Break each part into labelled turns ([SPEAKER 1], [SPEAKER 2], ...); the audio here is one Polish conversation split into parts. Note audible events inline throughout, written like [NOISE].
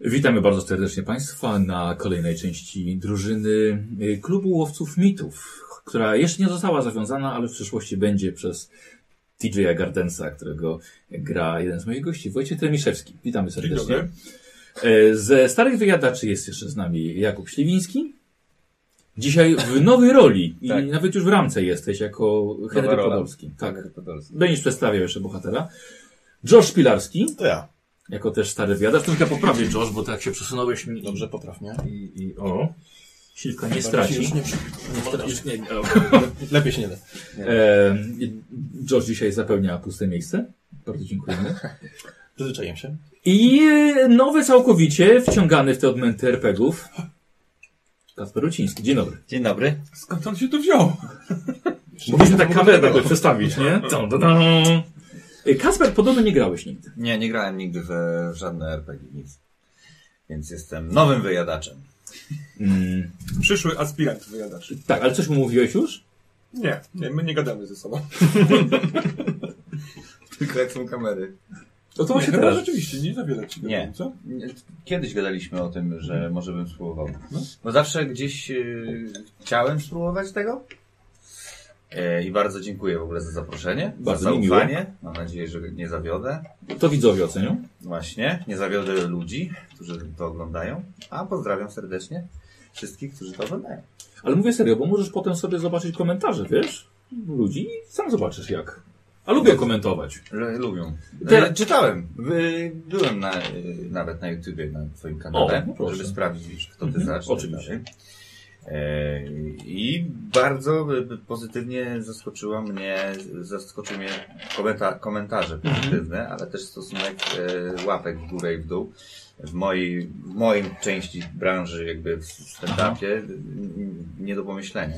[SPEAKER 1] Witamy bardzo serdecznie Państwa na kolejnej części drużyny y, Klubu Łowców Mitów, która jeszcze nie została zawiązana, ale w przyszłości będzie przez TJ'a Gardensa, którego gra jeden z moich gości, Wojciech Tremiszewski. Witamy serdecznie. Y, Ze starych wyjadaczy jest jeszcze z nami Jakub Śliwiński. Dzisiaj w nowej roli i
[SPEAKER 2] Tak.
[SPEAKER 1] nawet już w ramce jesteś jako Henryk
[SPEAKER 2] rola.
[SPEAKER 1] Podolski. Tak.
[SPEAKER 2] Podolski.
[SPEAKER 1] Będziesz przedstawiał jeszcze bohatera. Josh Pilarski.
[SPEAKER 3] To ja.
[SPEAKER 1] Jako też stary wyjadacz, troszkę poprawię Josh, bo tak się przesunąłeś mi.
[SPEAKER 3] Dobrze, popraw mnie.
[SPEAKER 2] I, i o.
[SPEAKER 1] Silka nie
[SPEAKER 3] Bardziej się
[SPEAKER 1] straci.
[SPEAKER 3] już
[SPEAKER 1] Nie,
[SPEAKER 3] nie przy-
[SPEAKER 1] stra- już nie, o.
[SPEAKER 3] Lepiej się nie da.
[SPEAKER 1] E, Josh dzisiaj zapełnia puste miejsce. Bardzo dziękujemy.
[SPEAKER 3] Przyzwyczaiłem się.
[SPEAKER 1] I e, nowy całkowicie, wciągany w te odmęty RPGów. Kasper Ruciński, dzień dobry.
[SPEAKER 2] Dzień dobry.
[SPEAKER 4] Skąd on się tu wziął?
[SPEAKER 1] Mogliśmy tak kamerę tak przestawić, nie? Tam, tam, tam. E, Kasper, podobno nie grałeś nigdy.
[SPEAKER 2] Nie, nie grałem nigdy w, w żadne RPG, nic. Więc jestem nowym wyjadaczem. [LAUGHS]
[SPEAKER 1] Mm,
[SPEAKER 4] Przyszły aspirant wyjadaczy.
[SPEAKER 1] tak, ale coś mu mówiłeś już?
[SPEAKER 4] Nie, nie, my nie gadamy ze sobą.
[SPEAKER 2] Tylko jak są kamery.
[SPEAKER 1] No to
[SPEAKER 4] Nie,
[SPEAKER 1] właśnie
[SPEAKER 4] chyba
[SPEAKER 1] teraz.
[SPEAKER 4] rzeczywiście nie za wiele ci
[SPEAKER 2] Nie.
[SPEAKER 4] gadam, co?
[SPEAKER 2] Kiedyś gadaliśmy o tym, że
[SPEAKER 3] Mhm.
[SPEAKER 2] może bym spróbował.
[SPEAKER 3] No.
[SPEAKER 2] Bo zawsze gdzieś yy, chciałem spróbować tego. E, I bardzo dziękuję w ogóle za zaproszenie,
[SPEAKER 1] Bardzo
[SPEAKER 2] za
[SPEAKER 1] mi
[SPEAKER 2] zaufanie. Mam nadzieję, że nie zawiodę.
[SPEAKER 1] To widzowie ocenią.
[SPEAKER 2] Właśnie, nie zawiodę ludzi, którzy to oglądają. A pozdrawiam serdecznie wszystkich, którzy to oglądają.
[SPEAKER 1] Ale mówię serio, bo możesz potem sobie zobaczyć komentarze, wiesz? Ludzi i sam zobaczysz jak. A lubię komentować.
[SPEAKER 2] Że lubią.
[SPEAKER 1] Teraz-
[SPEAKER 2] E, Czytałem. Wy- Byłem na, e, nawet na YouTubie, na twoim kanale,
[SPEAKER 1] O, proszę.
[SPEAKER 2] żeby sprawdzić, kto ty
[SPEAKER 1] Mhm,
[SPEAKER 2] znasz.
[SPEAKER 1] oczywiście.
[SPEAKER 2] E, I bardzo e, pozytywnie zaskoczyła mnie, zaskoczyły mnie komenta komentarze
[SPEAKER 1] Mhm.
[SPEAKER 2] pozytywne, ale też stosunek e, łapek w górę i w dół. W mojej, w moim części branży, jakby w stand-upie, n- nie do pomyślenia.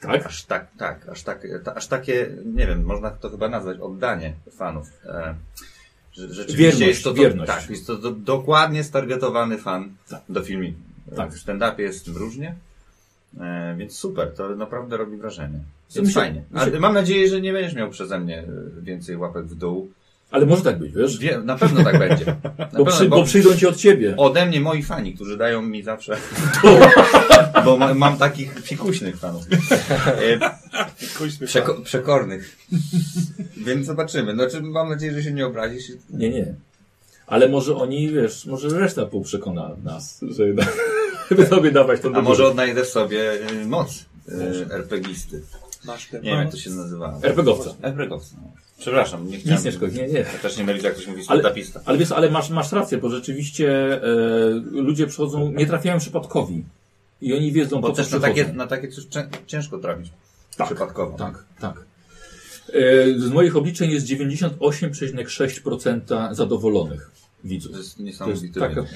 [SPEAKER 1] Tak?
[SPEAKER 2] Aż tak, tak, aż, tak, ta, aż takie, nie wiem, można to chyba nazwać oddanie fanów. E, że, rzeczywiście
[SPEAKER 1] Wierność,
[SPEAKER 2] jest to, do-
[SPEAKER 1] wierność.
[SPEAKER 2] Tak, jest to do, dokładnie stargetowany fan
[SPEAKER 1] Tak.
[SPEAKER 2] do filmiku.
[SPEAKER 1] Tak.
[SPEAKER 2] Tak. W stand-upie jest z tym różnie, e, więc super, to naprawdę robi wrażenie. Jest
[SPEAKER 1] Myślę-
[SPEAKER 2] fajnie. A,
[SPEAKER 1] myślę-
[SPEAKER 2] Mam nadzieję, że nie będziesz miał przeze mnie e, więcej łapek w dół.
[SPEAKER 1] Ale może tak być, wiesz?
[SPEAKER 2] Wie, na pewno tak będzie. Na
[SPEAKER 1] [LAUGHS] Bo,
[SPEAKER 2] pewno,
[SPEAKER 1] przy, bo przyjdą ci od ciebie.
[SPEAKER 2] Ode mnie moi fani, którzy dają
[SPEAKER 1] [LAUGHS]
[SPEAKER 2] mi zawsze. [LAUGHS] Bo ma, mam takich fikuśnych fanów. E,
[SPEAKER 4] Kończmy
[SPEAKER 2] Przeko przekornych. [LAUGHS] Więc zobaczymy. Znaczy, mam nadzieję, że się nie obrazisz.
[SPEAKER 1] Nie, nie. Ale może oni, wiesz, może reszta pół przekona nas, że jednak- [LAUGHS] żeby sobie dawać tą
[SPEAKER 2] A
[SPEAKER 1] dobrą-
[SPEAKER 2] może odnajdę w sobie y, moc y, RPGisty.
[SPEAKER 4] Masz ten
[SPEAKER 2] Nie wiem, jak to się nazywa.
[SPEAKER 1] RPGowca.
[SPEAKER 2] RPGowca. Przepraszam, nie chciałem.
[SPEAKER 1] Nic nie szkodzi, nie, nie.
[SPEAKER 2] Ja też nie mylić, jak ktoś mówi
[SPEAKER 1] Ale-
[SPEAKER 2] stand-upista.
[SPEAKER 1] Ale wiesz, ale masz, masz rację, bo rzeczywiście e, ludzie przychodzą, nie trafiają przypadkowi. I oni wiedzą,
[SPEAKER 2] Bo
[SPEAKER 1] po co
[SPEAKER 2] też na
[SPEAKER 1] przychodzą.
[SPEAKER 2] takie, na takie coś czę- ciężko trafić.
[SPEAKER 1] Tak,
[SPEAKER 2] Przypadkowo.
[SPEAKER 1] Tak, tak. E, z moich obliczeń jest 98,6% zadowolonych widzów.
[SPEAKER 2] To jest
[SPEAKER 1] To jest
[SPEAKER 2] niesamowity
[SPEAKER 1] tak,
[SPEAKER 2] wynik.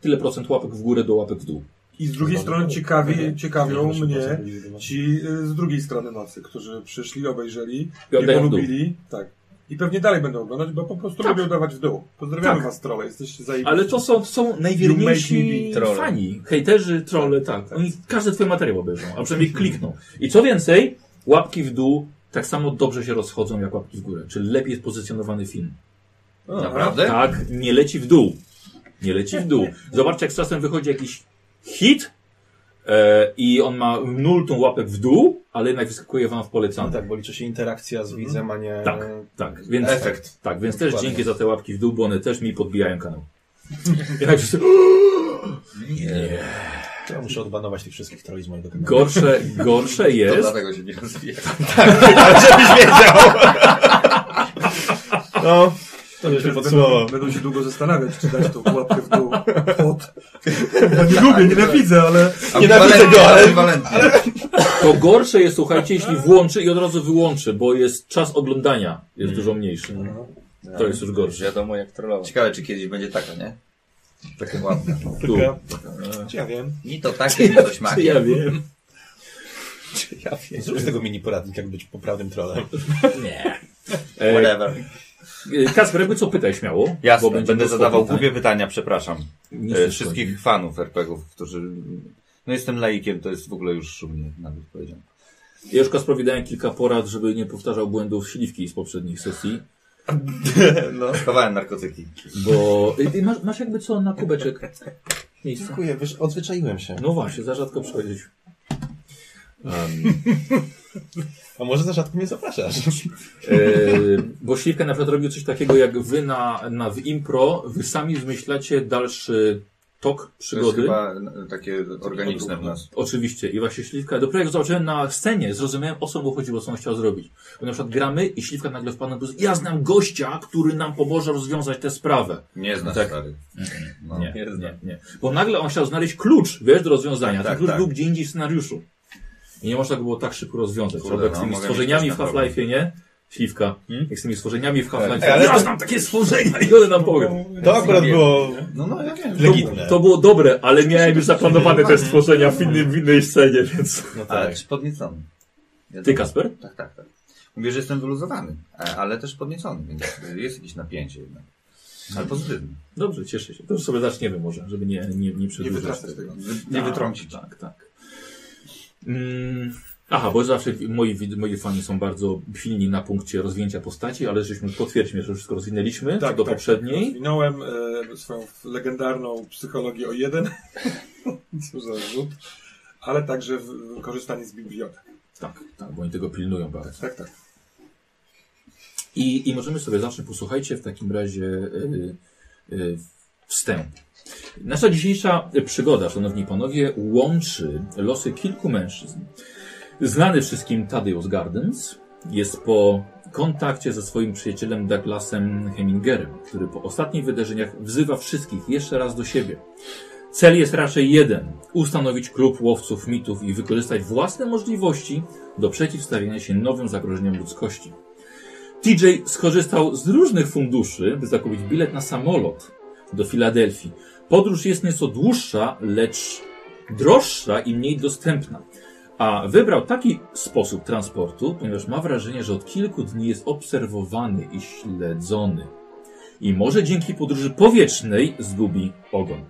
[SPEAKER 1] tyle procent łapek w górę do łapek w dół.
[SPEAKER 4] I z drugiej strony ciekawi, ciekawią
[SPEAKER 3] Proszę,
[SPEAKER 4] mnie
[SPEAKER 3] proszę, proszę.
[SPEAKER 4] ci y, z drugiej strony nocy, którzy przyszli, obejrzeli
[SPEAKER 1] I
[SPEAKER 4] i
[SPEAKER 1] oddają w dół.
[SPEAKER 4] polubili. Tak. I pewnie dalej będą oglądać, bo po prostu lubią dawać w dół. Pozdrawiamy
[SPEAKER 1] Tak.
[SPEAKER 4] was trole, jesteście zajebiści.
[SPEAKER 1] Ale to są, to są
[SPEAKER 4] You
[SPEAKER 1] najwierniejsi
[SPEAKER 4] make
[SPEAKER 2] me be
[SPEAKER 1] fani, hejterzy, trolle, tak. Oni każdy twoje materiał obejrzą, a przynajmniej klikną. I co więcej, łapki w dół tak samo dobrze się rozchodzą jak łapki w górę. Czyli lepiej jest pozycjonowany film.
[SPEAKER 4] O,
[SPEAKER 2] Naprawdę?
[SPEAKER 1] Tak, nie leci w dół. Nie leci w dół. Zobaczcie, jak z czasem wychodzi jakiś hit e, i on ma nul tą łapek w dół, ale jednak wyskakuje wam w
[SPEAKER 3] No
[SPEAKER 1] polecane.
[SPEAKER 3] tak, bo liczy się interakcja z widzem, a nie...
[SPEAKER 1] Tak. Tak, więc,
[SPEAKER 2] Efekt.
[SPEAKER 1] tak, więc też
[SPEAKER 3] Dokładnie.
[SPEAKER 1] dzięki za te łapki w dół, bo one też mi podbijają kanał. [LAUGHS] Jednak wszyscy,
[SPEAKER 2] Nie.
[SPEAKER 3] To Ja muszę odbanować tych wszystkich troli z mojego kanału.
[SPEAKER 1] gorsze, gorsze
[SPEAKER 2] To
[SPEAKER 1] jest.
[SPEAKER 2] dlatego się nie
[SPEAKER 1] [LAUGHS]
[SPEAKER 2] rozwija.
[SPEAKER 3] Żebyś wiedział! No, to już nie
[SPEAKER 4] Będą,
[SPEAKER 3] podsumował.
[SPEAKER 4] będą się długo zastanawiać, czy dać tą łapkę w dół pod. Bo nie lubię, nienawidzę, ale...
[SPEAKER 3] Nienawidzę go, ale-
[SPEAKER 2] Ambiwalentnie.
[SPEAKER 1] To gorsze jest, słuchajcie, jeśli włączy i od razu wyłączy, bo jest czas oglądania jest dużo mniejszy. To jest już gorsze.
[SPEAKER 5] Wiadomo jak trollować.
[SPEAKER 2] Ciekawe, czy kiedyś będzie taka, nie? Taka ładna.
[SPEAKER 1] Tu.
[SPEAKER 4] Czy ja wiem?
[SPEAKER 2] Ni to takie, ni coś macie.
[SPEAKER 1] [LAUGHS] Ja wiem.
[SPEAKER 3] Zrób z tego mini poradnik, jak być poprawnym trolem.
[SPEAKER 1] Nie. E,
[SPEAKER 2] Whatever.
[SPEAKER 1] Kasper, jakby co pytaj śmiało.
[SPEAKER 2] Jasne,
[SPEAKER 1] bo będzie
[SPEAKER 2] będę
[SPEAKER 1] mnóstwo
[SPEAKER 2] zadawał
[SPEAKER 1] pytań.
[SPEAKER 2] głupie pytania, przepraszam.
[SPEAKER 1] Nie
[SPEAKER 2] E,
[SPEAKER 1] szkodzi.
[SPEAKER 2] wszystkich fanów RPGów, którzy... No jestem laikiem, to jest w ogóle już szumnie, nawet
[SPEAKER 1] [LAUGHS]
[SPEAKER 2] powiedziałem.
[SPEAKER 1] Ja już Kasprowi dałem kilka porad, żeby nie powtarzał błędów śliwki z poprzednich sesji.
[SPEAKER 2] No, schowałem narkotyki.
[SPEAKER 1] [LAUGHS] Bo y, ty masz, masz jakby co na kubeczek miejsca.
[SPEAKER 3] Dziękuję, wiesz, odzwyczaiłem się.
[SPEAKER 1] No właśnie, za rzadko przychodzisz.
[SPEAKER 3] A może za rzadko mnie zapraszasz? [LAUGHS]
[SPEAKER 1] Yy, bo Śliwka na przykład robił coś takiego, jak wy na, na w impro, wy sami zmyślacie dalszy tok
[SPEAKER 2] To jest
[SPEAKER 1] przygody.
[SPEAKER 2] chyba e, takie organiczne w nas.
[SPEAKER 1] Oczywiście. I właśnie Śliwka, dopiero jak zobaczyłem na scenie, zrozumiałem o co mu chodziło, co on chciał zrobić. Bo na przykład gramy i Śliwka nagle wpadła na ja znam gościa, który nam pomoże rozwiązać tę sprawę.
[SPEAKER 2] Nie znasz,
[SPEAKER 1] Tak.
[SPEAKER 2] stary. No.
[SPEAKER 1] Nie, nie, nie. Bo nagle on chciał znaleźć klucz, wiesz, do rozwiązania. Ten
[SPEAKER 2] Tak,
[SPEAKER 1] klucz
[SPEAKER 2] tak.
[SPEAKER 1] był gdzie indziej w scenariuszu. I nie można go było tak szybko rozwiązać.
[SPEAKER 2] Kurde,
[SPEAKER 1] Kurde, jak
[SPEAKER 2] no,
[SPEAKER 1] z tymi
[SPEAKER 2] mogę
[SPEAKER 1] stworzeniami
[SPEAKER 2] mieć
[SPEAKER 1] w
[SPEAKER 2] też na
[SPEAKER 1] Half-Life'ie, nie? Śliwka.
[SPEAKER 3] Hmm?
[SPEAKER 1] Jak z tymi stworzeniami w Half-Lifeie.
[SPEAKER 3] Tak, ale
[SPEAKER 1] ja
[SPEAKER 3] to-
[SPEAKER 1] znam takie stworzenia i one nam powiedzą.
[SPEAKER 3] To akurat było
[SPEAKER 2] No, no, ja wiem.
[SPEAKER 3] legitne.
[SPEAKER 1] To było dobre, ale miałem już zaplanowane te stworzenia w, innym, w innej scenie, więc...
[SPEAKER 3] No
[SPEAKER 2] Ale
[SPEAKER 3] tak.
[SPEAKER 2] też podniecony. Ja
[SPEAKER 1] Ty,
[SPEAKER 2] tak-
[SPEAKER 1] Kasper?
[SPEAKER 2] Tak, tak, tak. Mówię, że jestem wyluzowany, a- ale też podniecony, więc jest jakieś napięcie jednak. Ale pozytywne.
[SPEAKER 1] Dobrze, cieszę się. To już sobie zaczniemy może, żeby nie, nie, nie przedłużać
[SPEAKER 4] wytracać tego.
[SPEAKER 2] Wy, nie
[SPEAKER 1] Tak,
[SPEAKER 2] wytrącić.
[SPEAKER 1] Tak, tak. Mm, aha, bo zawsze moi, wid- moi fani są bardzo silni na punkcie rozwinięcia postaci, ale żeśmy potwierdźmy, że wszystko rozwinęliśmy tak, do poprzedniej.
[SPEAKER 4] Rozwinąłem e, swoją legendarną psychologię o jeden. [LAUGHS] Cóż za rzut. Ale także w, w korzystanie z bibliotek.
[SPEAKER 1] Tak, tak, bo oni tego pilnują bardzo.
[SPEAKER 4] Tak, tak.
[SPEAKER 1] I, i możemy sobie zawsze posłuchajcie w takim razie y, y, wstęp. Nasza dzisiejsza przygoda, szanowni panowie, łączy losy kilku mężczyzn. Znany wszystkim Tadeusz Gardens jest po kontakcie ze swoim przyjacielem Douglasem Hemingerem, który po ostatnich wydarzeniach wzywa wszystkich jeszcze raz do siebie. Cel jest raczej jeden: ustanowić klub łowców mitów i wykorzystać własne możliwości do przeciwstawienia się nowym zagrożeniom ludzkości. TJ skorzystał z różnych funduszy, by zakupić bilet na samolot do Filadelfii. Podróż jest nieco dłuższa, lecz droższa i mniej dostępna. A wybrał taki sposób transportu, ponieważ ma wrażenie, że od kilku dni jest obserwowany i śledzony. I może dzięki podróży powietrznej zgubi ogon.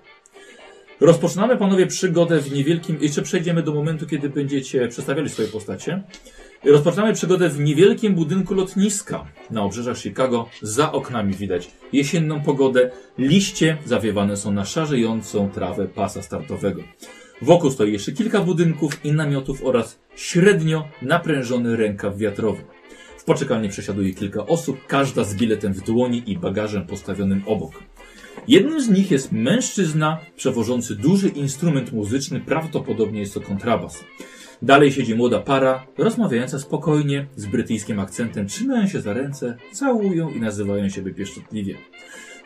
[SPEAKER 1] Rozpoczynamy, panowie, przygodę w niewielkim. Jeszcze przejdziemy do momentu, kiedy będziecie przedstawiali swoje postacie. Rozpoczynamy przygodę w niewielkim budynku lotniska na obrzeżach Chicago. Za oknami widać jesienną pogodę. Liście zawiewane są na szarzejącą trawę pasa startowego. Wokół stoi jeszcze kilka budynków i namiotów oraz średnio naprężony rękaw wiatrowy. W poczekalni przesiaduje kilka osób, każda z biletem w dłoni i bagażem postawionym obok. Jednym z nich jest mężczyzna przewożący duży instrument muzyczny, prawdopodobnie jest to kontrabas. Dalej siedzi młoda para, rozmawiająca spokojnie, z brytyjskim akcentem, trzymają się za ręce, całują i nazywają siebie pieszczotliwie.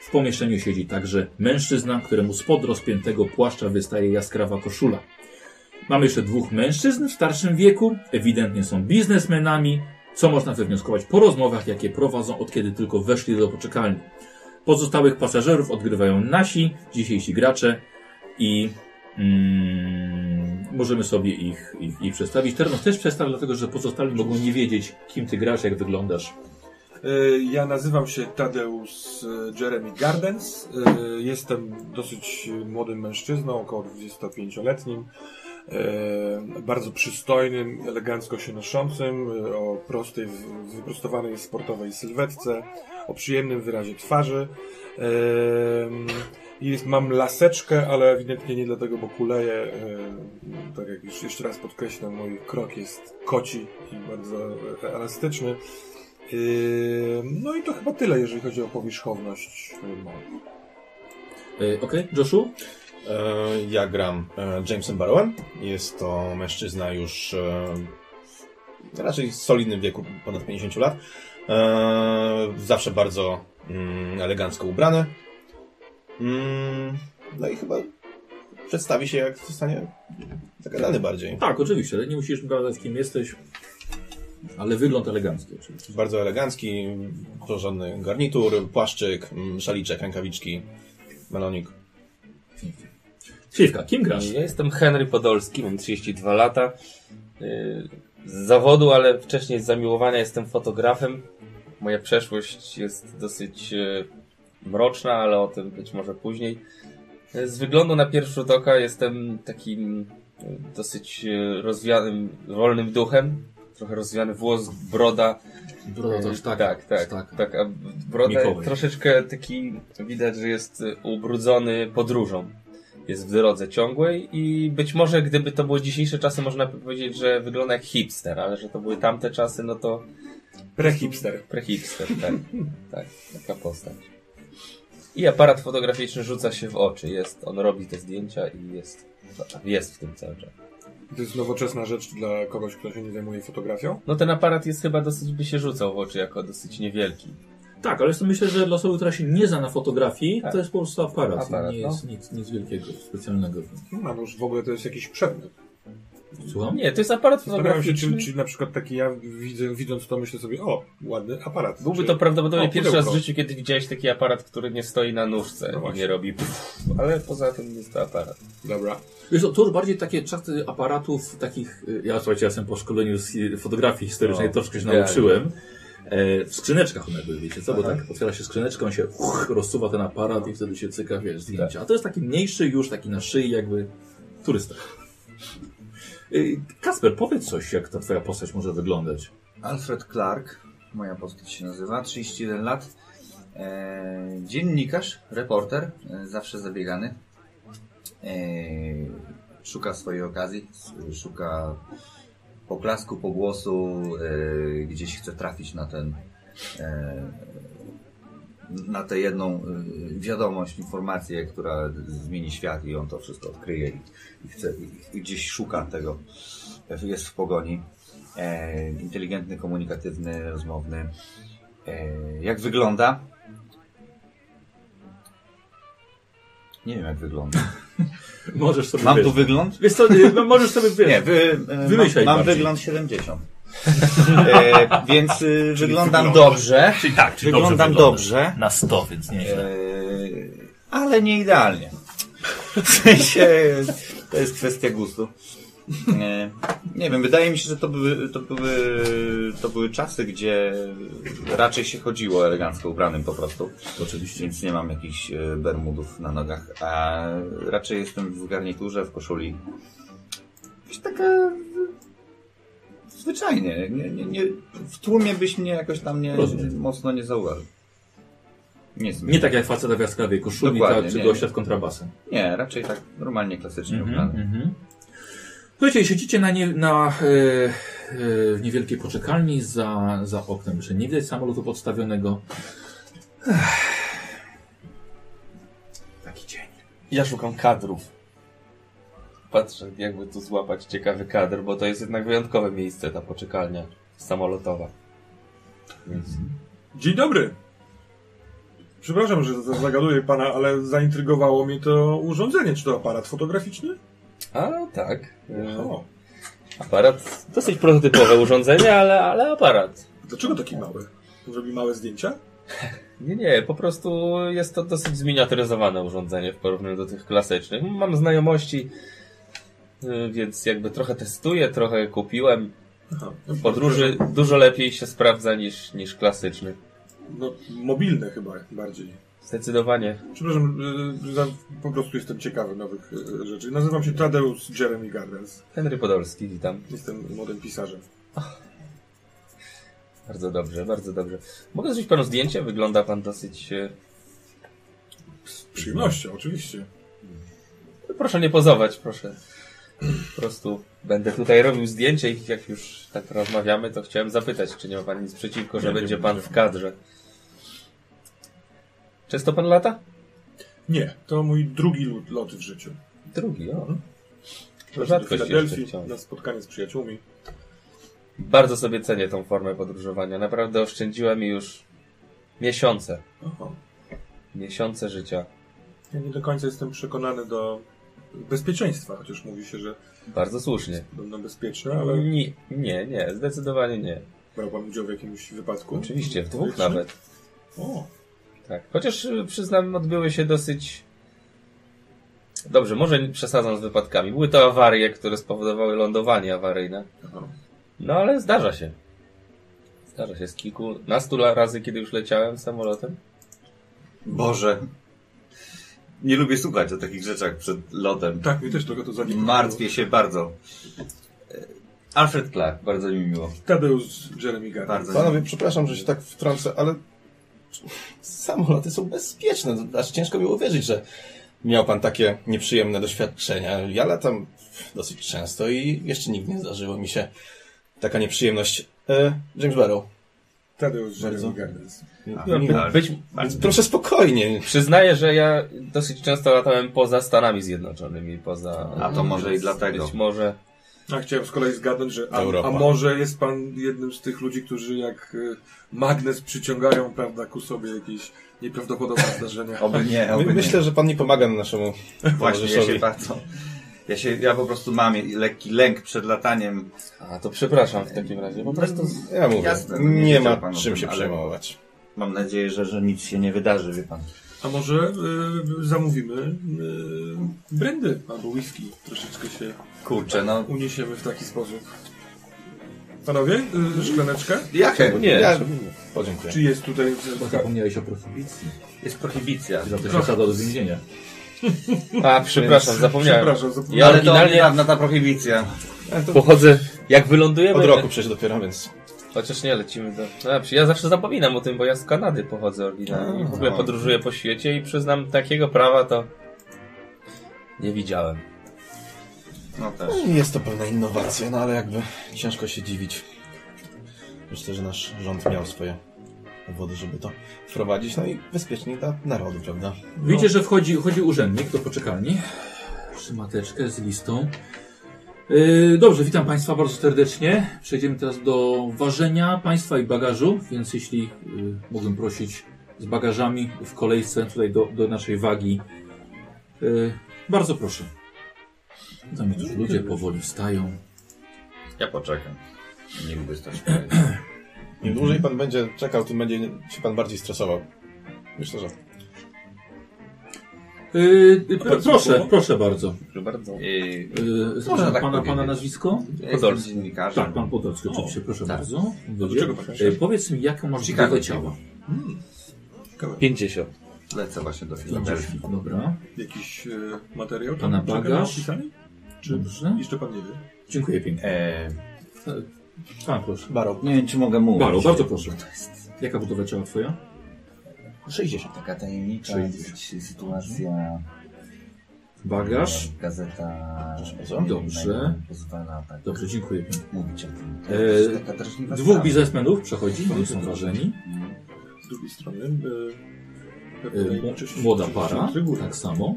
[SPEAKER 1] W pomieszczeniu siedzi także mężczyzna, któremu spod rozpiętego płaszcza wystaje jaskrawa koszula. Mamy jeszcze dwóch mężczyzn w starszym wieku, ewidentnie są biznesmenami, co można wywnioskować po rozmowach, jakie prowadzą od kiedy tylko weszli do poczekalni. Pozostałych pasażerów odgrywają nasi dzisiejsi gracze i mm, możemy sobie ich, ich, ich przedstawić. Ternos też przedstaw, dlatego że pozostali mogą nie wiedzieć, kim ty grasz, jak wyglądasz.
[SPEAKER 4] E, Ja nazywam się Tadeusz e, Jeremy Gardens. E, Jestem dosyć e, młodym mężczyzną, około 25-letnim. e, Bardzo przystojnym, elegancko się noszącym, e, o prostej, w- wyprostowanej sportowej sylwetce, o przyjemnym wyrazie twarzy. E, i Jest, mam laseczkę, ale ewidentnie nie dlatego, bo kuleję. e, Tak jak już jeszcze raz podkreślam, mój krok jest koci i bardzo e, elastyczny. Yy, No i to chyba tyle, jeżeli chodzi o powierzchowność. yy, moją.
[SPEAKER 1] Yy, Okej, Joshu?
[SPEAKER 3] E, Ja gram e, Jamesem Barrowem. Jest to mężczyzna już e, w raczej solidnym wieku, ponad 50 lat. E, Zawsze bardzo mm, elegancko ubrany. Mm, No i chyba przedstawi się, jak zostanie zagadany bardziej.
[SPEAKER 1] Tak, oczywiście, ale nie musisz gadać, kim jesteś. Ale wygląd elegancki oczywiście.
[SPEAKER 3] Bardzo elegancki, porządny garnitur, płaszczyk, mm, szaliczek, rękawiczki, melonik.
[SPEAKER 1] Śliwka, kim grasz?
[SPEAKER 5] Ja jestem Henry Podolski, mam 32 lata. Yy, Z zawodu, ale wcześniej z zamiłowania jestem fotografem. Moja przeszłość jest dosyć yy, mroczna, ale o tym być może później. Yy, Z wyglądu na pierwszy rzut y, oka jestem takim yy, dosyć yy, rozwianym, wolnym duchem. trochę rozwiany włos, broda.
[SPEAKER 1] Broda to sztaka.
[SPEAKER 5] tak, tak,
[SPEAKER 1] Sztaka.
[SPEAKER 5] tak. A broda
[SPEAKER 1] Mikołaj.
[SPEAKER 5] troszeczkę taki, widać, że jest y, ubrudzony podróżą. Jest w drodze ciągłej i być może gdyby to były dzisiejsze czasy, można by powiedzieć, że wygląda jak hipster, ale że to były tamte czasy, no to
[SPEAKER 4] Prehipster.
[SPEAKER 5] Prehipster, [LAUGHS] tak. tak, taka postać. I aparat fotograficzny rzuca się w oczy. Jest, on robi te zdjęcia i jest, jest w tym cały czas.
[SPEAKER 4] To jest nowoczesna rzecz dla kogoś, kto się nie zajmuje fotografią.
[SPEAKER 5] No ten aparat jest chyba dosyć, by się rzucał w oczy jako dosyć niewielki.
[SPEAKER 1] Tak, ale jest to myślę, że dla osoby, która się nie zna na fotografii,
[SPEAKER 5] Tak.
[SPEAKER 1] to jest po prostu aparat.
[SPEAKER 5] Aparat,
[SPEAKER 1] nie
[SPEAKER 5] no.
[SPEAKER 1] jest nic, nic wielkiego, specjalnego.
[SPEAKER 4] No, no już w ogóle to jest jakiś przedmiot.
[SPEAKER 1] Słucham?
[SPEAKER 5] Nie, to jest aparat
[SPEAKER 4] Zastanawiam się,
[SPEAKER 5] fotograficzny.
[SPEAKER 4] czy, czy na przykład taki ja widzę, widząc to myślę sobie, o, ładny aparat.
[SPEAKER 5] Byłby
[SPEAKER 4] Czy-
[SPEAKER 5] to prawdopodobnie
[SPEAKER 4] O,
[SPEAKER 5] pierwszy raz w
[SPEAKER 4] pudełko.
[SPEAKER 5] życiu, kiedy widziałeś taki aparat, który nie stoi na nóżce
[SPEAKER 4] No
[SPEAKER 5] i
[SPEAKER 4] właśnie.
[SPEAKER 5] nie robi pff, ale poza tym jest to aparat.
[SPEAKER 4] Dobra.
[SPEAKER 1] Wiesz, co, to już bardziej takie czasy aparatów takich, y, ja słuchajcie, ja jestem po szkoleniu z hi- fotografii historycznej,
[SPEAKER 5] No,
[SPEAKER 1] troszkę się
[SPEAKER 5] idealnie.
[SPEAKER 1] nauczyłem. E, w skrzyneczkach one były, wiecie co, bo tak otwiera się skrzyneczkę, on się uch, rozsuwa ten aparat i wtedy się cyka, wiesz,
[SPEAKER 2] Tak.
[SPEAKER 1] zdjęcia. A to jest taki mniejszy już, taki na szyi jakby turysta. Y, Kasper, powiedz coś, jak ta twoja postać może wyglądać.
[SPEAKER 2] Alfred Clark, moja postać się nazywa, 31 lat. E, dziennikarz, reporter, e, zawsze zabiegany. E, szuka swojej okazji, s- szuka poklasku, pogłosu, e, gdzieś chce trafić na ten. E, na tę jedną e, wiadomość, informację, która zmieni świat i on to wszystko odkryje i, i, chce, i- i gdzieś szuka tego, jest w pogoni. E, inteligentny, komunikatywny, rozmowny. E, jak wygląda? Nie wiem, jak wygląda.
[SPEAKER 1] [LAUGHS] Możesz sobie...
[SPEAKER 2] Mam
[SPEAKER 1] wiesz,
[SPEAKER 2] tu wygląd?
[SPEAKER 1] Wiesz co, y, no możesz sobie, wiesz,
[SPEAKER 2] Nie, wy, e,
[SPEAKER 1] Wymyślaj
[SPEAKER 2] mam, mam
[SPEAKER 1] bardziej. [LAUGHS]
[SPEAKER 2] wygląd 70. E, więc e, wyglądam
[SPEAKER 1] wyglądasz.
[SPEAKER 2] dobrze. E,
[SPEAKER 1] Czyli tak, czyli dobrze
[SPEAKER 2] Wyglądam
[SPEAKER 1] wyglądasz.
[SPEAKER 2] dobrze.
[SPEAKER 1] Na 100, więc nieźle.
[SPEAKER 2] Eee, ale nie idealnie. W sensie to jest kwestia gustu. Eee, nie wiem, wydaje mi się, że to były, to były, to były czasy, gdzie raczej się chodziło elegancko ubranym po prostu,
[SPEAKER 1] Oczywiście.
[SPEAKER 2] więc nie mam jakichś e, bermudów na nogach, a raczej jestem w garniturze, w koszuli. Jakaś taka... e, Zwyczajnie. Nie, nie, nie, w tłumie byś mnie jakoś tam nie,
[SPEAKER 1] Rozumiem.
[SPEAKER 2] mocno nie zauważył. Nie, jestem
[SPEAKER 1] Nie tak jak faceta w jaskrawej koszuli,
[SPEAKER 2] Dokładnie,
[SPEAKER 1] tak, czy
[SPEAKER 2] nie,
[SPEAKER 1] gościa
[SPEAKER 2] nie.
[SPEAKER 1] w kontrabasem.
[SPEAKER 2] Nie, raczej tak normalnie, klasycznie
[SPEAKER 1] Mhm,
[SPEAKER 2] ubrany.
[SPEAKER 1] mhm. Słuchajcie, siedzicie na, nie, na e, e, w niewielkiej poczekalni za, za oknem. Jeszcze nie widać samolotu podstawionego. Ech. Taki dzień.
[SPEAKER 5] Ja szukam kadrów. Patrzę, jakby tu złapać ciekawy kadr, bo to jest jednak wyjątkowe miejsce, ta poczekalnia samolotowa. Więc
[SPEAKER 4] Dzień dobry. Przepraszam, że za- zagaduję pana, ale zaintrygowało mnie to urządzenie. Czy to aparat fotograficzny?
[SPEAKER 5] A tak. E,
[SPEAKER 4] O,
[SPEAKER 5] aparat. Dosyć prototypowe urządzenie, ale, ale aparat.
[SPEAKER 4] dlaczego taki mały? Robi małe zdjęcia?
[SPEAKER 5] Nie, nie, po prostu jest to dosyć zminiaturyzowane urządzenie w porównaniu do tych klasycznych. Mam znajomości, e, więc jakby trochę testuję, trochę kupiłem.
[SPEAKER 4] Aha.
[SPEAKER 5] W podróży dużo lepiej się sprawdza niż, niż klasyczny.
[SPEAKER 4] No, mobilne chyba bardziej.
[SPEAKER 5] Zdecydowanie.
[SPEAKER 4] Przepraszam, y, za- po prostu jestem ciekawy nowych y, rzeczy. Nazywam się Tadeusz Jeremy Gardens.
[SPEAKER 5] Henry Podolski, witam.
[SPEAKER 4] Jestem młodym pisarzem.
[SPEAKER 5] Bardzo dobrze, bardzo dobrze. Mogę zrobić panu zdjęcie? Wygląda pan dosyć. e,
[SPEAKER 4] Z przyjemnością, oczywiście.
[SPEAKER 5] Proszę nie pozować, proszę. Po prostu będę tutaj robił zdjęcie i jak już tak rozmawiamy, to chciałem zapytać, czy nie ma pan nic przeciwko, że
[SPEAKER 1] Nie, nie
[SPEAKER 5] będzie
[SPEAKER 1] mam
[SPEAKER 5] pan w kadrze. Często pan lata?
[SPEAKER 4] Nie, to mój drugi lu- lot w życiu.
[SPEAKER 5] Drugi, o.
[SPEAKER 4] Do
[SPEAKER 5] Rzadkość
[SPEAKER 4] Filadelfii
[SPEAKER 5] jeszcze wciąż.
[SPEAKER 4] na spotkanie z przyjaciółmi.
[SPEAKER 5] Bardzo sobie cenię tą formę podróżowania. Naprawdę oszczędziła mi już miesiące.
[SPEAKER 4] Aha.
[SPEAKER 5] Miesiące życia.
[SPEAKER 4] Ja nie do końca jestem przekonany do bezpieczeństwa, chociaż mówi się, że
[SPEAKER 5] Bardzo słusznie.
[SPEAKER 4] będą
[SPEAKER 2] No,
[SPEAKER 4] bezpieczne, ale
[SPEAKER 5] Nie, nie, nie, zdecydowanie nie.
[SPEAKER 4] brał pan udział w jakimś wypadku?
[SPEAKER 5] Oczywiście, w dwóch
[SPEAKER 4] Publicznym?
[SPEAKER 5] nawet.
[SPEAKER 4] O,
[SPEAKER 5] Tak. Chociaż y, przyznam, odbyły się dosyć. Dobrze, może nie przesadzam z wypadkami. Były to awarie, które spowodowały lądowanie awaryjne.
[SPEAKER 4] aha.
[SPEAKER 5] No ale zdarza się. Zdarza się z kilkunastu la- razy, kiedy już leciałem samolotem.
[SPEAKER 2] Boże. Nie lubię słuchać o takich rzeczach przed lotem.
[SPEAKER 4] Tak, mi też trochę to zaniepokoiło.
[SPEAKER 2] Martwię się bardzo. E, Alfred Clark, bardzo mi miło.
[SPEAKER 4] Tadeusz Jeremy Gardner.
[SPEAKER 2] Bardzo
[SPEAKER 3] Panowie, przepraszam, że się tak wtrącę, ale samoloty są bezpieczne. Aż ciężko mi uwierzyć, że miał pan takie nieprzyjemne doświadczenia. Ja latam dosyć często i jeszcze nigdy nie zdarzyło mi się taka nieprzyjemność. E, James Barrow.
[SPEAKER 4] Tadeusz Jeremy
[SPEAKER 3] Bardzo.
[SPEAKER 4] Gardner.
[SPEAKER 2] miło.
[SPEAKER 3] Miło.
[SPEAKER 2] Ale-
[SPEAKER 5] No, Być,
[SPEAKER 3] Więc proszę spokojnie.
[SPEAKER 5] przyznaję, że ja dosyć często latałem poza Stanami Zjednoczonymi, poza...
[SPEAKER 2] A to może i dlatego.
[SPEAKER 5] Być może.
[SPEAKER 4] A chciałem z kolei zgadnąć, że a,
[SPEAKER 3] Europa.
[SPEAKER 4] a może jest pan jednym z tych ludzi, którzy jak y, magnes przyciągają, prawda, ku sobie jakieś nieprawdopodobne zdarzenia.
[SPEAKER 2] Oby nie,
[SPEAKER 3] My,
[SPEAKER 2] oby
[SPEAKER 3] myślę, że pan nie pomaga naszemu
[SPEAKER 2] nie. Właśnie, ja się
[SPEAKER 3] towarzyszowi.
[SPEAKER 2] bardzo... Ja, się, ja po prostu mam lekki lęk przed lataniem.
[SPEAKER 5] A, to przepraszam w takim razie. Po prostu...
[SPEAKER 3] Ja mówię,
[SPEAKER 2] Jasne, no, nie
[SPEAKER 3] nie,
[SPEAKER 2] wiedział pan
[SPEAKER 3] ma
[SPEAKER 2] o
[SPEAKER 3] czym
[SPEAKER 2] tym,
[SPEAKER 3] się
[SPEAKER 2] ale-
[SPEAKER 3] przejmować.
[SPEAKER 2] Mam nadzieję, że, że nic się nie wydarzy, wie pan.
[SPEAKER 4] A może y, zamówimy y, brandy albo whisky. Troszeczkę się
[SPEAKER 2] Kurczę, no...
[SPEAKER 4] uniesiemy w taki sposób. Panowie, y, szklaneczkę?
[SPEAKER 2] Jakie?
[SPEAKER 5] Nie,
[SPEAKER 3] Ja, podziękuję.
[SPEAKER 4] Czy jest tutaj...
[SPEAKER 1] Bo zapomniałeś o prohibicji.
[SPEAKER 2] Jest prohibicja.
[SPEAKER 1] Za to się sadza do więzienia.
[SPEAKER 5] A, przepraszam, zapomniałem.
[SPEAKER 4] Przepraszam, zapomniałem.
[SPEAKER 5] Ja
[SPEAKER 2] Ale to
[SPEAKER 5] oryginalnie-
[SPEAKER 2] niedawna ta prohibicja.
[SPEAKER 5] Pochodzę, jak wylądujemy...
[SPEAKER 3] Od roku przecież dopiero, więc
[SPEAKER 5] Chociaż nie, lecimy do... No, dobrze, ja zawsze zapominam o tym, bo ja z Kanady pochodzę oryginalnie. i W ogóle podróżuję po świecie i przyznam, takiego prawa to... Nie widziałem.
[SPEAKER 2] No też.
[SPEAKER 3] Jest to pewna innowacja, no ale jakby ciężko się dziwić. Myślę, że nasz rząd miał swoje powody, żeby to wprowadzić, no i bezpiecznie dla narodu, prawda?
[SPEAKER 1] Widzicie, że wchodzi, wchodzi urzędnik do poczekalni. Trzyma teczkę z listą. Yy, dobrze, witam Państwa bardzo serdecznie. Przejdziemy teraz do ważenia Państwa i bagażu, więc jeśli yy, mogłem prosić z bagażami w kolejce tutaj do, do naszej wagi. Yy, bardzo proszę. Tam już ludzie powoli wstają.
[SPEAKER 2] Ja poczekam. Nigdy stać.
[SPEAKER 3] Im dłużej pan będzie czekał, tym będzie się pan bardziej stresował. Myślę, że
[SPEAKER 1] Yy, pr-
[SPEAKER 4] bardzo
[SPEAKER 1] proszę,
[SPEAKER 4] było?
[SPEAKER 1] proszę bardzo.
[SPEAKER 5] Proszę bardzo.
[SPEAKER 2] I...
[SPEAKER 1] Yy,
[SPEAKER 2] Można tak
[SPEAKER 1] pana, pana
[SPEAKER 2] powiedzieć.
[SPEAKER 1] nazwisko?
[SPEAKER 2] Ja
[SPEAKER 5] Podolski.
[SPEAKER 2] Y, jestem dziennikarzem.
[SPEAKER 1] Tak, pan Podolski, oczywiście, proszę
[SPEAKER 2] tak.
[SPEAKER 1] bardzo.
[SPEAKER 4] Do czego pan
[SPEAKER 1] E, Powiedz mi, jaką masz
[SPEAKER 2] Chicago.
[SPEAKER 1] budowę ciała?
[SPEAKER 5] 50.
[SPEAKER 2] Lecę właśnie do Filadelfii.
[SPEAKER 1] Filadelfii. Dobra,
[SPEAKER 4] Jakiś y, materiał? tam
[SPEAKER 1] Pana
[SPEAKER 4] czeka na
[SPEAKER 1] bagaż?
[SPEAKER 4] opisanie? Czy
[SPEAKER 1] dobrze.
[SPEAKER 4] jeszcze pan nie wie?
[SPEAKER 1] Dziękuję pięknie.
[SPEAKER 2] E,
[SPEAKER 1] Pan proszę.
[SPEAKER 3] barok.
[SPEAKER 2] nie wiem, czy mogę mówić.
[SPEAKER 1] Baro, bardzo proszę. Jaka budowa ciała twoja?
[SPEAKER 3] 60.
[SPEAKER 2] Taka tajemnicza
[SPEAKER 1] Przejdzie.
[SPEAKER 2] sytuacja.
[SPEAKER 1] Bagaż.
[SPEAKER 2] E, Gazeta.
[SPEAKER 3] bardzo.
[SPEAKER 1] Dobrze.
[SPEAKER 2] Pozwala tak
[SPEAKER 1] Dobrze, dziękuję pięknie.
[SPEAKER 2] mówić o tym.
[SPEAKER 1] E,
[SPEAKER 2] jest taka drażliwa
[SPEAKER 1] Dwóch
[SPEAKER 2] sprawa.
[SPEAKER 1] biznesmenów przechodzi, oni są ważeni.
[SPEAKER 2] Mm.
[SPEAKER 4] Z drugiej strony... Y,
[SPEAKER 1] E,
[SPEAKER 4] pewnej uroczystości-
[SPEAKER 1] Młoda para,
[SPEAKER 4] Trybuny.
[SPEAKER 1] tak samo.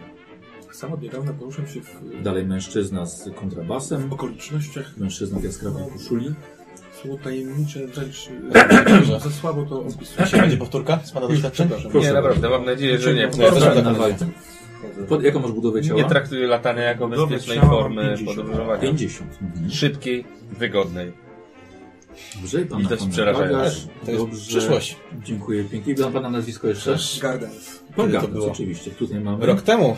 [SPEAKER 4] Sam od niedawna poruszam się w y,
[SPEAKER 1] Dalej mężczyzna z kontrabasem,
[SPEAKER 4] okolicznościach
[SPEAKER 1] mężczyzna w jaskrawej koszuli.
[SPEAKER 4] Słowo tajemnicze wręcz y, za słabo to opisuje.
[SPEAKER 3] Czy będzie powtórka z pana doświadczeń?
[SPEAKER 4] Przepraszam.
[SPEAKER 1] Proszę
[SPEAKER 5] Nie, naprawdę, mam nadzieję, że nie.
[SPEAKER 3] Nie, też
[SPEAKER 1] Dobra,
[SPEAKER 3] tak
[SPEAKER 1] dawaj. Pod, jaką masz budowę
[SPEAKER 5] Nie
[SPEAKER 1] ciała?
[SPEAKER 5] traktuję latania jako
[SPEAKER 4] Budowę
[SPEAKER 5] bezpiecznej
[SPEAKER 4] ciała
[SPEAKER 5] formy
[SPEAKER 4] 50.
[SPEAKER 5] podróżowania.
[SPEAKER 1] 50. Mhm.
[SPEAKER 5] Szybkiej, wygodnej.
[SPEAKER 1] Dobrze, pan
[SPEAKER 5] I to jest przerażające.
[SPEAKER 3] To jest przyszłość.
[SPEAKER 1] Dziękuję pięknie. I Dam pana nazwisko jeszcze.
[SPEAKER 4] Gardens.
[SPEAKER 1] Pan
[SPEAKER 3] Kiedy to
[SPEAKER 1] Gardens,
[SPEAKER 3] było?
[SPEAKER 1] oczywiście. Tutaj mamy.
[SPEAKER 3] Rok temu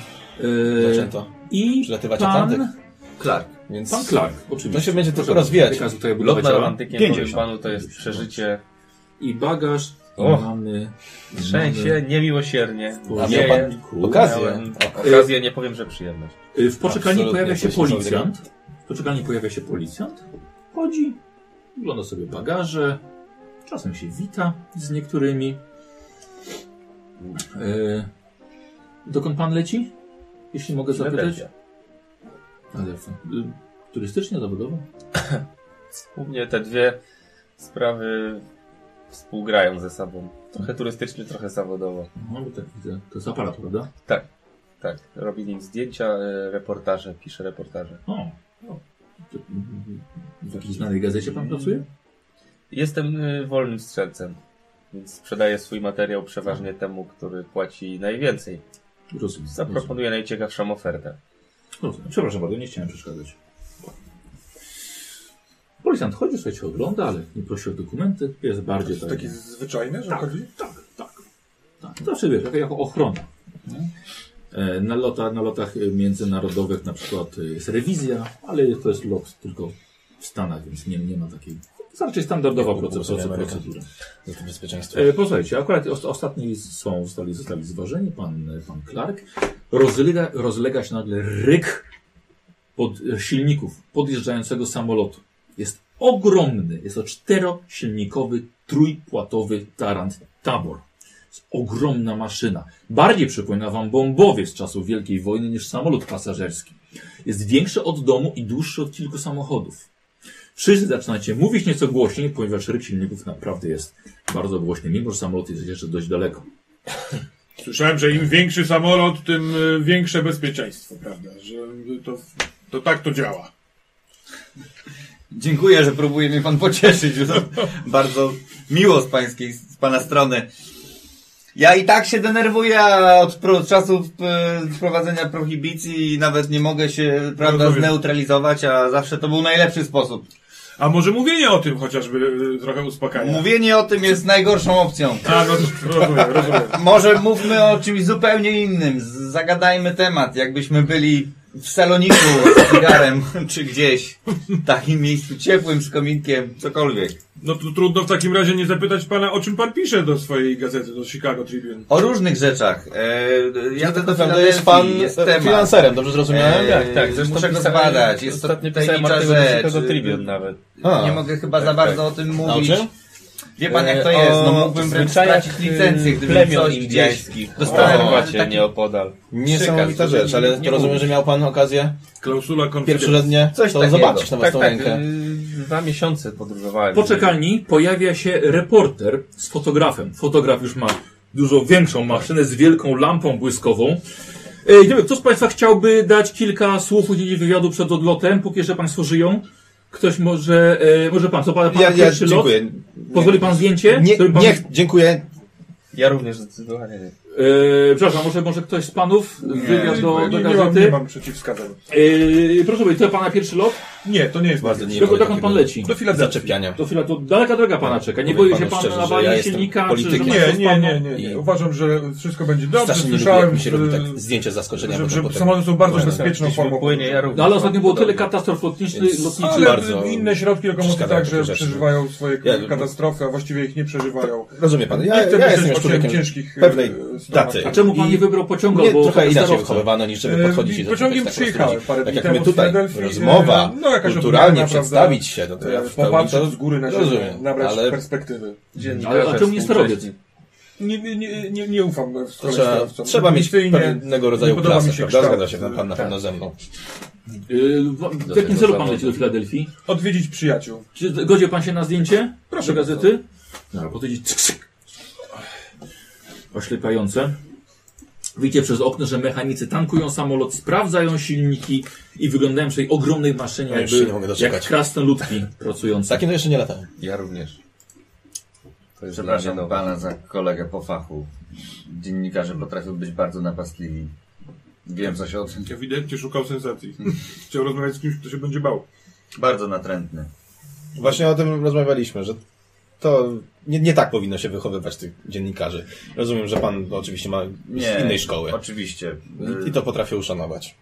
[SPEAKER 1] E,
[SPEAKER 3] zaczęto
[SPEAKER 1] I
[SPEAKER 3] przylatywać
[SPEAKER 1] pan,
[SPEAKER 3] Atlantyk,
[SPEAKER 2] Clark.
[SPEAKER 3] więc
[SPEAKER 1] pan Clark, oczywiście.
[SPEAKER 3] to się będzie
[SPEAKER 1] Proszę
[SPEAKER 3] tylko
[SPEAKER 1] bardzo,
[SPEAKER 3] rozwijać.
[SPEAKER 1] jaka jest tutaj budowa
[SPEAKER 5] Lot nad
[SPEAKER 1] ciała?
[SPEAKER 5] Atlantykiem,
[SPEAKER 3] 50.
[SPEAKER 5] powiem panu, to jest przeżycie.
[SPEAKER 1] I bagaż, i
[SPEAKER 5] O!
[SPEAKER 1] mamy... i
[SPEAKER 5] Trzęsie, niemiłosiernie.
[SPEAKER 1] mamy-
[SPEAKER 3] A miał pan
[SPEAKER 1] Kurde.
[SPEAKER 3] okazję.
[SPEAKER 5] Miałem okazję, nie powiem, że przyjemność.
[SPEAKER 1] Y, W poczekalni
[SPEAKER 3] Absolutnie,
[SPEAKER 1] pojawia się
[SPEAKER 3] to jest
[SPEAKER 1] policjant. W poczekalni pojawia się policjant. Chodzi, ogląda sobie bagaże, czasem się wita z niektórymi. E, dokąd pan leci? Jeśli mogę zapytać.
[SPEAKER 5] Filadelfia.
[SPEAKER 1] Filadelfia. Y, Turystycznie, zawodowo?
[SPEAKER 5] U mnie te dwie sprawy współgrają ze sobą. Trochę turystycznie, trochę zawodowo.
[SPEAKER 1] No, bo tak widzę. To jest aparat, prawda?
[SPEAKER 5] Tak, robię nim zdjęcia, e, reportaże, piszę reportaże.
[SPEAKER 1] O. o. To, mm, W jakiejś znanej gazecie pan pracuje?
[SPEAKER 5] Jestem y, wolnym strzelcem, więc sprzedaję swój materiał przeważnie temu, który płaci najwięcej.
[SPEAKER 1] Rozumiem.
[SPEAKER 5] Zaproponuję najciekawszą ofertę.
[SPEAKER 1] Rozumiem. No, Przepraszam bardzo, nie chciałem przeszkadzać. Policjant chodzi, sobie cię ogląda, ale nie prosi o dokumenty. Jest
[SPEAKER 4] To
[SPEAKER 1] bardziej
[SPEAKER 4] jest takie
[SPEAKER 1] taki...
[SPEAKER 4] zwyczajne, że
[SPEAKER 1] Tak.
[SPEAKER 4] chodzi?
[SPEAKER 1] Tak, tak. tak. Zawsze wiesz, jako, jako ochrona. nie? E, Na, lota, na lotach e, międzynarodowych na przykład e, jest rewizja, ale to jest lot tylko w Stanach, więc nie, nie ma takiej... To raczej standardowa
[SPEAKER 3] Jak
[SPEAKER 1] proces-
[SPEAKER 3] było
[SPEAKER 1] proces-
[SPEAKER 3] Ameryka.
[SPEAKER 1] procedura.
[SPEAKER 3] za to bezpieczeństwo.
[SPEAKER 1] E, Posłuchajcie, akurat os- ostatni są, zostali, zostali zważeni, pan, pan Clark. Rozlega, rozlega się nagle ryk pod e, silników podjeżdżającego samolotu. jest ogromny. Jest to czterosilnikowy, trójpłatowy tarant Tabor. Jest ogromna maszyna. Bardziej przypomina wam bombowiec z czasów Wielkiej Wojny niż samolot pasażerski. Jest większy od domu i dłuższy od kilku samochodów. Wszyscy zaczynacie mówić nieco głośniej, ponieważ ryk silników naprawdę jest bardzo głośny, mimo że samolot jest jeszcze dość daleko.
[SPEAKER 4] Słyszałem, że im większy samolot, tym y, większe bezpieczeństwo, prawda? Że y, to, to tak to działa.
[SPEAKER 2] Dziękuję, że próbuje mnie pan pocieszyć. Że to bardzo miło z pańskiej, z pana strony. Ja i tak się denerwuję a od, pro- od czasów e, wprowadzenia prohibicji i nawet nie mogę się, prawda,
[SPEAKER 4] Rozumiem.
[SPEAKER 2] zneutralizować, a zawsze to był najlepszy sposób.
[SPEAKER 4] A może mówienie o tym chociażby y, trochę uspokaja?
[SPEAKER 2] Mówienie o tym jest najgorszą opcją.
[SPEAKER 4] A, no to rozumiem, rozumiem.
[SPEAKER 2] Może mówmy o czymś zupełnie innym. Z- Zagadajmy temat, jakbyśmy byli w saloniku z cygarem, [LAUGHS] czy gdzieś. W takim miejscu ciepłym, z kominkiem, cokolwiek.
[SPEAKER 4] No to trudno w takim razie nie zapytać pana, o czym pan pisze do swojej gazety, do Chicago Tribune.
[SPEAKER 2] O różnych rzeczach. E, ja do
[SPEAKER 3] Prawda, jest
[SPEAKER 2] Filadelfii,
[SPEAKER 3] pan
[SPEAKER 2] jest
[SPEAKER 3] e,
[SPEAKER 2] temat.
[SPEAKER 3] freelancerem, dobrze zrozumiałem?
[SPEAKER 2] Eee,
[SPEAKER 5] Tak, tak, zresztą
[SPEAKER 2] muszę go
[SPEAKER 5] pisałem-
[SPEAKER 2] zbadać. Jest to
[SPEAKER 5] ostatnio
[SPEAKER 2] tajemnicza
[SPEAKER 5] pisałem artykuł do
[SPEAKER 2] rzecz. E,
[SPEAKER 5] Chicago Tribune nawet.
[SPEAKER 3] A,
[SPEAKER 2] Nie mogę chyba
[SPEAKER 5] tak,
[SPEAKER 2] za bardzo
[SPEAKER 5] tak.
[SPEAKER 2] o tym
[SPEAKER 3] Na
[SPEAKER 2] mówić.
[SPEAKER 3] czym?
[SPEAKER 2] Wie pan jak to
[SPEAKER 5] E,
[SPEAKER 2] jest,
[SPEAKER 5] o
[SPEAKER 2] no mógłbym wręcz
[SPEAKER 5] zwyczajach,
[SPEAKER 2] stracić licencję,
[SPEAKER 5] y,
[SPEAKER 2] gdybym
[SPEAKER 5] plemion
[SPEAKER 2] coś gdzieś...
[SPEAKER 5] indyjskich.
[SPEAKER 2] Dostałem
[SPEAKER 5] O,
[SPEAKER 2] właśnie
[SPEAKER 5] taki... nieopodal.
[SPEAKER 3] Niesamowita
[SPEAKER 2] Przykaz,
[SPEAKER 3] rzecz,
[SPEAKER 2] nie-
[SPEAKER 3] ale
[SPEAKER 2] nie
[SPEAKER 3] to rozumiem,
[SPEAKER 2] mówisz.
[SPEAKER 3] że miał pan okazję
[SPEAKER 4] Klausula konfidencyjna.
[SPEAKER 3] pierwszorzędnie
[SPEAKER 2] Coś
[SPEAKER 3] to
[SPEAKER 2] takiego.
[SPEAKER 3] zobaczyć na
[SPEAKER 5] Tak,
[SPEAKER 3] własną
[SPEAKER 5] tak,
[SPEAKER 3] rękę.
[SPEAKER 5] y, dwa miesiące podróżowałem.
[SPEAKER 1] Po czekalni pojawia się reporter z fotografem. Fotograf już ma dużo większą maszynę z wielką lampą błyskową. E, gdyby ktoś z Państwa chciałby dać kilka słów udzielić wywiadu przed odlotem, póki jeszcze Państwo żyją? Ktoś może, e, może Pan, co Pan, pan
[SPEAKER 3] Ja, ja
[SPEAKER 1] pierwszy lot?
[SPEAKER 3] dziękuję.
[SPEAKER 1] Pozwoli Pan zdjęcie?
[SPEAKER 3] Nie,
[SPEAKER 1] Który pan,
[SPEAKER 3] niech, dziękuję.
[SPEAKER 5] Ja również zdecydowanie nie.
[SPEAKER 1] E, przepraszam, może, może ktoś z Panów wywiad do, do
[SPEAKER 4] Nie, nie, mam, nie
[SPEAKER 1] gazety?
[SPEAKER 4] mam przeciwwskazań.
[SPEAKER 1] E, proszę powiedzieć, to Pana pierwszy lot?
[SPEAKER 4] Nie, to nie jest
[SPEAKER 3] Bardzo
[SPEAKER 4] moje.
[SPEAKER 3] nie
[SPEAKER 1] Dokąd
[SPEAKER 3] lubię
[SPEAKER 1] dokąd Pan
[SPEAKER 3] takiego
[SPEAKER 1] leci?
[SPEAKER 4] Do Filadelfii.
[SPEAKER 3] Zaczepiania.
[SPEAKER 1] To chwila, to daleka droga Pana czeka. Nie
[SPEAKER 3] No, Powiem
[SPEAKER 1] boi się
[SPEAKER 3] panu
[SPEAKER 1] Pan
[SPEAKER 3] szczerze,
[SPEAKER 1] na
[SPEAKER 3] że
[SPEAKER 1] walnie
[SPEAKER 3] ja jestem
[SPEAKER 1] silnika?
[SPEAKER 3] politykiem.
[SPEAKER 1] że
[SPEAKER 4] Nie,
[SPEAKER 1] coś
[SPEAKER 4] nie,
[SPEAKER 1] spadną?
[SPEAKER 4] nie, nie, nie.
[SPEAKER 3] I-
[SPEAKER 4] Uważam, że wszystko będzie dobrze.
[SPEAKER 3] Strasznie nie lubię, jak
[SPEAKER 4] Słyszałem,
[SPEAKER 3] mi się
[SPEAKER 4] że-
[SPEAKER 3] robi tak zdjęcia z zaskoczenia.
[SPEAKER 4] że,
[SPEAKER 3] potem
[SPEAKER 4] że
[SPEAKER 3] potem-
[SPEAKER 4] samoloty są bardzo
[SPEAKER 3] Błędy.
[SPEAKER 4] bezpieczną
[SPEAKER 5] Gdzieś mi
[SPEAKER 4] formą.
[SPEAKER 5] płynie, ja również.
[SPEAKER 1] No, ale ostatnio było tyle
[SPEAKER 5] Podobnie.
[SPEAKER 1] katastrof lotniczych,
[SPEAKER 3] Jest-
[SPEAKER 1] lotniczych
[SPEAKER 4] Ale
[SPEAKER 3] bardzo
[SPEAKER 4] inne środki lokomocji
[SPEAKER 3] przeszkadzają
[SPEAKER 4] także
[SPEAKER 3] takie rzeczy.
[SPEAKER 4] przeżywają swoje
[SPEAKER 3] Ja-
[SPEAKER 4] katastrofy, a właściwie ich nie przeżywają.
[SPEAKER 3] Rozumie pan,
[SPEAKER 4] Nie
[SPEAKER 3] ja,
[SPEAKER 4] chcę
[SPEAKER 3] ja
[SPEAKER 4] myśleć
[SPEAKER 3] jestem już
[SPEAKER 4] o cię-
[SPEAKER 3] człowiekiem
[SPEAKER 4] ciężkich, e, Tak,
[SPEAKER 3] pewnej
[SPEAKER 4] stronach.
[SPEAKER 3] daty.
[SPEAKER 1] A czemu pan
[SPEAKER 3] I
[SPEAKER 1] nie wybrał pociągu?
[SPEAKER 3] mnie
[SPEAKER 1] bo
[SPEAKER 3] trochę inaczej
[SPEAKER 1] starowca?
[SPEAKER 3] wychowywano niż żeby
[SPEAKER 4] E,
[SPEAKER 3] podchodzić
[SPEAKER 4] i
[SPEAKER 3] i
[SPEAKER 4] pociągiem
[SPEAKER 3] tak po prostu
[SPEAKER 4] przyjechałem
[SPEAKER 3] ludzi.
[SPEAKER 4] parę
[SPEAKER 3] Tak
[SPEAKER 4] dni
[SPEAKER 3] jak my
[SPEAKER 4] temu z
[SPEAKER 3] tutaj,
[SPEAKER 4] Filadelfii,
[SPEAKER 3] rozmowa,
[SPEAKER 4] e, no, jakaś
[SPEAKER 3] kulturalnie
[SPEAKER 4] odmiana,
[SPEAKER 3] przedstawić się, no to ja
[SPEAKER 4] E,
[SPEAKER 3] w pełni
[SPEAKER 4] Popatrzeć
[SPEAKER 3] to
[SPEAKER 4] z góry na ziemię,
[SPEAKER 3] rozumiem,
[SPEAKER 4] nabrać
[SPEAKER 3] ale
[SPEAKER 4] perspektywy.
[SPEAKER 1] Ale o czym nie sterowiec?
[SPEAKER 4] Nie, nie, nie, nie, nie ufam w stronę
[SPEAKER 3] trzeba,
[SPEAKER 4] kierowcom.
[SPEAKER 3] trzeba mieć
[SPEAKER 4] Intuicyjnie
[SPEAKER 3] pewnego
[SPEAKER 4] nie
[SPEAKER 3] rodzaju
[SPEAKER 4] podoba
[SPEAKER 3] klasę,
[SPEAKER 4] mi się
[SPEAKER 3] prawda?
[SPEAKER 4] kształt. Tak.
[SPEAKER 3] Zgadza się pan, pan na pewno ze mną.
[SPEAKER 1] Yy, w- W jakim celu pan leci do Filadelfii?
[SPEAKER 4] Odwiedzić przyjaciół.
[SPEAKER 1] Czy godzi pan się na zdjęcie?
[SPEAKER 4] Proszę
[SPEAKER 1] Do gazety? No, po to idzie cyk, cyk. Oślepiające. Widzicie przez okno, że mechanicy tankują samolot, sprawdzają silniki i wyglądają w tej ogromnej maszynie,
[SPEAKER 3] Ja już
[SPEAKER 1] jakby,
[SPEAKER 3] się nie mogę doczekać.
[SPEAKER 1] jak krasnoludki pracujące.
[SPEAKER 3] Takie no jeszcze nie latałem.
[SPEAKER 2] Ja również.
[SPEAKER 5] To jest dla mnie
[SPEAKER 2] Przepraszam
[SPEAKER 5] nowe.
[SPEAKER 2] pana za kolegę po fachu. Dziennikarze potrafią być bardzo napastliwi. Wiem coś o tym.
[SPEAKER 4] Ewidentnie szukał sensacji. Chciał rozmawiać z kimś, kto się będzie bał.
[SPEAKER 2] Bardzo natrętny.
[SPEAKER 3] Właśnie o tym rozmawialiśmy, że to nie, nie tak powinno się wychowywać tych dziennikarzy. Rozumiem, że pan oczywiście ma z innej szkoły
[SPEAKER 2] Oczywiście.
[SPEAKER 3] i to potrafię uszanować.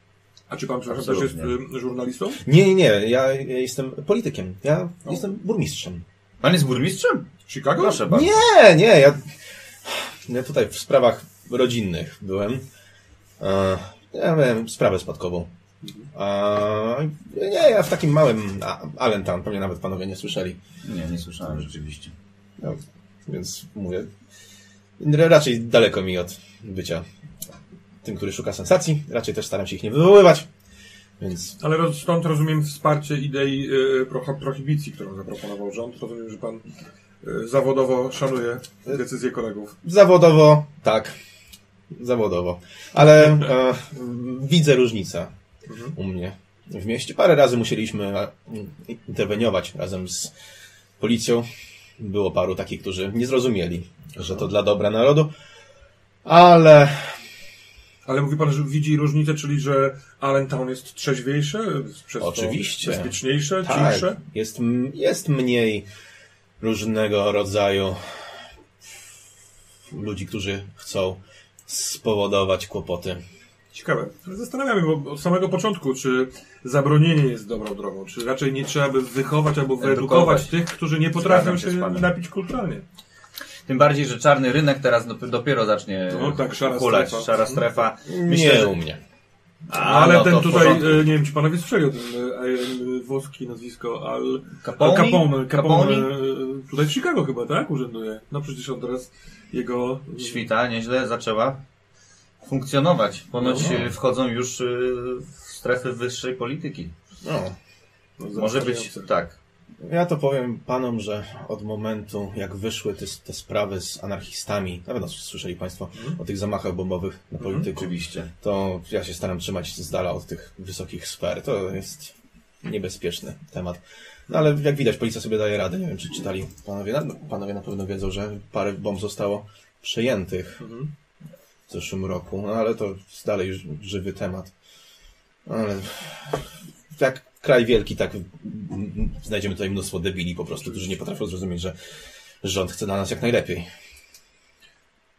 [SPEAKER 4] A czy pan, przepraszam, też jest
[SPEAKER 2] Absolutnie.
[SPEAKER 4] y, żurnalistą?
[SPEAKER 3] Nie, nie, ja jestem politykiem, ja jestem burmistrzem.
[SPEAKER 2] Pan jest burmistrzem?
[SPEAKER 4] Chicago?
[SPEAKER 2] Proszę bardzo.
[SPEAKER 3] Nie, nie, ja, ja tutaj w sprawach rodzinnych byłem. E, Ja miałem sprawę spadkową. E, Nie, ja w takim małym a- Allentown, pewnie nawet panowie nie słyszeli.
[SPEAKER 2] Nie, nie słyszałem rzeczywiście.
[SPEAKER 3] No, więc mówię, r- raczej daleko mi od bycia tym, który szuka sensacji. Raczej też staram się ich nie wywoływać. Więc
[SPEAKER 4] Ale roz, stąd rozumiem wsparcie idei y, pro, prohibicji, którą zaproponował rząd. Rozumiem, że pan y, zawodowo szanuje decyzje kolegów.
[SPEAKER 3] zawodowo, tak, zawodowo. Ale e, widzę różnicę u mnie w mieście. Parę razy musieliśmy a, interweniować razem z policją. Było paru takich, którzy nie zrozumieli, że to dla dobra narodu. Ale
[SPEAKER 4] Ale mówi pan, że widzi różnicę, czyli że Allentown jest trzeźwiejsze, przez
[SPEAKER 3] Oczywiście.
[SPEAKER 4] to bezpieczniejsze,
[SPEAKER 3] Tak,
[SPEAKER 4] cichsze.
[SPEAKER 3] jest, m- jest mniej różnego rodzaju ludzi, którzy chcą spowodować kłopoty.
[SPEAKER 4] Ciekawe. Ale Zastanawiamy, bo od samego początku, czy zabronienie jest dobrą drogą, czy raczej nie trzeba by wychować albo wyedukować
[SPEAKER 2] Edukować.
[SPEAKER 4] tych, którzy nie potrafią
[SPEAKER 2] Zgadzam się
[SPEAKER 4] się
[SPEAKER 2] z panem.
[SPEAKER 4] napić kulturalnie.
[SPEAKER 2] Tym bardziej, że czarny rynek teraz dop- dopiero zacznie
[SPEAKER 4] No tak, szara
[SPEAKER 2] hulać.
[SPEAKER 4] strefa.
[SPEAKER 2] Szara strefa.
[SPEAKER 3] nie
[SPEAKER 2] Myślę, że
[SPEAKER 3] u mnie.
[SPEAKER 4] Ale
[SPEAKER 2] no, to
[SPEAKER 4] ten
[SPEAKER 2] w
[SPEAKER 4] tutaj,
[SPEAKER 2] porządku.
[SPEAKER 4] e, nie wiem czy panowie słyszeli o tym, e, e, włoski nazwisko Al Al
[SPEAKER 2] Capone?
[SPEAKER 4] Capone. Capone
[SPEAKER 2] Capone?
[SPEAKER 4] e, tutaj w Chicago chyba, tak? Urzęduje. No przecież on teraz jego... e,
[SPEAKER 2] Świta nieźle zaczęła funkcjonować. Ponoć
[SPEAKER 4] No.
[SPEAKER 2] y, wchodzą już y, w strefy wyższej polityki.
[SPEAKER 3] No,
[SPEAKER 4] No,
[SPEAKER 2] Może być
[SPEAKER 4] zastanawiające.
[SPEAKER 2] tak.
[SPEAKER 3] ja to powiem panom, że od momentu jak wyszły te, te sprawy z anarchistami, na pewno słyszeli państwo o tych zamachach bombowych na polityków,
[SPEAKER 2] Oczywiście.
[SPEAKER 3] to ja się staram trzymać z dala od tych wysokich sfer. To jest niebezpieczny temat. No ale jak widać, policja sobie daje radę. Nie wiem, czy czytali panowie. Na, panowie na pewno wiedzą, że parę bomb zostało przejętych
[SPEAKER 4] Mhm.
[SPEAKER 3] w zeszłym roku. No ale to jest dalej ż- żywy temat. Ale jak kraj wielki, tak mm, znajdziemy tutaj mnóstwo debili po prostu, którzy nie potrafią zrozumieć, że rząd chce dla nas jak najlepiej.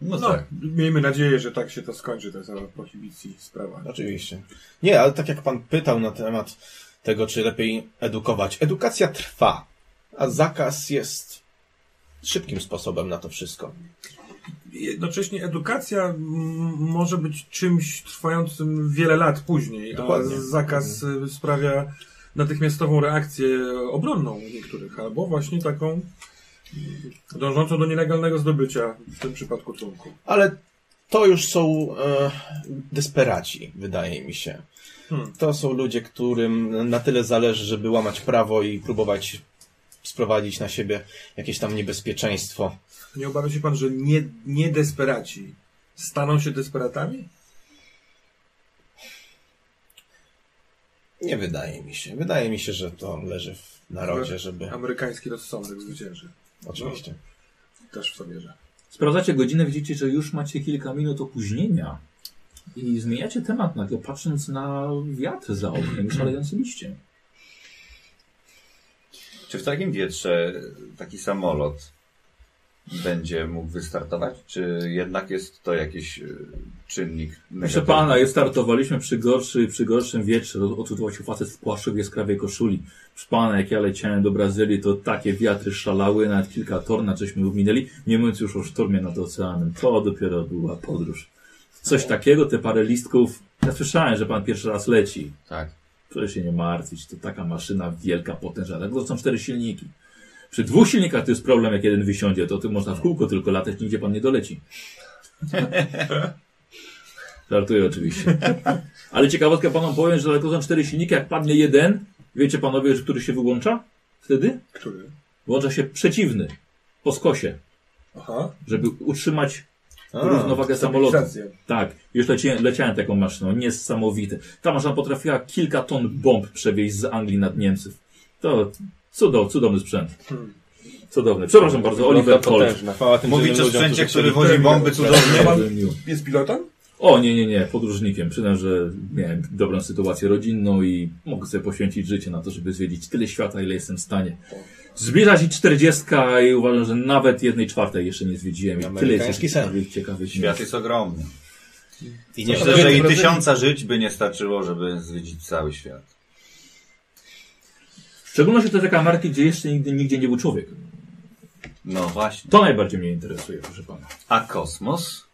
[SPEAKER 2] No,
[SPEAKER 4] No,
[SPEAKER 2] tak.
[SPEAKER 4] miejmy nadzieję, że tak się to skończy, ta cała prohibicji sprawa.
[SPEAKER 3] Oczywiście. Nie, ale tak jak pan pytał na temat tego, czy lepiej edukować. Edukacja trwa, a zakaz jest szybkim sposobem na to wszystko.
[SPEAKER 4] Jednocześnie edukacja m, może być czymś trwającym wiele lat później,
[SPEAKER 3] Dokładnie.
[SPEAKER 4] a zakaz y, sprawia natychmiastową reakcję obronną u niektórych, albo właśnie taką y, dążącą do nielegalnego zdobycia, w tym przypadku trunku.
[SPEAKER 3] Ale to już są e, desperaci, wydaje mi się.
[SPEAKER 4] Hmm.
[SPEAKER 3] To są ludzie, którym na tyle zależy, żeby łamać prawo i próbować sprowadzić na siebie jakieś tam niebezpieczeństwo.
[SPEAKER 4] Nie obawia się pan, że nie, nie desperaci staną się desperatami?
[SPEAKER 3] Nie wydaje mi się. Wydaje mi się, że to leży w narodzie, żeby...
[SPEAKER 4] Amerykański rozsądek zwycięży.
[SPEAKER 3] Oczywiście.
[SPEAKER 4] Też w to wierzę.
[SPEAKER 1] Sprawdzacie godzinę, widzicie, że już macie kilka minut opóźnienia. I zmieniacie temat nagle, patrząc na wiatr za oknem, i szalejący liście.
[SPEAKER 2] Czy w takim wietrze taki samolot będzie mógł wystartować? Czy jednak jest to jakiś y, czynnik
[SPEAKER 1] Proszę
[SPEAKER 2] negatywny?
[SPEAKER 1] pana, je startowaliśmy przy, gorszy, przy gorszym wietrze. Odsuwał się facet w płaszczowie skrawie koszuli. Proszę pana, jak ja leciałem do Brazylii, to takie wiatry szalały, nawet kilka torna żeśmy ominęli, nie mówiąc już o szturmie nad oceanem. To dopiero była podróż. Coś takiego, te parę listków. Ja słyszałem, że pan pierwszy raz leci.
[SPEAKER 2] Tak.
[SPEAKER 1] Proszę się nie martwić, to taka maszyna wielka, potężna. Dlatego są cztery silniki. Przy dwóch silnikach to jest problem, jak jeden wysiądzie, to tym można w kółko tylko latać, nigdzie pan nie doleci. Żartuję oczywiście. Ale ciekawostkę panom powiem, że dlatego są cztery silniki, jak padnie jeden, wiecie panowie, że który się wyłącza wtedy?
[SPEAKER 4] Który?
[SPEAKER 1] Wyłącza się przeciwny, po skosie,
[SPEAKER 4] Aha.
[SPEAKER 1] żeby utrzymać
[SPEAKER 3] A,
[SPEAKER 1] równowagę samolotu.
[SPEAKER 4] Stabilizację.
[SPEAKER 1] Tak, już leciałem, leciałem taką maszyną, niesamowite. Ta maszyna potrafiła kilka ton bomb przewieźć z Anglii nad Niemców. To cudow, cudowny sprzęt.
[SPEAKER 4] Hmm.
[SPEAKER 1] Cudowny. Przepraszam bardzo, Oliver
[SPEAKER 5] No
[SPEAKER 1] Holt.
[SPEAKER 3] Chwała tym
[SPEAKER 2] Mówić
[SPEAKER 3] dzielnym
[SPEAKER 2] o
[SPEAKER 3] ludziom,
[SPEAKER 2] sprzęcie,
[SPEAKER 3] którzy
[SPEAKER 2] który
[SPEAKER 3] chcieli-
[SPEAKER 2] wozi bomby cudownie.
[SPEAKER 4] Jest pilotem?
[SPEAKER 1] O, nie, nie, nie, podróżnikiem. Przyznam, że miałem dobrą sytuację rodzinną i mogę sobie poświęcić życie na to, żeby zwiedzić tyle świata, ile jestem w stanie. Zbliża się 40 i uważam, że nawet jednej czwartej jeszcze nie zwiedziłem. I tyle jest
[SPEAKER 3] Amerykański sen.
[SPEAKER 1] ciekawych, ciekawych
[SPEAKER 2] Świat
[SPEAKER 1] miejsc.
[SPEAKER 2] jest ogromny.
[SPEAKER 3] I nie
[SPEAKER 2] Myślę, że i tysiąca żyć by nie starczyło, żeby zwiedzić cały świat.
[SPEAKER 1] W szczególności to taka marki, gdzie jeszcze nigdy, nigdzie nie był człowiek.
[SPEAKER 2] No właśnie.
[SPEAKER 1] To najbardziej mnie interesuje, proszę pana.
[SPEAKER 2] A kosmos?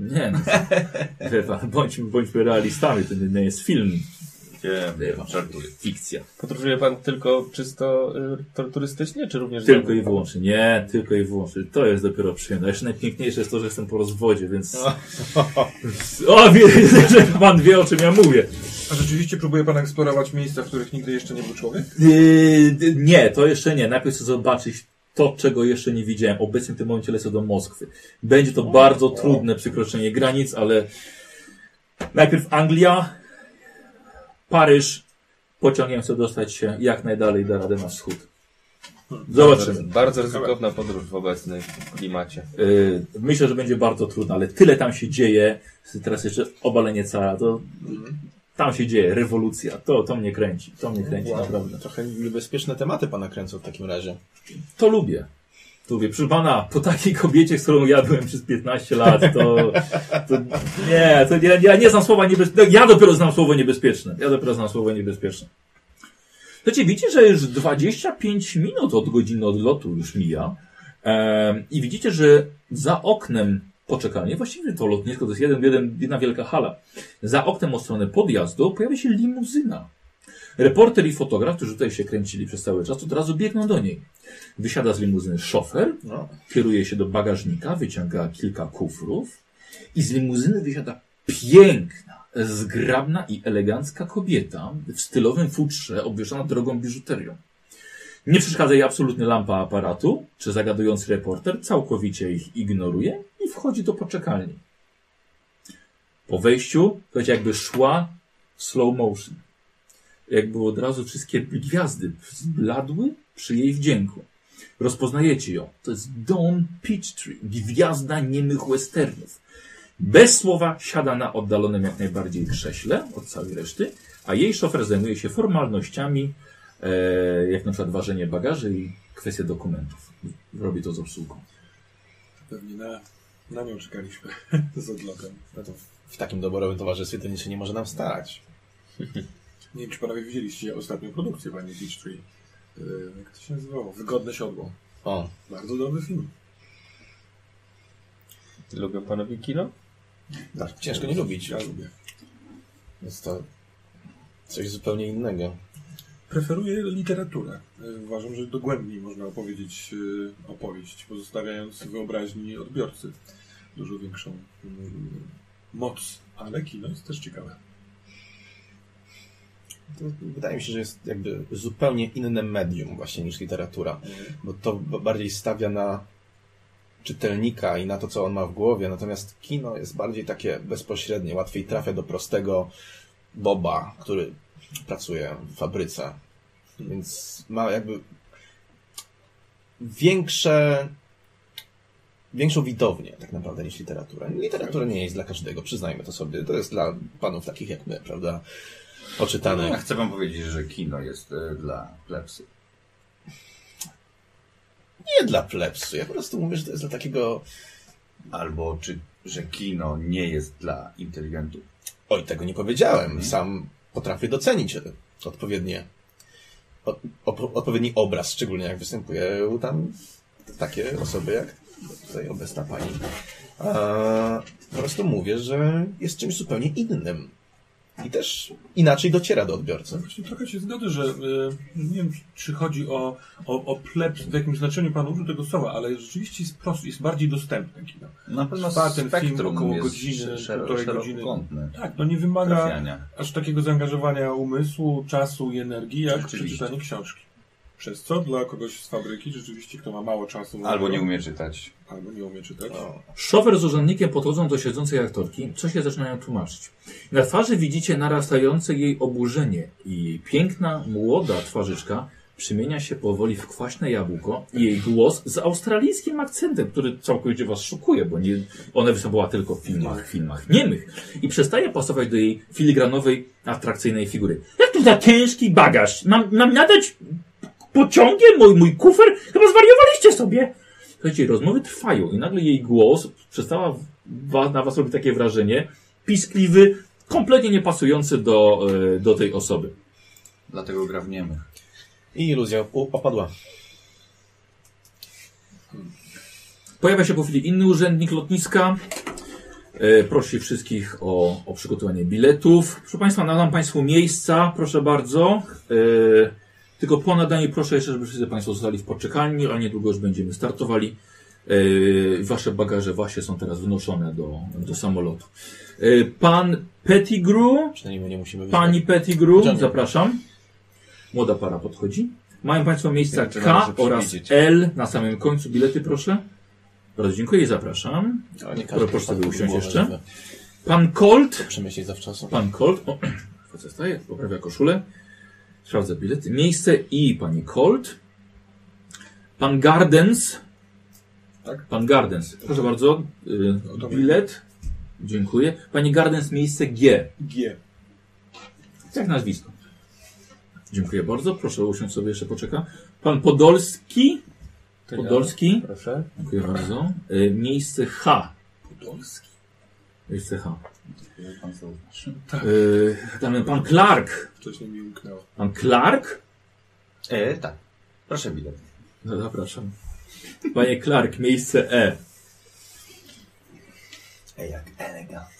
[SPEAKER 1] Nie,
[SPEAKER 2] [LAUGHS]
[SPEAKER 1] no, wie pan, bądźmy, bądźmy realistami, to nie, nie jest film,
[SPEAKER 2] Wiem,
[SPEAKER 1] wie pan,
[SPEAKER 2] żartuję.
[SPEAKER 1] fikcja.
[SPEAKER 5] Podróżuje pan tylko czysto y, to- turystycznie, czy również
[SPEAKER 1] Tylko i wyłącznie, nie, tylko i wyłącznie. To jest dopiero przyjemne. Jeszcze najpiękniejsze jest to, że jestem po rozwodzie, więc... [LAUGHS] O, wie, [LAUGHS] że pan wie, o czym ja mówię.
[SPEAKER 4] A rzeczywiście próbuje pan eksplorować miejsca, w których nigdy jeszcze nie był człowiek?
[SPEAKER 1] Yy, nie, to jeszcze nie. Najpierw chcę zobaczyć to, czego jeszcze nie widziałem. Obecnie w tym momencie lecę do Moskwy. Będzie to bardzo trudne przekroczenie granic, ale najpierw Anglia, Paryż. Pociągiem chcę dostać się jak najdalej da radę na wschód.
[SPEAKER 5] Bardzo,
[SPEAKER 1] Zobaczymy.
[SPEAKER 5] bardzo ryzykowna podróż w obecnym klimacie.
[SPEAKER 1] Yy, myślę, że będzie bardzo trudne, ale tyle tam się dzieje. Teraz jeszcze obalenie cara, to tam się dzieje rewolucja. To, to mnie kręci. To mnie kręci naprawdę.
[SPEAKER 3] Trochę niebezpieczne tematy pana kręcą w takim razie.
[SPEAKER 1] To lubię. To lubię. Proszę pana, po takiej kobiecie, z którą ja byłem przez 15 lat, to, to nie, to nie, ja nie znam słowa niebezpieczne. Ja dopiero znam słowo niebezpieczne. Ja dopiero znam słowo niebezpieczne. Słuchajcie, widzicie, że już 25 minut od godziny odlotu już mija. Em, I widzicie, że za oknem poczekalnię. Właściwie to lotnisko to jest jeden, jeden, jedna wielka hala. Za oknem od strony podjazdu pojawia się limuzyna. Reporter i fotograf, którzy tutaj się kręcili przez cały czas, od razu biegną do niej. Wysiada z limuzyny szofer,
[SPEAKER 3] No.
[SPEAKER 1] kieruje się do bagażnika, wyciąga kilka kufrów i z limuzyny wysiada piękna, zgrabna i elegancka kobieta w stylowym futrze obwieszona drogą biżuterią. Nie przeszkadza jej absolutnie lampa aparatu, czy zagadujący reporter całkowicie ich ignoruje i wchodzi do poczekalni. Po wejściu, słuchajcie, jakby szła w slow motion. Jakby od razu wszystkie gwiazdy zbladły przy jej wdzięku. Rozpoznajecie ją. To jest Dawn Peachtree, gwiazda niemych westernów. Bez słowa siada na oddalonym jak najbardziej krześle od całej reszty, a jej szofer zajmuje się formalnościami, e, jak na przykład ważenie bagaży i kwestie dokumentów. Robi to z obsługą.
[SPEAKER 4] Pewnie na, na nią czekaliśmy [LAUGHS] z odlotem.
[SPEAKER 3] No to w- w takim doborowym towarzystwie to nic się nie może nam starać.
[SPEAKER 4] Nie wiem, czy panowie widzieliście ostatnią produkcję pani Peachtree. Yy, jak to się nazywało? Wygodne siodło.
[SPEAKER 3] O,
[SPEAKER 4] Bardzo dobry film.
[SPEAKER 5] Lubią panowie kino?
[SPEAKER 3] tak, ciężko nie lubić.
[SPEAKER 4] Ja lubię.
[SPEAKER 3] Jest to coś zupełnie innego.
[SPEAKER 4] Preferuję literaturę. Yy, Uważam, że dogłębniej można opowiedzieć yy, opowieść, pozostawiając wyobraźni odbiorcy dużo większą yy, moc. Ale kino jest też ciekawe.
[SPEAKER 3] To wydaje mi się, że jest jakby zupełnie inne medium właśnie niż literatura, bo to b- bardziej stawia na czytelnika i na to, co on ma w głowie, natomiast kino jest bardziej takie bezpośrednie, łatwiej trafia do prostego Boba, który pracuje w fabryce, więc ma jakby większe większą widownię tak naprawdę niż literatura. Literatura nie jest dla każdego, przyznajmy to sobie. To jest dla panów takich jak my, prawda? Oczytanych.
[SPEAKER 2] Ja chcę wam powiedzieć, że kino jest e, dla plepsy.
[SPEAKER 3] nie dla plebsu. Ja po prostu mówię, że to jest dla takiego.
[SPEAKER 2] Albo czy, że kino nie jest dla inteligentów.
[SPEAKER 3] Oj, tego nie powiedziałem. Sam potrafię docenić e, odpowiednie, o, op- odpowiedni obraz, szczególnie jak występują tam takie osoby jak tutaj obecna pani. A, po prostu mówię, że jest czymś zupełnie innym. I też inaczej dociera do odbiorcy.
[SPEAKER 4] Właśnie trochę się zgodzę, że y, nie wiem, czy chodzi o, o, o plebs, w jakim znaczeniu pan użył tego słowa, ale rzeczywiście jest prosty, jest bardziej dostępny kino.
[SPEAKER 2] Na pewno
[SPEAKER 4] Trwa ten
[SPEAKER 2] spektrum
[SPEAKER 4] film około
[SPEAKER 2] jest
[SPEAKER 4] godziny,
[SPEAKER 2] szer-
[SPEAKER 4] półtorej godziny.
[SPEAKER 2] szerokokątne
[SPEAKER 4] Tak, no nie wymaga
[SPEAKER 2] trafiania.
[SPEAKER 4] aż takiego zaangażowania umysłu, czasu i energii, jak
[SPEAKER 2] Rzeczywiście.
[SPEAKER 4] przeczytanie książki. Przez co dla kogoś z fabryki rzeczywiście, kto ma mało czasu,
[SPEAKER 2] Albo nie umie czytać.
[SPEAKER 4] albo nie umie czytać.
[SPEAKER 3] No,
[SPEAKER 1] Szofer z urzędnikiem podchodzą do siedzącej aktorki, co się zaczynają tłumaczyć. Na twarzy widzicie narastające jej oburzenie i piękna, młoda twarzyczka przemienia się powoli w kwaśne jabłko i jej głos z australijskim akcentem, który całkowicie was szokuje, bo nie, ona występowała tylko w filmach, filmach niemych i przestaje pasować do jej filigranowej, atrakcyjnej figury. Jak to za ciężki bagaż? Mam, mam nadać pociągiem mój, mój kufer? Chyba zwariowaliście sobie! Słuchajcie, rozmowy trwają i nagle jej głos przestała w- wa, na was robić takie wrażenie piskliwy, kompletnie niepasujący do, e, do tej osoby.
[SPEAKER 2] Dlatego gra w niemych.
[SPEAKER 3] I iluzja u- opadła.
[SPEAKER 1] Pojawia się po chwili inny urzędnik lotniska. E, prosi wszystkich o, o przygotowanie biletów. Proszę Państwa, nadam Państwu miejsca, proszę bardzo. E, tylko po nadaniu proszę jeszcze, żeby wszyscy Państwo zostali w poczekalni, ale niedługo już będziemy startowali. E, wasze bagaże właśnie są teraz wnoszone do, do samolotu. E, pan Pettigrew
[SPEAKER 3] Przynajmniej my nie musimy wyjść.
[SPEAKER 1] Pani Pettigrew,
[SPEAKER 3] Dzień.
[SPEAKER 1] zapraszam. Młoda para podchodzi. Mają Państwo miejsca
[SPEAKER 5] Jeszcze
[SPEAKER 1] K
[SPEAKER 5] należy
[SPEAKER 1] oraz
[SPEAKER 5] przewidzieć.
[SPEAKER 1] L na samym końcu. Bilety proszę. Bardzo dziękuję i zapraszam.
[SPEAKER 3] No, nie
[SPEAKER 1] Proszę
[SPEAKER 3] ma
[SPEAKER 1] sobie
[SPEAKER 3] taką
[SPEAKER 1] usiąść
[SPEAKER 3] głowę,
[SPEAKER 1] jeszcze.
[SPEAKER 3] żeby
[SPEAKER 1] Pan Colt.
[SPEAKER 3] Przemyśleć zawczasu.
[SPEAKER 1] Pan Colt. O, [CLEARS THROAT] facet staje, poprawia koszulę. Sprawdza bilety. Miejsce i pani Colt. Pan Gardens.
[SPEAKER 4] Tak?
[SPEAKER 1] Pan Gardens. Proszę bardzo. y,
[SPEAKER 4] No to
[SPEAKER 1] Bilet. Dziękuję. Pani Gardens, miejsce G.
[SPEAKER 4] G.
[SPEAKER 1] Jak nazwisko. Dziękuję bardzo. Proszę usiąść sobie, jeszcze poczeka. Pan Podolski.
[SPEAKER 5] To ja.
[SPEAKER 1] Podolski.
[SPEAKER 5] Proszę.
[SPEAKER 1] Dziękuję bardzo. Y, Miejsce H.
[SPEAKER 4] Podolski.
[SPEAKER 1] Miejsce H.
[SPEAKER 2] Pan zauważy.
[SPEAKER 1] Y, tam pan Clark.
[SPEAKER 4] Wcześniej mi umknęło.
[SPEAKER 1] Pan Clark?
[SPEAKER 2] E, tak. Proszę bilet.
[SPEAKER 1] No, zapraszam. Panie Clark, miejsce E.
[SPEAKER 2] Ej, jak elegancko.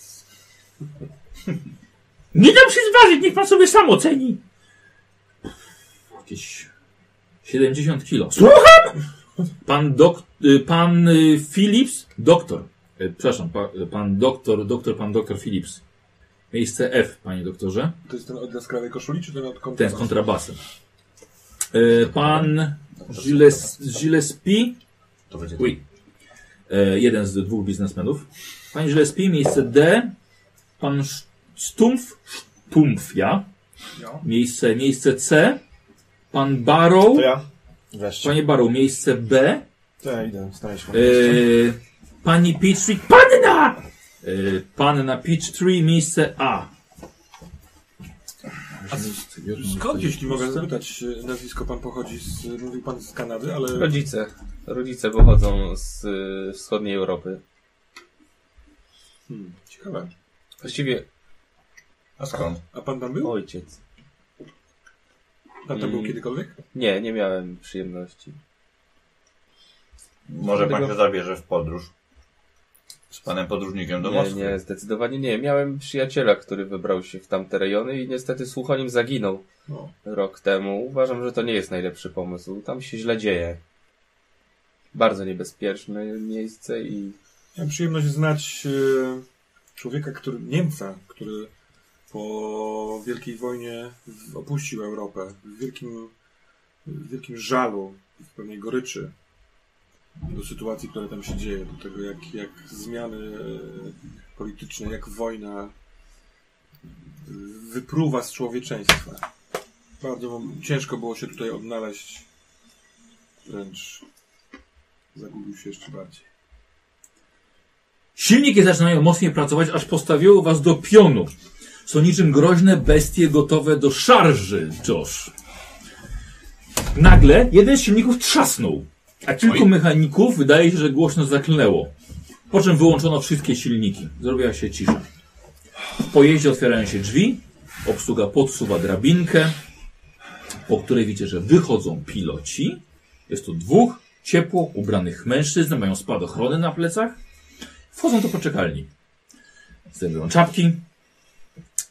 [SPEAKER 6] [LAUGHS] Nie dam się zważyć, niech pan sobie sam oceni.
[SPEAKER 1] Jakieś 70 kilo. Pan dok... y, Pan y, Philips, doktor. Y, Przepraszam, pa, y, pan doktor, doktor, pan doktor Philips. Miejsce F, panie doktorze.
[SPEAKER 4] To jest ten od jaskrawej koszuli, czy ten od kontrabasu?
[SPEAKER 1] Ten z kontrabasem. Y, Pan Gilles, Gillespie,
[SPEAKER 2] To będzie
[SPEAKER 3] tak.
[SPEAKER 1] Oui. E, jeden z dwóch biznesmenów. Pan Gillespie, miejsce D. Pan Sz- Stumpf, Stumpf, ja.
[SPEAKER 4] Ja.
[SPEAKER 1] Miejsce, miejsce C. Pan Barrow,
[SPEAKER 3] To ja. Wreszcie.
[SPEAKER 1] panie Barrow, miejsce B.
[SPEAKER 3] To ja idę, staję się.
[SPEAKER 1] E, pani Peachtree, panna! E, panna Peachtree, miejsce A.
[SPEAKER 4] Skąd, jeśli mogę zapytać, e, nazwisko pan pochodzi z... e, Mówił pan z Kanady, ale...
[SPEAKER 5] Rodzice. Rodzice pochodzą z y, wschodniej Europy.
[SPEAKER 4] Hmm, ciekawe.
[SPEAKER 5] Właściwie
[SPEAKER 2] A skąd?
[SPEAKER 4] A pan tam był?
[SPEAKER 5] ojciec.
[SPEAKER 4] Pan tam był
[SPEAKER 5] Mm.
[SPEAKER 4] kiedykolwiek?
[SPEAKER 5] Nie, nie miałem przyjemności.
[SPEAKER 2] Może pan
[SPEAKER 5] Dlatego-
[SPEAKER 2] się zabierze w podróż. Z panem podróżnikiem
[SPEAKER 3] No
[SPEAKER 2] do
[SPEAKER 5] Nie,
[SPEAKER 2] Moskwy.
[SPEAKER 5] nie, zdecydowanie nie. Miałem przyjaciela, który wybrał się w tamte rejony i niestety słucha nim zaginął
[SPEAKER 4] No.
[SPEAKER 5] rok temu. Uważam, że to nie jest najlepszy pomysł. Tam się źle dzieje. Bardzo niebezpieczne miejsce i
[SPEAKER 4] Miałem przyjemność znać e, człowieka, który... Niemca, który po Wielkiej Wojnie w- opuścił Europę w wielkim, w wielkim żalu i w pewnej goryczy do sytuacji, która tam się dzieje, do tego jak, jak zmiany e, polityczne, jak wojna e, wypruwa z człowieczeństwa. Bardzo wam- ciężko było się tutaj odnaleźć, wręcz zagubił się jeszcze bardziej.
[SPEAKER 1] Silniki zaczynają mocniej pracować, aż postawiło was do pionu. Są niczym groźne bestie gotowe do szarży, Josh. Nagle jeden z silników trzasnął, a kilku mechaników wydaje się, że głośno zaklnęło. Po czym wyłączono wszystkie silniki. Zrobiła się cisza. W pojeździe otwierają się drzwi, obsługa podsuwa drabinkę, po której widzicie, że wychodzą piloci. Jest tu dwóch ciepło ubranych mężczyzn, mają spadochrony na plecach. Wchodzą do poczekalni. Zdejmują czapki,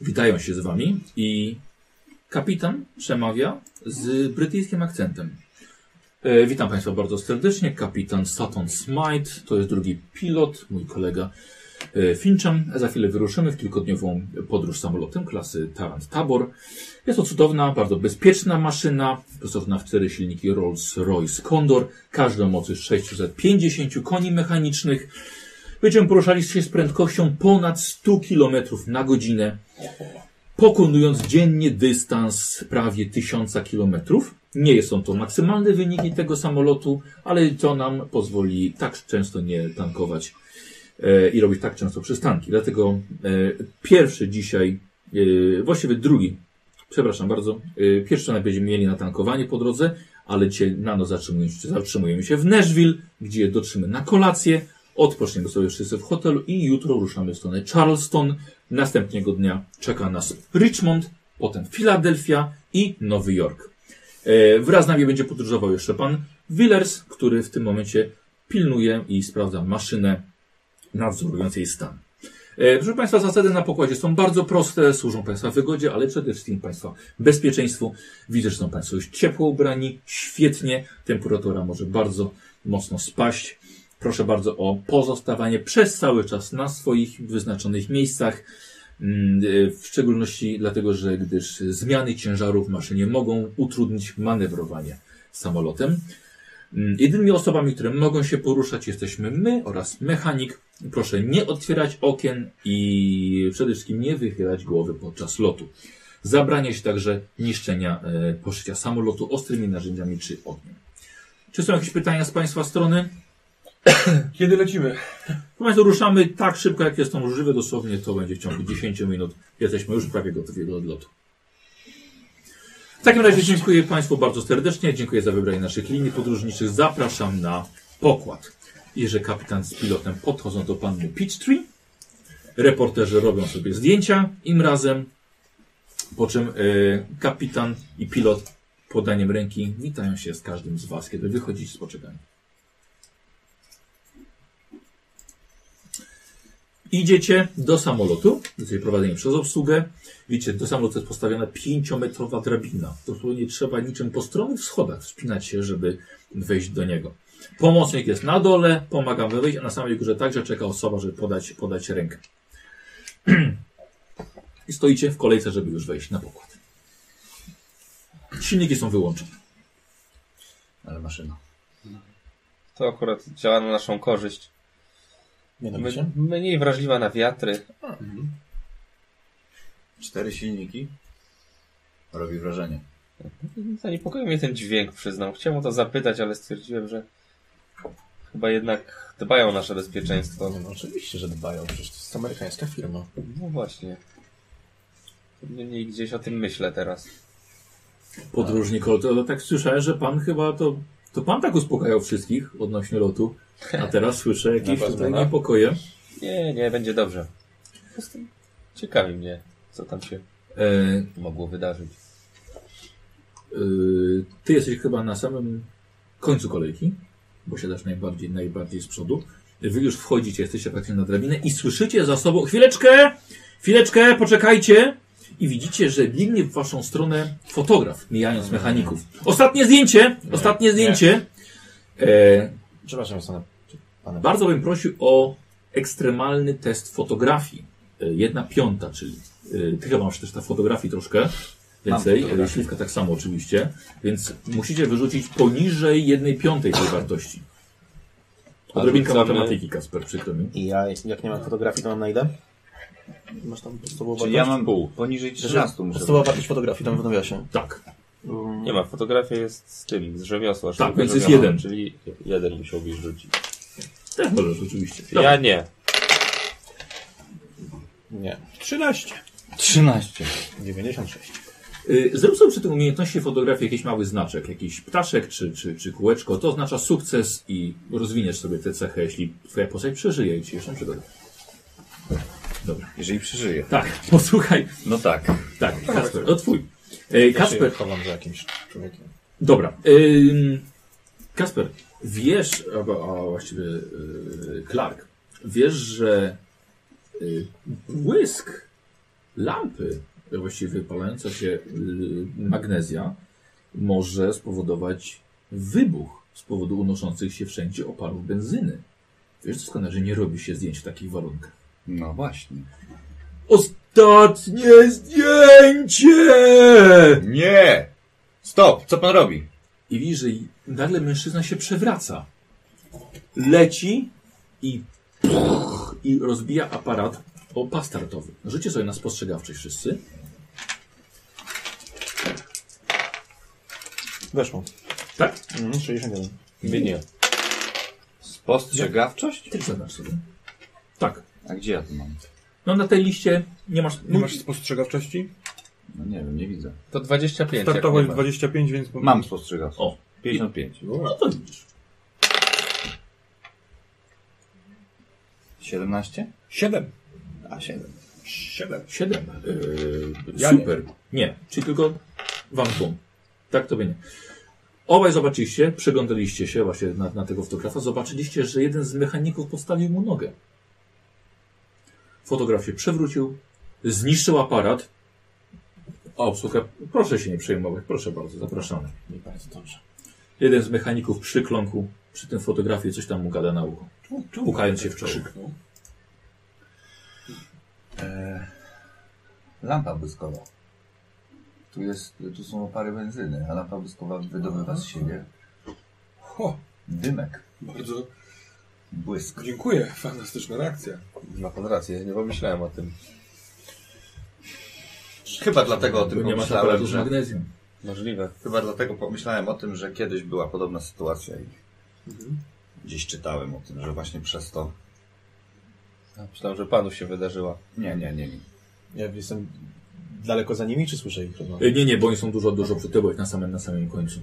[SPEAKER 1] witają się z wami i kapitan przemawia z brytyjskim akcentem. E, witam Państwa bardzo serdecznie. Kapitan Sutton Smite, to jest drugi pilot, mój kolega e, Fincham. Za chwilę wyruszymy w kilkodniową podróż samolotem klasy Tarant Tabor. Jest to cudowna, bardzo bezpieczna maszyna, wyposażona w cztery silniki Rolls-Royce Condor, każdy o mocy 650 koni mechanicznych. Będziemy poruszali się z prędkością ponad 100 km na godzinę, pokonując dziennie dystans prawie 1000 km. Nie są to maksymalne wyniki tego samolotu, ale to nam pozwoli tak często nie tankować e, i robić tak często przystanki. Dlatego e, pierwszy dzisiaj, e, właściwie drugi, przepraszam bardzo, e, pierwszy najpierw będziemy mieli na tankowanie po drodze, ale dzisiaj na noc zatrzymujemy się, zatrzymujemy się w Nashville, gdzie dotrzymy na kolację, Odpoczniemy sobie wszyscy w hotelu i jutro ruszamy w stronę Charleston. Następnego dnia czeka nas Richmond, potem Filadelfia i Nowy Jork. E, wraz z nami będzie podróżował jeszcze pan Willers, który w tym momencie pilnuje i sprawdza maszynę nadzorując jej stan. E, proszę Państwa, zasady na pokładzie są bardzo proste, służą Państwa wygodzie, ale przede wszystkim Państwa bezpieczeństwu. Widzę, że są Państwo już ciepło ubrani, świetnie, temperatura może bardzo mocno spaść. Proszę bardzo o pozostawanie przez cały czas na swoich wyznaczonych miejscach. Mm, e, W szczególności dlatego, że gdyż zmiany ciężarów w maszynie mogą utrudnić manewrowanie samolotem. Mm, Jedynymi osobami, które mogą się poruszać jesteśmy my oraz mechanik. Proszę nie otwierać okien i przede wszystkim nie wychylać głowy podczas lotu. Zabranie się także niszczenia e, poszycia samolotu ostrymi narzędziami czy ogniem. Czy są jakieś pytania z Państwa strony?
[SPEAKER 4] Kiedy lecimy?
[SPEAKER 1] Natomiast No ruszamy tak szybko, jak jest to możliwe. Dosłownie to będzie w ciągu 10 minut. Jesteśmy już prawie gotowi do odlotu. W takim razie dziękuję Państwu bardzo serdecznie. Dziękuję za wybranie naszych linii podróżniczych. Zapraszam na pokład. I że kapitan z pilotem podchodzą do panny Peachtree. Reporterzy robią sobie zdjęcia im razem. Po czym e, kapitan i pilot podaniem ręki witają się z każdym z Was, kiedy wychodzicie z poczekania. Idziecie do samolotu, jesteście prowadzeni przez obsługę. Widzicie, do samolotu jest postawiona pięciometrowa drabina. To nie trzeba niczym po stromych schodach wspinać się, żeby wejść do niego. Pomocnik jest na dole, pomagam wam wejść, a na samej górze także czeka osoba, żeby podać, podać rękę. [CLEARS THROAT] I stoicie w kolejce, żeby już wejść na pokład. Silniki są wyłączone.
[SPEAKER 2] Ale maszyna.
[SPEAKER 5] To akurat działa na naszą korzyść.
[SPEAKER 3] Mianowicie?
[SPEAKER 5] M- mniej wrażliwa na wiatry.
[SPEAKER 2] Cztery silniki. Robi wrażenie.
[SPEAKER 5] Zaniepokoił mnie ten dźwięk, przyznam. Chciałem o to zapytać, ale stwierdziłem, że chyba jednak dbają o nasze bezpieczeństwo.
[SPEAKER 3] No, no oczywiście, że dbają, przecież to jest amerykańska firma.
[SPEAKER 5] No właśnie. Niemniej gdzieś o tym myślę teraz.
[SPEAKER 1] Podróżnik, o, to tak słyszałem, że pan chyba to. To pan tak uspokajał wszystkich odnośnie lotu, a teraz słyszę jakieś
[SPEAKER 3] Na
[SPEAKER 1] tutaj
[SPEAKER 3] pewno, no.
[SPEAKER 1] niepokoje.
[SPEAKER 5] Nie, nie, będzie dobrze. Po prostu Ciekawi mnie, co tam się
[SPEAKER 1] E,
[SPEAKER 5] mogło wydarzyć.
[SPEAKER 1] Yy, ty jesteś chyba na samym końcu kolejki, bo siadasz najbardziej, najbardziej z przodu. Wy już wchodzicie, jesteście praktycznie na drabinę i słyszycie za sobą chwileczkę, chwileczkę, poczekajcie i widzicie, że biegnie w waszą stronę fotograf, mijając mechaników. Ostatnie zdjęcie, ostatnie zdjęcie. E,
[SPEAKER 3] Przepraszam, jest ona... Pana...
[SPEAKER 1] bardzo bym prosił o ekstremalny test fotografii. E, Jedna piąta, czyli e, ty chyba masz też ta fotografii troszkę więcej, e, śliwka tak samo oczywiście, więc musicie wyrzucić poniżej jednej piątej tej wartości. Odrobinka
[SPEAKER 3] rzucamy-
[SPEAKER 1] matematyki, Kasper, przykro mi.
[SPEAKER 3] I ja, jak nie mam fotografii, to mam na ile? Masz tam podstawową
[SPEAKER 2] Czyli
[SPEAKER 3] wartość?
[SPEAKER 2] ja mam pół. Poniżej 13 muszę.
[SPEAKER 3] Podstawowa wartość fotografii tam w nawiasie.
[SPEAKER 1] Tak.
[SPEAKER 5] Nie ma, fotografia jest z tym, z rzemiosła.
[SPEAKER 1] Tak,
[SPEAKER 5] sztuka
[SPEAKER 1] więc jest
[SPEAKER 5] rzemiosła,
[SPEAKER 1] jeden.
[SPEAKER 5] Czyli jeden musiałbyś rzucić.
[SPEAKER 1] Też możesz oczywiście. Tak.
[SPEAKER 5] Ja nie.
[SPEAKER 3] Nie.
[SPEAKER 4] 13.
[SPEAKER 2] 13.
[SPEAKER 3] 96.
[SPEAKER 1] Y, Zrób sobie przy tym umiejętności fotografii jakiś mały znaczek, jakiś ptaszek czy, czy, czy kółeczko. To oznacza sukces i rozwiniesz sobie tę cechę, jeśli twoja postać przeżyje i ci jeszcze przygoda. Dobra.
[SPEAKER 2] Jeżeli przeżyje.
[SPEAKER 1] Tak, [LAUGHS] posłuchaj.
[SPEAKER 2] No tak.
[SPEAKER 1] Tak, Kasper, to twój. E,
[SPEAKER 3] Kasper.
[SPEAKER 1] Kasper,
[SPEAKER 3] chowam za jakimś człowiekiem.
[SPEAKER 1] dobra. Ym, Kasper, wiesz, a, a właściwie y, Clark, wiesz, że y, błysk lampy, właściwie wypalająca się y, magnezja, może spowodować wybuch z powodu unoszących się wszędzie oparów benzyny. Wiesz doskonale, że nie robi się zdjęć w takich warunkach.
[SPEAKER 2] No właśnie.
[SPEAKER 1] Ostatnie zdjęcie!
[SPEAKER 2] Nie! Stop! Co pan robi?
[SPEAKER 1] i widzi, że nagle mężczyzna się przewraca. Leci i puch, i rozbija aparat o pas startowy. Rzućcie sobie na spostrzegawczość wszyscy.
[SPEAKER 3] Weszło.
[SPEAKER 1] Tak?
[SPEAKER 3] Mhm, 61.
[SPEAKER 5] My nie.
[SPEAKER 2] Spostrzegawczość?
[SPEAKER 1] Ty zaznacz sobie. Tak.
[SPEAKER 2] A gdzie ja to mam?
[SPEAKER 1] No na tej liście nie masz...
[SPEAKER 4] Nie masz spostrzegawczości?
[SPEAKER 2] No nie wiem, nie widzę.
[SPEAKER 5] To 25. jak
[SPEAKER 4] Startowo
[SPEAKER 5] nie
[SPEAKER 4] jest
[SPEAKER 5] ma.
[SPEAKER 4] 25, więc
[SPEAKER 2] Mam spostrzegawczość.
[SPEAKER 1] O.
[SPEAKER 2] 55.
[SPEAKER 1] No to widzisz.
[SPEAKER 2] 17?
[SPEAKER 4] 7.
[SPEAKER 2] A 7.
[SPEAKER 4] 7.
[SPEAKER 1] Siedem. Yy,
[SPEAKER 4] Ja nie.
[SPEAKER 1] super. Nie. czyli tylko wam tłum. Tak to by nie. Obaj zobaczyliście, przeglądaliście się właśnie na, na tego fotografa, zobaczyliście, że jeden z mechaników postawił mu nogę. Fotograf się przewrócił, zniszczył aparat. A obsługę, proszę się nie przejmować, proszę bardzo, zapraszamy.
[SPEAKER 3] Nie bardzo dobrze.
[SPEAKER 1] Jeden z mechaników przykląkł przy tym fotografie, coś tam mu gada na ucho. Pukając się w czoło.
[SPEAKER 2] Lampa błyskowa. Tu, jest, tu są opary benzyny, a lampa błyskowa wydobywa z siebie
[SPEAKER 4] Ho,
[SPEAKER 2] dymek,
[SPEAKER 4] bardzo
[SPEAKER 2] błysk.
[SPEAKER 4] dziękuję. Fantastyczna reakcja.
[SPEAKER 5] Ma pan rację, nie pomyślałem o tym.
[SPEAKER 2] Chyba dlatego o
[SPEAKER 1] Bo
[SPEAKER 2] tym
[SPEAKER 1] nie ma
[SPEAKER 2] pomyślałem,
[SPEAKER 1] aparatu z
[SPEAKER 2] że,
[SPEAKER 1] magnezją.
[SPEAKER 5] Możliwe.
[SPEAKER 2] chyba dlatego pomyślałem o tym, że kiedyś była podobna sytuacja i gdzieś czytałem o tym, że właśnie przez to...
[SPEAKER 5] Ja myślałem, że panu się wydarzyła.
[SPEAKER 2] Nie, nie, nie. nie.
[SPEAKER 3] Ja jestem daleko za nimi, czy słyszę ich rozmowę?
[SPEAKER 1] E, Nie, nie, bo oni są dużo, dużo przed tobą, jak na samym, na samym końcu.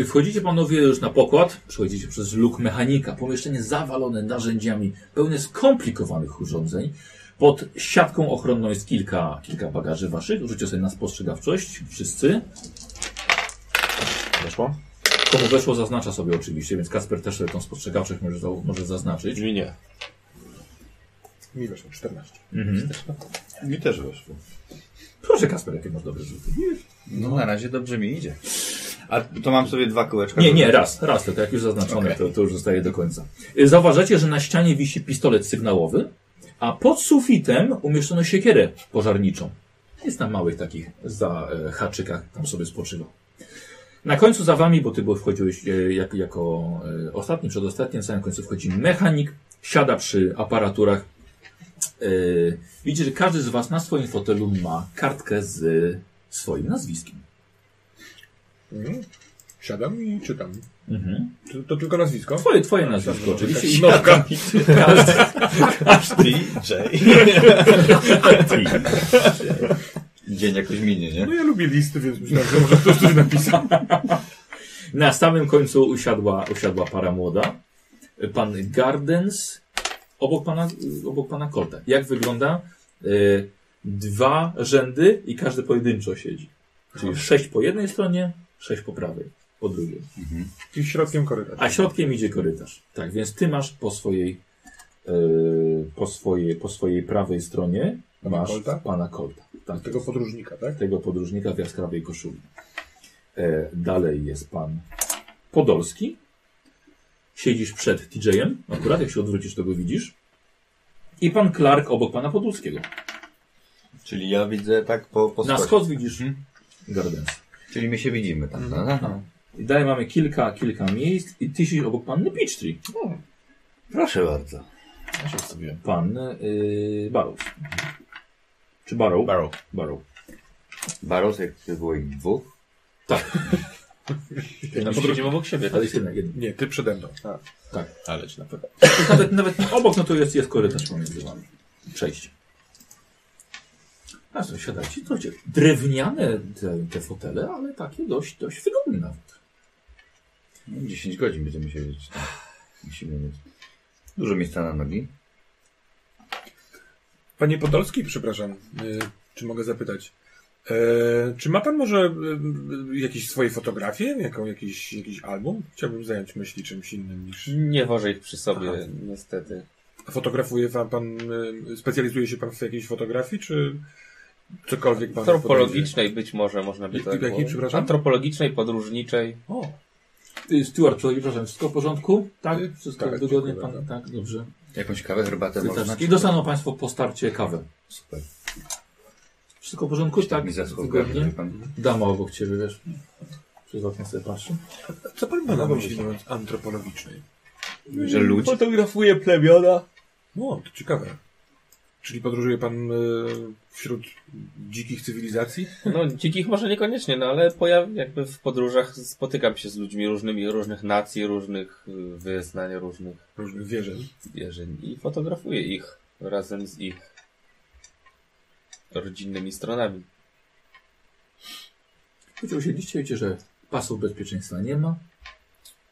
[SPEAKER 1] E, Wchodzicie panowie już na pokład, przechodzicie przez luk mechanika, pomieszczenie zawalone narzędziami, pełne skomplikowanych urządzeń. Pod siatką ochronną jest kilka, kilka bagaży waszych. Rzućcie sobie na spostrzegawczość, wszyscy.
[SPEAKER 3] Weszło?
[SPEAKER 1] Komu weszło zaznacza sobie oczywiście, więc Kasper też sobie tą spostrzegawczość może, za, może zaznaczyć.
[SPEAKER 5] Brzmi nie.
[SPEAKER 4] Mi weszło 14.
[SPEAKER 1] Mhm.
[SPEAKER 3] Mi też weszło.
[SPEAKER 1] Proszę Kasper, jakie masz dobre rzuty.
[SPEAKER 2] No na razie dobrze mi idzie. A to mam sobie dwa kółeczka.
[SPEAKER 1] Nie, nie, raz, raz tylko, jak już zaznaczone, to, to już zostaje do końca. Y, Zauważacie, że na ścianie wisi pistolet sygnałowy, a pod sufitem umieszczono siekierę pożarniczą. Jest na małych takich za e, haczykach, tam sobie spoczywa. Na końcu za wami, bo ty bo wchodziłeś e, jak, jako e, ostatni, przedostatni, na samym końcu wchodzi mechanik, siada przy aparaturach. E, widzicie, że każdy z was na swoim fotelu ma kartkę z swoim nazwiskiem.
[SPEAKER 4] Mhm. Siadam i czytam.
[SPEAKER 1] Mhm.
[SPEAKER 4] To, to tylko nazwisko?
[SPEAKER 1] No, Twoje, twoje nazwisko oczywiście. I
[SPEAKER 4] Siadam.
[SPEAKER 1] każdy,
[SPEAKER 3] DJ. [LAUGHS]
[SPEAKER 2] Dzień jakoś minie, nie?
[SPEAKER 4] No ja lubię listy, więc myślałem, że może ktoś coś napisał.
[SPEAKER 1] Na samym końcu usiadła, usiadła para młoda. Pan Gardens obok pana, obok pana Kolta. Jak wygląda? Y, Dwa rzędy i każdy pojedynczo siedzi. Czyli sześć po jednej stronie, sześć po prawej, po drugiej.
[SPEAKER 4] I środkiem korytarza.
[SPEAKER 1] A środkiem idzie korytarz. Tak, więc ty masz po swojej, e, po swojej, po swojej prawej stronie
[SPEAKER 4] Pana
[SPEAKER 1] masz
[SPEAKER 4] Colta?
[SPEAKER 1] pana Kolta. Tak,
[SPEAKER 4] Tego podróżnika, tak?
[SPEAKER 1] tego podróżnika w jaskrawej koszuli. E, dalej jest pan Podolski. Siedzisz przed TJ-em, akurat jak się odwrócisz, to go widzisz. I pan Clark obok pana Podolskiego.
[SPEAKER 2] Czyli ja widzę tak po, po
[SPEAKER 1] Na
[SPEAKER 2] skosie.
[SPEAKER 1] skos widzisz
[SPEAKER 5] Mhm.
[SPEAKER 1] Gardens.
[SPEAKER 2] Czyli my się widzimy tam, no, prawda?
[SPEAKER 1] I dalej mamy kilka, kilka miejsc i ty siedzisz obok panny Peachtree.
[SPEAKER 2] Proszę bardzo.
[SPEAKER 3] Ja się wstawiłem.
[SPEAKER 1] Pan y, Barrows. Czy Barrow?
[SPEAKER 3] Barrow.
[SPEAKER 1] Barrow.
[SPEAKER 2] Baros, jak ty było ich dwóch?
[SPEAKER 5] No, siedzimy obok siebie.
[SPEAKER 1] Ale jest jedna, jedna.
[SPEAKER 4] Nie, ty przede mną. A,
[SPEAKER 3] Ale ci na pewno.
[SPEAKER 1] Nawet, nawet nie obok, no to jest, jest korytarz pomiędzy wami. Przejście. A co, siadajcie, to cię. Drewniane te, te fotele, ale takie dość, dość wygodne nawet.
[SPEAKER 2] No, 10 godzin będziemy siedzieć. Musimy mieć. Dużo miejsca na nogi.
[SPEAKER 4] Panie Podolski, przepraszam, y, czy mogę zapytać? E, czy ma pan może y, y, jakieś swoje fotografie, jako jakiś, jakiś album? Chciałbym zająć myśli czymś innym niż...
[SPEAKER 5] Nie wożę ich przy sobie,
[SPEAKER 4] Aha.
[SPEAKER 5] niestety.
[SPEAKER 4] Fotografuje pan, pan y, specjalizuje się pan w jakiejś fotografii, czy cokolwiek pan...
[SPEAKER 5] Antropologicznej być może można by
[SPEAKER 4] Jak-
[SPEAKER 5] to tak
[SPEAKER 4] jakiej,
[SPEAKER 5] było.
[SPEAKER 4] przepraszam?
[SPEAKER 5] Antropologicznej, podróżniczej.
[SPEAKER 4] fotografuje?
[SPEAKER 1] Y, Stuart, przepraszam, wszystko w porządku? Tak,
[SPEAKER 4] Y,
[SPEAKER 1] wszystko
[SPEAKER 4] tak,
[SPEAKER 1] wygodnie.
[SPEAKER 4] dziękuję
[SPEAKER 1] Pan, tak, dobrze.
[SPEAKER 2] Jakąś kawę, herbatę można?
[SPEAKER 1] I dostaną Państwo po starcie kawę.
[SPEAKER 2] Super.
[SPEAKER 1] Wszystko w porządku?
[SPEAKER 2] Tak
[SPEAKER 1] Tak,
[SPEAKER 2] mi zaschło w
[SPEAKER 1] wygodnie.
[SPEAKER 2] gardle, pan.
[SPEAKER 1] Dama obok Ciebie, wiesz. Przez okno sobie patrzy.
[SPEAKER 4] O, co pan ma na myśli mówiąc antropologicznej?
[SPEAKER 2] Że ludzi.
[SPEAKER 5] Fotografuję plemiona.
[SPEAKER 4] No, to ciekawe. Czyli podróżuje pan y, wśród dzikich cywilizacji?
[SPEAKER 5] No, dzikich może niekoniecznie, no ale pojaw, jakby w podróżach spotykam się z ludźmi różnymi, różnych nacji, różnych y, wyznań, różnych
[SPEAKER 4] Różnych wierzeń.
[SPEAKER 5] wierzeń i fotografuję ich razem z ich rodzinnymi stronami.
[SPEAKER 1] Choć usiedliście, wiecie, że pasów bezpieczeństwa nie ma.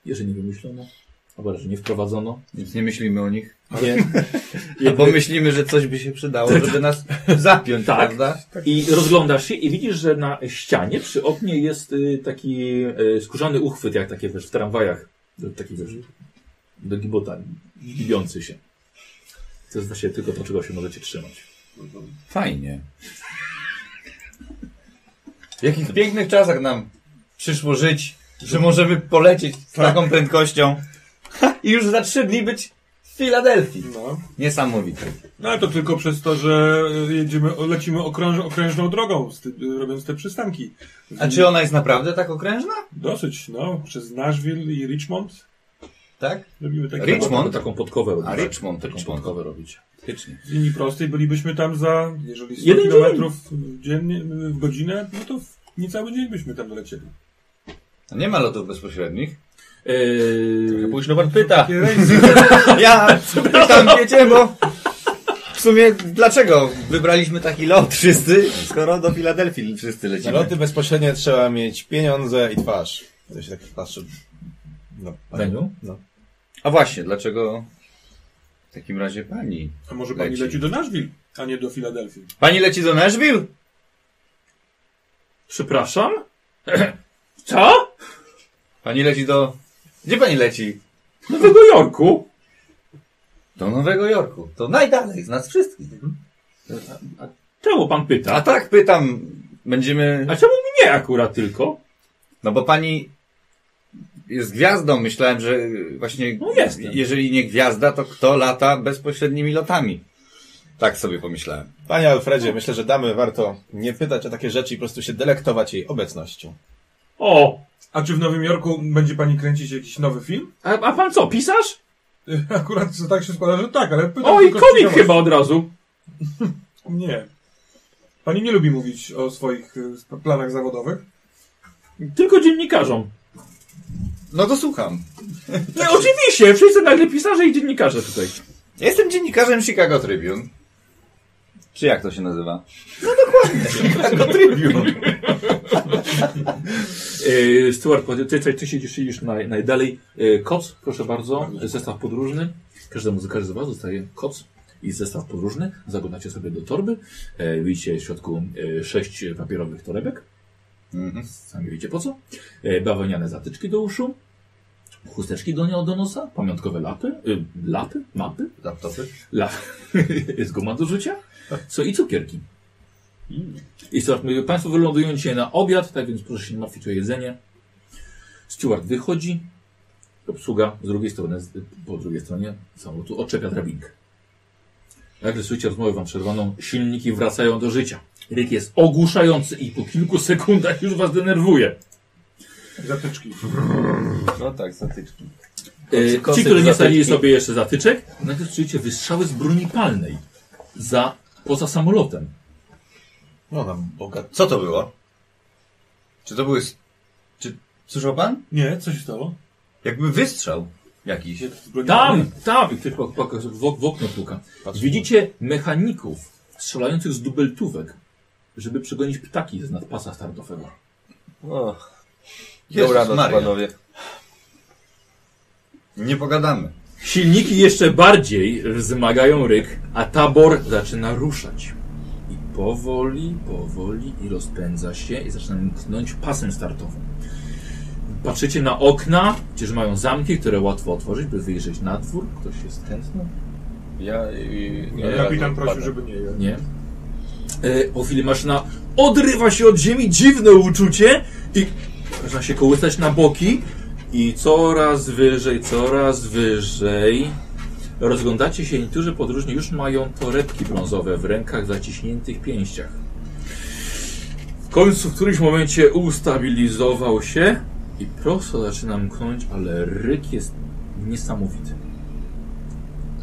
[SPEAKER 1] Jeżeli nie wymyślono, albo raczej nie wprowadzono.
[SPEAKER 2] Więc nie myślimy o nich.
[SPEAKER 1] Nie.
[SPEAKER 2] Albo myślimy, że coś by się przydało, żeby nas zapiąć,
[SPEAKER 1] Tak.
[SPEAKER 2] prawda?
[SPEAKER 1] I rozglądasz się i widzisz, że na ścianie przy oknie jest y, taki y, skórzany uchwyt, jak takie wiesz, w tramwajach. Do, taki wiesz, do gibota, gibiący się. To jest właśnie tylko to, czego się możecie trzymać.
[SPEAKER 2] Fajnie. W jakich pięknych czasach nam przyszło żyć, że możemy polecieć z taką prędkością ha, i już za trzy dni być w Filadelfii.
[SPEAKER 4] No.
[SPEAKER 2] Niesamowite.
[SPEAKER 4] No ale to tylko przez to, że jedziemy, o- lecimy okrąż, okrężną drogą, z ty, robiąc te przystanki.
[SPEAKER 2] A czy ona jest naprawdę tak okrężna?
[SPEAKER 4] Dosyć, no. Przez Nashville i Richmond
[SPEAKER 2] Tak?
[SPEAKER 4] robimy takie...
[SPEAKER 2] Richmond?
[SPEAKER 1] Taką- Taką podkowę robić.
[SPEAKER 2] A Richmond,
[SPEAKER 1] Taką
[SPEAKER 2] Richmond.
[SPEAKER 1] podkowę robić.
[SPEAKER 2] Faktycznie.
[SPEAKER 4] Z linii prostej bylibyśmy tam za, jeżeli 100
[SPEAKER 1] Jeden
[SPEAKER 4] kilometrów dziennie, w godzinę, no to w niecały dzień byśmy tam dolecieli.
[SPEAKER 2] A nie ma lotów bezpośrednich.
[SPEAKER 1] Eee,
[SPEAKER 5] Późno pan pyta.
[SPEAKER 4] Takie rejsy.
[SPEAKER 2] [LAUGHS] Ja tam wiecie, bo w sumie dlaczego wybraliśmy taki lot wszyscy, skoro do Filadelfii wszyscy
[SPEAKER 3] Na
[SPEAKER 2] lecimy?
[SPEAKER 3] loty bezpośrednie trzeba mieć pieniądze i twarz. To się tak patrzy. No,
[SPEAKER 1] Daniu?
[SPEAKER 2] A właśnie, dlaczego w takim razie pani?
[SPEAKER 4] A może pani
[SPEAKER 2] Leci.
[SPEAKER 4] leci do Nashville, a nie do Filadelfii?
[SPEAKER 2] Pani leci do Nashville?
[SPEAKER 1] Przepraszam? [CLEARS THROAT] Co?
[SPEAKER 2] Pani leci do... Gdzie pani leci?
[SPEAKER 1] Do Nowego Jorku?
[SPEAKER 2] Do Nowego Jorku. To najdalej z nas wszystkich.
[SPEAKER 1] Czemu pan
[SPEAKER 2] A
[SPEAKER 1] pyta?
[SPEAKER 2] tak pytam, będziemy...
[SPEAKER 1] A czemu mnie akurat tylko?
[SPEAKER 2] No bo pani jest gwiazdą. Myślałem, że właśnie
[SPEAKER 1] No jestem.
[SPEAKER 2] jeżeli nie gwiazda, to kto lata bezpośrednimi lotami? Tak sobie pomyślałem.
[SPEAKER 3] Panie Alfredzie, myślę, że damy warto nie pytać o takie rzeczy i po prostu się delektować jej obecnością.
[SPEAKER 1] O!
[SPEAKER 4] A czy w Nowym Jorku będzie pani kręcić jakiś nowy film? [LAUGHS]
[SPEAKER 1] A, a pan co, pisarz?
[SPEAKER 4] Akurat to tak się składa, że tak, ale pytam
[SPEAKER 1] O, i
[SPEAKER 4] tylko z
[SPEAKER 1] komik
[SPEAKER 4] ciekawości.
[SPEAKER 1] chyba od razu.
[SPEAKER 4] Nie. Pani nie lubi mówić o swoich y, sp- planach zawodowych?
[SPEAKER 1] Tylko dziennikarzom.
[SPEAKER 2] No to słucham.
[SPEAKER 1] Nie, oczywiście, wszyscy nagle pisarze i dziennikarze tutaj.
[SPEAKER 2] Ja jestem dziennikarzem Chicago Tribune. Czy jak to się nazywa? No dokładnie, Chicago Tribune.
[SPEAKER 1] Yy, Stuart, ty, ty, ty siedzisz, siedzisz naj, najdalej. Yy, koc, proszę bardzo, zestaw podróżny. Każdemu z, każdy z Was dostaje koc i zestaw podróżny. Zaglądacie sobie do torby. Yy, widzicie w środku yy, sześć papierowych torebek.
[SPEAKER 2] Mhm.
[SPEAKER 1] Sami wiecie po co. E, Bawełniane zatyczki do uszu, chusteczki do, nie- do nosa, pamiątkowe lapy, y, lapy, mapy,
[SPEAKER 2] Laptopy?
[SPEAKER 1] la, [LAUGHS] jest guma do rzucia, co i cukierki. I Stuart mówi, Państwo wylądują dzisiaj na obiad, tak więc proszę się nie martwić o jedzenie. Stuart wychodzi, obsługa z drugiej strony, z- po drugiej stronie samolotu odczepia drabinkę. Nagle słyszycie rozmowę wam przerwaną, silniki wracają do życia. Ryk jest ogłuszający i po kilku sekundach już was denerwuje.
[SPEAKER 4] Zatyczki.
[SPEAKER 5] No tak, zatyczki.
[SPEAKER 1] E,
[SPEAKER 5] Kosy
[SPEAKER 1] Ci, którzy nie
[SPEAKER 5] zatyczki.
[SPEAKER 1] stawili sobie jeszcze zatyczek, nagle słyszycie wystrzały z broni palnej za, poza samolotem.
[SPEAKER 3] No na Boga.
[SPEAKER 2] Co to było? Czy to były... s- Czy słyszał pan?
[SPEAKER 4] Nie, co się stało?
[SPEAKER 2] Jakby wystrzał jakiś.
[SPEAKER 1] Tam, tam! Mm. I ty po- po- w, w okno puka. Widzicie mechaników strzelających z dubeltówek, żeby przegonić ptaki z nadpasa startowego.
[SPEAKER 5] Och.
[SPEAKER 2] Jezus
[SPEAKER 5] Dobranoc,
[SPEAKER 2] Maria.
[SPEAKER 5] no, panowie.
[SPEAKER 2] Nie pogadamy.
[SPEAKER 1] Silniki jeszcze bardziej wzmagają ryk, a tabor zaczyna ruszać. I powoli, powoli i rozpędza się i zaczyna mknąć pasem startowym. Patrzycie na okna, gdzież mają zamki, które łatwo otworzyć, by wyjrzeć na dwór. Ktoś jest tęskno?
[SPEAKER 5] Ja i...
[SPEAKER 4] Kapitan prosił, żeby nie je.
[SPEAKER 1] Nie. E, po chwili maszyna odrywa się od ziemi, dziwne uczucie i zaczyna się kołysać na boki i coraz wyżej, coraz wyżej. Rozglądacie się, niektórzy podróżni już mają torebki brązowe w rękach, zaciśniętych pięściach. W końcu w którymś momencie ustabilizował się i prosto zaczyna mknąć, ale ryk jest niesamowity.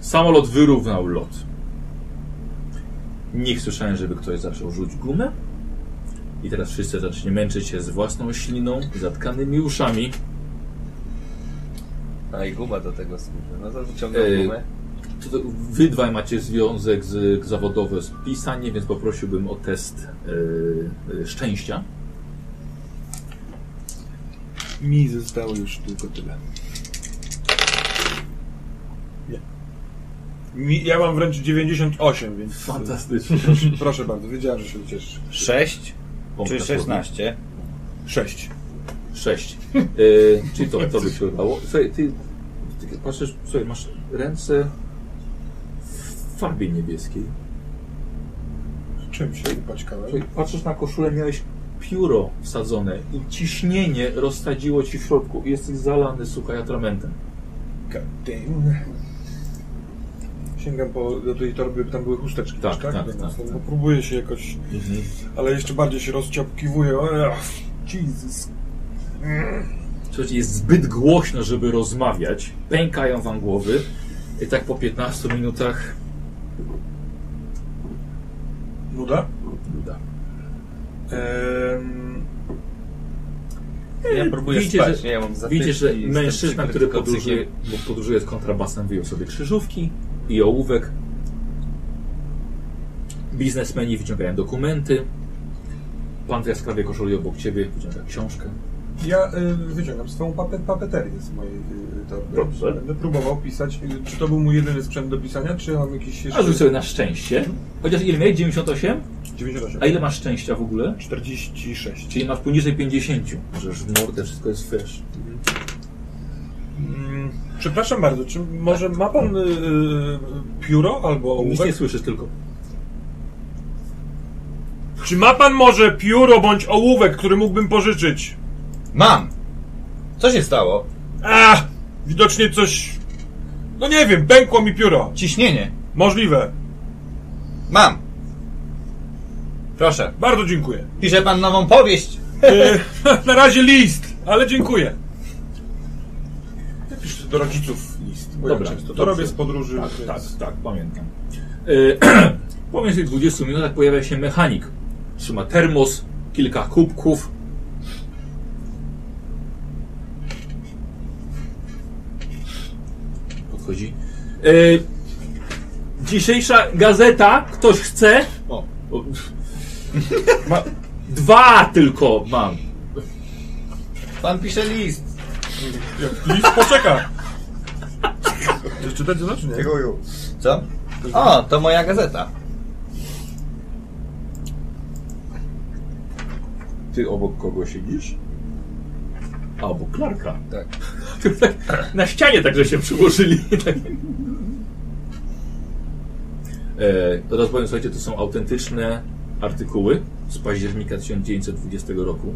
[SPEAKER 1] Samolot wyrównał lot. Nie słyszałem, żeby ktoś zaczął rzuć gumę. I teraz wszyscy zacznie męczyć się z własną śliną, zatkanymi uszami.
[SPEAKER 5] A i guma do tego służy. No to wyciągam
[SPEAKER 1] Ej.
[SPEAKER 5] gumę.
[SPEAKER 1] To, to wy dwaj macie związek z, zawodowy z pisaniem, więc poprosiłbym o test yy, yy, szczęścia.
[SPEAKER 4] Mi zostało już tylko tyle. Nie. Mi, ja mam wręcz 98, więc... e,
[SPEAKER 1] Fantastycznie.
[SPEAKER 4] Proszę, proszę bardzo, wiedziałem, że się ucieszysz.
[SPEAKER 2] 6
[SPEAKER 1] Pompka
[SPEAKER 2] czy 16?
[SPEAKER 4] 6.
[SPEAKER 1] słowna. Sześć. Yy, czyli to, to by się udało. Słuchaj, ty, ty patrzysz, słuchaj, masz ręce w farbie niebieskiej.
[SPEAKER 4] Czym się upaćkałem?
[SPEAKER 1] Czyli patrzysz na koszulę, miałeś pióro wsadzone i ciśnienie rozsadziło ci w środku. Jesteś zalany, słuchaj, atramentem.
[SPEAKER 4] God damn. Sięgam po, do tej torby, tam były chusteczki,
[SPEAKER 1] Tak,
[SPEAKER 4] też, tak?
[SPEAKER 1] tak,
[SPEAKER 4] Dobra,
[SPEAKER 1] tak,
[SPEAKER 4] no,
[SPEAKER 1] tak. Mhm.
[SPEAKER 4] bo Próbuję się jakoś, ale jeszcze bardziej się rozciopkiwuję. Ach, Jesus.
[SPEAKER 1] Słuchajcie, jest zbyt głośno, żeby rozmawiać. Pękają wam głowy. I tak po 15 minutach
[SPEAKER 4] Nuda?
[SPEAKER 1] uda.
[SPEAKER 4] Ehm,
[SPEAKER 5] Ja próbuję
[SPEAKER 1] widzicie,
[SPEAKER 5] spać,
[SPEAKER 1] że-
[SPEAKER 5] nie? Ja mam zatyczki.
[SPEAKER 1] Widzisz, że
[SPEAKER 5] jestem
[SPEAKER 1] mężczyzna, który
[SPEAKER 5] przykryty
[SPEAKER 1] podróżuje,
[SPEAKER 5] kocykiem.
[SPEAKER 1] bo podróżuje z kontrabasem, wyjął sobie krzyżówki i ołówek. Biznesmeni wyciągają dokumenty. Pan w jaskrawej koszuli obok ciebie wyciąga książkę.
[SPEAKER 4] ja y, wyciągam swoją papet, papeterię z mojej y, torby.
[SPEAKER 1] Dobrze.
[SPEAKER 4] Będę próbował pisać. Y, Czy to był mój jedyny sprzęt do pisania, czy mam jakiś
[SPEAKER 1] A rzuć
[SPEAKER 4] jeszcze...
[SPEAKER 1] sobie na szczęście. Chociaż ile miałeś? 98?
[SPEAKER 4] 98.
[SPEAKER 1] A ile masz szczęścia w ogóle?
[SPEAKER 4] 46.
[SPEAKER 1] Czyli masz poniżej 50. Możesz w mordę, wszystko jest fresh.
[SPEAKER 4] Mm, Przepraszam bardzo, czy może ma pan y, y, pióro albo
[SPEAKER 1] Nic nie
[SPEAKER 4] ołówek?
[SPEAKER 1] słyszysz tylko.
[SPEAKER 4] Czy ma pan może pióro bądź ołówek, który mógłbym pożyczyć?
[SPEAKER 2] Mam! Co się stało?
[SPEAKER 4] Ach, widocznie coś... No nie wiem, pękło mi pióro.
[SPEAKER 2] Ciśnienie.
[SPEAKER 4] Możliwe.
[SPEAKER 2] Mam! Proszę.
[SPEAKER 4] Bardzo dziękuję.
[SPEAKER 2] Pisze pan nową powieść.
[SPEAKER 4] Y, [LAUGHS] na razie list, ale dziękuję. Napisz do rodziców list, bo
[SPEAKER 1] Dobra,
[SPEAKER 4] ja często to
[SPEAKER 1] dobrze.
[SPEAKER 4] robię z podróży.
[SPEAKER 1] Tak,
[SPEAKER 4] więc-
[SPEAKER 1] tak, tak, pamiętam. Y, [CLEARS THROAT] Po mniej więcej 20 minutach tak pojawia się mechanik. Trzyma termos, kilka kubków. Podchodzi. Y, Dzisiejsza gazeta, ktoś chce?
[SPEAKER 2] O.
[SPEAKER 1] O. [LAUGHS] Ma, dwa tylko mam.
[SPEAKER 2] Pan pisze list.
[SPEAKER 4] List poczeka. Chcesz czytać to [LAUGHS] czy nie?
[SPEAKER 2] Dziękuję. Co? O, to moja gazeta.
[SPEAKER 1] Ty obok kogo siedzisz? A obok Klarka.
[SPEAKER 2] Tak.
[SPEAKER 1] [LAUGHS]
[SPEAKER 6] Na ścianie
[SPEAKER 1] tak,
[SPEAKER 6] także się przyłożyli.
[SPEAKER 1] E, to raz powiem, słuchajcie, to są autentyczne artykuły z października 1920 roku,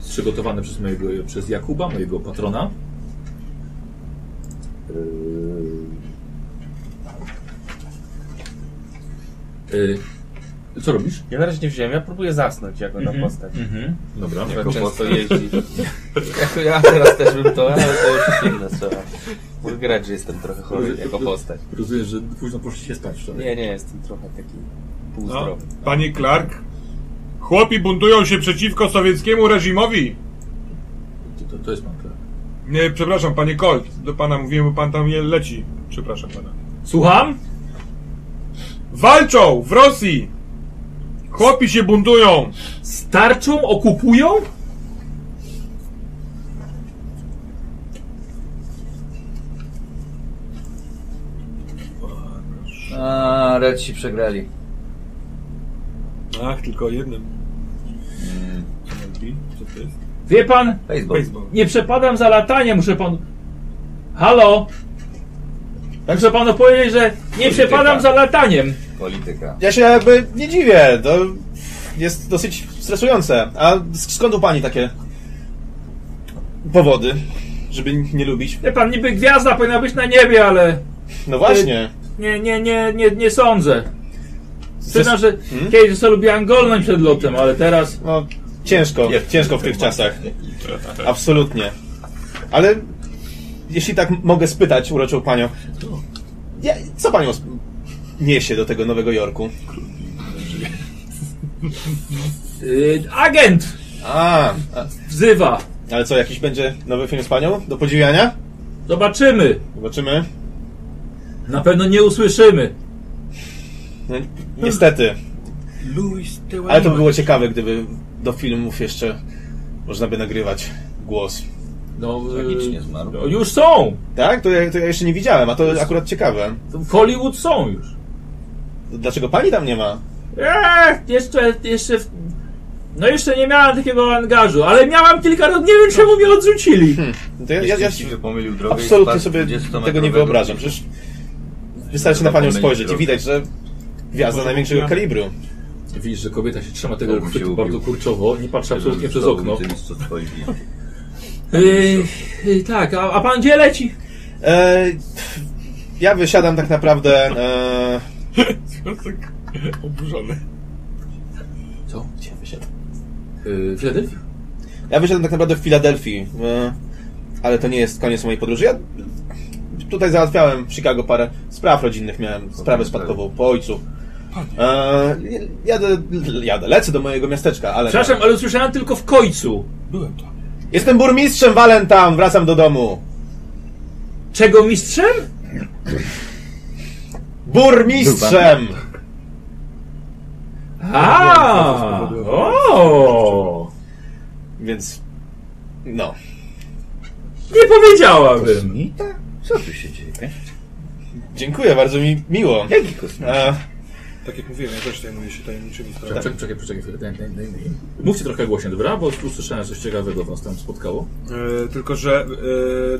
[SPEAKER 1] przygotowane przez, mojego, przez Jakuba, mojego patrona. E, co robisz?
[SPEAKER 5] Ja na razie nie wziąłem, ja próbuję zasnąć jako na postać.
[SPEAKER 1] Mhm. Dobra.
[SPEAKER 5] Która często jeździ. jako ja teraz też bym to, ale to już inna sprawa. Mój grać, że jestem trochę chory jako postać.
[SPEAKER 1] Rozumiem, że późno poszliście spać wczoraj.
[SPEAKER 5] Nie, nie, jestem trochę taki
[SPEAKER 4] No,
[SPEAKER 5] półzdrowy.
[SPEAKER 4] panie Clark, chłopi buntują się przeciwko sowieckiemu reżimowi.
[SPEAKER 1] To, to jest pan Klark.
[SPEAKER 4] Nie, przepraszam, panie Colt, do pana mówiłem, bo pan tam je leci. Przepraszam pana.
[SPEAKER 6] Słucham?
[SPEAKER 4] Walczą w Rosji! Chłopi się buntują!
[SPEAKER 6] Z tarczą okupują?
[SPEAKER 2] A, Redsi przegrali.
[SPEAKER 4] Ach, tylko jednym. Mm. Co to jest?
[SPEAKER 6] Wie pan,
[SPEAKER 2] Baseball.
[SPEAKER 4] Baseball.
[SPEAKER 6] nie przepadam za latanie, muszę pan... Halo? Muszę panu powiedzieć, że nie przepadam za lataniem.
[SPEAKER 2] Polityka.
[SPEAKER 3] Ja się jakby nie dziwię, to jest dosyć stresujące. A sk- skąd u pani takie powody, żeby nie lubić?
[SPEAKER 6] Wie pan, niby gwiazda powinna być na niebie, ale
[SPEAKER 3] No właśnie.
[SPEAKER 6] nie, nie, nie, nie, nie sądzę. Syna,
[SPEAKER 3] Zres-
[SPEAKER 6] że
[SPEAKER 1] Hmm?
[SPEAKER 6] kiedyś sobie lubiłem golnąć przed lotem, ale teraz...
[SPEAKER 3] No, ciężko, ciężko w tych czasach. Absolutnie. Ale jeśli tak m- mogę spytać uroczą panią, ja, co panią sp- niesie do tego Nowego Jorku?
[SPEAKER 6] Y, agent
[SPEAKER 3] A, a,
[SPEAKER 6] wzywa.
[SPEAKER 3] ale co, jakiś będzie nowy film z panią do podziwiania?
[SPEAKER 6] Zobaczymy.
[SPEAKER 3] Zobaczymy.
[SPEAKER 6] Na pewno nie usłyszymy.
[SPEAKER 3] No, niestety.
[SPEAKER 4] Louis Tełani.
[SPEAKER 3] Ale to by było ciekawe, gdyby do filmów jeszcze można by nagrywać głos.
[SPEAKER 6] No, y,
[SPEAKER 2] Tragicznie zmarł.
[SPEAKER 6] no już są.
[SPEAKER 3] Tak? To ja, to ja jeszcze nie widziałem, a to akurat ciekawe.
[SPEAKER 6] To W Hollywood są już.
[SPEAKER 3] Dlaczego pani tam nie ma?
[SPEAKER 6] Eee, jeszcze, jeszcze... w- No jeszcze nie miałem takiego angażu, ale miałam kilka razy, nie wiem czemu mnie odrzucili.
[SPEAKER 1] Hm.
[SPEAKER 3] No to ja, ja, ja
[SPEAKER 2] Jeśli się pomylił drogę i
[SPEAKER 3] absolutnie
[SPEAKER 2] spadł
[SPEAKER 3] sobie
[SPEAKER 2] 20-metrowego
[SPEAKER 3] tego nie wyobrażasz. Przecież wystarczy na panią
[SPEAKER 2] Zapomnieć
[SPEAKER 3] spojrzeć i
[SPEAKER 2] drogę.
[SPEAKER 3] widać, że gwiazda największego kalibru.
[SPEAKER 1] Widzisz, że kobieta się trzyma tego
[SPEAKER 2] Bóg mi się
[SPEAKER 1] chwytu
[SPEAKER 2] ubił.
[SPEAKER 1] bardzo kurczowo, nie patrzy absolutnie przez
[SPEAKER 2] Znowu
[SPEAKER 1] okno.
[SPEAKER 2] Tym, co twoi wini.
[SPEAKER 6] Yy, yy, tak, a, a pan gdzie leci?
[SPEAKER 3] E, ja wysiadam tak naprawdę. E,
[SPEAKER 4] Tak oburzony.
[SPEAKER 1] Co? Yy, Filadelfia?
[SPEAKER 3] ja wysiadam tak naprawdę w Filadelfii. E, ale to nie jest koniec mojej podróży. Ja tutaj załatwiałem w Chicago parę spraw rodzinnych. Miałem sprawę
[SPEAKER 2] tak.
[SPEAKER 3] spadkową po ojcu. E, jadę, jadę, lecę do mojego miasteczka, ale.
[SPEAKER 6] Przepraszam, ale usłyszałem tylko w końcu.
[SPEAKER 4] Byłem tam.
[SPEAKER 3] Jestem burmistrzem Valentam, wracam do domu.
[SPEAKER 6] Czego mistrzem?
[SPEAKER 3] Burmistrzem!
[SPEAKER 6] A, o,
[SPEAKER 3] Więc. No.
[SPEAKER 6] nie powiedziałabym.
[SPEAKER 2] Nita? tak? Co tu się dzieje?
[SPEAKER 3] Dziękuję, bardzo mi miło.
[SPEAKER 2] Jaki kosmos?
[SPEAKER 3] E,
[SPEAKER 4] Tak jak mówiłem, ja też zajmuję się tajemniczymi sprawami.
[SPEAKER 1] Tak, Czekaj, czekaj, czekaj chwilę. Daj, daj, daj, daj. Mówcie trochę głośno, dobra? Bo tu słyszałem coś ciekawego, was tam spotkało.
[SPEAKER 4] E, tylko, że e,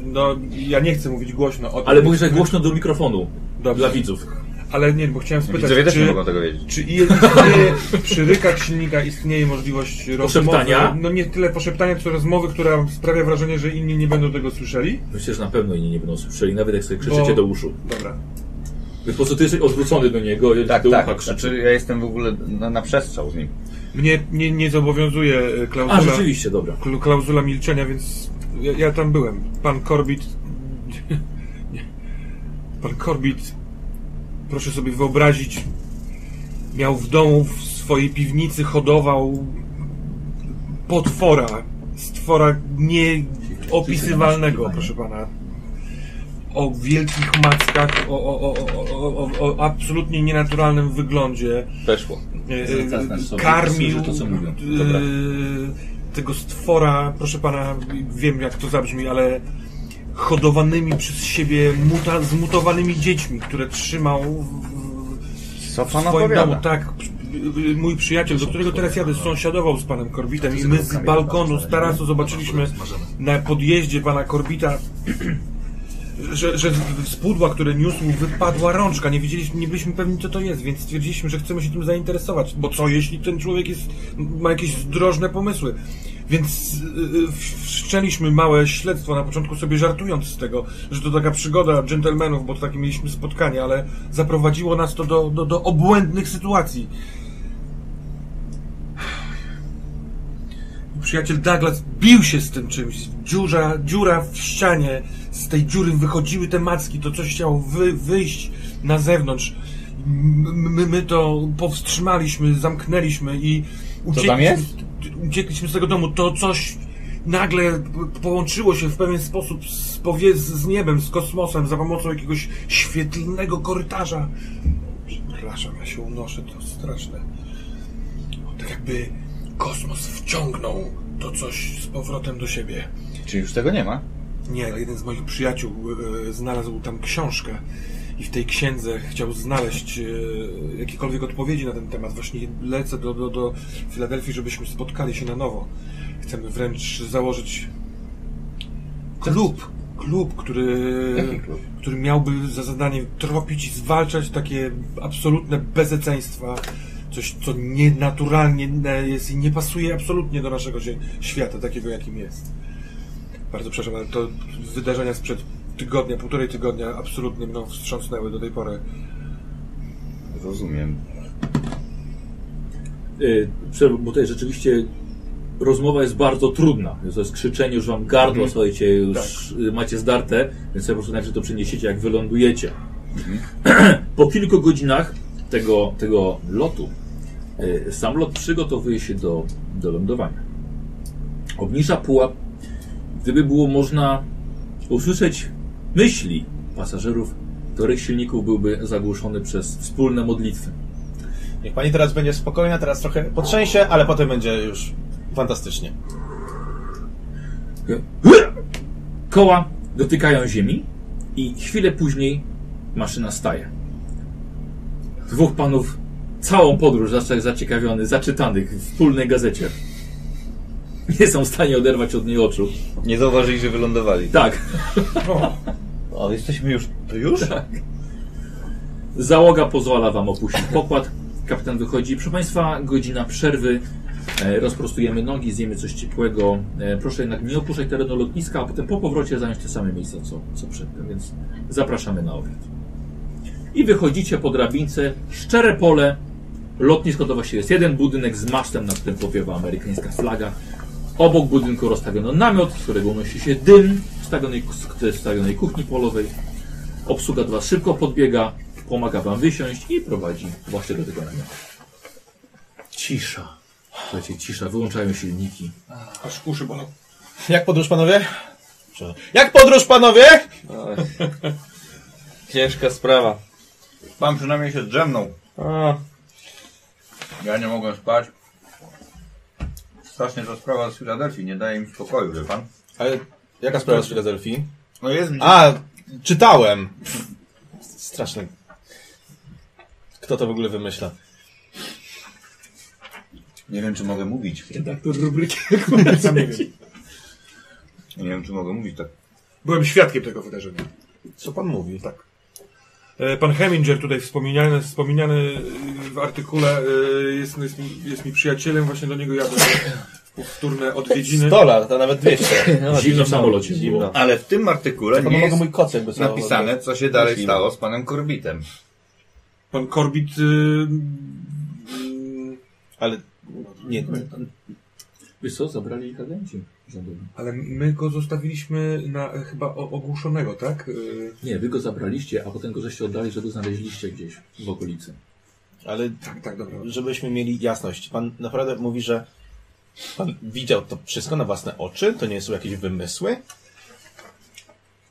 [SPEAKER 4] no, ja nie chcę mówić głośno o tym.
[SPEAKER 1] Ale mówię, że głośno do mikrofonu.
[SPEAKER 4] Dobrze.
[SPEAKER 1] Dla widzów.
[SPEAKER 4] Ale nie, bo chciałem spytać,
[SPEAKER 2] Widzowie też nie
[SPEAKER 4] czy,
[SPEAKER 2] mogą tego wiedzieć.
[SPEAKER 4] czy istnieje, [LAUGHS] przy rykach silnika istnieje możliwość rozmowy?
[SPEAKER 1] Poszeptania?
[SPEAKER 4] No nie tyle poszeptania, co rozmowy, która sprawia wrażenie, że inni nie będą tego słyszeli.
[SPEAKER 1] Myślę, że na pewno inni nie będą słyszeli, nawet jak sobie krzyczycie
[SPEAKER 4] Bo-
[SPEAKER 1] do uszu.
[SPEAKER 4] Dobra.
[SPEAKER 1] Po prostu ty jesteś odwrócony do niego,
[SPEAKER 2] Tak,
[SPEAKER 1] do ucha
[SPEAKER 2] tak.
[SPEAKER 1] krzyczy.
[SPEAKER 2] Znaczy, ja jestem w ogóle na, na przestrzał z nim.
[SPEAKER 4] Mnie nie, nie zobowiązuje e,
[SPEAKER 1] A,
[SPEAKER 4] klauzula,
[SPEAKER 1] rzeczywiście, dobra.
[SPEAKER 4] kl- klauzula milczenia, więc ja, ja tam byłem. Pan Corbett... nie. [LAUGHS] Pan Corbett, proszę sobie wyobrazić, miał w domu, w swojej piwnicy hodował potwora, stwora nieopisywalnego, proszę pana. O wielkich mackach, o, o, o, o, o, o, o absolutnie nienaturalnym wyglądzie.
[SPEAKER 5] Weszło.
[SPEAKER 4] E,
[SPEAKER 1] Zaznacz sobie,
[SPEAKER 4] karmił
[SPEAKER 1] słyszę to, co mówią.
[SPEAKER 4] e,
[SPEAKER 1] Dobra.
[SPEAKER 4] tego stwora, proszę pana, wiem jak to zabrzmi, ale hodowanymi przez siebie muta, zmutowanymi dziećmi, które trzymał w,
[SPEAKER 2] Co
[SPEAKER 4] w
[SPEAKER 2] pan
[SPEAKER 4] swoim
[SPEAKER 2] opowiada?
[SPEAKER 4] domu. Tak, przy- y, y, mój przyjaciel, do którego teraz jadę, sąsiadował z panem Korbitem i my z balkonu, z tarasu zobaczyliśmy na podjeździe pana Korbita że, że z- z pudła, które niósł, mu wypadła rączka. Nie wiedzieliśmy, nie byliśmy pewni, co to jest, więc stwierdziliśmy, że chcemy się tym zainteresować. Bo co, jeśli ten człowiek jest, ma jakieś zdrożne pomysły? Więc yy, wszczęliśmy małe śledztwo, na początku sobie żartując z tego, że to taka przygoda dżentelmenów, bo to takie mieliśmy spotkanie, ale zaprowadziło nas to do, do, do obłędnych sytuacji. Przyjaciel Douglas bił się z tym czymś. Dziura, dziura w ścianie. Z tej dziury wychodziły te macki. To coś chciało wy, wyjść na zewnątrz. M- My, my to powstrzymaliśmy, zamknęliśmy i uciekliśmy,
[SPEAKER 5] tam jest?
[SPEAKER 4] uciekliśmy z tego domu. To coś nagle połączyło się w pewien sposób z, powie, z niebem, z kosmosem za pomocą jakiegoś świetlnego korytarza. Przepraszam, ja się unoszę, to straszne. Tak jakby kosmos wciągnął to coś z powrotem do siebie.
[SPEAKER 2] Czy już tego nie ma?
[SPEAKER 4] Nie, ale jeden z moich przyjaciół e, znalazł tam książkę i w tej księdze chciał znaleźć e, jakiekolwiek odpowiedzi na ten temat. Właśnie lecę do, do, do Filadelfii, żebyśmy spotkali się na nowo. Chcemy wręcz założyć klub, klub,
[SPEAKER 3] Y-
[SPEAKER 4] który, który miałby za zadanie tropić i zwalczać takie absolutne bezeceństwa. Coś, co nienaturalnie jest i nie pasuje absolutnie do naszego zie- świata, takiego jakim jest. Bardzo przepraszam, ale to wydarzenia sprzed tygodnia, półtorej tygodnia absolutnie mną wstrząsnęły do tej pory.
[SPEAKER 2] Rozumiem.
[SPEAKER 1] Y, prze- bo tutaj rzeczywiście rozmowa jest bardzo trudna. To jest krzyczenie, już wam gardło, słuchajcie, już y, macie zdarte, więc sobie po prostu najpierw to przeniesiecie, jak wylądujecie. [CLEARS THROAT] po kilku godzinach tego, tego lotu, y, sam lot przygotowuje się do, do lądowania. Obniża pułap. Gdyby było można usłyszeć myśli pasażerów, których silników byłby zagłuszony przez wspólne modlitwy.
[SPEAKER 3] Niech pani teraz będzie spokojna, teraz trochę potrzęsie, ale potem będzie już fantastycznie.
[SPEAKER 1] Koła dotykają ziemi i chwilę później maszyna staje. Dwóch panów całą podróż został zaciekawionych, zaczytanych w wspólnej gazecie. Nie są w stanie oderwać od niej oczu.
[SPEAKER 2] Nie zauważyli, że wylądowali.
[SPEAKER 1] Tak,
[SPEAKER 2] O, jesteśmy już... To już?
[SPEAKER 1] załoga pozwala wam opuścić pokład. Kapitan wychodzi. Proszę Państwa, godzina przerwy. E, Rozprostujemy nogi, zjemy coś ciepłego. E, Proszę jednak nie opuszczać terenu lotniska, a potem po powrocie zająć te same miejsca, co, co przedtem, więc zapraszamy na obiad. I wychodzicie po drabince, szczere pole, lotnisko to właściwie jest jeden budynek z masztem, nad którym powiewa amerykańska flaga. Obok budynku rozstawiono namiot, z którego unosi się dym z stawionej, z stawionej kuchni polowej. Obsługa do Was szybko podbiega, pomaga Wam wysiąść i prowadzi właśnie do tego namiotu. Cisza. Słuchajcie, cisza, wyłączają silniki.
[SPEAKER 4] Aż kuszy bolą.
[SPEAKER 3] [LAUGHS] Jak podróż, panowie? Przepraszam. Jak podróż, panowie?
[SPEAKER 5] Ciężka sprawa.
[SPEAKER 2] Pan przynajmniej się drzemnął.
[SPEAKER 5] A,
[SPEAKER 2] Ja nie mogłem spać. Strasznie ta sprawa z Filadelfii, nie daje mi spokoju, wie pan.
[SPEAKER 3] Ale jaka sprawa z Filadelfii?
[SPEAKER 2] No jest...
[SPEAKER 3] A, czytałem. Straszne. Kto to w ogóle wymyśla?
[SPEAKER 2] Nie wiem, czy mogę mówić.
[SPEAKER 7] Redaktor rubryki.
[SPEAKER 4] Sam nie wiem.
[SPEAKER 2] Nie wiem, czy mogę mówić tak.
[SPEAKER 4] Byłem świadkiem tego wydarzenia.
[SPEAKER 3] Co pan mówi?
[SPEAKER 4] Tak. E, Pan Heminger tutaj wspomniany, wspomniany y, w artykule y, jest, jest, mi- jest mi przyjacielem, właśnie do niego jadę w- w turne odwiedziny.
[SPEAKER 3] 100 lat, a
[SPEAKER 2] [LAUGHS]
[SPEAKER 3] nawet 200.
[SPEAKER 1] No, Zimno w samolocie
[SPEAKER 3] Zimno.
[SPEAKER 1] było.
[SPEAKER 2] Ale w tym artykule
[SPEAKER 3] To
[SPEAKER 2] No, nie
[SPEAKER 3] mogę
[SPEAKER 2] jest no,
[SPEAKER 3] mój koc jakby co-
[SPEAKER 2] napisane, co się dalej
[SPEAKER 3] Myślimy.
[SPEAKER 2] stało z panem Korbitem.
[SPEAKER 4] Pan Korbit y, y,
[SPEAKER 3] Ale nie,
[SPEAKER 1] Wiesz co, zabrali ich agenci rządowi.
[SPEAKER 4] ale my go zostawiliśmy na e, chyba o- ogłuszonego, tak? Y,
[SPEAKER 1] Nie, wy go zabraliście, a potem go żeście oddali, że go znaleźliście gdzieś w okolicy.
[SPEAKER 3] ale
[SPEAKER 4] Tak, tak, dobra.
[SPEAKER 3] żebyśmy mieli jasność. Pan naprawdę mówi, że pan widział to wszystko na własne oczy? To nie są jakieś wymysły?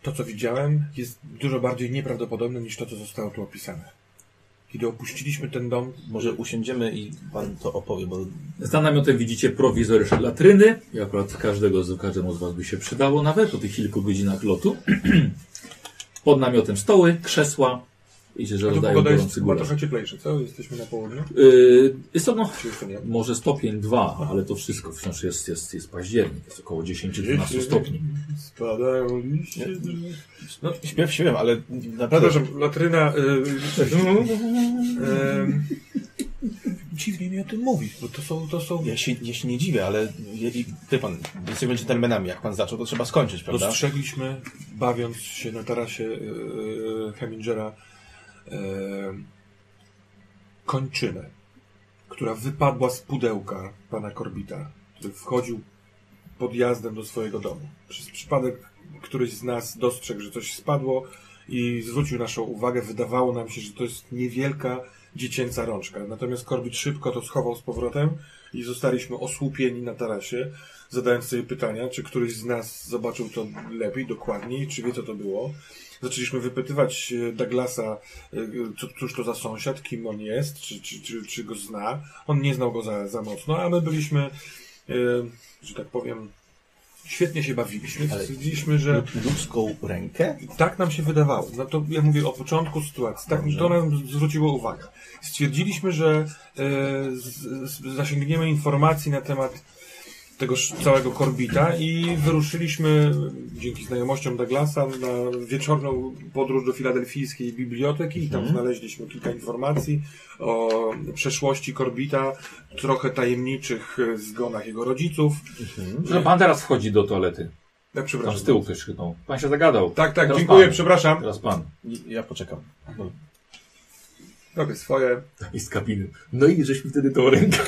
[SPEAKER 4] To, co widziałem, jest dużo bardziej nieprawdopodobne niż to, co zostało tu opisane. Kiedy opuściliśmy ten dom,
[SPEAKER 3] Może usiądziemy i pan to opowie, bo
[SPEAKER 1] Za namiotem widzicie prowizoryczne latryny. I akurat każdego z, każdemu z was by się przydało, nawet po tych kilku godzinach lotu. [CLEARS THROAT] Pod namiotem stoły, krzesła. Widzicie, że
[SPEAKER 4] to
[SPEAKER 1] rozdają
[SPEAKER 4] pogoda jest
[SPEAKER 1] gorący
[SPEAKER 4] chyba
[SPEAKER 1] gulasz.
[SPEAKER 4] trochę cieplejsza, co? Jesteśmy na południu?
[SPEAKER 1] Yy, jest to, no,
[SPEAKER 4] Czy jeszcze nie?
[SPEAKER 1] może stopień 2, ale to wszystko wciąż jest, jest, jest październik. Jest około 10-12 stopni.
[SPEAKER 4] Spadają liście. drzew.
[SPEAKER 3] śpiew śpiewem, ale naprawdę
[SPEAKER 4] Przepraszam, latryna. Yy, dziwnie mi o tym mówisz, bo to są. To są
[SPEAKER 3] Ja się, ja się nie dziwię, ale je, i- wie pan, jesteśmy dżentelmenami. Jak pan zaczął, to trzeba skończyć, prawda?
[SPEAKER 4] dostrzegliśmy, bawiąc się na tarasie yy, Hemingera, yy, kończynę, która wypadła z pudełka pana Korbita, który wchodził podjazdem do swojego domu. Przez przypadek któryś z nas dostrzegł, że coś spadło i zwrócił naszą uwagę. Wydawało nam się, że to jest niewielka dziecięca rączka. Natomiast Korbit szybko to schował z powrotem i zostaliśmy osłupieni na tarasie, zadając sobie pytania, czy któryś z nas zobaczył to lepiej, dokładniej, czy wie co to było. Zaczęliśmy wypytywać e, Douglasa, e, co, cóż to za sąsiad, kim on jest, czy, czy, czy, czy go zna. On nie znał go za, za mocno, a my byliśmy, e, że tak powiem, świetnie się bawiliśmy.
[SPEAKER 3] Ale-
[SPEAKER 4] Stwierdziliśmy, że
[SPEAKER 3] Ludzką rękę?
[SPEAKER 4] tak nam się wydawało. No to ja mówię o początku sytuacji. Tak to nam zwróciło uwagę. Stwierdziliśmy, że e, z, z, zasięgniemy informacji na temat tego sz- całego korbita i wyruszyliśmy dzięki znajomościom Douglasa na wieczorną podróż do filadelfijskiej biblioteki i tam znaleźliśmy kilka informacji o przeszłości korbita, trochę tajemniczych e, zgonach jego rodziców.
[SPEAKER 1] Że pan teraz wchodzi do toalety.
[SPEAKER 4] Ja,
[SPEAKER 1] Tam z
[SPEAKER 4] Tak, przepraszam.
[SPEAKER 1] tyłu ktoś chytnął. Pan się zagadał.
[SPEAKER 4] Tak, tak,
[SPEAKER 1] Teraz
[SPEAKER 4] dziękuję,
[SPEAKER 1] pan.
[SPEAKER 4] przepraszam.
[SPEAKER 1] Teraz pan.
[SPEAKER 3] Ja poczekam. No. Bo
[SPEAKER 4] Robię swoje.
[SPEAKER 1] Tam jest Tak, kabiny. No i żeśmy wtedy tą rękę. [LAUGHS]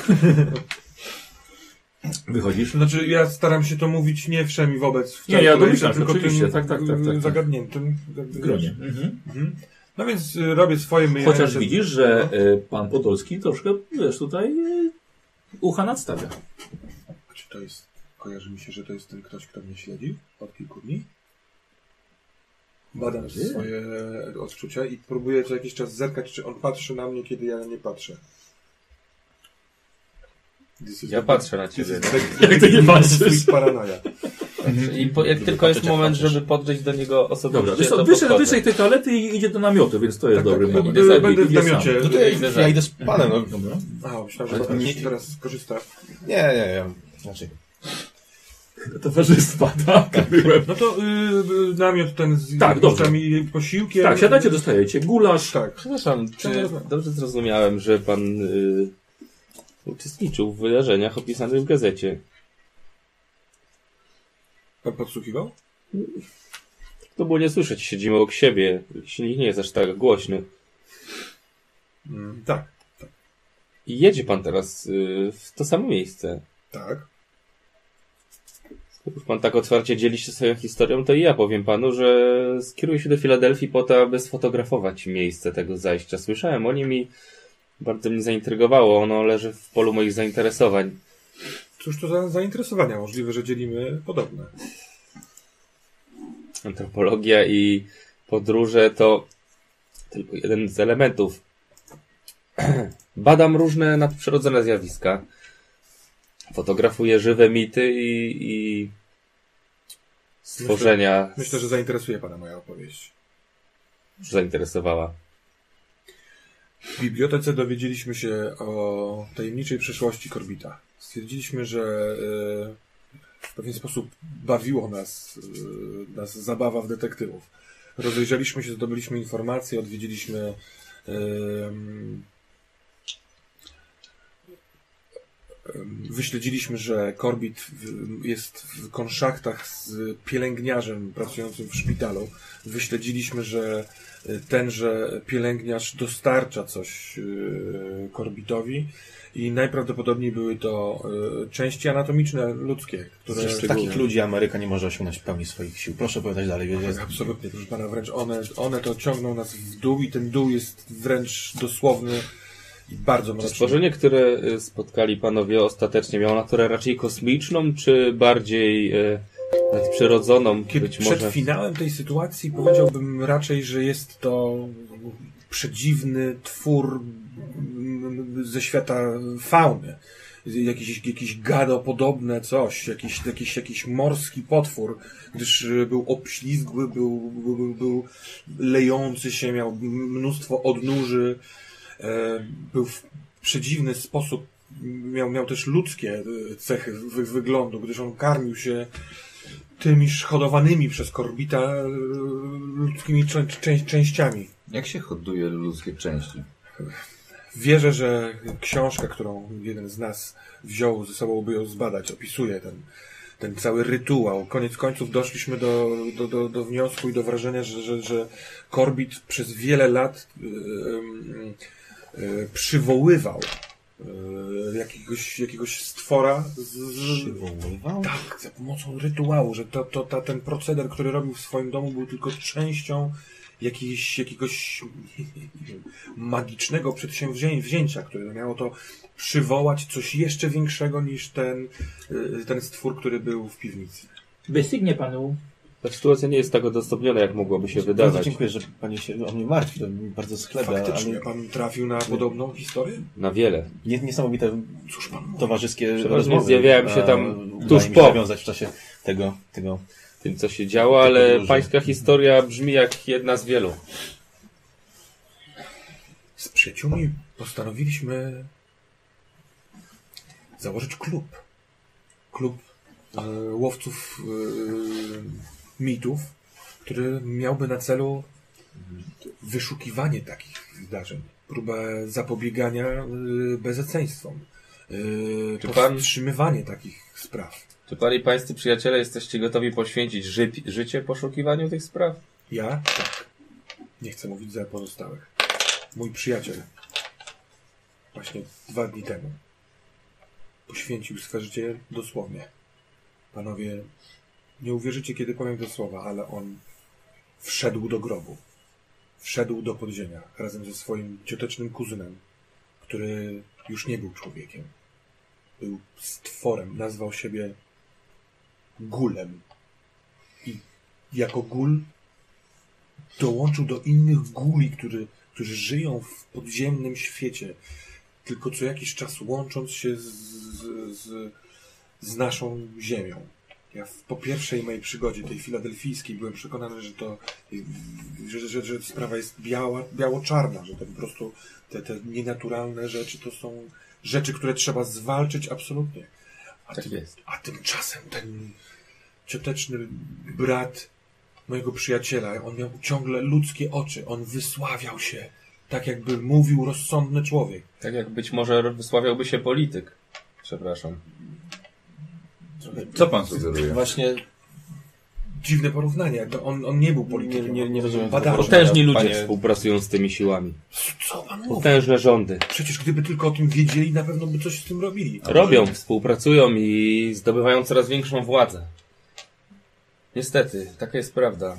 [SPEAKER 1] Wychodzisz?
[SPEAKER 4] Znaczy, ja staram się to mówić nie wszem i wobec w
[SPEAKER 1] Nie,
[SPEAKER 4] całej
[SPEAKER 1] ja
[SPEAKER 4] kolejce,
[SPEAKER 1] domyślam się, oczywiście, tak, tak, tak,
[SPEAKER 4] y,
[SPEAKER 1] tak, tak.
[SPEAKER 4] zagadniętym
[SPEAKER 1] W gronie. Mhm.
[SPEAKER 4] No więc y, robię swoje myjenie.
[SPEAKER 1] Chociaż widzisz, że e, pan Podolski troszkę, wiesz, tutaj e, ucha nadstawia.
[SPEAKER 4] Czy to jest. Kojarzy mi się, że to jest ten ktoś, kto mnie śledził od kilku dni. Badam
[SPEAKER 1] Wie.
[SPEAKER 4] swoje odczucia i próbuję co jakiś czas zerkać, czy on patrzy na mnie, kiedy ja nie patrzę. This is
[SPEAKER 5] Ja
[SPEAKER 4] the-
[SPEAKER 5] patrzę na
[SPEAKER 4] this
[SPEAKER 5] ciebie.
[SPEAKER 4] is
[SPEAKER 1] [LAUGHS]
[SPEAKER 4] the-
[SPEAKER 1] Jak ty nie patrzysz?
[SPEAKER 4] this paranoia.
[SPEAKER 5] I po, jak tylko jest moment, żeby podejść do niego osobiście,
[SPEAKER 1] Dobra, wiesz
[SPEAKER 5] to
[SPEAKER 1] co, wyszedł,
[SPEAKER 5] podchodzę.
[SPEAKER 1] wyszedł tej toalety i idzie do namiotu, więc to jest
[SPEAKER 4] Tak,
[SPEAKER 1] dobry
[SPEAKER 4] tak,
[SPEAKER 1] moment.
[SPEAKER 4] będę-
[SPEAKER 5] Idę za-
[SPEAKER 4] Będę w
[SPEAKER 1] idę sam.
[SPEAKER 4] namiocie.
[SPEAKER 3] no to ja,
[SPEAKER 5] idę za-
[SPEAKER 3] ja idę z panem. No.
[SPEAKER 1] Dobra.
[SPEAKER 4] A, myślałem, że pan
[SPEAKER 3] nie-
[SPEAKER 4] teraz skorzysta.
[SPEAKER 3] Nie, nie, nie. Znaczy,
[SPEAKER 1] Towarzystwa, [LAUGHS] tak, byłem.
[SPEAKER 4] No to y, y, namiot ten z
[SPEAKER 1] Tak, dobrze.
[SPEAKER 4] i posiłkiem.
[SPEAKER 1] Tak, siadacie, dostajecie gulasz.
[SPEAKER 4] Tak.
[SPEAKER 5] Przepraszam, czy
[SPEAKER 4] Przepraszam.
[SPEAKER 5] dobrze zrozumiałem, że pan y, uczestniczył w wydarzeniach opisanych w gazecie?
[SPEAKER 4] Pan podsłuchiwał?
[SPEAKER 5] To było nie słyszeć, siedzimy obok siebie, silnik nie jest aż tak głośny.
[SPEAKER 4] tak.
[SPEAKER 5] I jedzie pan teraz y, w to samo miejsce.
[SPEAKER 4] Tak.
[SPEAKER 5] Skoro już pan tak otwarcie dzieli się swoją historią, to i ja powiem panu, że skieruję się do Filadelfii po to, aby sfotografować miejsce tego zajścia. Słyszałem o nim i bardzo mnie zaintrygowało. Ono leży w polu moich zainteresowań.
[SPEAKER 4] Cóż to za zainteresowania? Możliwe, że dzielimy podobne.
[SPEAKER 5] Antropologia i podróże to tylko jeden z elementów. [CLEARS THROAT] Badam różne nadprzyrodzone zjawiska. Fotografuję żywe mity i, i stworzenia.
[SPEAKER 4] Myślę, że zainteresuje pana moja opowieść.
[SPEAKER 5] zainteresowała.
[SPEAKER 4] W bibliotece dowiedzieliśmy się o tajemniczej przeszłości Korbita. Stwierdziliśmy, że e, w pewien sposób bawiło nas, e, nas zabawa w detektywów. Rozejrzeliśmy się, zdobyliśmy informacje, odwiedziliśmy e, em, Wyśledziliśmy, że Korbit w- jest w konszachtach z pielęgniarzem pracującym w szpitalu. Wyśledziliśmy, że y, tenże pielęgniarz dostarcza coś y, Korbitowi i najprawdopodobniej były to y, części anatomiczne ludzkie, które
[SPEAKER 3] Przecież takich ludzi Ameryka nie może osiągnąć w pełni swoich sił. Proszę opowiadać dalej. Jest,
[SPEAKER 4] Tak, absolutnie, proszę pana, wręcz one, one to ciągną nas w dół i ten dół jest wręcz dosłowny i bardzo mroczny.
[SPEAKER 5] Stworzenie, które y, spotkali panowie ostatecznie, miało naturę raczej kosmiczną, czy bardziej y, nadprzyrodzoną?
[SPEAKER 4] Kiedy
[SPEAKER 5] być
[SPEAKER 4] przed
[SPEAKER 5] może.
[SPEAKER 4] finałem tej sytuacji powiedziałbym raczej, że jest to przedziwny twór mm, ze świata fauny. Jakiś, jakiś gadopodobne coś, jakiś, jakiś, jakiś morski potwór, gdyż y, był obślizgły, był, był, był, był lejący się, miał mnóstwo odnóży, e, był w przedziwny sposób, miał, miał też ludzkie y, cechy wy, wyglądu, gdyż on karmił się tymiż hodowanymi przez Korbita y, ludzkimi czę- czę- częściami.
[SPEAKER 2] Jak się hoduje ludzkie części?
[SPEAKER 4] Wierzę, że książka, którą jeden z nas wziął ze sobą, by ją zbadać, opisuje ten, ten cały rytuał. Koniec końców doszliśmy do, do, do, do wniosku i do wrażenia, że, że, że Korbit przez wiele lat y, y, y, przywoływał y, jakiegoś, jakiegoś stwora z, z,
[SPEAKER 3] Przywoływał?
[SPEAKER 4] tak, za pomocą rytuału, że to, to, ta, ten proceder, który robił w swoim domu, był tylko częścią jakiejś, jakiegoś [LAUGHS] nie wiem, magicznego przedsięwzięcia, które miało to przywołać coś jeszcze większego niż ten, y, ten stwór, który był w piwnicy.
[SPEAKER 6] Wystygnie panu.
[SPEAKER 5] Ta sytuacja nie jest tak udostępniona, jak mogłoby się
[SPEAKER 3] Bardzo
[SPEAKER 5] wydawać.
[SPEAKER 3] dziękuję, że Pani się o mnie martwi. To mi bardzo schlebia,
[SPEAKER 4] Faktycznie,
[SPEAKER 3] ale
[SPEAKER 4] pan trafił na podobną historię?
[SPEAKER 5] Na wiele.
[SPEAKER 3] nie- niesamowite
[SPEAKER 4] Cóż pan mówi?
[SPEAKER 3] towarzyskie
[SPEAKER 5] Przeważnie
[SPEAKER 3] rozmowy.
[SPEAKER 5] zjawiałem się tam
[SPEAKER 3] e, udaje
[SPEAKER 5] tuż
[SPEAKER 3] mi się
[SPEAKER 5] po.
[SPEAKER 3] nawiązać w czasie tego, tego
[SPEAKER 5] Tym, co się działo, ale
[SPEAKER 3] dużo.
[SPEAKER 5] pańska historia brzmi jak jedna z wielu.
[SPEAKER 4] Z przyjaciółmi postanowiliśmy założyć klub. Klub e, łowców e, mitów, który miałby na celu wyszukiwanie takich zdarzeń, próbę zapobiegania e, bezeceństwom, e,
[SPEAKER 5] Czy pan-
[SPEAKER 4] powstrzymywanie takich spraw.
[SPEAKER 5] Czy pan i pańscy przyjaciele jesteście gotowi poświęcić ży życie poszukiwaniu tych spraw?
[SPEAKER 4] Ja? Tak. Nie chcę mówić za pozostałych. Mój przyjaciel właśnie dwa dni temu poświęcił swe życie dosłownie. Panowie, nie uwierzycie, kiedy powiem te słowa, ale on wszedł do grobu. Wszedł do podziemia razem ze swoim ciotecznym kuzynem, który już nie był człowiekiem. Był stworem. Nazwał siebie gulem. I jako gul dołączył do innych guli, który, którzy żyją w podziemnym świecie, tylko co jakiś czas łącząc się z, z, z, z naszą ziemią. Ja w, po pierwszej mojej przygodzie, tej filadelfijskiej, byłem przekonany, że to że, że, że sprawa jest biała, biało-czarna, że to po prostu te, te nienaturalne rzeczy to są rzeczy, które trzeba zwalczyć absolutnie. A
[SPEAKER 5] Tak jest.
[SPEAKER 4] a tymczasem ten cioteczny brat mojego przyjaciela, on miał ciągle ludzkie oczy, on wysławiał się, tak jakby mówił rozsądny człowiek.
[SPEAKER 5] Tak jak być może wysławiałby się polityk. Przepraszam.
[SPEAKER 2] Co pan sugeruje?
[SPEAKER 3] właśnie
[SPEAKER 4] Dziwne porównanie, to on, on nie był
[SPEAKER 3] nie,
[SPEAKER 4] politykiem.
[SPEAKER 3] nie, nie rozumiem.
[SPEAKER 4] Badacze.
[SPEAKER 5] Potężni ludzie
[SPEAKER 3] Panie-
[SPEAKER 5] współpracują z tymi siłami.
[SPEAKER 4] Co pan mówi?
[SPEAKER 5] Potężne rządy.
[SPEAKER 4] Przecież gdyby tylko o tym wiedzieli, na pewno by coś z tym robili.
[SPEAKER 5] Robią, współpracują i zdobywają coraz większą władzę. Niestety, taka jest prawda.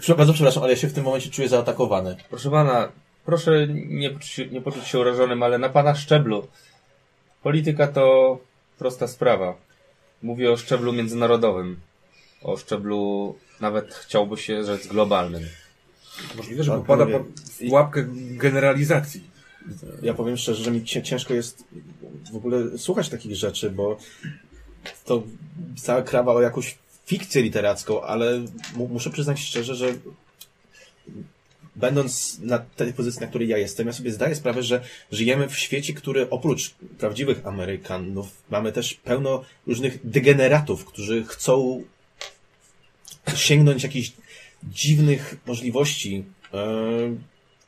[SPEAKER 3] Prze- Bardzo przepraszam, ale ja się w tym momencie czuję zaatakowany.
[SPEAKER 5] Proszę pana, proszę nie, poczuć się- nie poczuć się urażonym, ale na pana szczeblu. Polityka to prosta sprawa. Mówię o szczeblu międzynarodowym. O szczeblu nawet chciałby się rzec globalnym.
[SPEAKER 4] Możliwe, że
[SPEAKER 3] Tak,
[SPEAKER 4] popada
[SPEAKER 3] mówię.
[SPEAKER 4] pan w łapkę generalizacji.
[SPEAKER 3] Ja powiem szczerze, że mi cię- ciężko jest w ogóle słuchać takich rzeczy, bo to cała krawa o jakąś fikcję literacką, ale mu, muszę przyznać szczerze, że będąc na tej pozycji, na której ja jestem, ja sobie zdaję sprawę, że żyjemy w świecie, który oprócz prawdziwych Amerykanów mamy też pełno różnych degeneratów, którzy chcą sięgnąć jakichś dziwnych możliwości, e,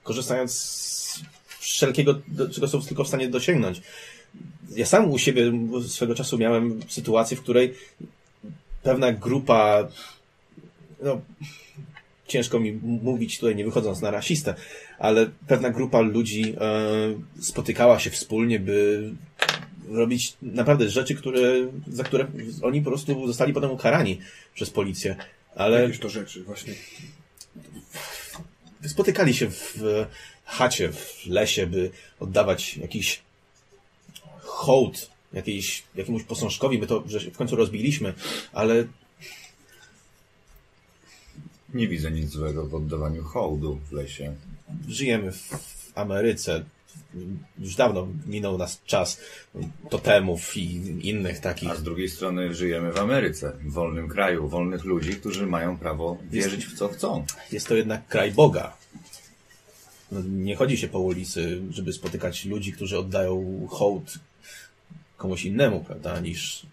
[SPEAKER 3] korzystając z wszelkiego, do, czego są tylko w stanie dosięgnąć. Ja sam u siebie swego czasu miałem sytuację, w której pewna grupa, no, ciężko mi mówić tutaj, nie wychodząc na rasistę, ale pewna grupa ludzi e, spotykała się wspólnie, by robić naprawdę rzeczy, które, za które oni po prostu zostali potem ukarani przez policję. Ale
[SPEAKER 4] Jakieś to rzeczy, właśnie.
[SPEAKER 3] spotykali się w e, chacie, w lesie, by oddawać jakiś hołd jakiejś, jakiemuś posążkowi. My to że w końcu rozbiliśmy, ale
[SPEAKER 2] Nie widzę nic złego w oddawaniu hołdu w lesie.
[SPEAKER 3] żyjemy w w Ameryce. Już dawno minął nas czas totemów i innych takich.
[SPEAKER 2] A z drugiej strony żyjemy w Ameryce, w wolnym kraju, wolnych ludzi, którzy mają prawo wierzyć w co chcą.
[SPEAKER 3] Jest to jednak kraj Boga. No, Nie chodzi się po ulicy, żeby spotykać ludzi, którzy oddają hołd komuś innemu, prawda, niż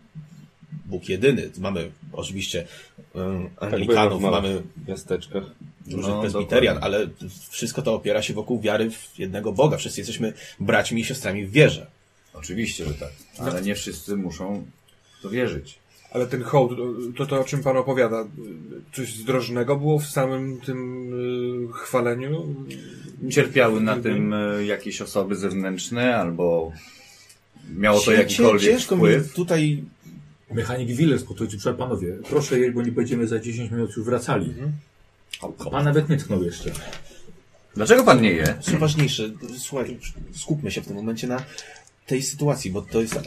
[SPEAKER 3] Bóg jedyny. Mamy oczywiście um, Anglikanów,
[SPEAKER 5] bywa Tak, w
[SPEAKER 3] mamy
[SPEAKER 5] W miasteczkach.
[SPEAKER 3] różnych
[SPEAKER 2] No,
[SPEAKER 3] prezbiterian, ale wszystko to opiera się wokół wiary w jednego Boga. Wszyscy jesteśmy braćmi i siostrami w wierze.
[SPEAKER 2] Oczywiście, że tak. Ale nie wszyscy muszą w to wierzyć.
[SPEAKER 4] Ale ten hołd, to to o czym pan opowiada, coś zdrożnego było w samym tym y, chwaleniu?
[SPEAKER 2] Cierpiały na tym e, jakieś osoby zewnętrzne albo miało No to
[SPEAKER 3] Cię-
[SPEAKER 2] jakikolwiek
[SPEAKER 3] Ciężko mi
[SPEAKER 2] wpływ.
[SPEAKER 3] tutaj
[SPEAKER 1] Mechanik Willer spotkał ci, prze- panowie, proszę jeść, bo nie będziemy za 10 minut już wracali. Pan Mhm. nawet nie tknął jeszcze.
[SPEAKER 2] Dlaczego pan nie je?
[SPEAKER 3] są ważniejsze. Słuchaj, skupmy się w tym momencie na tej sytuacji, bo to jest.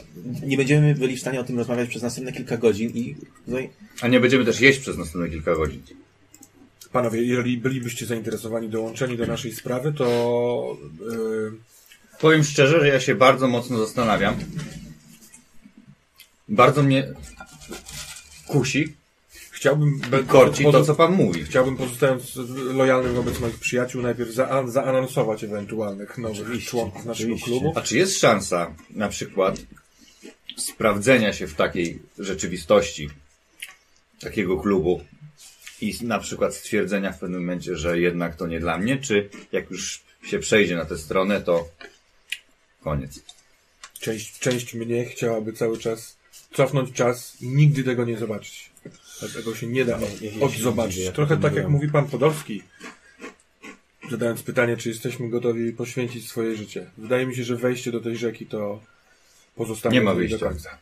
[SPEAKER 3] Nie będziemy byli w stanie o tym rozmawiać przez następne kilka godzin i tutaj
[SPEAKER 2] A nie będziemy też jeść przez następne kilka godzin.
[SPEAKER 4] Panowie, jeżeli bylibyście zainteresowani dołączeni do naszej sprawy, to y,
[SPEAKER 2] Powiem szczerze, że ja się bardzo mocno zastanawiam. Bardzo mnie kusi
[SPEAKER 4] e, chciałbym...
[SPEAKER 2] i korci
[SPEAKER 4] pozo-
[SPEAKER 2] to, co pan mówi.
[SPEAKER 4] Chciałbym, pozostając lojalnym wobec moich przyjaciół, najpierw za zaanonsować ewentualnych nowych członków naszego klubu.
[SPEAKER 2] A czy jest szansa na przykład sprawdzenia się w takiej rzeczywistości takiego klubu i na przykład stwierdzenia w pewnym momencie, że jednak to nie dla mnie, czy jak już się przejdzie na tę stronę, to koniec.
[SPEAKER 4] Część, część mnie chciałaby cały czas cofnąć czas i nigdy tego nie zobaczyć. Dlatego się nie da
[SPEAKER 2] No,
[SPEAKER 4] od- odzobaczyć. Trochę tak jak mówi pan Podolski, zadając pytanie, czy jesteśmy gotowi poświęcić swoje życie. Wydaje mi się, że wejście do tej rzeki to pozostanie
[SPEAKER 2] Nie ma
[SPEAKER 4] tutaj do
[SPEAKER 2] wyjścia.
[SPEAKER 4] końca.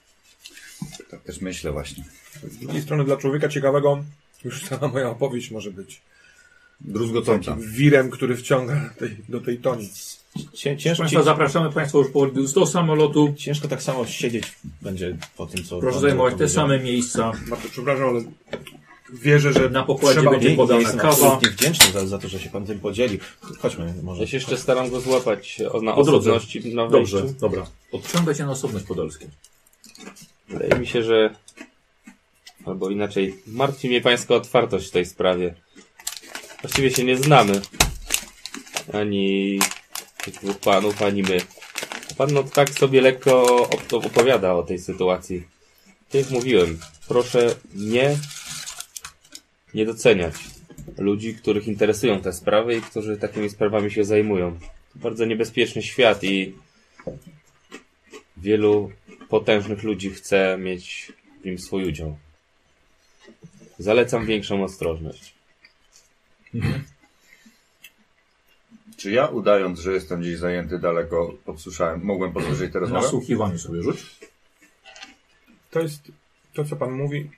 [SPEAKER 2] Tak też myślę właśnie.
[SPEAKER 4] Z drugiej strony dla człowieka ciekawego już sama moja opowieść może być
[SPEAKER 2] Druzgocąca.
[SPEAKER 4] wirem, który wciąga tej, do tej toni.
[SPEAKER 3] cię- ciężko,
[SPEAKER 1] Państwa,
[SPEAKER 3] cię-
[SPEAKER 1] zapraszamy Państwa już po do samolotu.
[SPEAKER 3] ciężko tak samo siedzieć będzie po tym, co.
[SPEAKER 1] Proszę
[SPEAKER 3] pan
[SPEAKER 1] zajmować te
[SPEAKER 3] powiedział.
[SPEAKER 1] same miejsca.
[SPEAKER 4] Bardzo przepraszam, ale wierzę, że
[SPEAKER 1] Na pokładzie
[SPEAKER 4] trzeba
[SPEAKER 1] będzie
[SPEAKER 3] Nie,
[SPEAKER 1] podana
[SPEAKER 3] ja jestem
[SPEAKER 1] kawa.
[SPEAKER 3] absolutnie wdzięczny za, za to, że się pan tym podzielił. Chodźmy, może.
[SPEAKER 5] Ja się jeszcze staram go złapać o- na
[SPEAKER 1] Po drodze.
[SPEAKER 5] osobności na wejściu.
[SPEAKER 1] Dobrze, dobra. Odciągaj się na osobność podolską.
[SPEAKER 5] Wydaje mi się, że... Albo inaczej, martwi mnie pańska otwartość w tej sprawie. Właściwie się nie znamy. Ani tych dwóch panów, ani my. A Pan no tak sobie lekko op- opowiada o tej sytuacji. Tak Jak mówiłem, proszę nie, nie doceniać ludzi, których interesują te sprawy i którzy takimi sprawami się zajmują. To bardzo niebezpieczny świat i wielu potężnych ludzi chce mieć w nim swój udział. Zalecam większą ostrożność.
[SPEAKER 2] Czy ja udając, że jestem gdzieś zajęty daleko, podsłyszałem, mogłem posłyszeć tę rozmowę?
[SPEAKER 1] Nasłuchiwanie sobie rzuć.
[SPEAKER 4] to jest to, co pan mówi.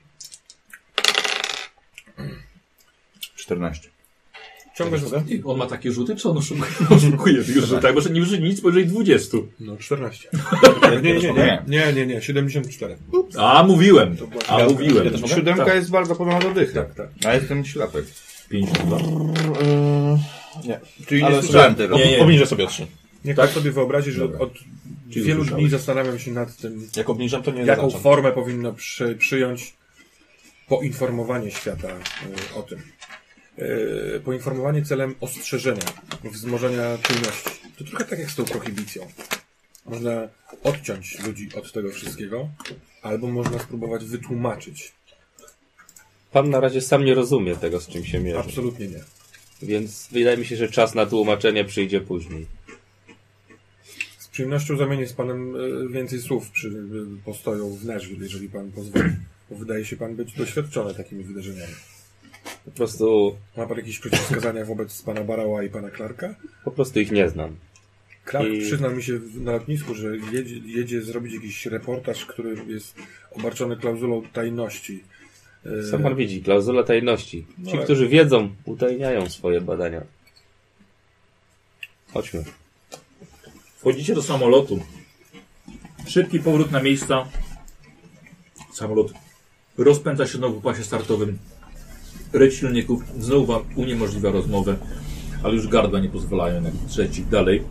[SPEAKER 2] 14.
[SPEAKER 4] Ciągle rzucę?
[SPEAKER 1] I on ma takie rzuty, czy on oszukuje? [LAUGHS] oszukuje już, że tak, bo że nie użyj nic poniżej 20.
[SPEAKER 4] No, 14. [LAUGHS] Nie, nie, nie, nie, nie, nie, nie, 74.
[SPEAKER 1] A mówiłem. A
[SPEAKER 3] Ja-
[SPEAKER 1] mówiłem.
[SPEAKER 3] ja też mogę?
[SPEAKER 2] Siódemka
[SPEAKER 1] Tak.
[SPEAKER 2] jest bardzo podobna do dychy. Tak, tak. A jestem ślepy.
[SPEAKER 1] 52.
[SPEAKER 2] Czyli
[SPEAKER 3] Ale
[SPEAKER 2] nie słyszałem
[SPEAKER 3] słuchaj,
[SPEAKER 2] tego.
[SPEAKER 1] Nie, nie.
[SPEAKER 3] Obniżę sobie o trzy.
[SPEAKER 4] Niech
[SPEAKER 1] Tak?
[SPEAKER 4] tak? sobie wyobrazi, że
[SPEAKER 1] Dobra.
[SPEAKER 4] od
[SPEAKER 1] Czyli
[SPEAKER 4] wielu
[SPEAKER 1] słyszałeś.
[SPEAKER 4] dni zastanawiam się nad tym,
[SPEAKER 3] Jak obniżam, to nie
[SPEAKER 4] jaką
[SPEAKER 3] zaznaczam.
[SPEAKER 4] formę powinno przy, przyjąć poinformowanie świata y, o tym. E, poinformowanie celem ostrzeżenia, wzmożenia czujności. To trochę tak jak z tą prohibicją. Można odciąć ludzi od tego wszystkiego, albo można spróbować wytłumaczyć.
[SPEAKER 5] Pan na razie sam nie rozumie tego, z czym się mierzy.
[SPEAKER 4] Absolutnie nie.
[SPEAKER 5] Więc wydaje mi się, że czas na tłumaczenie przyjdzie później.
[SPEAKER 4] Z przyjemnością zamienię z panem e, więcej słów przy e, postoju w Nashville, jeżeli pan pozwoli. Bo wydaje się pan być doświadczony takimi wydarzeniami.
[SPEAKER 5] Po prostu,
[SPEAKER 4] Ma pan jakieś przeciwwskazania wobec pana Barała i pana Clarka?
[SPEAKER 5] po prostu ich nie znam.
[SPEAKER 4] Clark
[SPEAKER 5] I-
[SPEAKER 4] przyznał mi się w- na lotnisku, że jedzie, jedzie zrobić jakiś reportaż, który jest obarczony klauzulą tajności. E,
[SPEAKER 5] Sam pan widzi, klauzula tajności.
[SPEAKER 1] No.
[SPEAKER 5] Ci,
[SPEAKER 4] ale-
[SPEAKER 5] którzy wiedzą, utajniają swoje badania. Chodźmy.
[SPEAKER 1] Wchodzicie do samolotu. Szybki powrót na miejsca. Samolot rozpędza się znowu w pasie startowym. Ryć silników znowu wam uniemożliwia rozmowę, ale już gardła nie pozwalają jak trzeci dalej.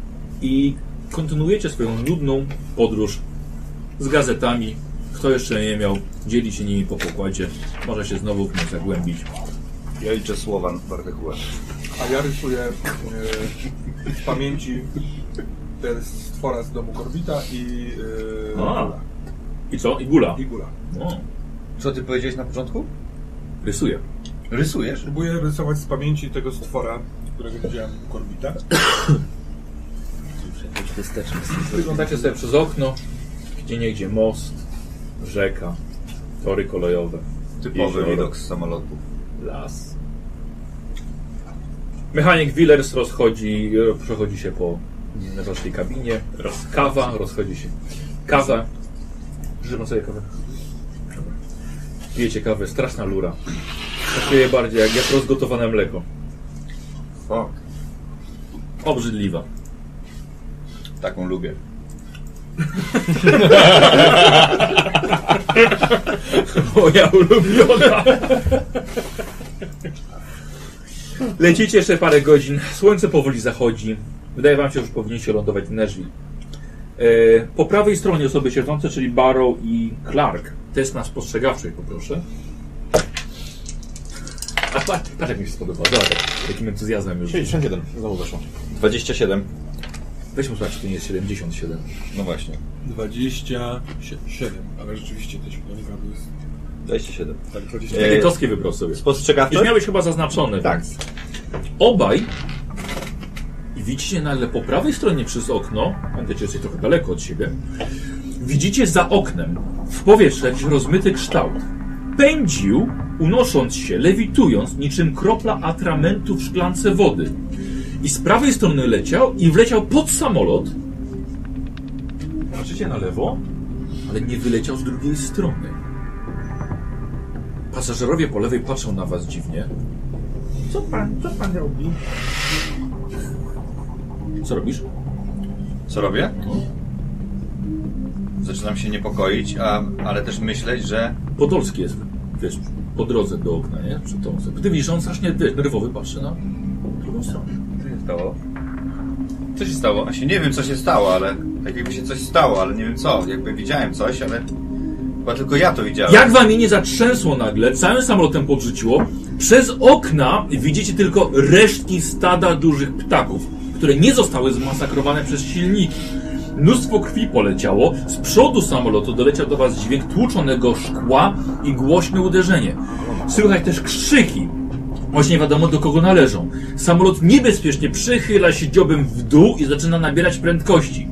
[SPEAKER 1] I kontynuujecie swoją nudną podróż z gazetami. Kto jeszcze nie miał, dzieli się nimi po pokładzie. Może się znowu w nie zagłębić.
[SPEAKER 2] Ja liczę słowa na partykułę.
[SPEAKER 4] A ja rysuję e, z pamięci te stwora z domu Korbita i, e,
[SPEAKER 1] A. I co? I gula.
[SPEAKER 4] i gula.
[SPEAKER 1] O,
[SPEAKER 2] Co ty powiedziałeś na początku?
[SPEAKER 1] rysuję.
[SPEAKER 2] Rysujesz?
[SPEAKER 4] Próbuję rysować z pamięci tego stwora, którego widziałem u Korbita.
[SPEAKER 1] Wyglądacie sobie przez okno, gdzie niegdzie most, rzeka, tory kolejowe,
[SPEAKER 2] Typowy
[SPEAKER 1] Jezioro.
[SPEAKER 2] widok z samolotu.
[SPEAKER 1] las. Mechanik Willers rozchodzi, przechodzi się po waszej kabinie. Roz, kawa, rozchodzi się. Kawa. Żywam sobie kawę. Pijecie kawę, straszna lura. Smakuje bardziej jak, jak rozgotowane mleko.
[SPEAKER 2] Fuck.
[SPEAKER 1] Obrzydliwa.
[SPEAKER 2] Taką lubię.
[SPEAKER 1] [LAUGHS] Moja ulubiona. Lecicie jeszcze parę godzin. Słońce powoli zachodzi. Wydaje wam się, że powinniście lądować w Nashville. E, po prawej stronie osoby siedzące, czyli Barrow i Clark. Test na spostrzegawczej, poproszę. A patrz, patrz jak mi się spodoba. Zobacz, jak- jakim entuzjazmem już.
[SPEAKER 3] 67, znowu weszło.
[SPEAKER 2] 27.
[SPEAKER 1] Weźmy sprawdź, czy to nie jest 77.
[SPEAKER 2] No właśnie.
[SPEAKER 4] 27, ale rzeczywiście te śmigłonika to jest
[SPEAKER 2] 27.
[SPEAKER 4] tak 20.
[SPEAKER 1] Takie toski wybrał sobie. Już
[SPEAKER 2] Spostrzegawczość?
[SPEAKER 1] miałeś chyba zaznaczone.
[SPEAKER 2] Tak.
[SPEAKER 1] więc. Obaj i widzicie nagle po prawej stronie przez okno, pamiętajcie, jesteś trochę daleko od siebie, widzicie za oknem w powietrzu jakiś rozmyty kształt. Pędził, unosząc się, lewitując, niczym kropla atramentu w szklance wody. I z prawej strony leciał i wleciał pod samolot. Patrzycie na lewo, ale nie wyleciał z drugiej strony. Pasażerowie po lewej patrzą na was dziwnie. Co pan, co pan robi? Co robisz?
[SPEAKER 2] Co robię? Zaczynam się niepokoić, a, ale też myśleć, że
[SPEAKER 1] Podolski jest, wiesz, po drodze do okna, nie? Przy tą osobę. Ty widzisz, że on strasznie wiesz, nerwowy patrzy na drugą stronę.
[SPEAKER 2] Co się stało? Co się stało? Właśnie nie wiem, co się stało, ale tak jakby się coś stało, ale nie wiem co. Jakby widziałem coś, ale chyba tylko ja to widziałem.
[SPEAKER 1] Jak wam nie zatrzęsło nagle, całym samolotem podrzuciło, przez okna widzicie tylko resztki stada dużych ptaków, które nie zostały zmasakrowane przez silniki. Mnóstwo krwi poleciało, z przodu samolotu doleciał do was dźwięk tłuczonego szkła i głośne uderzenie. Słychać też krzyki, choć nie wiadomo do kogo należą. Samolot niebezpiecznie przychyla się dziobem w dół i zaczyna nabierać prędkości.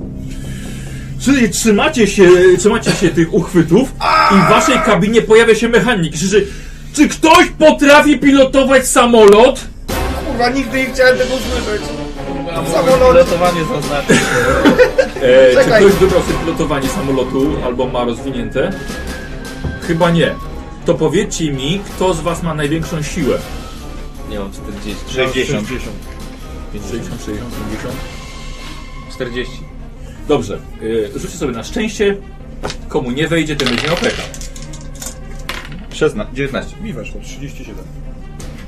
[SPEAKER 1] Czyli trzymacie się, trzymacie się tych uchwytów i w waszej kabinie pojawia się mechanik. Krzyczy, czy ktoś potrafi pilotować samolot?
[SPEAKER 2] Kurwa, nigdy nie chciałem tego usłyszeć. Samolot!
[SPEAKER 5] Ratowanie zaznaczy.
[SPEAKER 1] E, czy
[SPEAKER 2] Czekaj.
[SPEAKER 1] ktoś wybrał sobie pilotowanie samolotu albo ma rozwinięte? Chyba nie. To powiedzcie mi, kto z was ma największą siłę?
[SPEAKER 5] Nie mam 40.
[SPEAKER 1] 60,
[SPEAKER 2] 60.
[SPEAKER 1] 60, 50?
[SPEAKER 5] 40.
[SPEAKER 1] Dobrze, e, rzućcie sobie na szczęście. Komu nie wejdzie, ten będzie miał pecha.
[SPEAKER 2] 16, 19.
[SPEAKER 4] Mi weszło 37.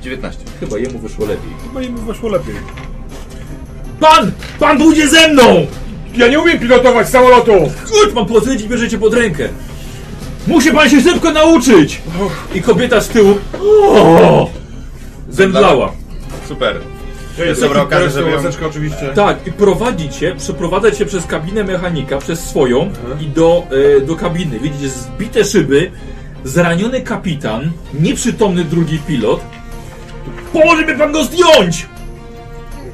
[SPEAKER 2] 19.
[SPEAKER 1] Chyba jemu wyszło lepiej.
[SPEAKER 4] Chyba im weszło lepiej.
[SPEAKER 1] Pan! Pan pójdzie ze mną!
[SPEAKER 4] Ja nie umiem pilotować samolotu!
[SPEAKER 1] Gut, mam potwierdzić, bierzecie pod rękę. Musi pan się szybko nauczyć! I kobieta z tyłu. O! zemdlała.
[SPEAKER 2] Super.
[SPEAKER 4] To
[SPEAKER 2] jest dobra okazja, żeby ją-
[SPEAKER 4] łaseczkę oczywiście.
[SPEAKER 1] Tak, i prowadzi cię, przeprowadza cię przez kabinę mechanika, przez swoją
[SPEAKER 4] Mhm.
[SPEAKER 1] i do, e, do kabiny. Widzicie zbite szyby, zraniony kapitan, nieprzytomny drugi pilot. Pomoże mi pan go zdjąć!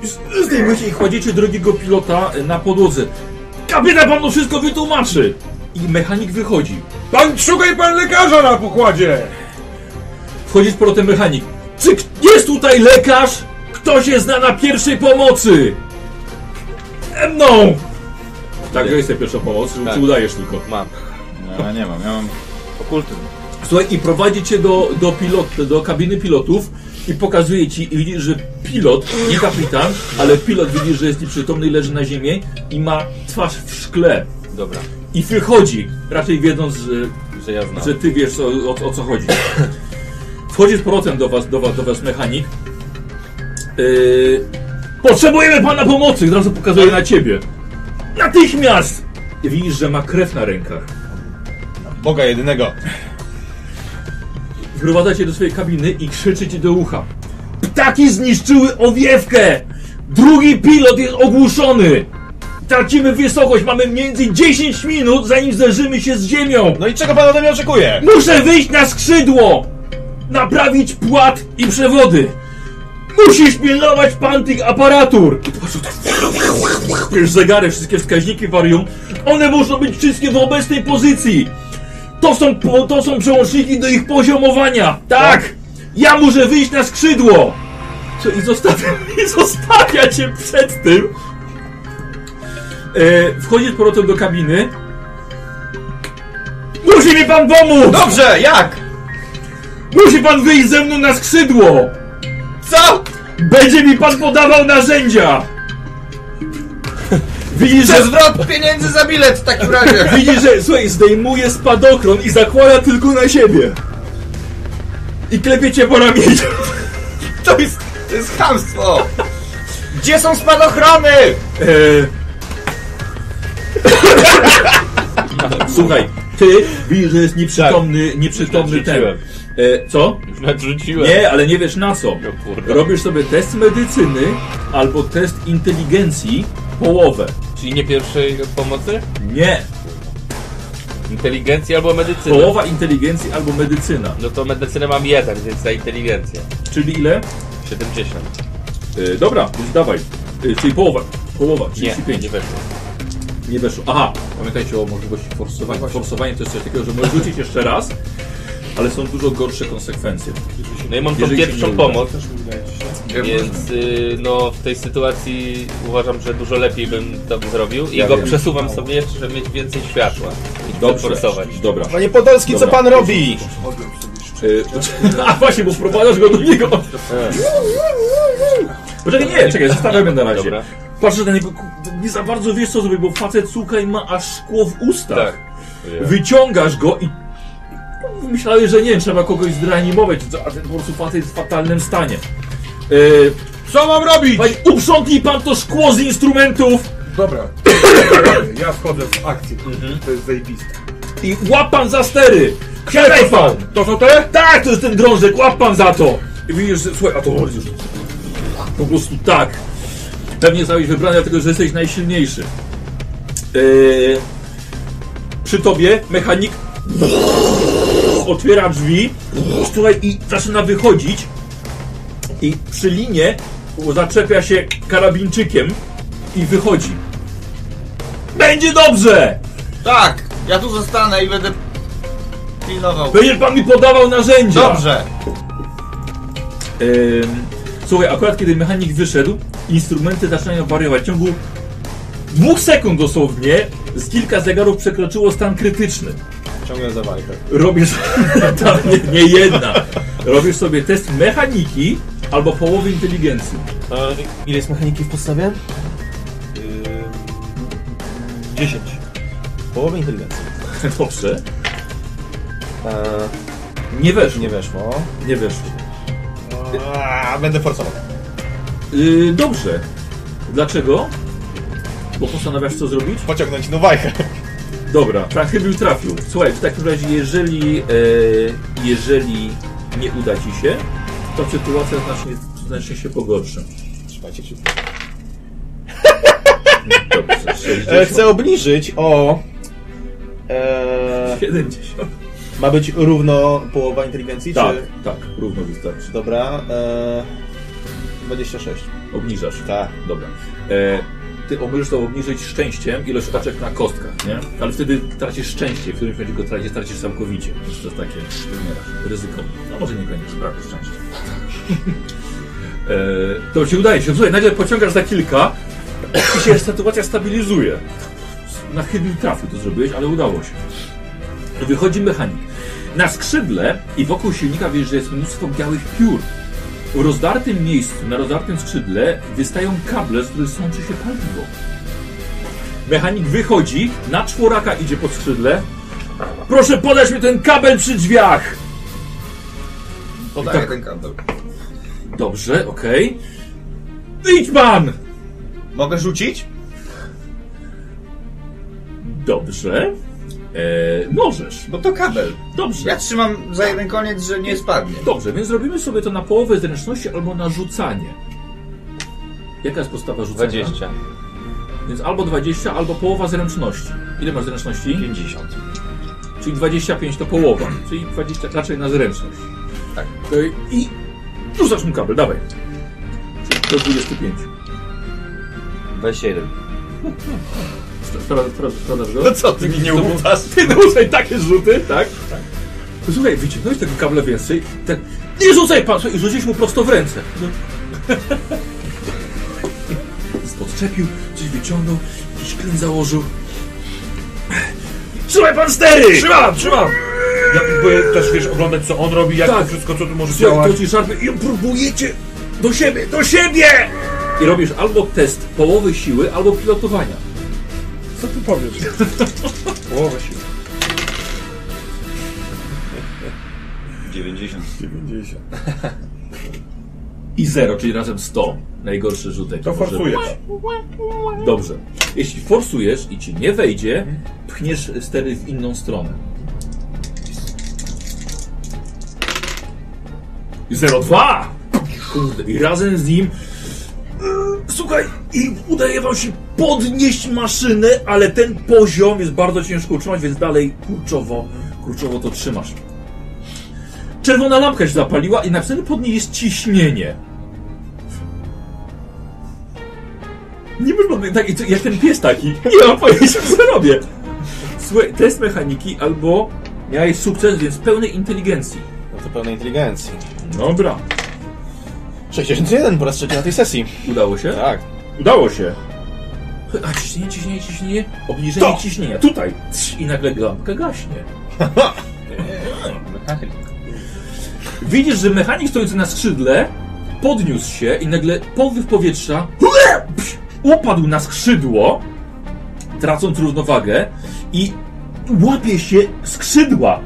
[SPEAKER 1] Z- Zdejmujecie i kładziecie drugiego pilota e, na podłodze. Kapitan panu wszystko wytłumaczy! I mechanik wychodzi.
[SPEAKER 4] Pan szukaj pan lekarza na pokładzie!
[SPEAKER 1] Wchodzi z powrotem mechanik. Czy k- jest tutaj lekarz? Kto się zna na pierwszej pomocy? E, Mną! Tak, że jest ta pierwsza pomoc, czy- czy udajesz tylko.
[SPEAKER 5] Mam. [LAUGHS]
[SPEAKER 2] Ja nie mam, ja mam okultyzm.
[SPEAKER 1] Słuchaj, i prowadzi cię do, do, pilot, do kabiny pilotów i pokazuje ci, i widzisz, że pilot, nie kapitan, ale pilot widzisz, że jest nieprzytomny i leży na ziemi i ma twarz w szkle.
[SPEAKER 5] Dobra,
[SPEAKER 1] I wychodzi, raczej wiedząc, że
[SPEAKER 5] że ja znam.
[SPEAKER 1] że ty wiesz o, o, o co chodzi. Wchodzi z powrotem do was, do was, do was mechanik. Yy, potrzebujemy pana pomocy! Od razu pokazuje na ciebie. Natychmiast! I widzisz, że ma krew na rękach.
[SPEAKER 3] Boga jedynego.
[SPEAKER 1] Wprowadza cię do swojej kabiny i krzyczy ci do ucha. Ptaki zniszczyły owiewkę! Drugi pilot jest ogłuszony! Tracimy wysokość, mamy między 10 minut, zanim zderzymy się z ziemią!
[SPEAKER 3] No i czego pan ode mnie oczekuje?
[SPEAKER 1] Muszę wyjść na skrzydło! Naprawić płat i przewody! Musisz pilnować pan tych aparatur! I patrz, tak- Wiesz, zegary, wszystkie wskaźniki wariują. One muszą być wszystkie w obecnej pozycji! To są, po- to są przełączniki do ich poziomowania! Tak! Ja muszę wyjść na skrzydło! Co, I zostawia, [LAUGHS] i zostawia cię przed tym! E, wchodzi z powrotem do kabiny. Musi mi pan pomóc!
[SPEAKER 2] Dobrze, jak?
[SPEAKER 1] Musi pan wyjść ze mną na skrzydło!
[SPEAKER 2] Co?
[SPEAKER 1] Będzie mi pan podawał narzędzia! Widzisz, że,
[SPEAKER 2] Zwrot pieniędzy za bilet w takim razie. [LAUGHS]
[SPEAKER 1] widzisz, że słuchaj, zdejmuje spadochron i zakłada tylko na siebie. I klepie cię po ramieniu.
[SPEAKER 2] To jest, to jest chamstwo. Gdzie są spadochrony?
[SPEAKER 1] Eee. [LAUGHS] Słuchaj, ty widzisz, że jest nieprzytomny,
[SPEAKER 2] Tak,
[SPEAKER 1] nieprzytomny ten.
[SPEAKER 5] Rzuciłem.
[SPEAKER 1] E, co?
[SPEAKER 5] Już nadrzuciłem.
[SPEAKER 1] Nie, ale nie wiesz na co.
[SPEAKER 5] O kurde.
[SPEAKER 1] Robisz sobie test medycyny albo test inteligencji połowę.
[SPEAKER 5] Czyli nie pierwszej pomocy?
[SPEAKER 1] Nie,
[SPEAKER 5] Inteligencja albo medycyna.
[SPEAKER 1] Połowa inteligencji albo medycyna.
[SPEAKER 5] No to medycynę mam jeden, więc za inteligencję.
[SPEAKER 1] Czyli ile?
[SPEAKER 5] 70.
[SPEAKER 1] Yy, dobra, więc dawaj. Yy, czyli połowa. Połowa,
[SPEAKER 5] Nie,
[SPEAKER 1] 35. Nie,
[SPEAKER 5] nie weszło.
[SPEAKER 1] weszło. Aha, No pamiętajcie o możliwości forsowania. Forsowanie to jest coś takiego, że możesz rzucić jeszcze raz, ale są dużo gorsze konsekwencje.
[SPEAKER 5] No i mam tą
[SPEAKER 1] Jeżeli się nie
[SPEAKER 5] pierwszą
[SPEAKER 1] uda.
[SPEAKER 5] pomoc,
[SPEAKER 2] Gdzie
[SPEAKER 5] więc y, no w tej sytuacji uważam, że dużo lepiej bym to zrobił i
[SPEAKER 2] Ja
[SPEAKER 5] go
[SPEAKER 2] wiem.
[SPEAKER 5] przesuwam sobie jeszcze, żeby mieć więcej światła i Dobrze. forsować.
[SPEAKER 1] Dobra.
[SPEAKER 3] Panie Podolski, co
[SPEAKER 1] Dobra.
[SPEAKER 3] pan robi?
[SPEAKER 1] Yy, [LAUGHS] a właśnie, bo wprowadzasz go do niego. Poczekaj, nie, czekaj, zostawiamy na razie.
[SPEAKER 5] Dobra.
[SPEAKER 1] Patrzę na niego, ku- nie za bardzo wiesz co zrobić, bo facet, słuchaj, ma aż szkło w ustach.
[SPEAKER 5] Tak.
[SPEAKER 1] Wyciągasz go i myślałeś, że nie, trzeba kogoś zreanimować, co- a ten po prostu facet jest w fatalnym stanie. Yy,
[SPEAKER 4] Co mam robić?
[SPEAKER 1] Pani, uprzątnij pan to szkło z instrumentów
[SPEAKER 4] Dobra. ja wchodzę w akcję.
[SPEAKER 1] Mhm.
[SPEAKER 4] To jest zajebiste.
[SPEAKER 1] i łap pan za stery! Siadaj pan!
[SPEAKER 4] To są te?
[SPEAKER 1] Tak, to jest ten drążek, łap pan za to! I widzisz, że- słuchaj, a to już... Po prostu tak. Pewnie zostałeś wybrany, dlatego że jesteś najsilniejszy. Yy, przy tobie mechanik otwiera drzwi, słuchaj, i zaczyna wychodzić. I przy linie zaczepia się karabinczykiem i wychodzi. Będzie dobrze!
[SPEAKER 2] Tak, ja tu zostanę i będę pilnował.
[SPEAKER 1] Będziesz pan mi podawał narzędzia!
[SPEAKER 2] Dobrze.
[SPEAKER 1] Ym, słuchaj, akurat kiedy mechanik wyszedł, instrumenty zaczynają wariować. W ciągu dwóch sekund dosłownie z kilka zegarów przekroczyło stan krytyczny.
[SPEAKER 3] Ciągnę za walkę.
[SPEAKER 1] Robisz. [LAUGHS] tam nie, nie jedna. Robisz sobie test mechaniki albo połowy inteligencji. [LAUGHS]
[SPEAKER 3] Ile jest mechaniki w podstawie?
[SPEAKER 1] Yy,
[SPEAKER 3] 10. Połowę inteligencji.
[SPEAKER 1] Dobrze.
[SPEAKER 3] Eee,
[SPEAKER 1] Nie weszło.
[SPEAKER 3] nie weszło.
[SPEAKER 1] Nie weszło.
[SPEAKER 3] Eee, będę forsował.
[SPEAKER 1] Yy, dobrze. Dlaczego? Bo postanawiasz co zrobić?
[SPEAKER 3] Pociągnąć no wajchę.
[SPEAKER 1] Dobra, tak chybił trafił. Słuchaj, w takim razie jeżeli, e, jeżeli nie uda ci się, ta sytuacja znacznie, znacznie się pogorszy.
[SPEAKER 3] Trzymajcie kciuki.
[SPEAKER 1] Dobrze,
[SPEAKER 3] E,
[SPEAKER 1] 60,
[SPEAKER 3] chcę obniżyć o... E,
[SPEAKER 1] 70.
[SPEAKER 3] ma być równo połowa inteligencji,
[SPEAKER 1] Tak,
[SPEAKER 3] czy...
[SPEAKER 1] tak, równo wystarczy.
[SPEAKER 3] Dobra, e, 26.
[SPEAKER 1] Obniżasz.
[SPEAKER 3] Tak.
[SPEAKER 1] Dobra. E, ty możesz to obniżyć szczęściem, ilość kaczek na kostkach, nie? Ale wtedy tracisz szczęście, w którymś momencie go tracisz, tracisz całkowicie. Więc to jest takie umierasz, ryzyko. No może niekoniecznie braku szczęścia. [LAUGHS] e, to ci udaje się. Słuchaj, nagle pociągasz za kilka i się sytuacja stabilizuje. Na chybnym trafiu to zrobiłeś, ale udało się. Wychodzi mechanik. Na skrzydle i wokół silnika wiesz, że jest mnóstwo białych piór. W rozdartym miejscu, na rozdartym skrzydle wystają kable, z których sączy się paliwo. Mechanik wychodzi, na czworaka idzie pod skrzydle. Proszę podać mi ten kabel przy drzwiach!
[SPEAKER 2] Podaję
[SPEAKER 1] tak.
[SPEAKER 2] ten kabel.
[SPEAKER 1] Dobrze, okej. Idź pan!
[SPEAKER 2] Mogę rzucić?
[SPEAKER 1] Dobrze. Eee, możesz.
[SPEAKER 2] Bo No to kabel.
[SPEAKER 1] Dobrze.
[SPEAKER 2] Ja trzymam za jeden koniec, że nie spadnie.
[SPEAKER 1] Dobrze, więc zrobimy sobie to na połowę zręczności albo na rzucanie. Jaka jest podstawa rzucania?
[SPEAKER 5] 20.
[SPEAKER 1] Więc albo 20, albo połowa zręczności. Ile masz zręczności?
[SPEAKER 5] 50.
[SPEAKER 1] Czyli 25 to połowa, czyli 20 raczej na zręczność.
[SPEAKER 2] Tak.
[SPEAKER 1] Y, I rzucasz mu kabel, dawaj. Czyli do 25.
[SPEAKER 5] 27.
[SPEAKER 1] Sprawdzasz spra- spra- go?
[SPEAKER 3] No co, ty mi nie ufasz?
[SPEAKER 1] [LAUGHS] Ty rzucaj takie rzuty, tak? No Słuchaj, wyciągnąłeś tego kabla więcej, tak... Nie rzucaj pan! Słuchaj, I rzuciłeś mu prosto w ręce. No. [LAUGHS] Podczepił, coś wyciągnął, jakiś klin założył. Trzymaj pan stery!
[SPEAKER 4] Trzymam, trzymam! Ja próbuję też, wiesz, oglądać co on robi, jak
[SPEAKER 1] Tak.
[SPEAKER 4] to wszystko, co tu może
[SPEAKER 1] Słuchaj,
[SPEAKER 4] działać.
[SPEAKER 1] to ci szarpie i próbujecie do siebie, do siebie! I robisz albo test połowy siły, albo pilotowania.
[SPEAKER 4] Co ty powiesz? Połowa siły.
[SPEAKER 2] 90.
[SPEAKER 4] 90.
[SPEAKER 1] I zero, czyli razem 100. Najgorszy rzutek.
[SPEAKER 4] To
[SPEAKER 1] może
[SPEAKER 4] forsujesz.
[SPEAKER 1] być. Dobrze. Jeśli forsujesz i ci nie wejdzie, pchniesz stery w inną stronę. I Zero dwa. Kurde, i razem z nim... yy, Słuchaj, i udaje wam się podnieść maszynę, ale ten poziom jest bardzo ciężko utrzymać, więc dalej kurczowo, kurczowo to trzymasz. Czerwona lampka się zapaliła i napisane pod niej jest ciśnienie. Nie wiem, tak, i co- jak ten pies taki. Nie mam pojęcia, co robię. Słuchaj, test mechaniki albo miałeś sukces, więc pełnej inteligencji.
[SPEAKER 3] No to pełna inteligencji.
[SPEAKER 1] Dobra.
[SPEAKER 3] 61 po raz trzeci na tej sesji.
[SPEAKER 1] Udało się?
[SPEAKER 3] Tak.
[SPEAKER 1] Udało się. A ciśnienie, ciśnienie, ciśnienie. Obniżenie
[SPEAKER 3] To.
[SPEAKER 1] ciśnienia. Tutaj. I nagle lampka [LAUGHS] gaśnie.
[SPEAKER 2] Mechanik.
[SPEAKER 1] Widzisz, że mechanik stojący na skrzydle podniósł się i nagle powiew powietrza upadł na skrzydło, tracąc równowagę i łapie się skrzydła.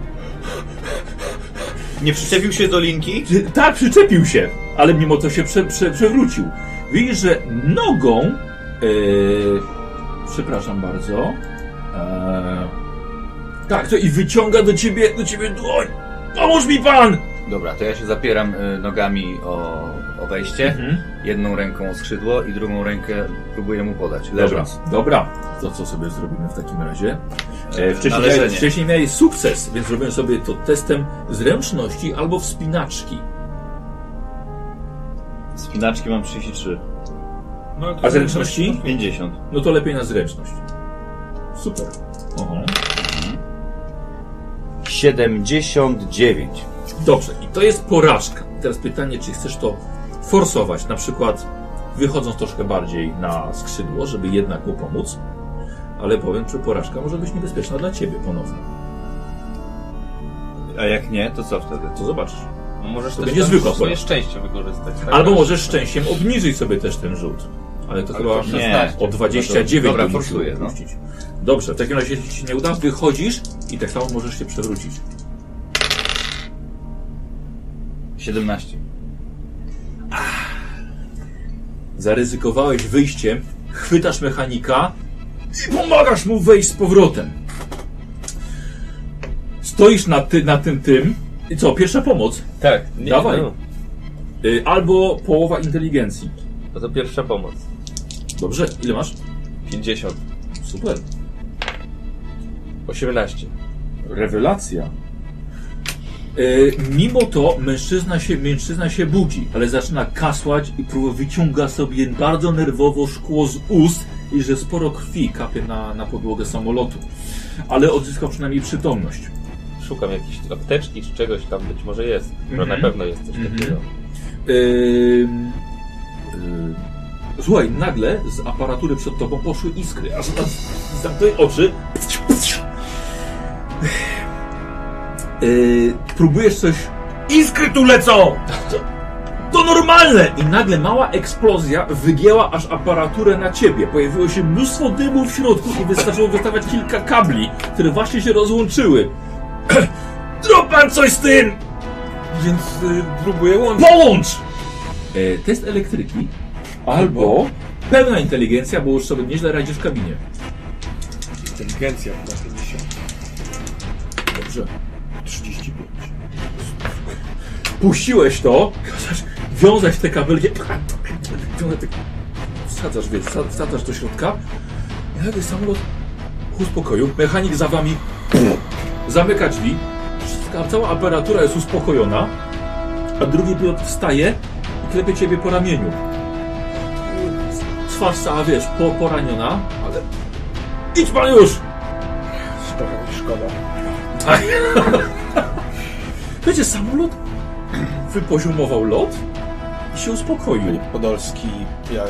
[SPEAKER 2] Nie przyczepił się do linki?
[SPEAKER 1] Ty- Tak, przyczepił się, ale mimo to się prze, prze, przewrócił. Widzisz, że nogą. Yy, przepraszam bardzo. e, tak, to i wyciąga do ciebie, do ciebie dłoń. Pomóż mi pan!
[SPEAKER 2] Dobra, to ja się zapieram y, nogami o, o wejście, jedną ręką o skrzydło i drugą rękę próbuję mu podać,
[SPEAKER 1] Dobra,
[SPEAKER 2] leżąc.
[SPEAKER 1] dobra. To co sobie zrobimy w takim razie? E, wcześniej,
[SPEAKER 2] Należenie.
[SPEAKER 1] miałeś, wcześniej miałeś sukces, więc zrobiłem sobie to testem zręczności albo wspinaczki.
[SPEAKER 2] Spinaczki mam 33.
[SPEAKER 4] No, to
[SPEAKER 1] A zręczności?
[SPEAKER 2] 50.
[SPEAKER 1] No to lepiej na zręczność. Super. Oho.
[SPEAKER 2] 79.
[SPEAKER 1] Dobrze, i to jest porażka. Teraz pytanie, czy chcesz to forsować, na przykład wychodząc troszkę bardziej na skrzydło, żeby jednak mu pomóc, ale powiem, że porażka może być niebezpieczna dla ciebie ponownie.
[SPEAKER 2] A jak nie, to co wtedy?
[SPEAKER 1] To zobaczysz.
[SPEAKER 5] Możesz
[SPEAKER 1] To
[SPEAKER 5] też
[SPEAKER 1] będzie
[SPEAKER 5] tam
[SPEAKER 1] zwykła
[SPEAKER 5] swoje
[SPEAKER 1] pora.
[SPEAKER 5] szczęście wykorzystać. tak?
[SPEAKER 1] Albo możesz szczęściem obniżyć sobie też ten rzut. Ale to
[SPEAKER 5] Ale
[SPEAKER 1] chyba
[SPEAKER 5] to
[SPEAKER 2] nie.
[SPEAKER 5] 16.
[SPEAKER 1] o 29
[SPEAKER 2] Dobra,
[SPEAKER 1] powinniśmy
[SPEAKER 2] forsuję, no.
[SPEAKER 1] opuścić. Dobrze, w takim razie jeśli ci się nie uda, wychodzisz i tak samo możesz się przewrócić.
[SPEAKER 2] 17.
[SPEAKER 1] Ah. Zaryzykowałeś wyjściem, chwytasz mechanika i pomagasz mu wejść z powrotem. Stoisz na, ty, na tym tym. I co, pierwsza pomoc?
[SPEAKER 5] Tak. Nie,
[SPEAKER 1] Dawaj.
[SPEAKER 5] No.
[SPEAKER 1] Y, albo połowa inteligencji.
[SPEAKER 5] No to pierwsza pomoc.
[SPEAKER 1] Dobrze, ile masz?
[SPEAKER 5] 50.
[SPEAKER 1] Super.
[SPEAKER 5] 18.
[SPEAKER 1] Rewelacja. Y, mimo to mężczyzna się, mężczyzna się budzi, ale zaczyna kasłać i próbuje wyciąga sobie bardzo nerwowo szkło z ust i że sporo krwi kapie na, na podłogę samolotu. Ale odzyskał przynajmniej przytomność.
[SPEAKER 5] Szukam jakiejś apteczki czy czegoś tam, być może jest. Bo
[SPEAKER 1] Mhm.
[SPEAKER 5] na pewno jest coś
[SPEAKER 1] Mhm.
[SPEAKER 5] takiego.
[SPEAKER 1] Ym, ym. Słuchaj, nagle z aparatury przed tobą poszły iskry, aż z- zamknąłeś oczy. Yy, próbujesz coś. Iskry tu lecą! To, to normalne! I nagle mała eksplozja wygięła aż aparaturę na ciebie. Pojawiło się mnóstwo dymu w środku i wystarczyło wystawiać kilka kabli, które właśnie się rozłączyły. [CLEARS THROAT] Zrób pan coś z tym!
[SPEAKER 4] Więc y, próbuję łączyć.
[SPEAKER 1] Połącz! E, test elektryki albo pełna inteligencja, bo już sobie nieźle radzisz w kabinie.
[SPEAKER 4] Inteligencja na 50.
[SPEAKER 1] Dobrze.
[SPEAKER 4] 35.
[SPEAKER 1] Puściłeś to, kazasz wiązać te kabelki, wsadzasz, wiesz, wsa- wsadzasz do środka i nagle samolot uspokoił, mechanik za wami zamyka drzwi, Wszystka- cała aparatura jest uspokojona, a drugi pilot wstaje i klepie ciebie po ramieniu. Twarz cała, wiesz, po, poraniona, ale idź pan już! Tak.
[SPEAKER 4] Trochę mi szkoda.
[SPEAKER 1] Wiecie, samolot wypoziomował lot i się uspokoił.
[SPEAKER 3] Podolski, ja,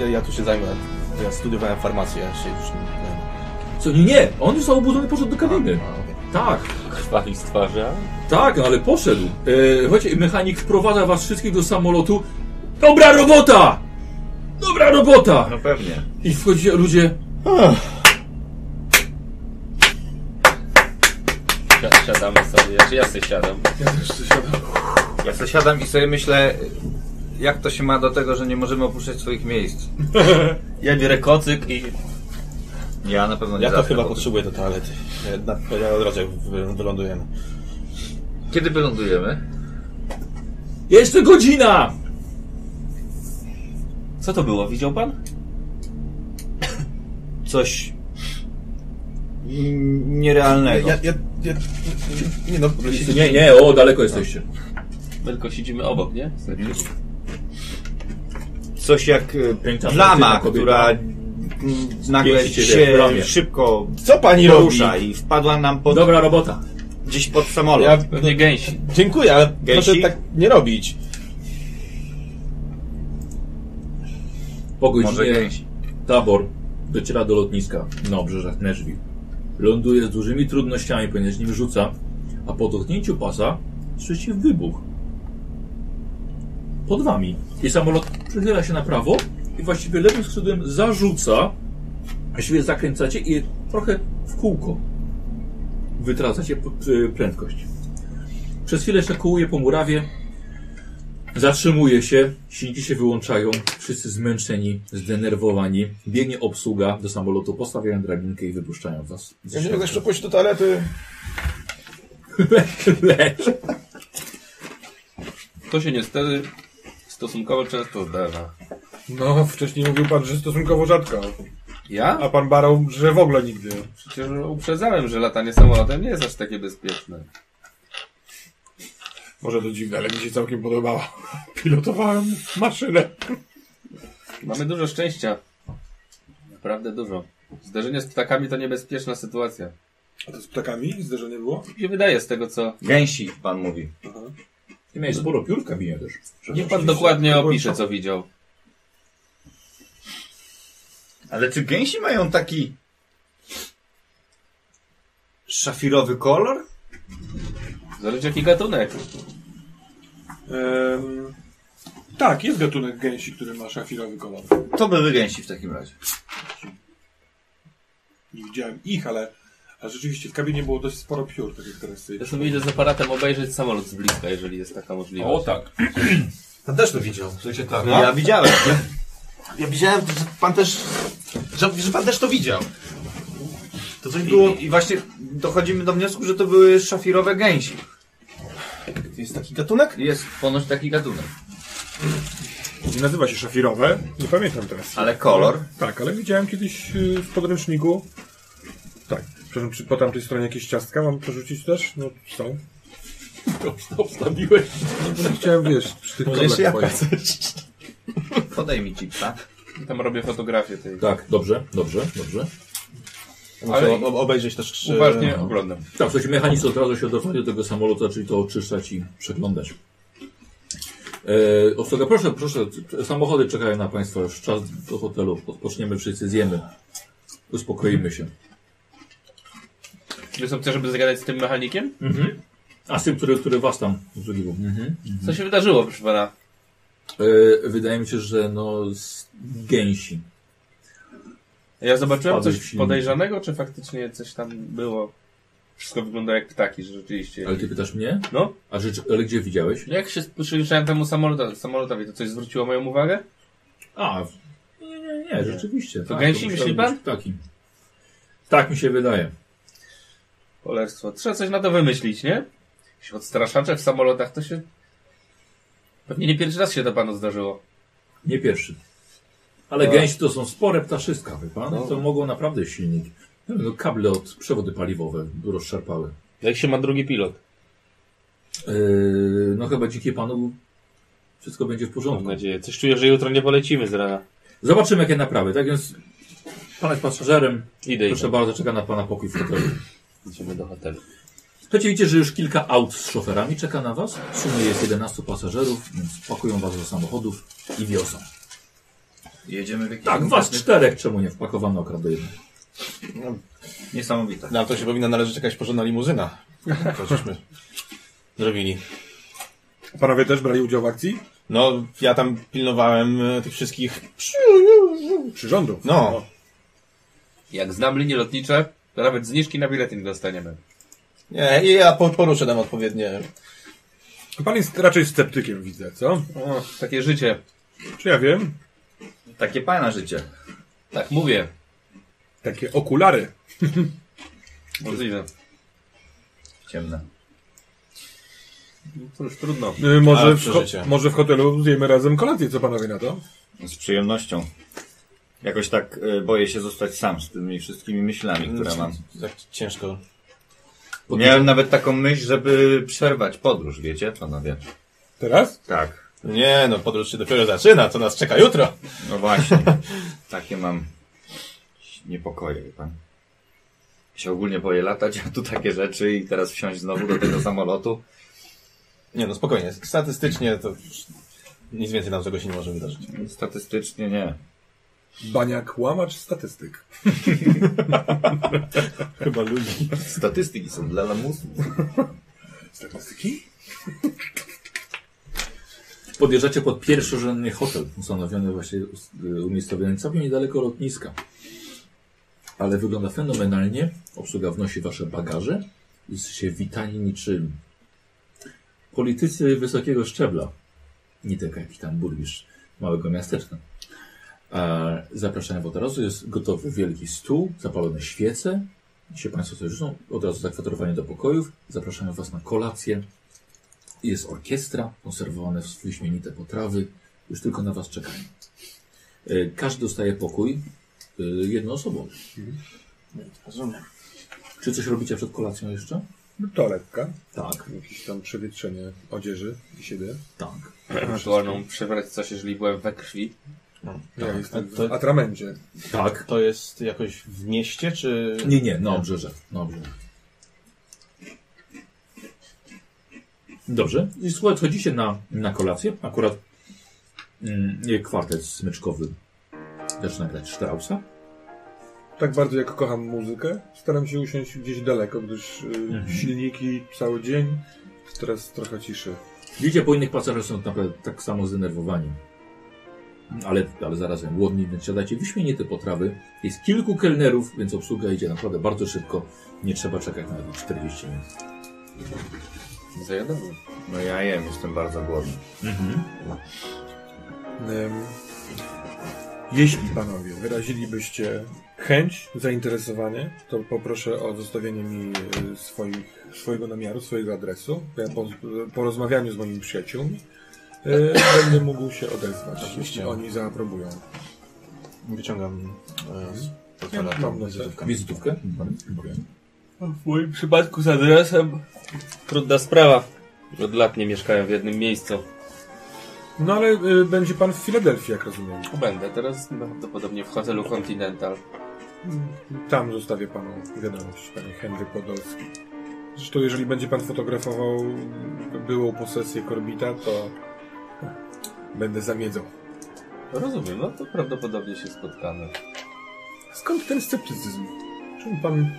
[SPEAKER 3] ja, ja tu się zajmę. Ja studiowałem farmację, ja się już nie zajmę.
[SPEAKER 1] Co nie, nie, on został obudzony i poszedł do kabiny.
[SPEAKER 3] A, okej.
[SPEAKER 1] Tak,
[SPEAKER 5] Krwawi z twarzy, a?
[SPEAKER 1] tak, ale poszedł. E, chodźcie, mechanik wprowadza was wszystkich do samolotu. Dobra robota! Dobra robota!
[SPEAKER 2] No pewnie.
[SPEAKER 1] I wchodzicie ludzie.
[SPEAKER 5] Si- Siadamy sobie, czy ja sobie siadam.
[SPEAKER 2] Ja sobie siadam i sobie myślę, jak to się ma do tego, że nie możemy opuszczać swoich [LAUGHS] miejsc.
[SPEAKER 5] Ja biorę kocyk i
[SPEAKER 2] Ja na pewno nie
[SPEAKER 3] Ja to
[SPEAKER 2] zacznę
[SPEAKER 3] chyba
[SPEAKER 2] po tym.
[SPEAKER 3] potrzebuję do toalety. Ja Jednak ja od razu jak wy- wylądujemy.
[SPEAKER 2] Kiedy wylądujemy?
[SPEAKER 1] Jeszcze godzina!
[SPEAKER 5] Co to było? Widział pan? Coś nierealnego.
[SPEAKER 3] Ja, ja, ja, nie no, lecimy.
[SPEAKER 1] Nie, nie, o, daleko jesteście.
[SPEAKER 5] Tylko siedzimy obok, nie?
[SPEAKER 2] Coś jak e,
[SPEAKER 1] Piękna
[SPEAKER 2] plama,
[SPEAKER 1] kobieta.
[SPEAKER 2] która mm, nagle
[SPEAKER 1] Pięści ciebie w
[SPEAKER 2] się
[SPEAKER 1] plamie.
[SPEAKER 2] szybko
[SPEAKER 3] Co pani robi?
[SPEAKER 2] porusza i wpadła nam pod,
[SPEAKER 1] Dobra robota.
[SPEAKER 2] gdzieś pod samolot.
[SPEAKER 3] Ja, no,
[SPEAKER 5] Pewnie gęsi.
[SPEAKER 3] dziękuję, ale
[SPEAKER 2] Gęsi?
[SPEAKER 3] proszę tak nie robić.
[SPEAKER 1] Po
[SPEAKER 2] Może
[SPEAKER 1] godzinie
[SPEAKER 2] gęsi.
[SPEAKER 1] tabor dociera do lotniska na obrzeżach Nashville. Ląduje z dużymi trudnościami, ponieważ nim rzuca, a po dotknięciu pasa słyszy wybuch. Pod wami. I samolot przychyla się na prawo i właściwie lewym skrzydłem zarzuca, właściwie zakręcacie i trochę w kółko wytracacie p- y, prędkość. Przez chwilę jeszcze kołuje po murawie, Zatrzymuje się, silniki się wyłączają, wszyscy zmęczeni, zdenerwowani. Biegnie obsługa do samolotu, postawiają drabinkę i wypuszczają was. ze
[SPEAKER 3] Ja się
[SPEAKER 1] środka.
[SPEAKER 3] mogę jeszcze pójść do toalety.
[SPEAKER 1] Lecz.
[SPEAKER 5] To się niestety stosunkowo często zdarza.
[SPEAKER 4] No, wcześniej mówił pan, że stosunkowo rzadko.
[SPEAKER 5] Ja?
[SPEAKER 4] A pan Barą, że w ogóle nigdy.
[SPEAKER 5] Przecież uprzedzałem, że latanie samolotem nie jest aż takie bezpieczne.
[SPEAKER 4] Może to dziwne, ale mi się całkiem podobało. [LAUGHS] Pilotowałem maszynę.
[SPEAKER 5] Mamy dużo szczęścia. Naprawdę dużo. Zderzenie z ptakami to niebezpieczna sytuacja.
[SPEAKER 4] A to z ptakami zderzenie było?
[SPEAKER 5] Mi się wydaje z tego, co...
[SPEAKER 2] Gęsi, pan mówi.
[SPEAKER 1] Ty miałeś sporo piór w kabinie też.
[SPEAKER 5] Niech pan dokładnie opisze, co widział.
[SPEAKER 2] Ale czy gęsi mają taki szafirowy kolor?
[SPEAKER 5] Zależy jaki gatunek.
[SPEAKER 4] Ehm, tak, jest gatunek gęsi, który ma szafirowy kolor.
[SPEAKER 2] To były gęsi w takim razie.
[SPEAKER 4] Nie widziałem ich, ale, ale rzeczywiście w kabinie było dość sporo piór, tak jak teraz sobie
[SPEAKER 5] Ja sobie idę z aparatem obejrzeć samolot z bliska, jeżeli jest taka możliwość.
[SPEAKER 1] tak.
[SPEAKER 7] Pan też to widział. Słuchajcie, tak.
[SPEAKER 2] No, ja widziałem.
[SPEAKER 7] Ja widziałem, że pan też. Że, że pan też to widział. To coś
[SPEAKER 2] Tak I, I właśnie dochodzimy do wniosku, że to były szafirowe gęsi.
[SPEAKER 3] Jest taki gatunek?
[SPEAKER 2] Jest ponoć taki gatunek.
[SPEAKER 4] Nie nazywa się szafirowe, nie pamiętam teraz.
[SPEAKER 2] Ale kolor.
[SPEAKER 4] Tak, ale widziałem kiedyś y, w podręczniku. Tak, przepraszam, czy po tamtej stronie jakieś ciastka mam przerzucić też? No są.
[SPEAKER 6] Obstawiłeś.
[SPEAKER 4] No, nie chciałem, wiesz, przy
[SPEAKER 5] No,
[SPEAKER 4] tych
[SPEAKER 3] Może jeszcze
[SPEAKER 4] kolach
[SPEAKER 3] jaka
[SPEAKER 4] twoich.
[SPEAKER 3] chcesz?
[SPEAKER 2] Podaj mi chipsa.
[SPEAKER 5] Tam robię fotografię tej.
[SPEAKER 2] Eee.
[SPEAKER 1] Tak, dobrze, dobrze, dobrze.
[SPEAKER 3] Muszę o- obejrzeć też e, czy...
[SPEAKER 5] Uważnie oglądam.
[SPEAKER 1] Tak, słuchajcie, mechanizm od razu się odezwa do tego samolotu, czyli to oczyszczać i przeglądać. E, obsługa, proszę, proszę, samochody czekają na Państwa, już czas do hotelu, odpoczniemy wszyscy, zjemy, uspokoimy się.
[SPEAKER 5] Czy są chcesz, żeby zagadać z tym mechanikiem?
[SPEAKER 1] A z tym, który, który Was tam zrobił?
[SPEAKER 5] Co się wydarzyło, proszę pana?
[SPEAKER 1] E, wydaje mi się, że no z gęsi.
[SPEAKER 5] Ja zobaczyłem
[SPEAKER 1] Wpadłeś w
[SPEAKER 5] coś
[SPEAKER 1] silnik.
[SPEAKER 5] podejrzanego, czy faktycznie coś tam było? Wszystko wygląda jak ptaki, że rzeczywiście.
[SPEAKER 1] Ale Ty pytasz mnie?
[SPEAKER 5] No.
[SPEAKER 1] A rzecz, ale gdzie widziałeś?
[SPEAKER 5] Jak się przyjrzałem temu samolotowi, samolotowi, to coś zwróciło moją uwagę?
[SPEAKER 1] A, w- nie, nie, nie, rzeczywiście. tak,
[SPEAKER 5] gęsi,
[SPEAKER 1] to
[SPEAKER 5] myśli
[SPEAKER 1] musiały
[SPEAKER 5] pan?
[SPEAKER 1] być Ptaki. Tak mi się wydaje.
[SPEAKER 5] Polerstwo. Trzeba coś na to wymyślić, nie? Jakieś odstraszacze w samolotach to się... Pewnie nie pierwszy raz się to panu zdarzyło.
[SPEAKER 1] Nie pierwszy. Ale gęsi to są spore ptaszyska, wie pan?
[SPEAKER 5] No.
[SPEAKER 1] To mogą naprawdę silnik. No, kable od przewody paliwowe rozszarpały.
[SPEAKER 5] Jak się ma drugi pilot?
[SPEAKER 1] Yy, no chyba dzikie panu wszystko będzie w porządku.
[SPEAKER 5] nadzieję. Coś czuję, że jutro nie polecimy z rana.
[SPEAKER 1] Zobaczymy jakie naprawy. Tak więc pan jest pasażerem.
[SPEAKER 5] Idę,
[SPEAKER 1] Proszę bardzo, czeka na pana pokój w hotelu.
[SPEAKER 5] Idziemy do hotelu.
[SPEAKER 1] Słuchajcie, widzicie, że już kilka aut z szoferami czeka na was. W sumie jest 11 pasażerów, więc pakują was do samochodów i wiozą.
[SPEAKER 2] Jedziemy w jakiś
[SPEAKER 1] Tak, was czterech czemu nie wpakowano akurat do jednego.
[SPEAKER 2] Niesamowite.
[SPEAKER 3] Na to się powinna należeć jakaś porządna [LAUGHS] limuzyna. To żeśmy zrobili.
[SPEAKER 4] Panowie też brali udział w akcji?
[SPEAKER 3] No, ja tam pilnowałem e, tych wszystkich...
[SPEAKER 4] Przyrządu.
[SPEAKER 3] No,
[SPEAKER 5] Jak znam linie lotnicze, to nawet zniżki na bilety nie dostaniemy.
[SPEAKER 3] nie, i ja po- poruszę tam odpowiednie.
[SPEAKER 4] Pan jest raczej sceptykiem, widzę, co?
[SPEAKER 5] O, takie życie.
[SPEAKER 4] Czy ja wiem?
[SPEAKER 2] Takie pana życie.
[SPEAKER 5] Tak mówię.
[SPEAKER 4] Takie okulary.
[SPEAKER 5] Możliwe.
[SPEAKER 2] Ciemne.
[SPEAKER 5] No To już trudno.
[SPEAKER 4] Y, może,
[SPEAKER 3] Ale
[SPEAKER 4] w ho-
[SPEAKER 3] przeżycie.
[SPEAKER 4] może w hotelu zjemy razem kolację, co panowie na to?
[SPEAKER 2] No, Z przyjemnością. Jakoś tak e, boję się zostać sam z tymi wszystkimi myślami,
[SPEAKER 5] Znaczy,
[SPEAKER 2] które mam.
[SPEAKER 3] Tak ciężko.
[SPEAKER 2] Miałem nawet taką myśl, żeby przerwać podróż, wiecie, panowie.
[SPEAKER 4] Teraz?
[SPEAKER 2] Tak.
[SPEAKER 3] Nie no, podróż się dopiero zaczyna, co nas czeka jutro.
[SPEAKER 2] No właśnie. [LAUGHS] Takie mam niepokoje, wie pan. Ja Się ogólnie boję latać, a tu takie rzeczy i teraz wsiąść znowu do tego samolotu.
[SPEAKER 3] Nie no, spokojnie. Statystycznie to już nic więcej nam z tego się nie może wydarzyć.
[SPEAKER 2] Statystycznie nie.
[SPEAKER 4] Baniak, łamacz, statystyk.
[SPEAKER 3] Chyba ludzi.
[SPEAKER 2] Statystyki są dla lamusów.
[SPEAKER 4] Statystyki?
[SPEAKER 1] Podjeżdżacie pod pierwszorzędny hotel, ustanowiony właśnie, us- y, umiejscowiony całkiem niedaleko lotniska. Ale wygląda fenomenalnie. Obsługa wnosi wasze bagaże. Jesteście witani niczym. Politycy wysokiego szczebla. Nie tylko jakiś tam burmistrz małego miasteczka. E, zapraszają w od razu. Jest gotowy wielki stół, zapalone świece. Się Państwo coś rzucą. Od razu zakwaterowanie do pokojów. Zapraszają Was na kolację. Jest orkiestra, konserwowane w wyśmienite potrawy, już tylko na Was czekają. E, Każdy dostaje pokój e, jednoosobowy.
[SPEAKER 3] Rozumiem.
[SPEAKER 1] Czy coś robicie przed kolacją jeszcze?
[SPEAKER 4] Toaletka.
[SPEAKER 1] Tak,
[SPEAKER 4] Jakieś tam przewietrzenie odzieży i siebie.
[SPEAKER 1] tak.
[SPEAKER 5] Ewentualną przewrać coś, jeżeli byłem we krwi.
[SPEAKER 4] ja jestem w
[SPEAKER 3] Tak, to-
[SPEAKER 4] atramencie.
[SPEAKER 1] Tak.
[SPEAKER 3] To jest jakoś w mieście, czy...
[SPEAKER 1] Nie, nie, na obrzeżach. Na obrzeżach. Dobrze. I słuchaj, chodzicie na, na kolację. Akurat mm, kwartet smyczkowy zaczyna grać Straussa.
[SPEAKER 4] Tak bardzo jak kocham muzykę, staram się usiąść gdzieś daleko, gdyż y,
[SPEAKER 3] Mhm.
[SPEAKER 4] silniki cały dzień, teraz trochę ciszy.
[SPEAKER 1] Widzicie, po innych pasażerach są naprawdę tak samo zdenerwowani. Ale, ale zarazem głodni, więc siadacie wyśmienite potrawy. Jest kilku kelnerów, więc obsługa idzie naprawdę bardzo szybko. Nie trzeba czekać nawet 40 minut.
[SPEAKER 5] Zajadowym.
[SPEAKER 2] No ja jem, jestem bardzo głodny.
[SPEAKER 4] Ym, jeśli panowie wyrazilibyście chęć, zainteresowanie, to poproszę o zostawienie mi y, swoich, swojego namiaru, swojego adresu. Ja po, po rozmawianiu z moimi przyjaciółmi y, będę mógł się odezwać, jeśli oni zaaprobują.
[SPEAKER 3] Wyciągam e, z portfela
[SPEAKER 4] Ja mam
[SPEAKER 3] tą
[SPEAKER 4] na
[SPEAKER 3] wizytówkę.
[SPEAKER 1] Wizytówkę?
[SPEAKER 5] W moim przypadku z adresem trudna sprawa. Od lat nie mieszkają w jednym miejscu.
[SPEAKER 4] No ale y, będzie pan w Filadelfii, jak rozumiem.
[SPEAKER 5] Będę teraz no, prawdopodobnie w hotelu Continental.
[SPEAKER 4] Tam zostawię panu wiadomość, panie Henryk Podolski. Zresztą jeżeli będzie pan fotografował byłą posesję Korbita, to będę zamiedzał.
[SPEAKER 5] Rozumiem, no to prawdopodobnie się spotkamy.
[SPEAKER 4] Skąd ten sceptycyzm? Czemu pan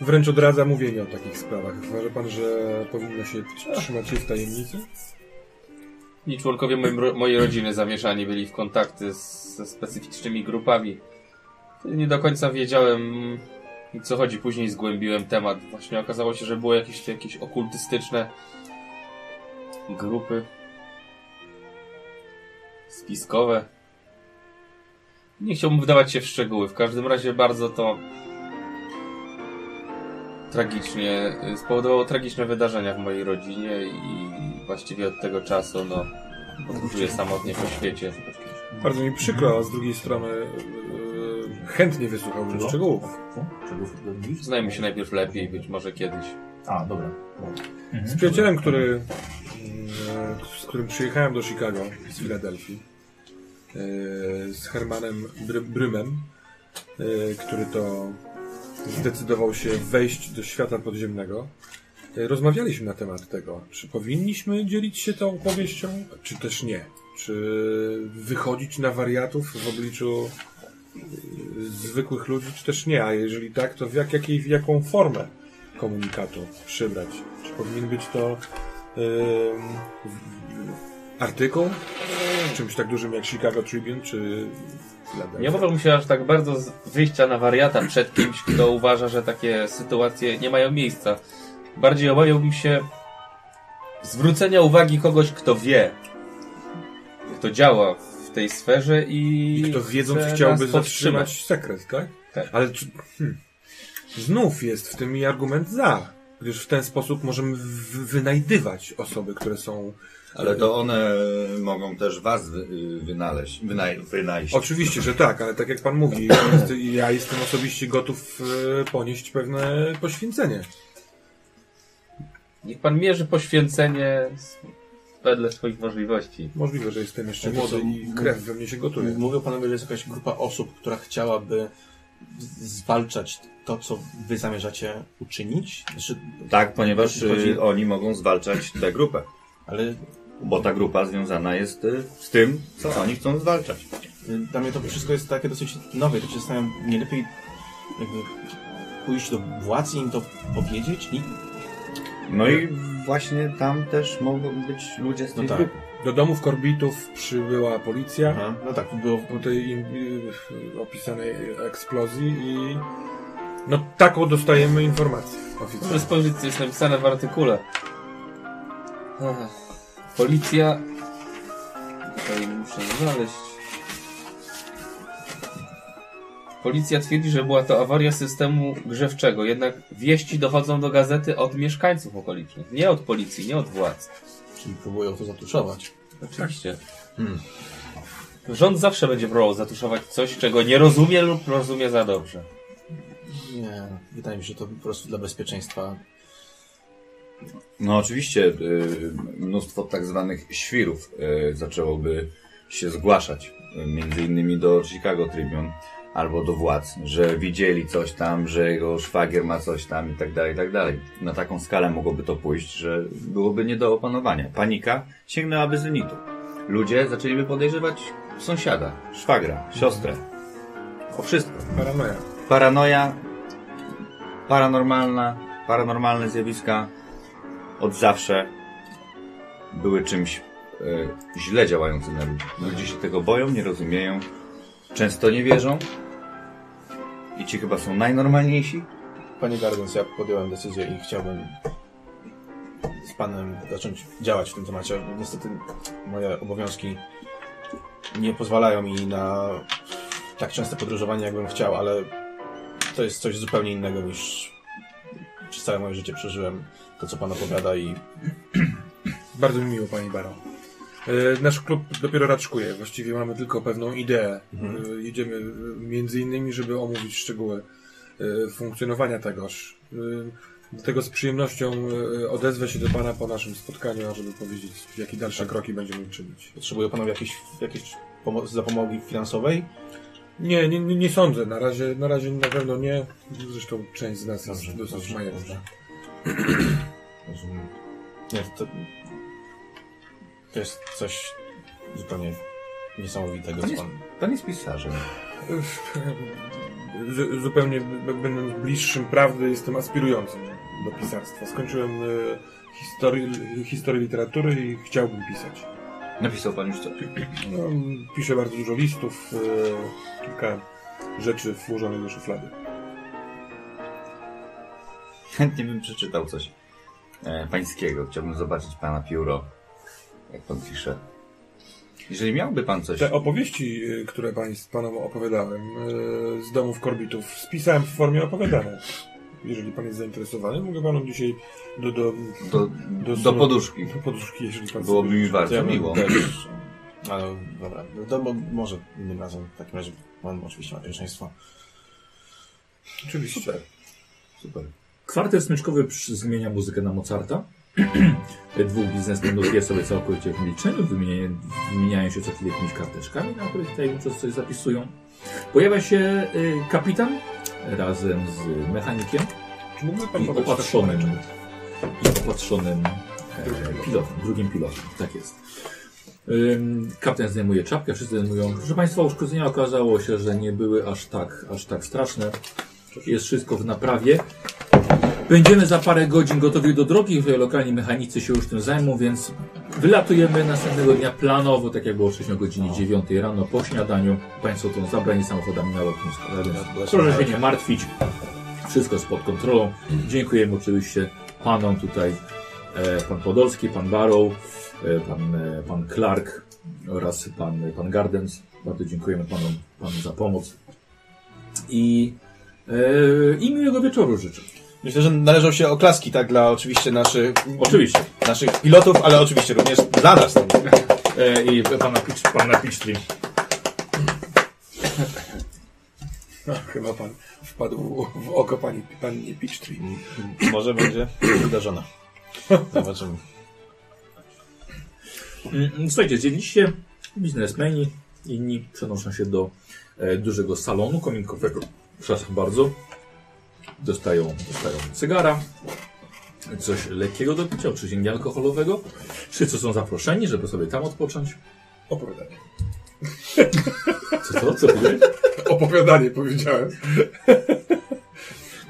[SPEAKER 4] wręcz odradza mówienie o takich sprawach? Uważa pan, że powinno się trzymać je w tajemnicy?
[SPEAKER 5] I członkowie moim, ro- mojej rodziny zamieszani byli w kontakty z, ze specyficznymi grupami. Nie do końca wiedziałem o co chodzi. Później zgłębiłem temat. Właśnie okazało się, że były jakieś, jakieś okultystyczne grupy spiskowe. Nie chciałbym wdawać się w szczegóły. W każdym razie bardzo to tragicznie y, spowodowało tragiczne wydarzenia w mojej rodzinie i właściwie od tego czasu no podróżuję samotnie po świecie.
[SPEAKER 4] Bardzo mi przykro, a z drugiej strony e, chętnie wysłuchałbym szczegółów.
[SPEAKER 1] Czego robisz?
[SPEAKER 5] Znajmy się najpierw lepiej, być może kiedyś.
[SPEAKER 1] A, dobra.
[SPEAKER 4] Z przyjacielem, który, mm, z którym przyjechałem do Chicago z Filadelfii, e, z Hermanem Bry- Brymem, e, który to zdecydował się wejść do świata podziemnego, e, rozmawialiśmy na temat tego, czy powinniśmy dzielić się tą opowieścią, czy też nie. Czy wychodzić na wariatów w obliczu e, zwykłych ludzi, czy też nie, a jeżeli tak, to w, jak, jakiej, w jaką formę komunikatu przybrać? Czy powinien być to ym, w- artykuł? Czymś tak dużym jak Chicago Tribune, czy... Philadelphia?
[SPEAKER 5] Nie obawiam się aż tak bardzo z wyjścia na wariata przed kimś, kto uważa, że takie sytuacje nie mają miejsca. Bardziej obawiałbym się zwrócenia uwagi kogoś, kto wie, kto działa w tej sferze i,
[SPEAKER 4] I kto wiedząc
[SPEAKER 5] chce nas
[SPEAKER 4] chciałby
[SPEAKER 5] powstrzymać.
[SPEAKER 4] zatrzymać sekret, tak?
[SPEAKER 5] Tak.
[SPEAKER 4] Ale czy, hmm, znów jest w tym i argument za, gdyż w ten sposób możemy w- wynajdywać osoby, które są...
[SPEAKER 2] Ale to one mogą też was wy, wynaleźć, wynaj, wynajść.
[SPEAKER 4] Oczywiście, że tak, ale tak jak pan
[SPEAKER 5] [COUGHS]
[SPEAKER 4] mówi, jest, ja jestem osobiście gotów e, ponieść pewne poświęcenie.
[SPEAKER 5] Niech pan mierzy poświęcenie z- wedle swoich możliwości.
[SPEAKER 4] Możliwe, że jestem jeszcze
[SPEAKER 3] No to
[SPEAKER 4] młody
[SPEAKER 3] co?
[SPEAKER 4] i krew we mnie się gotuje.
[SPEAKER 3] Mówią panowie, że jest jakaś grupa osób, która chciałaby zwalczać to, co wy zamierzacie uczynić? Znaczy,
[SPEAKER 2] Tak, ponieważ
[SPEAKER 3] Chodzi-
[SPEAKER 2] y, oni mogą zwalczać tę grupę.
[SPEAKER 3] ale
[SPEAKER 2] Bo ta grupa związana jest y, z tym, co oni chcą zwalczać.
[SPEAKER 3] y, Dla mnie to wszystko jest takie dosyć nowe, to się zastanawiam, nie lepiej jakby pójść do władz i im to powiedzieć? I...
[SPEAKER 2] No i właśnie tam też mogą być ludzie z tej
[SPEAKER 3] No tak.
[SPEAKER 2] grupy.
[SPEAKER 4] Do domów korbitów przybyła policja
[SPEAKER 3] Aha. No tak, było...
[SPEAKER 4] po tej im, y, opisanej eksplozji i no taką dostajemy informację
[SPEAKER 5] Muszę
[SPEAKER 4] oficjalnie.
[SPEAKER 5] spojrzeć, co jest napisane w artykule. Ach, Policja. Tutaj muszę znaleźć. Policja twierdzi, że była to awaria systemu grzewczego, jednak wieści dochodzą do gazety od mieszkańców okolicznych, nie od policji, nie od władz.
[SPEAKER 3] Czyli próbują to zatuszować.
[SPEAKER 5] Oczywiście. Hmm. Rząd zawsze będzie próbował zatuszować coś, czego nie rozumie lub rozumie za dobrze.
[SPEAKER 3] Nie, wydaje mi się, że to po prostu dla bezpieczeństwa.
[SPEAKER 2] No oczywiście y, mnóstwo tak zwanych świrów y, zaczęłoby się zgłaszać, y, między innymi do Chicago Tribune albo do władz, że widzieli coś tam, że jego szwagier ma coś tam i tak dalej, i tak dalej. Na taką skalę mogłoby to pójść, że byłoby nie do opanowania. Panika sięgnęłaby zenitu. Ludzie zaczęliby podejrzewać sąsiada, szwagra, siostrę. O wszystko.
[SPEAKER 4] Paranoja.
[SPEAKER 2] Paranoja, paranormalna, paranormalne zjawiska od zawsze były czymś e, źle działającym na ludzi. No, Ludzie się tego boją, nie rozumieją, często nie wierzą i ci chyba są najnormalniejsi.
[SPEAKER 3] Panie Gardens, ja podjąłem decyzję i chciałbym z panem zacząć działać w tym temacie. Niestety moje obowiązki nie pozwalają mi na tak częste podróżowanie, jakbym chciał, ale to jest coś zupełnie innego niż przez całe moje życie przeżyłem. To, co pan opowiada i
[SPEAKER 4] Bardzo mi miło, pani Baro. E, Nasz klub dopiero raczkuje. Właściwie mamy tylko pewną ideę. E, Idziemy e, między innymi, żeby omówić szczegóły e, funkcjonowania tegoż. E, Dlatego z przyjemnością e, odezwę się do pana po naszym spotkaniu, żeby powiedzieć, jakie dalsze kroki będziemy czynić.
[SPEAKER 3] potrzebują panowie jakiejś, jakiejś pomo- zapomogi finansowej.
[SPEAKER 4] Nie, nie, nie, nie sądzę. Na razie, na razie na pewno nie. Zresztą część z tak. nas jest dosyć majętna.
[SPEAKER 3] [CLEARS THROAT] Rozumiem. Nie, to, to jest coś zupełnie niesamowitego, co pan...
[SPEAKER 2] Pan jest pisarzem.
[SPEAKER 4] Zu- zupełnie b- będąc bliższym prawdy, jestem aspirującym do pisarstwa. Skończyłem e, historię, historię literatury i chciałbym pisać.
[SPEAKER 2] Napisał pan już coś. [LAUGHS]
[SPEAKER 4] No, piszę bardzo dużo listów, e, kilka rzeczy włożonych do szuflady.
[SPEAKER 2] Chętnie bym przeczytał coś e, pańskiego. Chciałbym zobaczyć pana pióro, jak pan pisze. Jeżeli miałby pan coś...
[SPEAKER 3] Tak.
[SPEAKER 4] Te opowieści, e, które pań, panom opowiadałem e, z domów korbitów, spisałem w formie opowiadania. Jeżeli pan jest zainteresowany, mogę panu dzisiaj do, do,
[SPEAKER 2] Do, do, poduszki.
[SPEAKER 4] do poduszki, jeżeli pan
[SPEAKER 2] Byłoby mi
[SPEAKER 3] To
[SPEAKER 2] bardzo
[SPEAKER 3] ja bym [LAUGHS]
[SPEAKER 2] miło.
[SPEAKER 3] Też, ale dobra, no to mo- może innym razem w takim razie pan oczywiście ma pierwszeństwo.
[SPEAKER 4] Oczywiście.
[SPEAKER 2] Super.
[SPEAKER 1] Kwartet smyczkowy przy- zmienia muzykę na Mozarta. [CLEARS THROAT] Dwóch biznesmenów je sobie całkowicie w milczeniu, wymieniają, wymieniają się co chwilę jakimiś karteczkami, na których tajemniczo coś zapisują. Pojawia się y, kapitan razem z mechanikiem
[SPEAKER 4] Czy mógłby pan
[SPEAKER 1] i
[SPEAKER 4] podać
[SPEAKER 1] opatrzonym,
[SPEAKER 4] taką
[SPEAKER 1] i opatrzonym e, pilotem, drugim pilotem, tak jest. Ym, Kapitan zdejmuje czapkę, wszyscy zdejmują. Proszę Państwa, uszkodzenia okazało się, że nie były aż tak, aż tak straszne. Jest wszystko w naprawie. Będziemy za parę godzin gotowi do drogi, tutaj lokalni mechanicy się już tym zajmą, więc wylatujemy następnego dnia planowo, tak jak było wcześniej o godzinie 9 rano po śniadaniu. Państwo są zabrani samochodami na lotnisko, a więc proszę się nie martwić, wszystko jest pod kontrolą. Dziękujemy oczywiście panom tutaj, e, pan Podolski, pan Barrow, e, pan, e, pan Clark oraz pan, pan Gardens. Bardzo dziękujemy panom, panu za pomoc i, e, i miłego wieczoru życzę.
[SPEAKER 3] Myślę, że należą się oklaski, tak, dla oczywiście naszych,
[SPEAKER 1] Oczywiście.
[SPEAKER 3] naszych pilotów, ale oczywiście również dla nas.
[SPEAKER 1] E, I pana, Pitch- pana Pitchtree.
[SPEAKER 4] Chyba pan wpadł w oko pani, pani Peachtree.
[SPEAKER 3] Może będzie uderzona. Zobaczymy.
[SPEAKER 1] Mm, mm, Słuchajcie, zjedliście, biznesmeni, inni przenoszą się do e, dużego salonu kominkowego, przepraszam bardzo, dostają, dostają cygara, coś lekkiego do picia, oczywiście niealkoholowego, wszyscy są zaproszeni, żeby sobie tam odpocząć.
[SPEAKER 4] Opowiadanie.
[SPEAKER 1] Co to, co powiedziałeś?
[SPEAKER 4] Opowiadanie powiedziałem.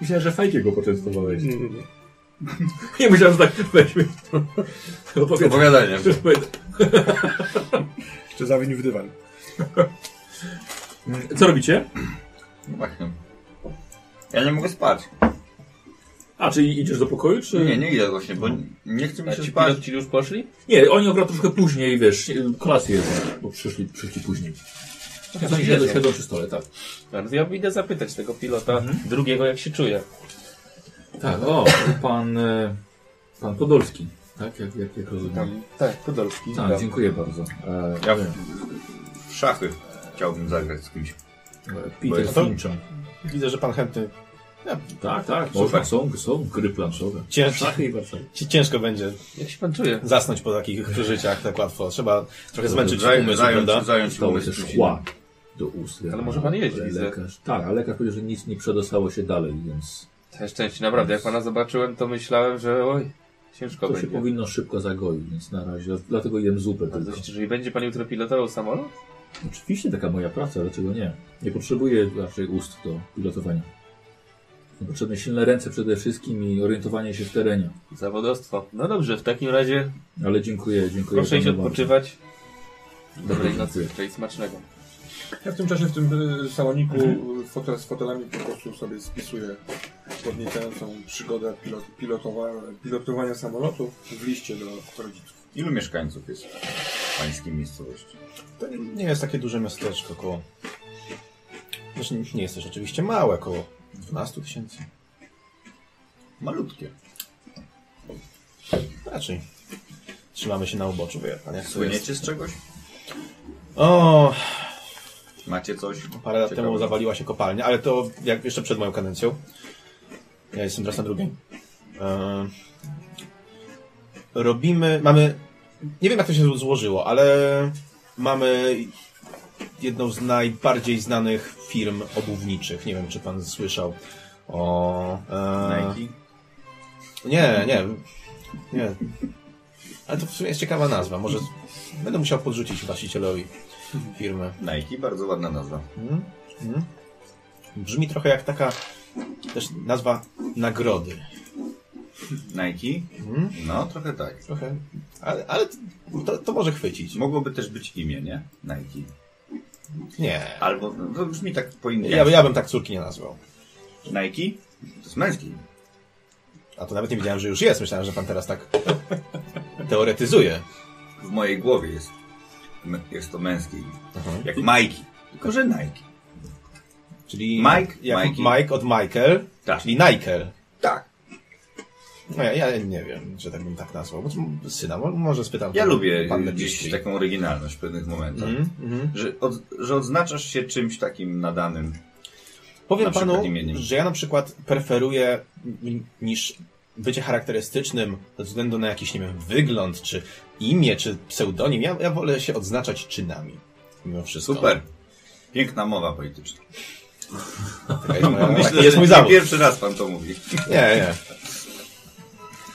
[SPEAKER 1] Myślałem, że fajkiego poczęstowałeś.
[SPEAKER 4] Nie, nie, nie.
[SPEAKER 1] [LAUGHS] Nie myślałem, że tak weźmy. Opowiadam.
[SPEAKER 2] Opowiadaniem.
[SPEAKER 4] Jeszcze zawinił w dywan.
[SPEAKER 1] Co robicie?
[SPEAKER 2] No Właśnie. Ja nie mogę spać.
[SPEAKER 1] A, czyli idziesz do pokoju, czy...
[SPEAKER 2] Nie, nie idę właśnie, bo nie chcę mi
[SPEAKER 5] A
[SPEAKER 2] się
[SPEAKER 5] ci
[SPEAKER 2] spać.
[SPEAKER 5] piloci już poszli?
[SPEAKER 1] Nie, oni akurat troszkę później, wiesz, kolację jedzą, bo przyszli, przyszli później. Tak, oni siedzą, siedzą przy stole, tak.
[SPEAKER 5] No, to ja idę zapytać tego pilota drugiego, jak się czuje.
[SPEAKER 1] Tak, o, pan, e, pan Podolski, tak, jak, jak, jak rozumiem.
[SPEAKER 3] Tak, Podolski.
[SPEAKER 1] Tak, dziękuję bardzo. E,
[SPEAKER 2] Ja w, w szachy chciałbym zagrać z kimś.
[SPEAKER 1] e,
[SPEAKER 2] Bo
[SPEAKER 1] Peter
[SPEAKER 2] jest
[SPEAKER 3] to-
[SPEAKER 1] Fincham.
[SPEAKER 3] Widzę, że pan chętny.
[SPEAKER 1] Tak, tak,
[SPEAKER 2] Super.
[SPEAKER 1] można, są, są gry planszowe.
[SPEAKER 3] Cięż,
[SPEAKER 1] Szachy i Warszawa.
[SPEAKER 3] ci- ciężko będzie
[SPEAKER 5] Jak się pan czuje?
[SPEAKER 3] zasnąć po takich [LAUGHS] przeżyciach tak łatwo. Trzeba trochę zmęczyć
[SPEAKER 2] Zaj-
[SPEAKER 3] umysł, prawda?
[SPEAKER 2] Zająć, zająć
[SPEAKER 1] Dostało się
[SPEAKER 2] umysł.
[SPEAKER 1] szkła do ust.
[SPEAKER 5] Ale może pan jeździ, widzę.
[SPEAKER 1] lekarz. Tak, ale lekarz powiedział, że nic nie przedostało się dalej, więc
[SPEAKER 5] Całe szczęście, naprawdę. Jak pana zobaczyłem, to myślałem, że oj, ciężko
[SPEAKER 1] to się
[SPEAKER 5] będzie.
[SPEAKER 1] powinno szybko zagoić, więc na razie, dlatego jem zupę
[SPEAKER 5] Bardzo
[SPEAKER 1] tylko.
[SPEAKER 5] się cieszę. I będzie pan jutro pilotował samolot?
[SPEAKER 1] Oczywiście taka moja praca, dlaczego nie? Nie potrzebuję raczej ust do pilotowania. Są Potrzebne silne ręce przede wszystkim i orientowanie się w terenie.
[SPEAKER 5] Zawodostwo. No dobrze, w takim razie
[SPEAKER 1] Ale dziękuję, dziękuję.
[SPEAKER 5] proszę iść
[SPEAKER 1] panu bardzo.
[SPEAKER 5] odpoczywać. Dobrej nocy,
[SPEAKER 1] Dziękuję.
[SPEAKER 5] czyli smacznego.
[SPEAKER 4] Ja w tym czasie w tym y, saloniku y, fotel, z fotelami po prostu sobie spisuję podniecającą przygodę pilot, pilotowa, pilotowania samolotu w liście do rodziców.
[SPEAKER 2] Ilu mieszkańców jest w pańskiej miejscowości?
[SPEAKER 3] To nie- nie jest takie duże miasteczko, koło... Znaczy nie jest też oczywiście małe, koło 12 tysięcy. Malutkie. Raczej. Trzymamy się na uboczu, wie pan. Jak to jest.
[SPEAKER 2] Słyniecie z czegoś?
[SPEAKER 3] O,
[SPEAKER 2] Macie coś?
[SPEAKER 3] parę lat temu
[SPEAKER 2] Ciekawego?
[SPEAKER 3] zawaliła się kopalnia, ale to jak jeszcze przed moją kadencją. Ja jestem teraz na drugiej. E, robimy, mamy, nie wiem jak to się zło- złożyło, ale mamy jedną z najbardziej znanych firm obuwniczych. Nie wiem, czy pan słyszał o... e,
[SPEAKER 2] Nike?
[SPEAKER 3] nie, nie. Nie. Ale to w sumie jest ciekawa nazwa. Może będę musiał podrzucić właścicielowi firmy.
[SPEAKER 2] Nike, bardzo ładna nazwa.
[SPEAKER 3] Mhm. Mhm. Brzmi trochę jak taka też nazwa nagrody.
[SPEAKER 2] Nike?
[SPEAKER 3] Mhm.
[SPEAKER 2] No, trochę tak.
[SPEAKER 3] Trochę. Ale, ale to, to może chwycić.
[SPEAKER 2] Mogłoby też być imię, nie? Nike.
[SPEAKER 3] Nie.
[SPEAKER 2] Albo, no, to brzmi tak po
[SPEAKER 3] Ja,
[SPEAKER 2] indiańsku.
[SPEAKER 3] ja bym tak córki nie nazwał.
[SPEAKER 2] Nike? To jest męski.
[SPEAKER 3] A to nawet nie wiedziałem, że już jest. Myślałem, że pan teraz tak [LAUGHS] teoretyzuje.
[SPEAKER 2] W mojej głowie jest, m- jest to męski.
[SPEAKER 3] Mhm.
[SPEAKER 2] Jak Mikey. Tylko, że Nike.
[SPEAKER 3] Czyli
[SPEAKER 2] Mike,
[SPEAKER 3] jak
[SPEAKER 2] Mikey.
[SPEAKER 3] Mike od Michael,
[SPEAKER 2] Tak.
[SPEAKER 3] czyli Nike.
[SPEAKER 2] Tak.
[SPEAKER 3] No ja, ja nie wiem, że tak bym tak nazwał. Bo to Syna, mo- może spytam.
[SPEAKER 2] Ja
[SPEAKER 3] pan-
[SPEAKER 2] lubię
[SPEAKER 3] Mhm. pan
[SPEAKER 2] y,
[SPEAKER 3] lepiej.
[SPEAKER 2] gdzieś taką oryginalność w pewnych momentach.
[SPEAKER 3] Mhm, mhm.
[SPEAKER 2] Że, od, że odznaczasz się czymś takim nadanym.
[SPEAKER 3] Powiem
[SPEAKER 2] Na przykład
[SPEAKER 3] panu,
[SPEAKER 2] imieniem.
[SPEAKER 3] że ja na przykład preferuję m- niż bycie charakterystycznym ze względu na jakiś, nie wiem, wygląd, czy imię, czy pseudonim. Ja, ja wolę się odznaczać czynami. Mimo wszystko.
[SPEAKER 2] Super. Piękna mowa polityczna.
[SPEAKER 3] Taka jest
[SPEAKER 2] [LAUGHS]
[SPEAKER 3] moja,
[SPEAKER 2] Myślę,
[SPEAKER 3] taki No, jest
[SPEAKER 2] że
[SPEAKER 3] mój
[SPEAKER 2] nie
[SPEAKER 3] zawód.
[SPEAKER 2] pierwszy raz pan to mówi.
[SPEAKER 3] Nie, nie.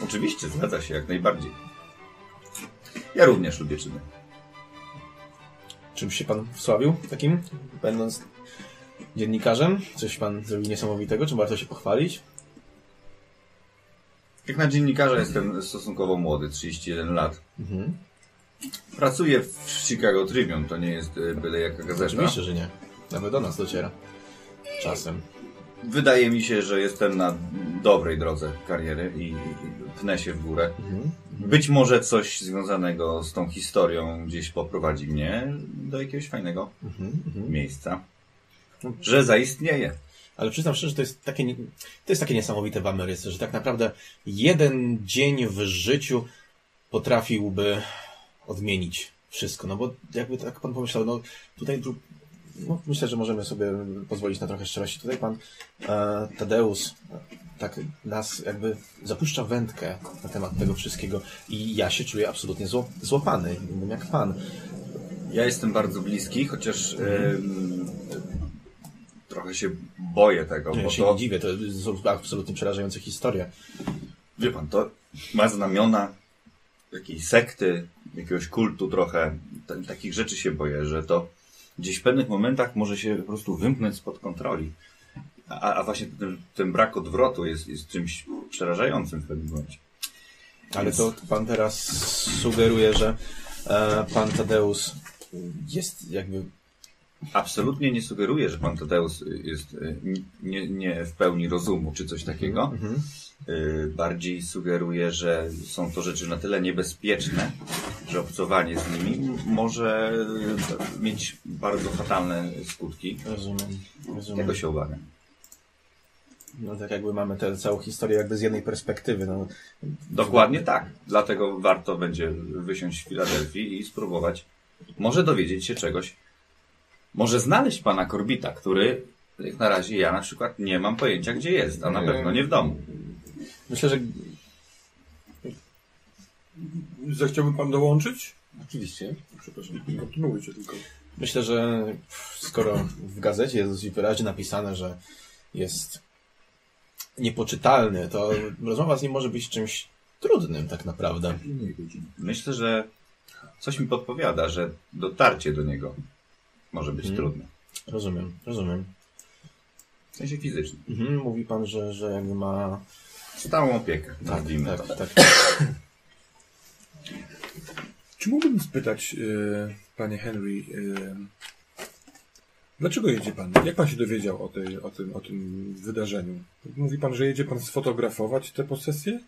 [SPEAKER 2] Oczywiście, zgadza się jak najbardziej. Ja również lubię czyny.
[SPEAKER 3] Czymś się pan wsławił takim, będąc dziennikarzem? Coś pan zrobił niesamowitego? Czym warto się pochwalić?
[SPEAKER 2] Jak na dziennikarza jestem stosunkowo młody, 31 lat.
[SPEAKER 3] Mhm.
[SPEAKER 2] Pracuję w Chicago Tribune, to nie jest e, byle jaka gazeta.
[SPEAKER 3] Oczywiście, że nie. Nawet do nas dociera. Czasem.
[SPEAKER 2] Wydaje mi się, że jestem na dobrej drodze kariery i i pnę się w górę.
[SPEAKER 3] Mhm.
[SPEAKER 2] Być może coś związanego z tą historią gdzieś poprowadzi mnie do jakiegoś fajnego
[SPEAKER 3] Mhm. Mhm.
[SPEAKER 2] miejsca. Że zaistnieje.
[SPEAKER 3] Ale przyznam szczerze, że to jest takie, nie- to jest takie niesamowite w Ameryce, że tak naprawdę jeden dzień w życiu potrafiłby odmienić wszystko. No bo jakby tak pan pomyślał, no tutaj dru- no, myślę, że możemy sobie pozwolić na trochę szczerości. Tutaj pan e, Tadeusz e, tak nas jakby zapuszcza wędkę na temat tego wszystkiego i ja się czuję absolutnie zło- złapany, nie wiem jak pan.
[SPEAKER 2] Ja jestem bardzo bliski, chociaż em, trochę się boję tego,
[SPEAKER 3] Ja
[SPEAKER 2] bo
[SPEAKER 3] się nie
[SPEAKER 2] No to,
[SPEAKER 3] dziwię, to są absolutnie przerażające historie.
[SPEAKER 2] wie pan, to ma znamiona takiej sekty, jakiegoś kultu trochę. Ta- takich rzeczy się boję, że to gdzieś w pewnych momentach może się po prostu wymknąć spod kontroli. A, a właśnie ten, ten brak odwrotu jest, jest czymś przerażającym w pewnym momencie.
[SPEAKER 3] Ale
[SPEAKER 2] Więc-
[SPEAKER 3] to pan teraz sugeruje, że e, pan Tadeusz jest jakby.
[SPEAKER 2] Absolutnie nie sugeruję, że pan Tadeusz jest y, nie, nie w pełni rozumu czy coś takiego.
[SPEAKER 3] Mhm.
[SPEAKER 2] Y, Bardziej sugeruję, że są to rzeczy na tyle niebezpieczne, że obcowanie z nimi może y, mieć bardzo fatalne skutki.
[SPEAKER 3] Rozumiem. rozumiem.
[SPEAKER 2] Tego się obawiam.
[SPEAKER 3] No tak jakby mamy tę całą historię jakby z jednej perspektywy. No.
[SPEAKER 2] Dokładnie tak. Dlatego warto będzie wysiąść w Filadelfii i spróbować. Może dowiedzieć się czegoś. Może znaleźć pana Korbita, który jak na razie ja na przykład nie mam pojęcia, gdzie jest, a na pewno nie w domu.
[SPEAKER 3] Myślę, że
[SPEAKER 4] Zechciałby pan dołączyć?
[SPEAKER 5] Oczywiście.
[SPEAKER 4] Przepraszam, kontynuujcie tylko.
[SPEAKER 3] myślę, że skoro w gazecie jest dosyć wyraźnie napisane, że jest niepoczytalny, to rozmowa z nim może być czymś trudnym tak naprawdę.
[SPEAKER 2] Myślę, że coś mi podpowiada, że dotarcie do niego może być
[SPEAKER 3] Mhm.
[SPEAKER 2] trudne.
[SPEAKER 3] Rozumiem, rozumiem.
[SPEAKER 2] W sensie fizycznym.
[SPEAKER 3] Mhm, mówi pan, że, że jakby ma.
[SPEAKER 2] Stałą opiekę. Nazwijmy to.
[SPEAKER 3] tak, tak.
[SPEAKER 4] Czy mógłbym spytać, y, panie Henry, y, dlaczego jedzie pan? Jak pan się dowiedział o, tej, o, tym, o tym wydarzeniu? Mówi pan, że jedzie pan sfotografować tę posesję?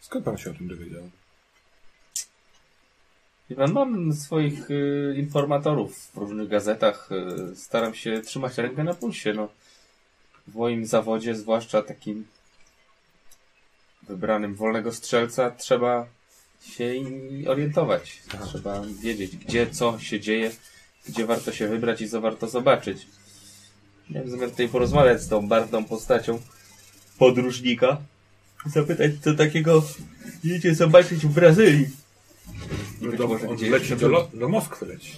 [SPEAKER 4] Skąd pan się o tym dowiedział?
[SPEAKER 5] Wie pan, No, mam swoich y, informatorów w różnych gazetach. Y, staram się trzymać rękę na pulsie. No. W moim zawodzie, zwłaszcza takim wybranym wolnego strzelca, trzeba się orientować. Trzeba wiedzieć, gdzie co się dzieje, gdzie warto się wybrać i co warto zobaczyć. Miałem zamiar tutaj porozmawiać z tą barwną postacią podróżnika. Zapytać, co takiego idziecie zobaczyć w Brazylii. I być
[SPEAKER 4] Do,
[SPEAKER 5] może
[SPEAKER 4] on
[SPEAKER 5] gdzieś-
[SPEAKER 4] leci do, Lo- do Moskwy leci.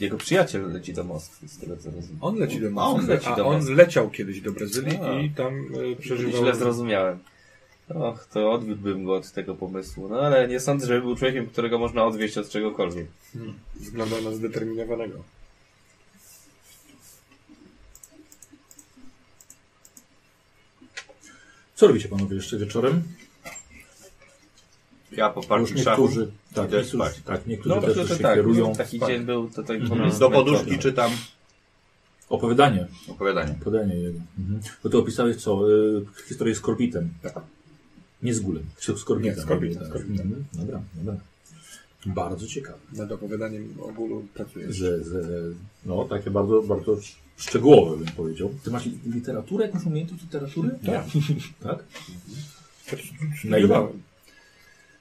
[SPEAKER 5] Jego przyjaciel leci do Moskwy, z tego co rozumiem.
[SPEAKER 4] On leci do
[SPEAKER 5] A, on
[SPEAKER 4] Moskwy,
[SPEAKER 5] leci
[SPEAKER 4] a
[SPEAKER 5] do
[SPEAKER 4] on
[SPEAKER 5] Moskwy.
[SPEAKER 4] leciał kiedyś do Brazylii
[SPEAKER 5] A.
[SPEAKER 4] i tam y, przeżywał...
[SPEAKER 5] Źle zrozumiałem. Och, to odwiódłbym go od tego pomysłu. No ale nie sądzę, żeby był człowiekiem, którego można odwieść od czegokolwiek.
[SPEAKER 4] Wygląda na zdeterminowanego.
[SPEAKER 1] Co robicie panowie jeszcze wieczorem?
[SPEAKER 2] Ja po
[SPEAKER 1] Już
[SPEAKER 2] parku szachu.
[SPEAKER 1] niektórzy, tak,
[SPEAKER 2] Idę
[SPEAKER 1] niektórzy,
[SPEAKER 2] spać.
[SPEAKER 1] tak, niektórzy
[SPEAKER 5] No
[SPEAKER 1] też,
[SPEAKER 5] to,
[SPEAKER 1] też
[SPEAKER 5] to
[SPEAKER 1] się
[SPEAKER 5] tak,
[SPEAKER 1] kierują.
[SPEAKER 5] taki
[SPEAKER 1] Tak.
[SPEAKER 5] dzień był, to tak
[SPEAKER 4] Mhm.
[SPEAKER 2] Do poduszki czytam
[SPEAKER 1] Opowiadanie,
[SPEAKER 2] opowiadanie.
[SPEAKER 1] podanie jego. Mhm. Bo ty opisałeś co? Y, historię z korbitem. Nie z gulem, czy z korbitem.
[SPEAKER 4] Tak. Nie, z korbitem,
[SPEAKER 1] Tak.
[SPEAKER 4] z korbitem.
[SPEAKER 1] Mhm. Dobra, dobra. Bardzo ciekawe.
[SPEAKER 4] Nad opowiadaniem o bólu pracuje.
[SPEAKER 1] Że, że, no, takie bardzo, bardzo sz- szczegółowe bym powiedział. Ty masz literaturę, jakąś umiejętność literatury? Tak. [LAUGHS] tak? Na ile?
[SPEAKER 4] Studiowałem.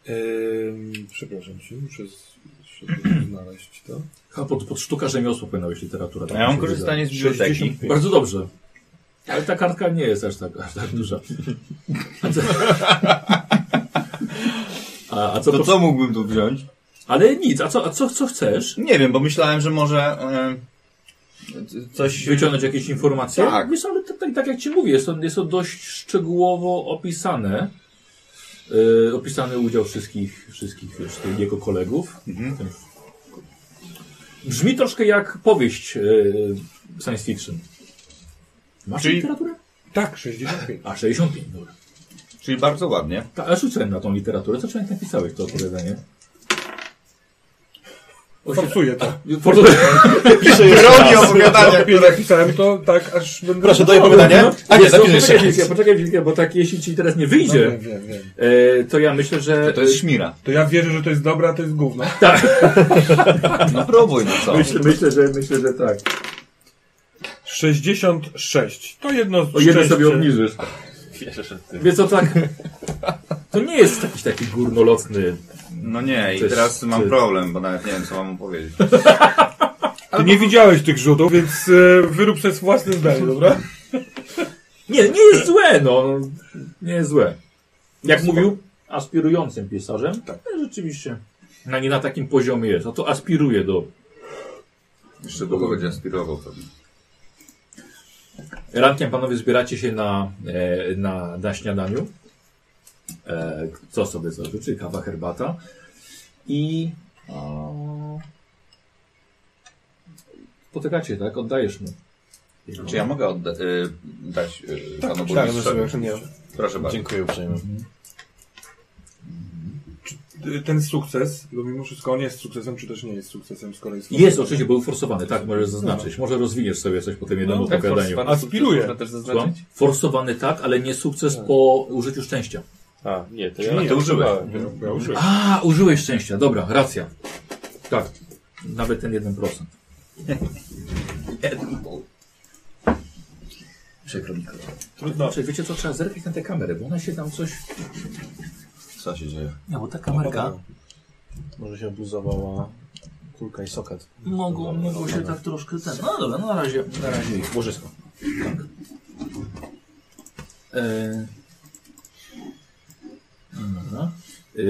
[SPEAKER 4] Ym, przepraszam cię, muszę z- się tu znaleźć to.
[SPEAKER 1] Chyba pod, pod sztuka rzemiosła powinna być literatura. tak
[SPEAKER 2] Ja
[SPEAKER 1] mi
[SPEAKER 2] mam
[SPEAKER 1] się
[SPEAKER 2] korzystanie z biblioteki.
[SPEAKER 1] 65. Bardzo dobrze. Ale ta kartka nie jest aż tak, aż tak duża. [LAUGHS] A, a co,
[SPEAKER 2] To co mógłbym tu wziąć?
[SPEAKER 1] Ale nic, a co, a co, co chcesz?
[SPEAKER 2] Nie wiem, bo myślałem, że może e, coś...
[SPEAKER 1] Wyciągnąć jakieś informacje?
[SPEAKER 2] Tak.
[SPEAKER 1] Wiesz, ale tak, tak, tak jak ci mówię, jest to, jest to dość szczegółowo opisane. Yy, opisany udział wszystkich, wszystkich wiesz, tych jego kolegów.
[SPEAKER 2] Mhm.
[SPEAKER 1] Ten- Brzmi troszkę jak powieść yy, science fiction. Masz
[SPEAKER 2] Czyli-
[SPEAKER 1] literaturę?
[SPEAKER 4] Tak, 65.
[SPEAKER 1] A, 65, dobra.
[SPEAKER 2] Czyli bardzo ładnie.
[SPEAKER 1] Ta, ale rzucałem na tą literaturę. Co człowiek napisałeś to opowiadanie?
[SPEAKER 4] Forsuję to.
[SPEAKER 1] [LAUGHS]
[SPEAKER 2] Drogi opowiadania,
[SPEAKER 4] Ja napisałem to tak, aż bym...
[SPEAKER 3] Proszę, daj opowiadanie. A nie,
[SPEAKER 1] Wiesz co,
[SPEAKER 3] zapisz
[SPEAKER 1] poczekaj
[SPEAKER 3] jeszcze.
[SPEAKER 1] chwilkę, poczekaj chwilkę, bo tak jeśli ci teraz nie
[SPEAKER 4] No, wiem,
[SPEAKER 1] wyjdzie,
[SPEAKER 4] wiem, wiem.
[SPEAKER 1] e, to ja myślę, że...
[SPEAKER 2] To jest szmira.
[SPEAKER 4] To ja wierzę, że to jest dobre, a to jest gówno.
[SPEAKER 2] No próbuj, no co?
[SPEAKER 1] Myślę, myślę, że, myślę, że tak.
[SPEAKER 4] 66. To jedno z
[SPEAKER 1] O jeden sobie
[SPEAKER 4] szczęście.
[SPEAKER 1] obniżysz.
[SPEAKER 5] Wierzę, że ty.
[SPEAKER 1] Więc to
[SPEAKER 5] [LAUGHS]
[SPEAKER 1] tak... To nie jest jakiś taki górnolotny...
[SPEAKER 2] No nie, i
[SPEAKER 1] Coś-
[SPEAKER 2] teraz mam
[SPEAKER 1] coś-
[SPEAKER 2] problem, bo nawet nie wiem, co mam powiedzieć.
[SPEAKER 4] Ty nie widziałeś tych rzutów, więc e, wyrób sobie własne zdanie, dobra?
[SPEAKER 1] Nie, nie jest złe, no. Nie jest złe. Jak mówił aspirującym pisarzem, tak. rzeczywiście na nie na takim poziomie jest. No to aspiruje do
[SPEAKER 2] Jeszcze długo będzie aspirował pewnie.
[SPEAKER 1] Rankiem panowie zbieracie się na, e, na, na śniadaniu. E, co sobie zażyczy? Kawa, herbata. I o, spotykacie, tak? Oddajesz mu.
[SPEAKER 2] Czy ja mogę odda- y, dać y, panu
[SPEAKER 3] Tak,
[SPEAKER 4] no
[SPEAKER 2] burmistrzowi?
[SPEAKER 3] rozumiem, nie.
[SPEAKER 2] Proszę bardzo.
[SPEAKER 3] Dziękuję uprzejmie.
[SPEAKER 4] E, Ten sukces, bo mimo wszystko on jest sukcesem, czy też nie jest sukcesem z kolei.
[SPEAKER 1] Jest oczywiście, był forsowany, tak? Możesz zaznaczyć. Może rozwiniesz sobie coś po tym jednym
[SPEAKER 5] No. Tak,
[SPEAKER 1] opowiadaniu.
[SPEAKER 5] forsowany
[SPEAKER 4] Aspiruję.
[SPEAKER 5] sukces Można też
[SPEAKER 1] Słucham?
[SPEAKER 5] zaznaczyć.
[SPEAKER 1] Forsowany tak, ale nie sukces po użyciu szczęścia.
[SPEAKER 5] A, nie, to
[SPEAKER 2] A
[SPEAKER 5] ja
[SPEAKER 2] ty użyłeś.
[SPEAKER 5] używałem.
[SPEAKER 4] Ja, ja użyłem.
[SPEAKER 1] A, użyłeś szczęścia, dobra, racja. Tak, nawet ten 1%. Przykro mi.
[SPEAKER 4] Trudno.
[SPEAKER 1] Znaczy, wiecie co, trzeba zerknąć na tę kamerę, bo ona się tam coś...
[SPEAKER 2] Co się dzieje?
[SPEAKER 1] No, bo ta kamerka
[SPEAKER 3] Może się obluzowała kulka i soket.
[SPEAKER 1] mogło, mogło się tak troszkę... Ten... No dobra, no na razie, na razie ich.
[SPEAKER 3] Łożysko.
[SPEAKER 1] E... Dobra.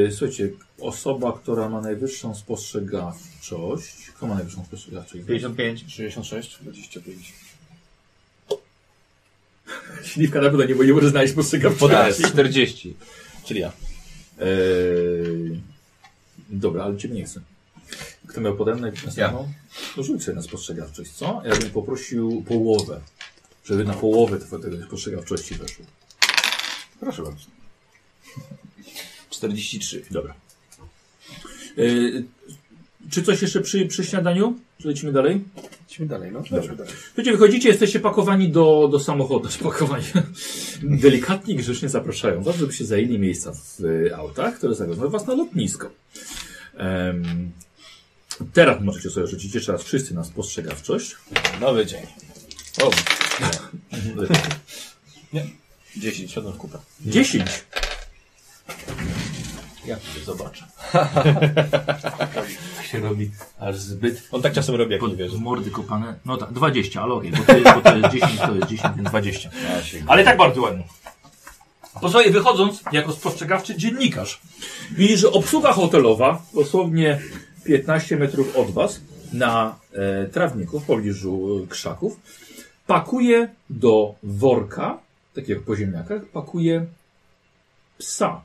[SPEAKER 1] E, Słuchajcie, osoba, która ma najwyższą spostrzegawczość... Kto ma najwyższą spostrzegawczość?
[SPEAKER 2] 55.
[SPEAKER 3] 66? 25.
[SPEAKER 1] Śliwka na pewno nie, bo nie może znaleźć
[SPEAKER 5] Podaj,
[SPEAKER 1] spostrzegawczości.
[SPEAKER 5] 40.
[SPEAKER 3] Czyli ja.
[SPEAKER 1] Eee, dobra, ale cię nie chcę. Kto miał podem następną? To rzuć sobie na spostrzegawczość, co? Ja bym poprosił połowę, żeby na połowę tw- tego spostrzegawczości weszło.
[SPEAKER 2] Proszę bardzo.
[SPEAKER 1] 43. Dobra. Eee, czy coś jeszcze przy, przy śniadaniu? Czy lecimy dalej?
[SPEAKER 4] Idźmy dalej, no.
[SPEAKER 1] Wiecie, wychodzicie, jesteście pakowani do, do samochodu. [LAUGHS] Spakowani. Delikatnie i grzecznie zapraszają was, żebyście zajęli miejsca w e, autach, które zawiozą was na lotnisko. Em, Teraz możecie sobie rzucić jeszcze raz wszyscy na spostrzegawczość.
[SPEAKER 3] Nowy dzień. O, 10, siadam w kupę.
[SPEAKER 1] 10.
[SPEAKER 3] Ja
[SPEAKER 1] [LAUGHS]
[SPEAKER 3] cię zobaczę.
[SPEAKER 1] Tak się robi aż zbyt
[SPEAKER 3] On tak czasem robi, jak nie
[SPEAKER 1] pod,
[SPEAKER 3] wierzy.
[SPEAKER 1] w mordy kopane. No tak, 20, ale okej, bo, to jest- bo to jest 10, to jest 10, więc 20. Ale i tak bardzo ładnie. Pozwolę wychodząc, jako spostrzegawczy dziennikarz, widzisz, że obsługa hotelowa, dosłownie 15 metrów od was, na e, trawniku w pobliżu e, krzaków, pakuje do worka, tak jak po ziemniakach, pakuje psa.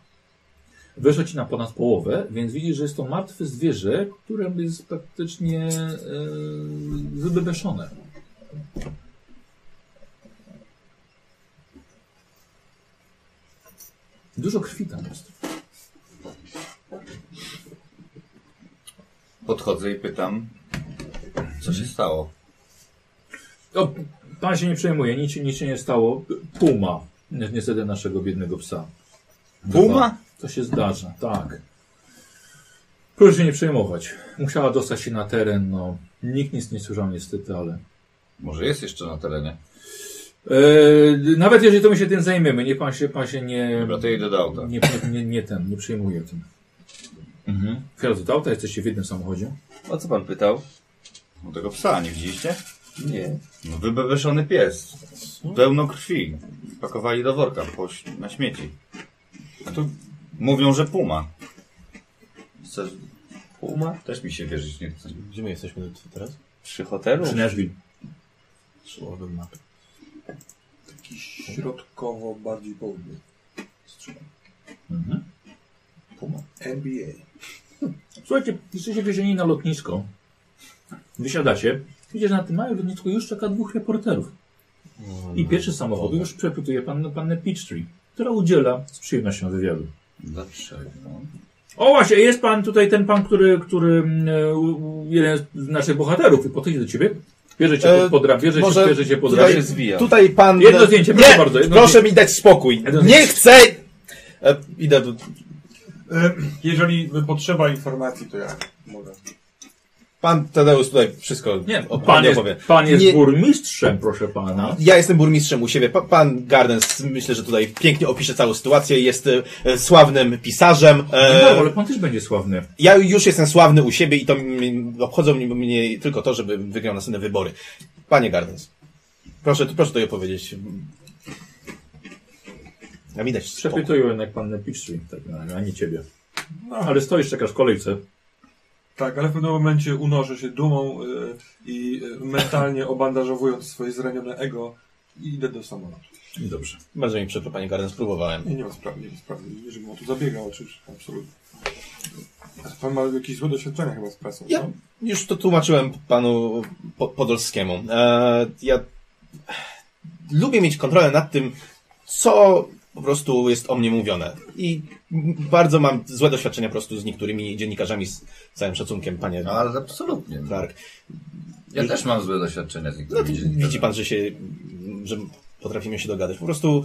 [SPEAKER 1] Weszło ci na ponad połowę, więc widzisz, że jest to martwe zwierzę, które jest praktycznie e, wybebeszone. Dużo krwi tam jest.
[SPEAKER 2] Podchodzę i pytam, co się stało?
[SPEAKER 1] O, pan się nie przejmuje, nic, nic się nie stało. Puma, ni- niestety naszego biednego psa.
[SPEAKER 2] Puma?
[SPEAKER 1] To się zdarza, tak. Proszę się nie przejmować. Musiała dostać się na teren, no. Nikt nic nie słyszał niestety, ale...
[SPEAKER 2] Może jest jeszcze na terenie.
[SPEAKER 1] Eee, nawet jeżeli to my się tym zajmiemy, nie pan się, pan się nie,
[SPEAKER 2] Dobra, to jej do auta.
[SPEAKER 1] nie, nie, nie, nie ten, nie przejmuje tym.
[SPEAKER 2] Mhm.
[SPEAKER 1] Wsiadł do auta, jesteście w jednym samochodzie.
[SPEAKER 5] O co pan pytał?
[SPEAKER 2] No tego psa, nie widzieliście?
[SPEAKER 5] Nie.
[SPEAKER 2] No wybebeszony pies. Pełno krwi. Pakowali do worka po, ś- na śmieci. A tu mówią, że puma. Chcesz... Puma? Też mi się wierzyć nie chce.
[SPEAKER 3] Gdzie my jesteśmy t- teraz?
[SPEAKER 5] Przy hotelu?
[SPEAKER 1] Przy Nashville.
[SPEAKER 3] Szłowym mapy.
[SPEAKER 4] Środkowo bardziej południe.
[SPEAKER 1] Mhm.
[SPEAKER 4] NBA.
[SPEAKER 1] Słuchajcie, jesteście wiezieni na lotnisko. Wysiadacie. Widzisz, na tym małym lotnisku już czeka dwóch reporterów. I
[SPEAKER 2] No.
[SPEAKER 1] pierwszy samochód już przepytuje pan, pannę Peachtree, która udziela z przyjemnością wywiadu.
[SPEAKER 2] Dlaczego?
[SPEAKER 1] O właśnie, jest pan tutaj ten pan, który, który mm, u- u- jeden z naszych bohaterów i podchodzi do ciebie. Bierze cię
[SPEAKER 3] E,
[SPEAKER 1] pod, pod, ra- bierze cię,
[SPEAKER 3] może
[SPEAKER 1] bierze cię pod
[SPEAKER 5] Tutaj
[SPEAKER 1] ramię.
[SPEAKER 5] się zwija.
[SPEAKER 3] Tutaj pan...
[SPEAKER 1] Jedno zdjęcie, proszę
[SPEAKER 3] nie,
[SPEAKER 1] bardzo, jedno
[SPEAKER 3] proszę
[SPEAKER 1] zdjęcie.
[SPEAKER 3] mi dać spokój.
[SPEAKER 1] Jedno
[SPEAKER 3] Nie
[SPEAKER 1] zdjęcie.
[SPEAKER 3] chcę... E, idę do...
[SPEAKER 4] E, Jeżeli potrzeba informacji, to ja mogę.
[SPEAKER 3] Pan Tadeusz tutaj wszystko
[SPEAKER 1] Nie,
[SPEAKER 3] op-
[SPEAKER 1] pan jest,
[SPEAKER 3] opowie.
[SPEAKER 1] pan jest
[SPEAKER 3] Nie-
[SPEAKER 1] burmistrzem, proszę pana.
[SPEAKER 3] Ja jestem burmistrzem u siebie. Pa, pan Gardens myślę, że tutaj pięknie opisze całą sytuację. Jest e, e, sławnym pisarzem.
[SPEAKER 1] Nie,
[SPEAKER 3] E,
[SPEAKER 1] No, ale pan też będzie sławny.
[SPEAKER 3] ja już jestem sławny u siebie i to mi- obchodzą mi- mnie tylko to, żeby wygrał następne wybory. Panie Gardens, proszę, proszę tutaj opowiedzieć. Ja widać spokój.
[SPEAKER 1] Przepytują jednak pannę Peachtree, tak, a- a nie ciebie. No, ale stoisz, czekasz w kolejce.
[SPEAKER 4] Tak, ale w pewnym momencie unożę się dumą y, i y, mentalnie obandażowując swoje zranione ego i idę do samolotu.
[SPEAKER 1] Dobrze.
[SPEAKER 3] Bardzo mi przykro, panie Gardens, próbowałem.
[SPEAKER 4] Nie, nie ma sprawy, nie ma sprawy. Nie, żebym o to zabiegał, oczywiście, absolutnie. A pan ma jakieś złe doświadczenia chyba z pracą,
[SPEAKER 3] Ja
[SPEAKER 4] co?
[SPEAKER 3] już to tłumaczyłem panu po Podolskiemu. E, ja lubię mieć kontrolę nad tym, co po prostu jest o mnie mówione. I bardzo mam złe doświadczenia po prostu z niektórymi dziennikarzami, z całym szacunkiem, panie
[SPEAKER 2] No ale absolutnie.
[SPEAKER 3] Clark.
[SPEAKER 2] Ja też mam złe doświadczenia z
[SPEAKER 3] No,
[SPEAKER 2] niektórymi
[SPEAKER 3] to
[SPEAKER 2] dziennikarzami.
[SPEAKER 3] widzi pan, że się, że potrafimy się dogadać. Po prostu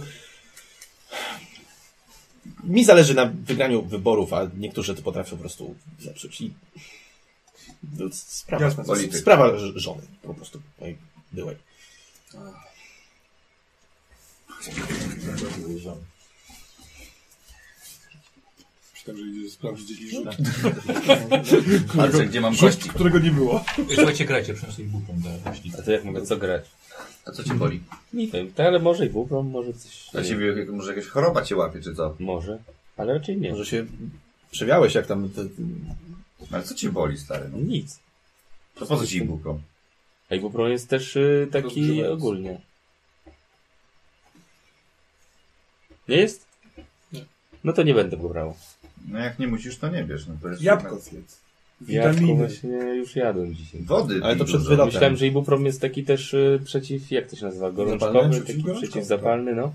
[SPEAKER 3] mi zależy na wygraniu wyborów, a niektórzy to potrafią po prostu zepsuć. I no, sprawa,
[SPEAKER 4] Jasne,
[SPEAKER 2] polityk.
[SPEAKER 3] sprawa ż- żony po prostu mojej byłej.
[SPEAKER 4] Myślałem, że idzie sprawdzić jakiś rzut,
[SPEAKER 2] Patrzę, gdzie mam kości.
[SPEAKER 4] którego nie było.
[SPEAKER 1] Słuchajcie, grajcie, przyniosę ich bupą do jeśli.
[SPEAKER 5] A to jak mogę co grać?
[SPEAKER 2] A co cię boli?
[SPEAKER 5] Nie wiem, to, ale może i bubrą, może coś...
[SPEAKER 2] A ciebie może jakaś choroba cię łapie, czy co?
[SPEAKER 5] Może, ale raczej nie.
[SPEAKER 3] Może się przewiałeś, jak tam... Te,
[SPEAKER 2] Ale co cię boli, stary? No,
[SPEAKER 5] Nic.
[SPEAKER 2] to po co ci buką?
[SPEAKER 5] A i bubrą jest też y, taki
[SPEAKER 4] Rozgrzewający.
[SPEAKER 5] ogólnie. Nie jest? No to nie będę go brał.
[SPEAKER 2] No jak nie musisz, to nie bierz. No, to jest
[SPEAKER 4] Jabłko zjedz.
[SPEAKER 5] Jabłko
[SPEAKER 4] Witaminy.
[SPEAKER 5] właśnie już jadłem dzisiaj.
[SPEAKER 2] Wody
[SPEAKER 3] Ale
[SPEAKER 2] pij
[SPEAKER 3] to przed
[SPEAKER 2] dużo.
[SPEAKER 3] wylotem.
[SPEAKER 5] Myślałem, że ibuprom jest taki też y, przeciw, jak to się nazywa, gorączkowy,
[SPEAKER 4] Zapalny?
[SPEAKER 5] taki
[SPEAKER 4] Przeciwgorączkowy,
[SPEAKER 5] przeciwzapalny, no.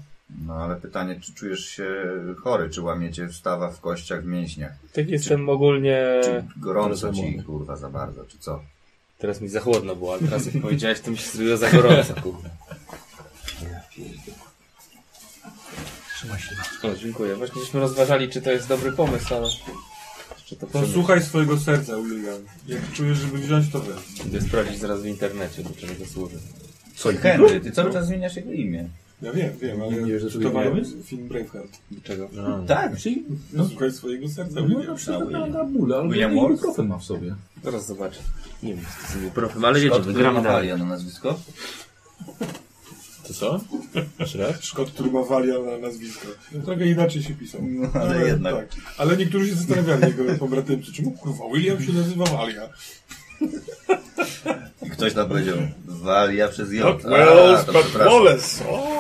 [SPEAKER 2] No ale pytanie, czy czujesz się chory, czy łamiecie wstawa w kościach, w mięśniach?
[SPEAKER 5] Tak jestem ogólnie...
[SPEAKER 2] Czy gorąco ci,
[SPEAKER 3] Rozumiem.
[SPEAKER 2] kurwa, za bardzo, czy co?
[SPEAKER 5] Teraz mi za chłodno było, ale teraz jak powiedziałeś, to mi się zrobiło za gorąco, kurde. Trzymaj się. O, dziękuję. Właśnie żeśmy rozważali, czy to jest dobry pomysł, ale Czy to przemyśleć?
[SPEAKER 4] Posłuchaj swojego serca, William. Jak czujesz, żeby wziąć, to weź.
[SPEAKER 5] Będę sprawdzić zaraz w internecie, do czego to służy.
[SPEAKER 2] Co, Henry, ty cały czas zmieniasz jego imię.
[SPEAKER 4] Ja wiem, wiem, ale
[SPEAKER 1] Nie wiesz, że
[SPEAKER 4] czy
[SPEAKER 1] to
[SPEAKER 4] to ma
[SPEAKER 1] imię?
[SPEAKER 4] być film Braveheart?
[SPEAKER 5] Do czego? no,
[SPEAKER 2] Tak, czyli
[SPEAKER 4] Posłuchaj swojego serca,
[SPEAKER 1] No, na
[SPEAKER 4] William.
[SPEAKER 1] przykład na, na bóle, ale
[SPEAKER 2] William
[SPEAKER 1] nie- nie
[SPEAKER 2] Wallace?
[SPEAKER 1] profil ma w sobie.
[SPEAKER 5] Zaraz zobaczę. Nie wiem, co to jest
[SPEAKER 7] Profem, ale jedziemy, gramy dalej.
[SPEAKER 2] Natalia na nazwisko.
[SPEAKER 3] To co? Jeszcze raz?
[SPEAKER 4] Szkod, który ma walia na nazwisko. Trochę inaczej się pisał.
[SPEAKER 2] No, ale jednak.
[SPEAKER 4] Tak. Ale niektórzy się zastanawiali, jego pobratymcy, czemu kurwa William się nazywa Walia?
[SPEAKER 2] I ktoś tam powiedział, walia przez J.
[SPEAKER 4] Tak,
[SPEAKER 3] Not
[SPEAKER 2] A,
[SPEAKER 3] Wells,
[SPEAKER 2] to
[SPEAKER 3] but
[SPEAKER 2] przepraszam.
[SPEAKER 3] Wallace. O!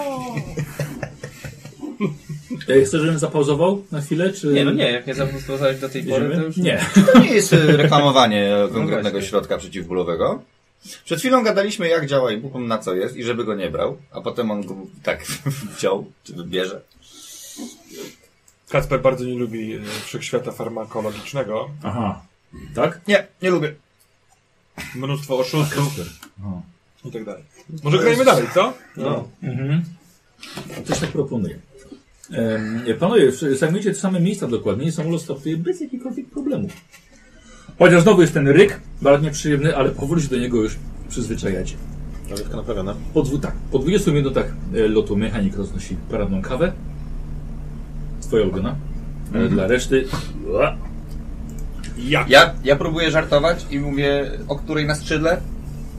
[SPEAKER 1] E, Chcesz, żebym zapauzował na chwilę, czy...
[SPEAKER 5] Nie, no nie, jak nie zaproponowałeś do tej pory, to już...
[SPEAKER 1] Nie.
[SPEAKER 2] To nie jest e, reklamowanie konkretnego
[SPEAKER 5] właśnie.
[SPEAKER 2] środka przeciwbólowego. Przed chwilą gadaliśmy, jak działa ibuprofen, na co jest i żeby go nie brał, a potem on go tak [LAUGHS] wziął, czy wybierze.
[SPEAKER 4] Kacper bardzo nie lubi e, wszechświata farmakologicznego.
[SPEAKER 1] Aha. Tak?
[SPEAKER 2] Nie, nie lubię.
[SPEAKER 4] Mnóstwo oszustów
[SPEAKER 1] O.
[SPEAKER 4] i tak dalej. Może grajmy dalej, co?
[SPEAKER 2] No.
[SPEAKER 1] Mhm. Też tak proponuję. Em, Panowie, zajmujecie te same miejsca dokładnie i samolot startuje bez jakichkolwiek problemów. Chociaż znowu jest ten ryk, bardzo nieprzyjemny, ale powoli się do niego już przyzwyczajacie.
[SPEAKER 3] Nalewka naprawiona.
[SPEAKER 1] Po, dwu, tak, po 20 minutach e, lotu mechanik roznosi paradną kawę. Twoja ulubiona. E, Dla reszty... Ua.
[SPEAKER 2] Ja, ja próbuję żartować i mówię, o której na skrzydle?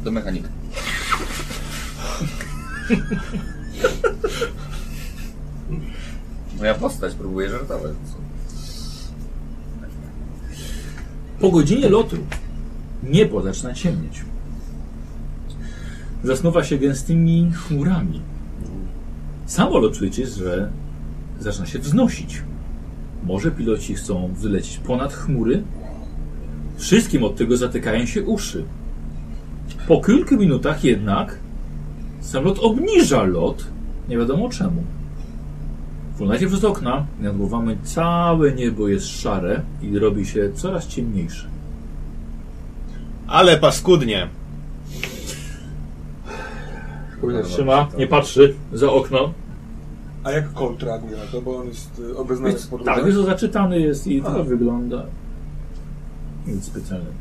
[SPEAKER 2] Do mechanika. Moja postać próbuje żartować.
[SPEAKER 1] Po godzinie lotu niebo zaczyna ciemnieć. Zasnuwa się gęstymi chmurami. Samolot czujecie, że zaczyna się wznosić. Może piloci chcą wylecieć ponad chmury? Wszystkim od tego zatykają się uszy. Po kilku minutach jednak samolot obniża lot, nie wiadomo czemu. Wglądacie przez okna, nad głowami całe niebo jest szare i robi się coraz ciemniejsze.
[SPEAKER 3] Ale paskudnie.
[SPEAKER 1] Trzyma, nie patrzy za okno.
[SPEAKER 4] A jak kontra reaguje na to, bo on jest y, obeznany
[SPEAKER 1] Więc,
[SPEAKER 4] z podróży.
[SPEAKER 1] tak, wiesz, że zaczytany jest i
[SPEAKER 4] A.
[SPEAKER 1] to wygląda. Nic specjalnego.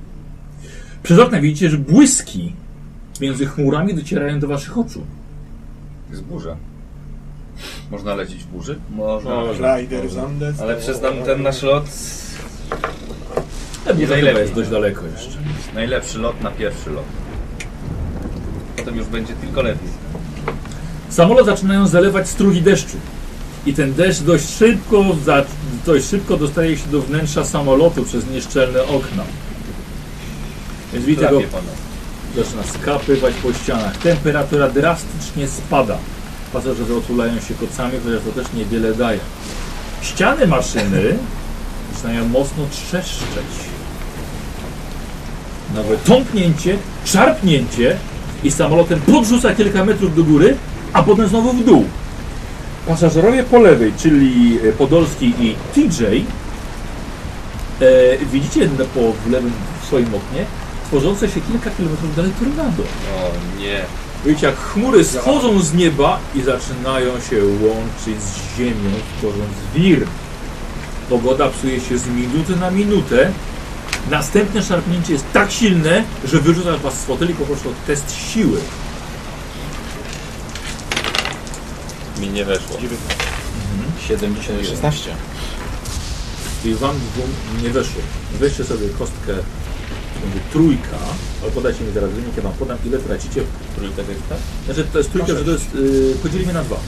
[SPEAKER 1] Przez okna widzicie, że błyski między chmurami docierają do waszych oczu.
[SPEAKER 2] Jest burza. Można lecieć w burzy?
[SPEAKER 5] No,
[SPEAKER 2] Można.
[SPEAKER 4] Rider Zandes.
[SPEAKER 5] Ale przyznam, ten nasz lot...
[SPEAKER 1] Nie
[SPEAKER 5] najlepiej.
[SPEAKER 1] jest dość daleko jeszcze.
[SPEAKER 2] Najlepszy lot na pierwszy lot.
[SPEAKER 5] Potem już będzie tylko lepiej.
[SPEAKER 1] Samolot zaczynają zalewać strugi deszczu. I ten deszcz dość szybko, za, dość szybko dostaje się do wnętrza samolotu przez nieszczelne okna. Więc widzę go
[SPEAKER 2] Trafie pana.
[SPEAKER 1] zaczyna skapywać po ścianach. Temperatura drastycznie spada. Pasażerowie otulają się kocami, chociaż to też niewiele daje. Ściany maszyny zaczynają mocno trzeszczeć. Nawet tąpnięcie, szarpnięcie i samolotem podrzuca kilka metrów do góry, a potem znowu w dół. Pasażerowie po lewej, czyli e, Podolski i TJ, e, widzicie na- po w lewym swoim oknie tworzące się kilka kilometrów dalej tornado.
[SPEAKER 5] O nie.
[SPEAKER 1] Widzicie, jak chmury schodzą z nieba i zaczynają się łączyć z ziemią, tworząc wir. Pogoda psuje się z minuty na minutę. Następne szarpnięcie jest tak silne, że wyrzuca was z foteli po prostu test siły.
[SPEAKER 5] Mi nie weszło. 71.
[SPEAKER 3] 16.
[SPEAKER 1] Czyli wam dwóm nie weszło. Weźcie sobie kostkę to będzie trójka, ale podajcie mi zaraz wynik, ja wam podam ile tracicie.
[SPEAKER 5] Trójka to jest tak?
[SPEAKER 1] Znaczy to jest trójka, że to jest, yy, podzielimy na dwa. Tak,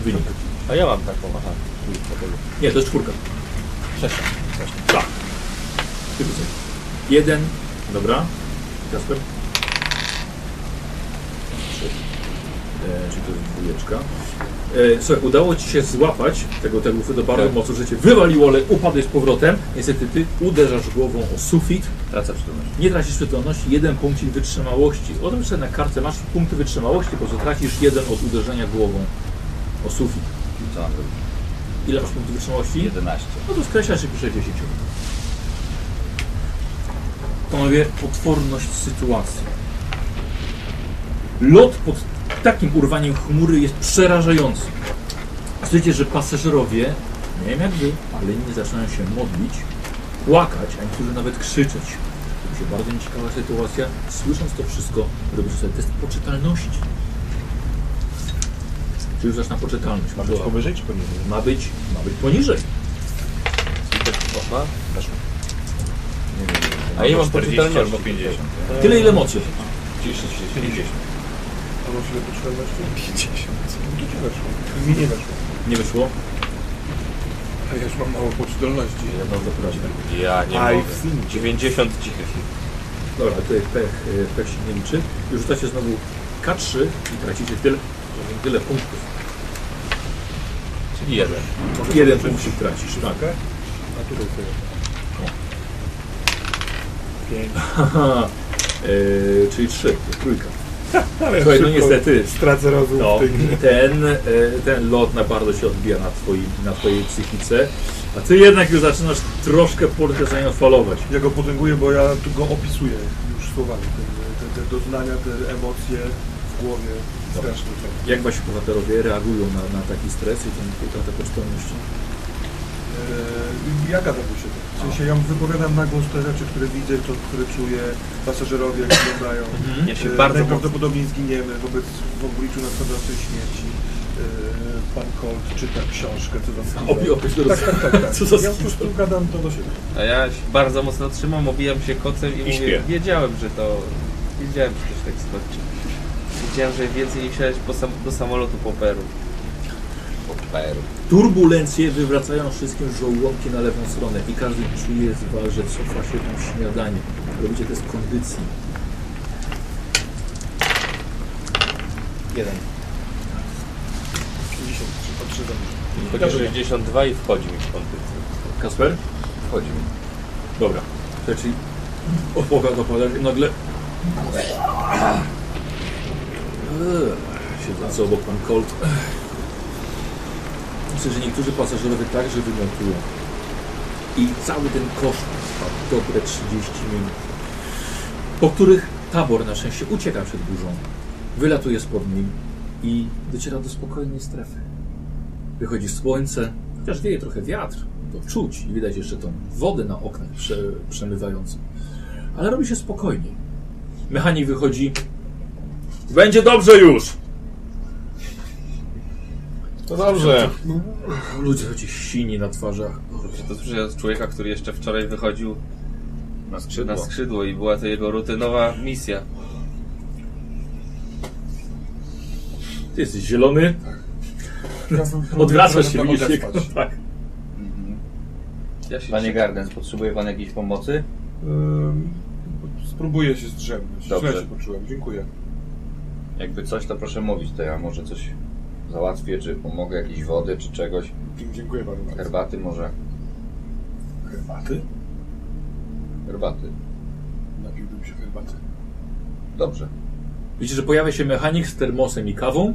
[SPEAKER 5] A.
[SPEAKER 1] Wynik.
[SPEAKER 5] A ja mam taką, aha. Trójka to jest.
[SPEAKER 1] Nie, to jest czwórka.
[SPEAKER 5] Sześć.
[SPEAKER 1] Tak. Tylko co? Jeden. Dobra. Kasper. Trzy. E, czyli to jest dwójeczka. E, słuchaj, udało ci się złapać tego tego do bardzo
[SPEAKER 5] Tak.
[SPEAKER 1] mocno, że cię wywaliło, ale upadłeś z powrotem. Niestety ty uderzasz głową o sufit.
[SPEAKER 2] Tracę przytomność.
[SPEAKER 1] Nie tracisz przytomności, jeden punkt wytrzymałości. Odem sobie na kartce masz punkty wytrzymałości, bo co tracisz jeden od uderzenia głową o sufit.
[SPEAKER 2] Co mam robić?
[SPEAKER 1] Ile masz punktów wytrzymałości?
[SPEAKER 2] 11.
[SPEAKER 1] No to skreślasz i piszesz 10. Panowie, potworność sytuacji. Lot pod takim urwaniem chmury jest przerażający. Słyszycie, że pasażerowie, nie wiem jak wy, ale inni zaczynają się modlić płakać, a niektórzy nawet krzyczeć. To się bardzo nieciekawa sytuacja. Słysząc to wszystko, robisz sobie test poczytalności. Czy już zaczyna poczytalność? Ma być powyżej czy poniżej? Ma być, ma być poniżej.
[SPEAKER 5] A ja
[SPEAKER 2] 40
[SPEAKER 5] mam poczytalność.
[SPEAKER 2] albo 50.
[SPEAKER 1] Tyle ile mocy.
[SPEAKER 2] 50.
[SPEAKER 4] A może ile potrzebne weszło? 50. To ci weszło. Mi nie weszło.
[SPEAKER 1] Nie wyszło?
[SPEAKER 4] A ja już mam mało pocztolności.
[SPEAKER 1] Ja bardzo proszę.
[SPEAKER 5] Ja nie
[SPEAKER 4] I've
[SPEAKER 5] mogę. 90 cichych.
[SPEAKER 1] Dobra, tutaj pech, y, pech się nie liczy. I rzucacie znowu K3 i tracicie tyle, tyle punktów.
[SPEAKER 5] Czyli jeden.
[SPEAKER 1] Jeden punkcik tracisz, tak.
[SPEAKER 4] A tu sobie.
[SPEAKER 1] [LAUGHS] Aha. Y, czyli trzy, trójka.
[SPEAKER 4] Ale
[SPEAKER 1] Słuchaj, no
[SPEAKER 4] szybko
[SPEAKER 1] niestety,
[SPEAKER 4] Stracę rozum
[SPEAKER 1] No,
[SPEAKER 4] w tej grze.
[SPEAKER 1] ten, e, ten lot na bardzo się odbija na, twoi, na twojej psychice, a ty jednak już zaczynasz troszkę Polkę za nią falować.
[SPEAKER 4] Ja go potęguję, bo ja tu go opisuję już słowami. Te, te, te doznania, te emocje w głowie. Straszne.
[SPEAKER 1] Jak wasi bohaterowie reagują na, na taki stres i tę utratę pocztolności?
[SPEAKER 4] Yy, ja gadam do siebie. W sensie ja wypowiadam na głos te rzeczy, które widzę, to, które czuję, pasażerowie jak wyglądają.
[SPEAKER 5] Ja się
[SPEAKER 4] Yy,
[SPEAKER 5] bardzo mocno...
[SPEAKER 4] Najprawdopodobniej zginiemy wobec w obliczu nadchodzącej śmierci. Yy, Pan Colt czyta książkę, co tam
[SPEAKER 1] Obi- obi-
[SPEAKER 4] Tak, tak, tak. tak.
[SPEAKER 1] Co za
[SPEAKER 4] ja po prostu gadam to do siebie.
[SPEAKER 5] A ja się bardzo mocno trzymam, obijam się kocem i, mówię,
[SPEAKER 2] śpię.
[SPEAKER 5] wiedziałem, że to... Wiedziałem, że coś tak skończy. Wiedziałem, że więcej nie wsiadać po sam, do samolotu po Peru.
[SPEAKER 1] Turbulencje wywracają wszystkim żołądki na lewą stronę i każdy czuje z was, że cofa się tam śniadanie. Robicie to z kondycji.
[SPEAKER 3] Jeden.
[SPEAKER 4] 53, potrzebam.
[SPEAKER 5] Chodzi 62 i wchodzi mi w kondycję.
[SPEAKER 1] Kasper?
[SPEAKER 2] Wchodzi.
[SPEAKER 1] Dobra. Czyli opowiada opada, nagle... Eee, Siedzący obok pan Colt. Myślę, że niektórzy pasażerowie także wymiotują. I cały ten koszmar trwa dobre 30 minut, po których tabor na szczęście ucieka przed burzą, wylatuje spod niej i dociera do spokojnej strefy. Wychodzi słońce, chociaż wieje trochę wiatr, to czuć i widać jeszcze tą wodę na oknach prze, przemywającą. Ale robi się spokojniej. Mechanik wychodzi. Będzie dobrze już!
[SPEAKER 3] To dobrze.
[SPEAKER 1] Ludzie chodzi sini na twarzach.
[SPEAKER 5] Że To słyszę od człowieka, który jeszcze wczoraj wychodził
[SPEAKER 2] Na
[SPEAKER 5] na
[SPEAKER 2] skrzydło.
[SPEAKER 5] skrzydło i była to jego rutynowa misja.
[SPEAKER 1] Ty jesteś zielony,
[SPEAKER 4] Tak. Ja próbuję
[SPEAKER 1] odwracasz się,
[SPEAKER 4] trochę
[SPEAKER 1] widzisz
[SPEAKER 4] odespać.
[SPEAKER 1] jego- [LAUGHS] tak.
[SPEAKER 5] Ja się
[SPEAKER 2] Panie Gardens, potrzebuje pan jakiejś pomocy?
[SPEAKER 4] Ym, Spróbuję się zdrzemnąć.
[SPEAKER 2] Dobrze.
[SPEAKER 4] Źle się poczułem, dziękuję.
[SPEAKER 2] Jakby coś, to proszę mówić, to ja może coś załatwię, czy pomogę, jakiejś wody, czy czegoś.
[SPEAKER 4] Dziękuję panu bardzo.
[SPEAKER 2] Herbaty może.
[SPEAKER 4] Herbaty?
[SPEAKER 2] Herbaty.
[SPEAKER 4] Napiłbym się herbaty.
[SPEAKER 2] Dobrze.
[SPEAKER 1] Widzisz, że pojawia się mechanik z termosem i kawą.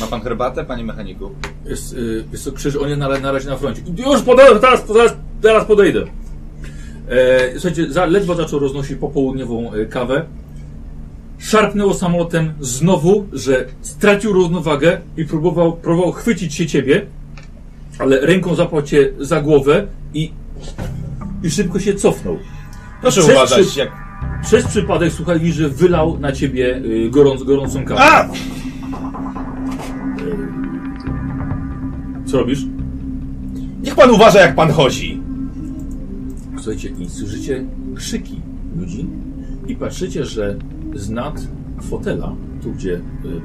[SPEAKER 2] Ma pan herbatę, panie mechaniku?
[SPEAKER 1] Jest, y, jest to krzyż, on jest na, na razie na froncie. Już podejdę, teraz, teraz, teraz podejdę. E, słuchajcie, za, ledwo zaczął roznosić popołudniową e, kawę. Szarpnęło samolotem znowu, że stracił równowagę i próbował, próbował chwycić się ciebie, ale ręką zapłał cię za głowę i, i szybko się cofnął.
[SPEAKER 3] Proszę
[SPEAKER 1] Przez
[SPEAKER 3] uważać,
[SPEAKER 1] przy-
[SPEAKER 3] jak
[SPEAKER 1] Przez przypadek słuchaj, widzisz, że wylał na ciebie y, gorąc, gorącą kawę.
[SPEAKER 3] A!
[SPEAKER 1] Co robisz?
[SPEAKER 3] Niech pan uważa, jak pan chodzi.
[SPEAKER 1] Słuchajcie, i słyszycie krzyki ludzi i patrzycie, że z nad fotela, tu gdzie y,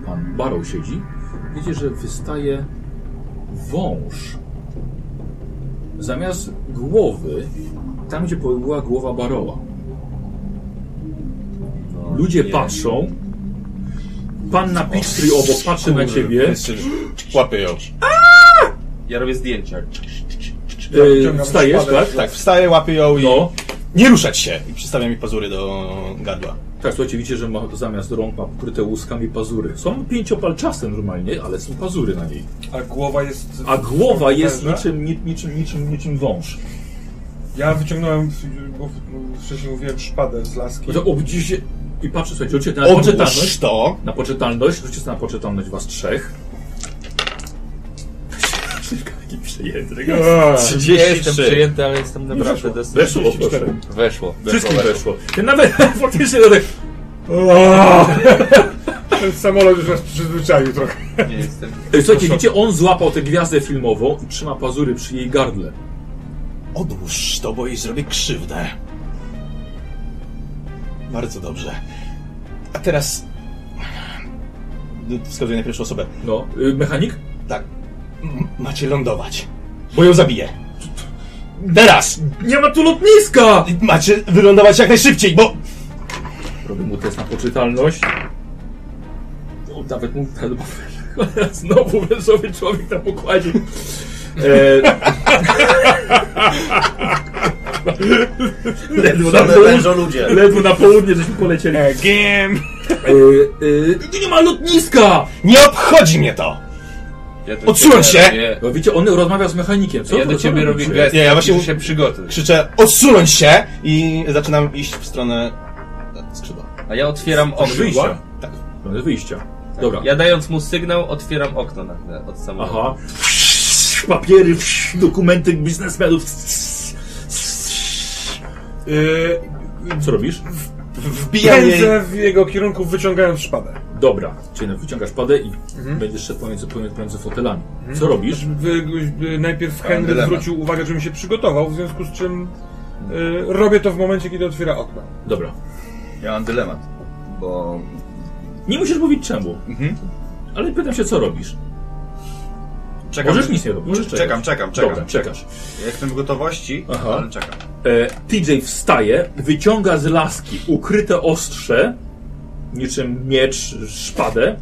[SPEAKER 1] pan Barrow siedzi, widzicie, że wystaje wąż. Zamiast głowy, tam gdzie była głowa Barrowa. Ludzie patrzą. Pan na Peachtree obok patrzy na ciebie.
[SPEAKER 3] Łapie ją. E,
[SPEAKER 5] Ja robię zdjęcia.
[SPEAKER 1] Yy, wstajesz,
[SPEAKER 4] szpadę.
[SPEAKER 1] tak?
[SPEAKER 3] Tak, wstaję, łapię ją i...
[SPEAKER 1] No.
[SPEAKER 3] Nie ruszać się! I przystawia mi pazury do gardła.
[SPEAKER 1] Tak, słuchajcie, widzicie, że ma zamiast rąk ma pokryte łuskami pazury. Są pięciopalczaste normalnie, ale są pazury na niej.
[SPEAKER 4] A głowa jest...
[SPEAKER 1] A głowa jest
[SPEAKER 4] Węża?
[SPEAKER 1] niczym, ni- niczym, niczym, niczym wąż.
[SPEAKER 4] Ja wyciągnąłem, bo no, wcześniej mówiłem, szpadę z laski.
[SPEAKER 1] No
[SPEAKER 4] [LAUGHS]
[SPEAKER 1] To obudzi się i patrzę, słuchajcie, rzućcie na
[SPEAKER 3] Odłóż
[SPEAKER 1] poczytalność.
[SPEAKER 3] to!
[SPEAKER 1] Na poczytalność, rzućcie sobie na poczytalność was trzech. Szybka, jaki przy- przyjęty.
[SPEAKER 5] Ja jestem
[SPEAKER 1] 33.
[SPEAKER 5] przyjęty, ale jestem naprawdę dosyć...
[SPEAKER 1] Weszło, proszę.
[SPEAKER 5] Weszło.
[SPEAKER 1] Wszystkim weszło. Ty nawet [LAUGHS] faktycznie no tak...
[SPEAKER 8] Ten samolot już nas przyzwyczaił trochę.
[SPEAKER 5] Nie jestem...
[SPEAKER 1] Ej, Słuchajcie, widzicie, on złapał tę gwiazdę filmową i trzyma pazury przy jej gardle.
[SPEAKER 3] Odłóż to, bo jej zrobię krzywdę. Bardzo dobrze. A teraz... Wskazuję na pierwszą osobę.
[SPEAKER 1] No, y, mechanik?
[SPEAKER 3] M- Macie lądować, bo ją zabiję. Teraz!
[SPEAKER 1] Nie ma tu lotniska!
[SPEAKER 3] Macie wylądować jak najszybciej, bo...
[SPEAKER 1] Robię mu test na poczytalność. O, nawet mu [LAUGHS] Znowu wężowy człowiek na pokładzie. E... ledwo, na południe,
[SPEAKER 2] Wężo ludzie.
[SPEAKER 1] ledwo na południe żeśmy polecieli. E,
[SPEAKER 8] Game!
[SPEAKER 1] tu nie ma lotniska!
[SPEAKER 3] Nie obchodzi mnie to!
[SPEAKER 5] Ja do
[SPEAKER 3] Odsuń
[SPEAKER 5] ciebie
[SPEAKER 3] się!
[SPEAKER 5] robię-
[SPEAKER 1] No widzicie, on rozmawia z mechanikiem. Co
[SPEAKER 5] Ja
[SPEAKER 1] wy-
[SPEAKER 5] do
[SPEAKER 1] co
[SPEAKER 5] ciebie
[SPEAKER 1] wy
[SPEAKER 5] robię
[SPEAKER 1] robicie?
[SPEAKER 5] gest,
[SPEAKER 3] Nie, ja
[SPEAKER 5] ja
[SPEAKER 3] właśnie
[SPEAKER 5] właśnie
[SPEAKER 3] mu-
[SPEAKER 5] się przygotuj.
[SPEAKER 3] Krzyczę odsunąć się i zaczynam iść w stronę skrzydła.
[SPEAKER 5] A ja otwieram
[SPEAKER 1] Stronę
[SPEAKER 5] okno.
[SPEAKER 1] wyjścia.
[SPEAKER 3] Tak.
[SPEAKER 1] Stronę wyjścia. Dobra.
[SPEAKER 5] Ja dając mu sygnał, otwieram okno na chwilę od samolotu.
[SPEAKER 1] Aha. Papiery, dokumenty biznesmenów.
[SPEAKER 4] Yy,
[SPEAKER 1] Co robisz?
[SPEAKER 3] Wbijam jej...
[SPEAKER 4] pędzę w jego kierunku, wyciągając szpadę.
[SPEAKER 1] Dobra, czyli no, wyciągasz padę i będziesz szedł pomiędzy, pomiędzy, pomiędzy fotelami. Co robisz?
[SPEAKER 4] Wy, wy, najpierw
[SPEAKER 2] Pełen
[SPEAKER 4] Henry
[SPEAKER 2] dylemat.
[SPEAKER 4] zwrócił uwagę, żebym się przygotował, w związku z czym yy, robię to w momencie, kiedy otwiera okno.
[SPEAKER 1] Dobra.
[SPEAKER 2] Ja mam dylemat, bo
[SPEAKER 1] Nie musisz mówić czemu. Ale pytam się, co robisz.
[SPEAKER 2] czekam.
[SPEAKER 1] Możesz nic nie robić. Możesz czekać.
[SPEAKER 2] Czekam, czekam, czekam.
[SPEAKER 1] Dobra, czekasz.
[SPEAKER 2] Ja Jestem w gotowości,
[SPEAKER 1] Aha.
[SPEAKER 2] ale czekam.
[SPEAKER 1] E, TJ wstaje, wyciąga z laski ukryte ostrze, niczym miecz, szpadę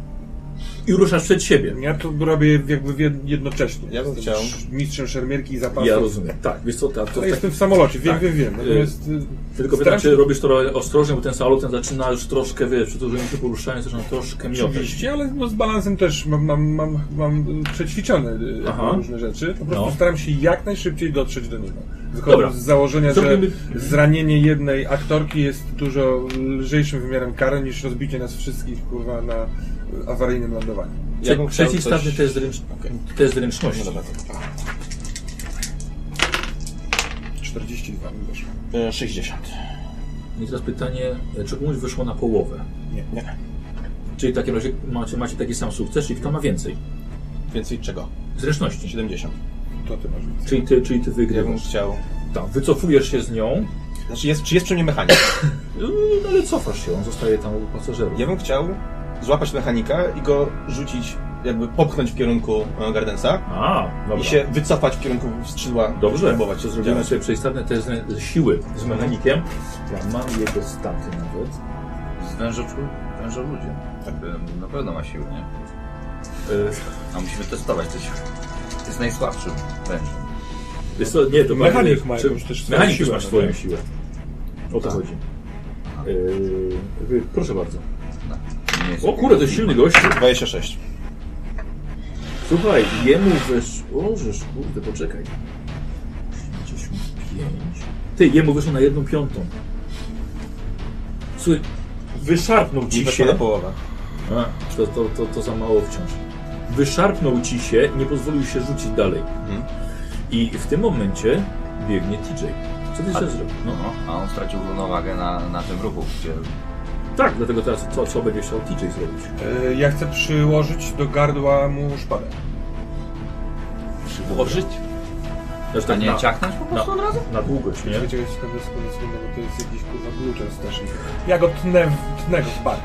[SPEAKER 1] i ruszasz przed siebie.
[SPEAKER 4] Ja to robię jakby w jed- jednocześnie.
[SPEAKER 3] Ja bym
[SPEAKER 4] Jestem
[SPEAKER 3] chciał.
[SPEAKER 4] sz- Mistrzem szermierki i zapasów.
[SPEAKER 1] Ja rozumiem. Tak, wiesz co, ta, to,
[SPEAKER 4] Ale
[SPEAKER 1] tak,
[SPEAKER 4] jestem w samolocie, wiem,
[SPEAKER 1] Tak.
[SPEAKER 4] wiem, wiem. Natomiast, y,
[SPEAKER 1] tylko pytam
[SPEAKER 4] strasznie-
[SPEAKER 1] czy robisz to ostrożnie, bo ten samolot ten zaczyna już troszkę, wiesz, przy dużym się poruszaniu zaczyna troszkę miotać.
[SPEAKER 4] Oczywiście, ale no z balansem też mam, mam, mam, mam y, przećwiczone y,
[SPEAKER 1] Aha.
[SPEAKER 4] różne rzeczy. Po prostu
[SPEAKER 1] No.
[SPEAKER 4] staram się jak najszybciej dotrzeć do niego. Wychodząc
[SPEAKER 1] Dobra.
[SPEAKER 4] z założenia,
[SPEAKER 1] Zrobimy-
[SPEAKER 4] że zranienie jednej aktorki jest dużo lżejszym wymiarem kary niż rozbicie nas wszystkich kurwa na y, awaryjnym lądowaniu.
[SPEAKER 3] Ja bym chciał
[SPEAKER 1] Trzeci
[SPEAKER 3] coś-
[SPEAKER 1] stawny test, ręcz... test ręczności.
[SPEAKER 3] No dobra,
[SPEAKER 4] 42 mi weszło.
[SPEAKER 3] to- e, 60.
[SPEAKER 1] I teraz pytanie, e, czy komuś wyszło na połowę?
[SPEAKER 3] Nie, nie.
[SPEAKER 1] Czyli w takim razie macie, macie taki sam sukces, czyli kto ma więcej?
[SPEAKER 3] Więcej czego?
[SPEAKER 1] Zręczności.
[SPEAKER 3] 70.
[SPEAKER 4] To ty masz więcej.
[SPEAKER 1] Czyli ty, czyli ty
[SPEAKER 3] Ja bym
[SPEAKER 1] wygrywasz.
[SPEAKER 3] chciał...
[SPEAKER 1] Tak, wycofujesz się z nią,
[SPEAKER 3] Znaczy jest, czy jest przy mnie mechanik?
[SPEAKER 1] yy, ale cofasz się, on zostaje tam u pasażerów.
[SPEAKER 3] Ja bym chciał złapać mechanika i go rzucić, jakby popchnąć w kierunku e, Gardensa
[SPEAKER 1] A, dobra.
[SPEAKER 3] i się wycofać w kierunku skrzydła.
[SPEAKER 1] Dobrze, to
[SPEAKER 3] próbować
[SPEAKER 1] zrobimy
[SPEAKER 4] Tak.
[SPEAKER 3] działać.
[SPEAKER 1] sobie przejstawne test z siły z
[SPEAKER 4] Mhm.
[SPEAKER 1] mechanikiem. Ja mam jego staty nawet.
[SPEAKER 2] Z wężo, wężo ludzie. Y, Na pewno ma siłę, nie?
[SPEAKER 1] Yy,
[SPEAKER 2] A musimy testować te siły. Jest najsłabszym wężem.
[SPEAKER 1] wiesz co, nie, to
[SPEAKER 4] Mechanik
[SPEAKER 1] czy-
[SPEAKER 4] ma jakąś też swoją
[SPEAKER 1] Mechanik
[SPEAKER 4] siłę,
[SPEAKER 1] też masz
[SPEAKER 4] no
[SPEAKER 1] swoją
[SPEAKER 4] nie? Tak.
[SPEAKER 1] siłę. O to chodzi. Yy, wy- proszę bardzo.
[SPEAKER 2] Nie jest-
[SPEAKER 1] O kurde, to jest silny gościu.
[SPEAKER 3] 26.
[SPEAKER 1] Słuchaj, jemu wyszło... O, żeż, kurde, poczekaj. 85... Ty, jemu wyszło na jedną piątą. Słuchaj, wyszarpnął
[SPEAKER 3] Nie
[SPEAKER 1] ci
[SPEAKER 3] weszła na
[SPEAKER 1] się...
[SPEAKER 3] połowę.
[SPEAKER 1] A, to, to, to, to za mało wciąż. Wyszarpnął ci się, nie pozwolił się rzucić dalej.
[SPEAKER 3] Mhm.
[SPEAKER 1] I w tym momencie biegnie TJ. Co ty chcesz zrobić? No.
[SPEAKER 2] No, a on stracił równowagę na, na tym ruchu, gdzie
[SPEAKER 1] Tak, dlatego teraz co, co będzie chciał TJ zrobić?
[SPEAKER 4] Y, Ja chcę przyłożyć do gardła mu szpadę.
[SPEAKER 5] Przyłożyć?
[SPEAKER 1] Znaczy,
[SPEAKER 2] A
[SPEAKER 1] tak
[SPEAKER 2] nie
[SPEAKER 1] na,
[SPEAKER 2] ciachnąć po prostu od razu?
[SPEAKER 1] na długość, nie?
[SPEAKER 4] Czekaj, czekaj, czekaj, bez koniec minę, bo to jest jakiś kurwa gluczem straszny. Ja go tnę, w- tnę go w bark.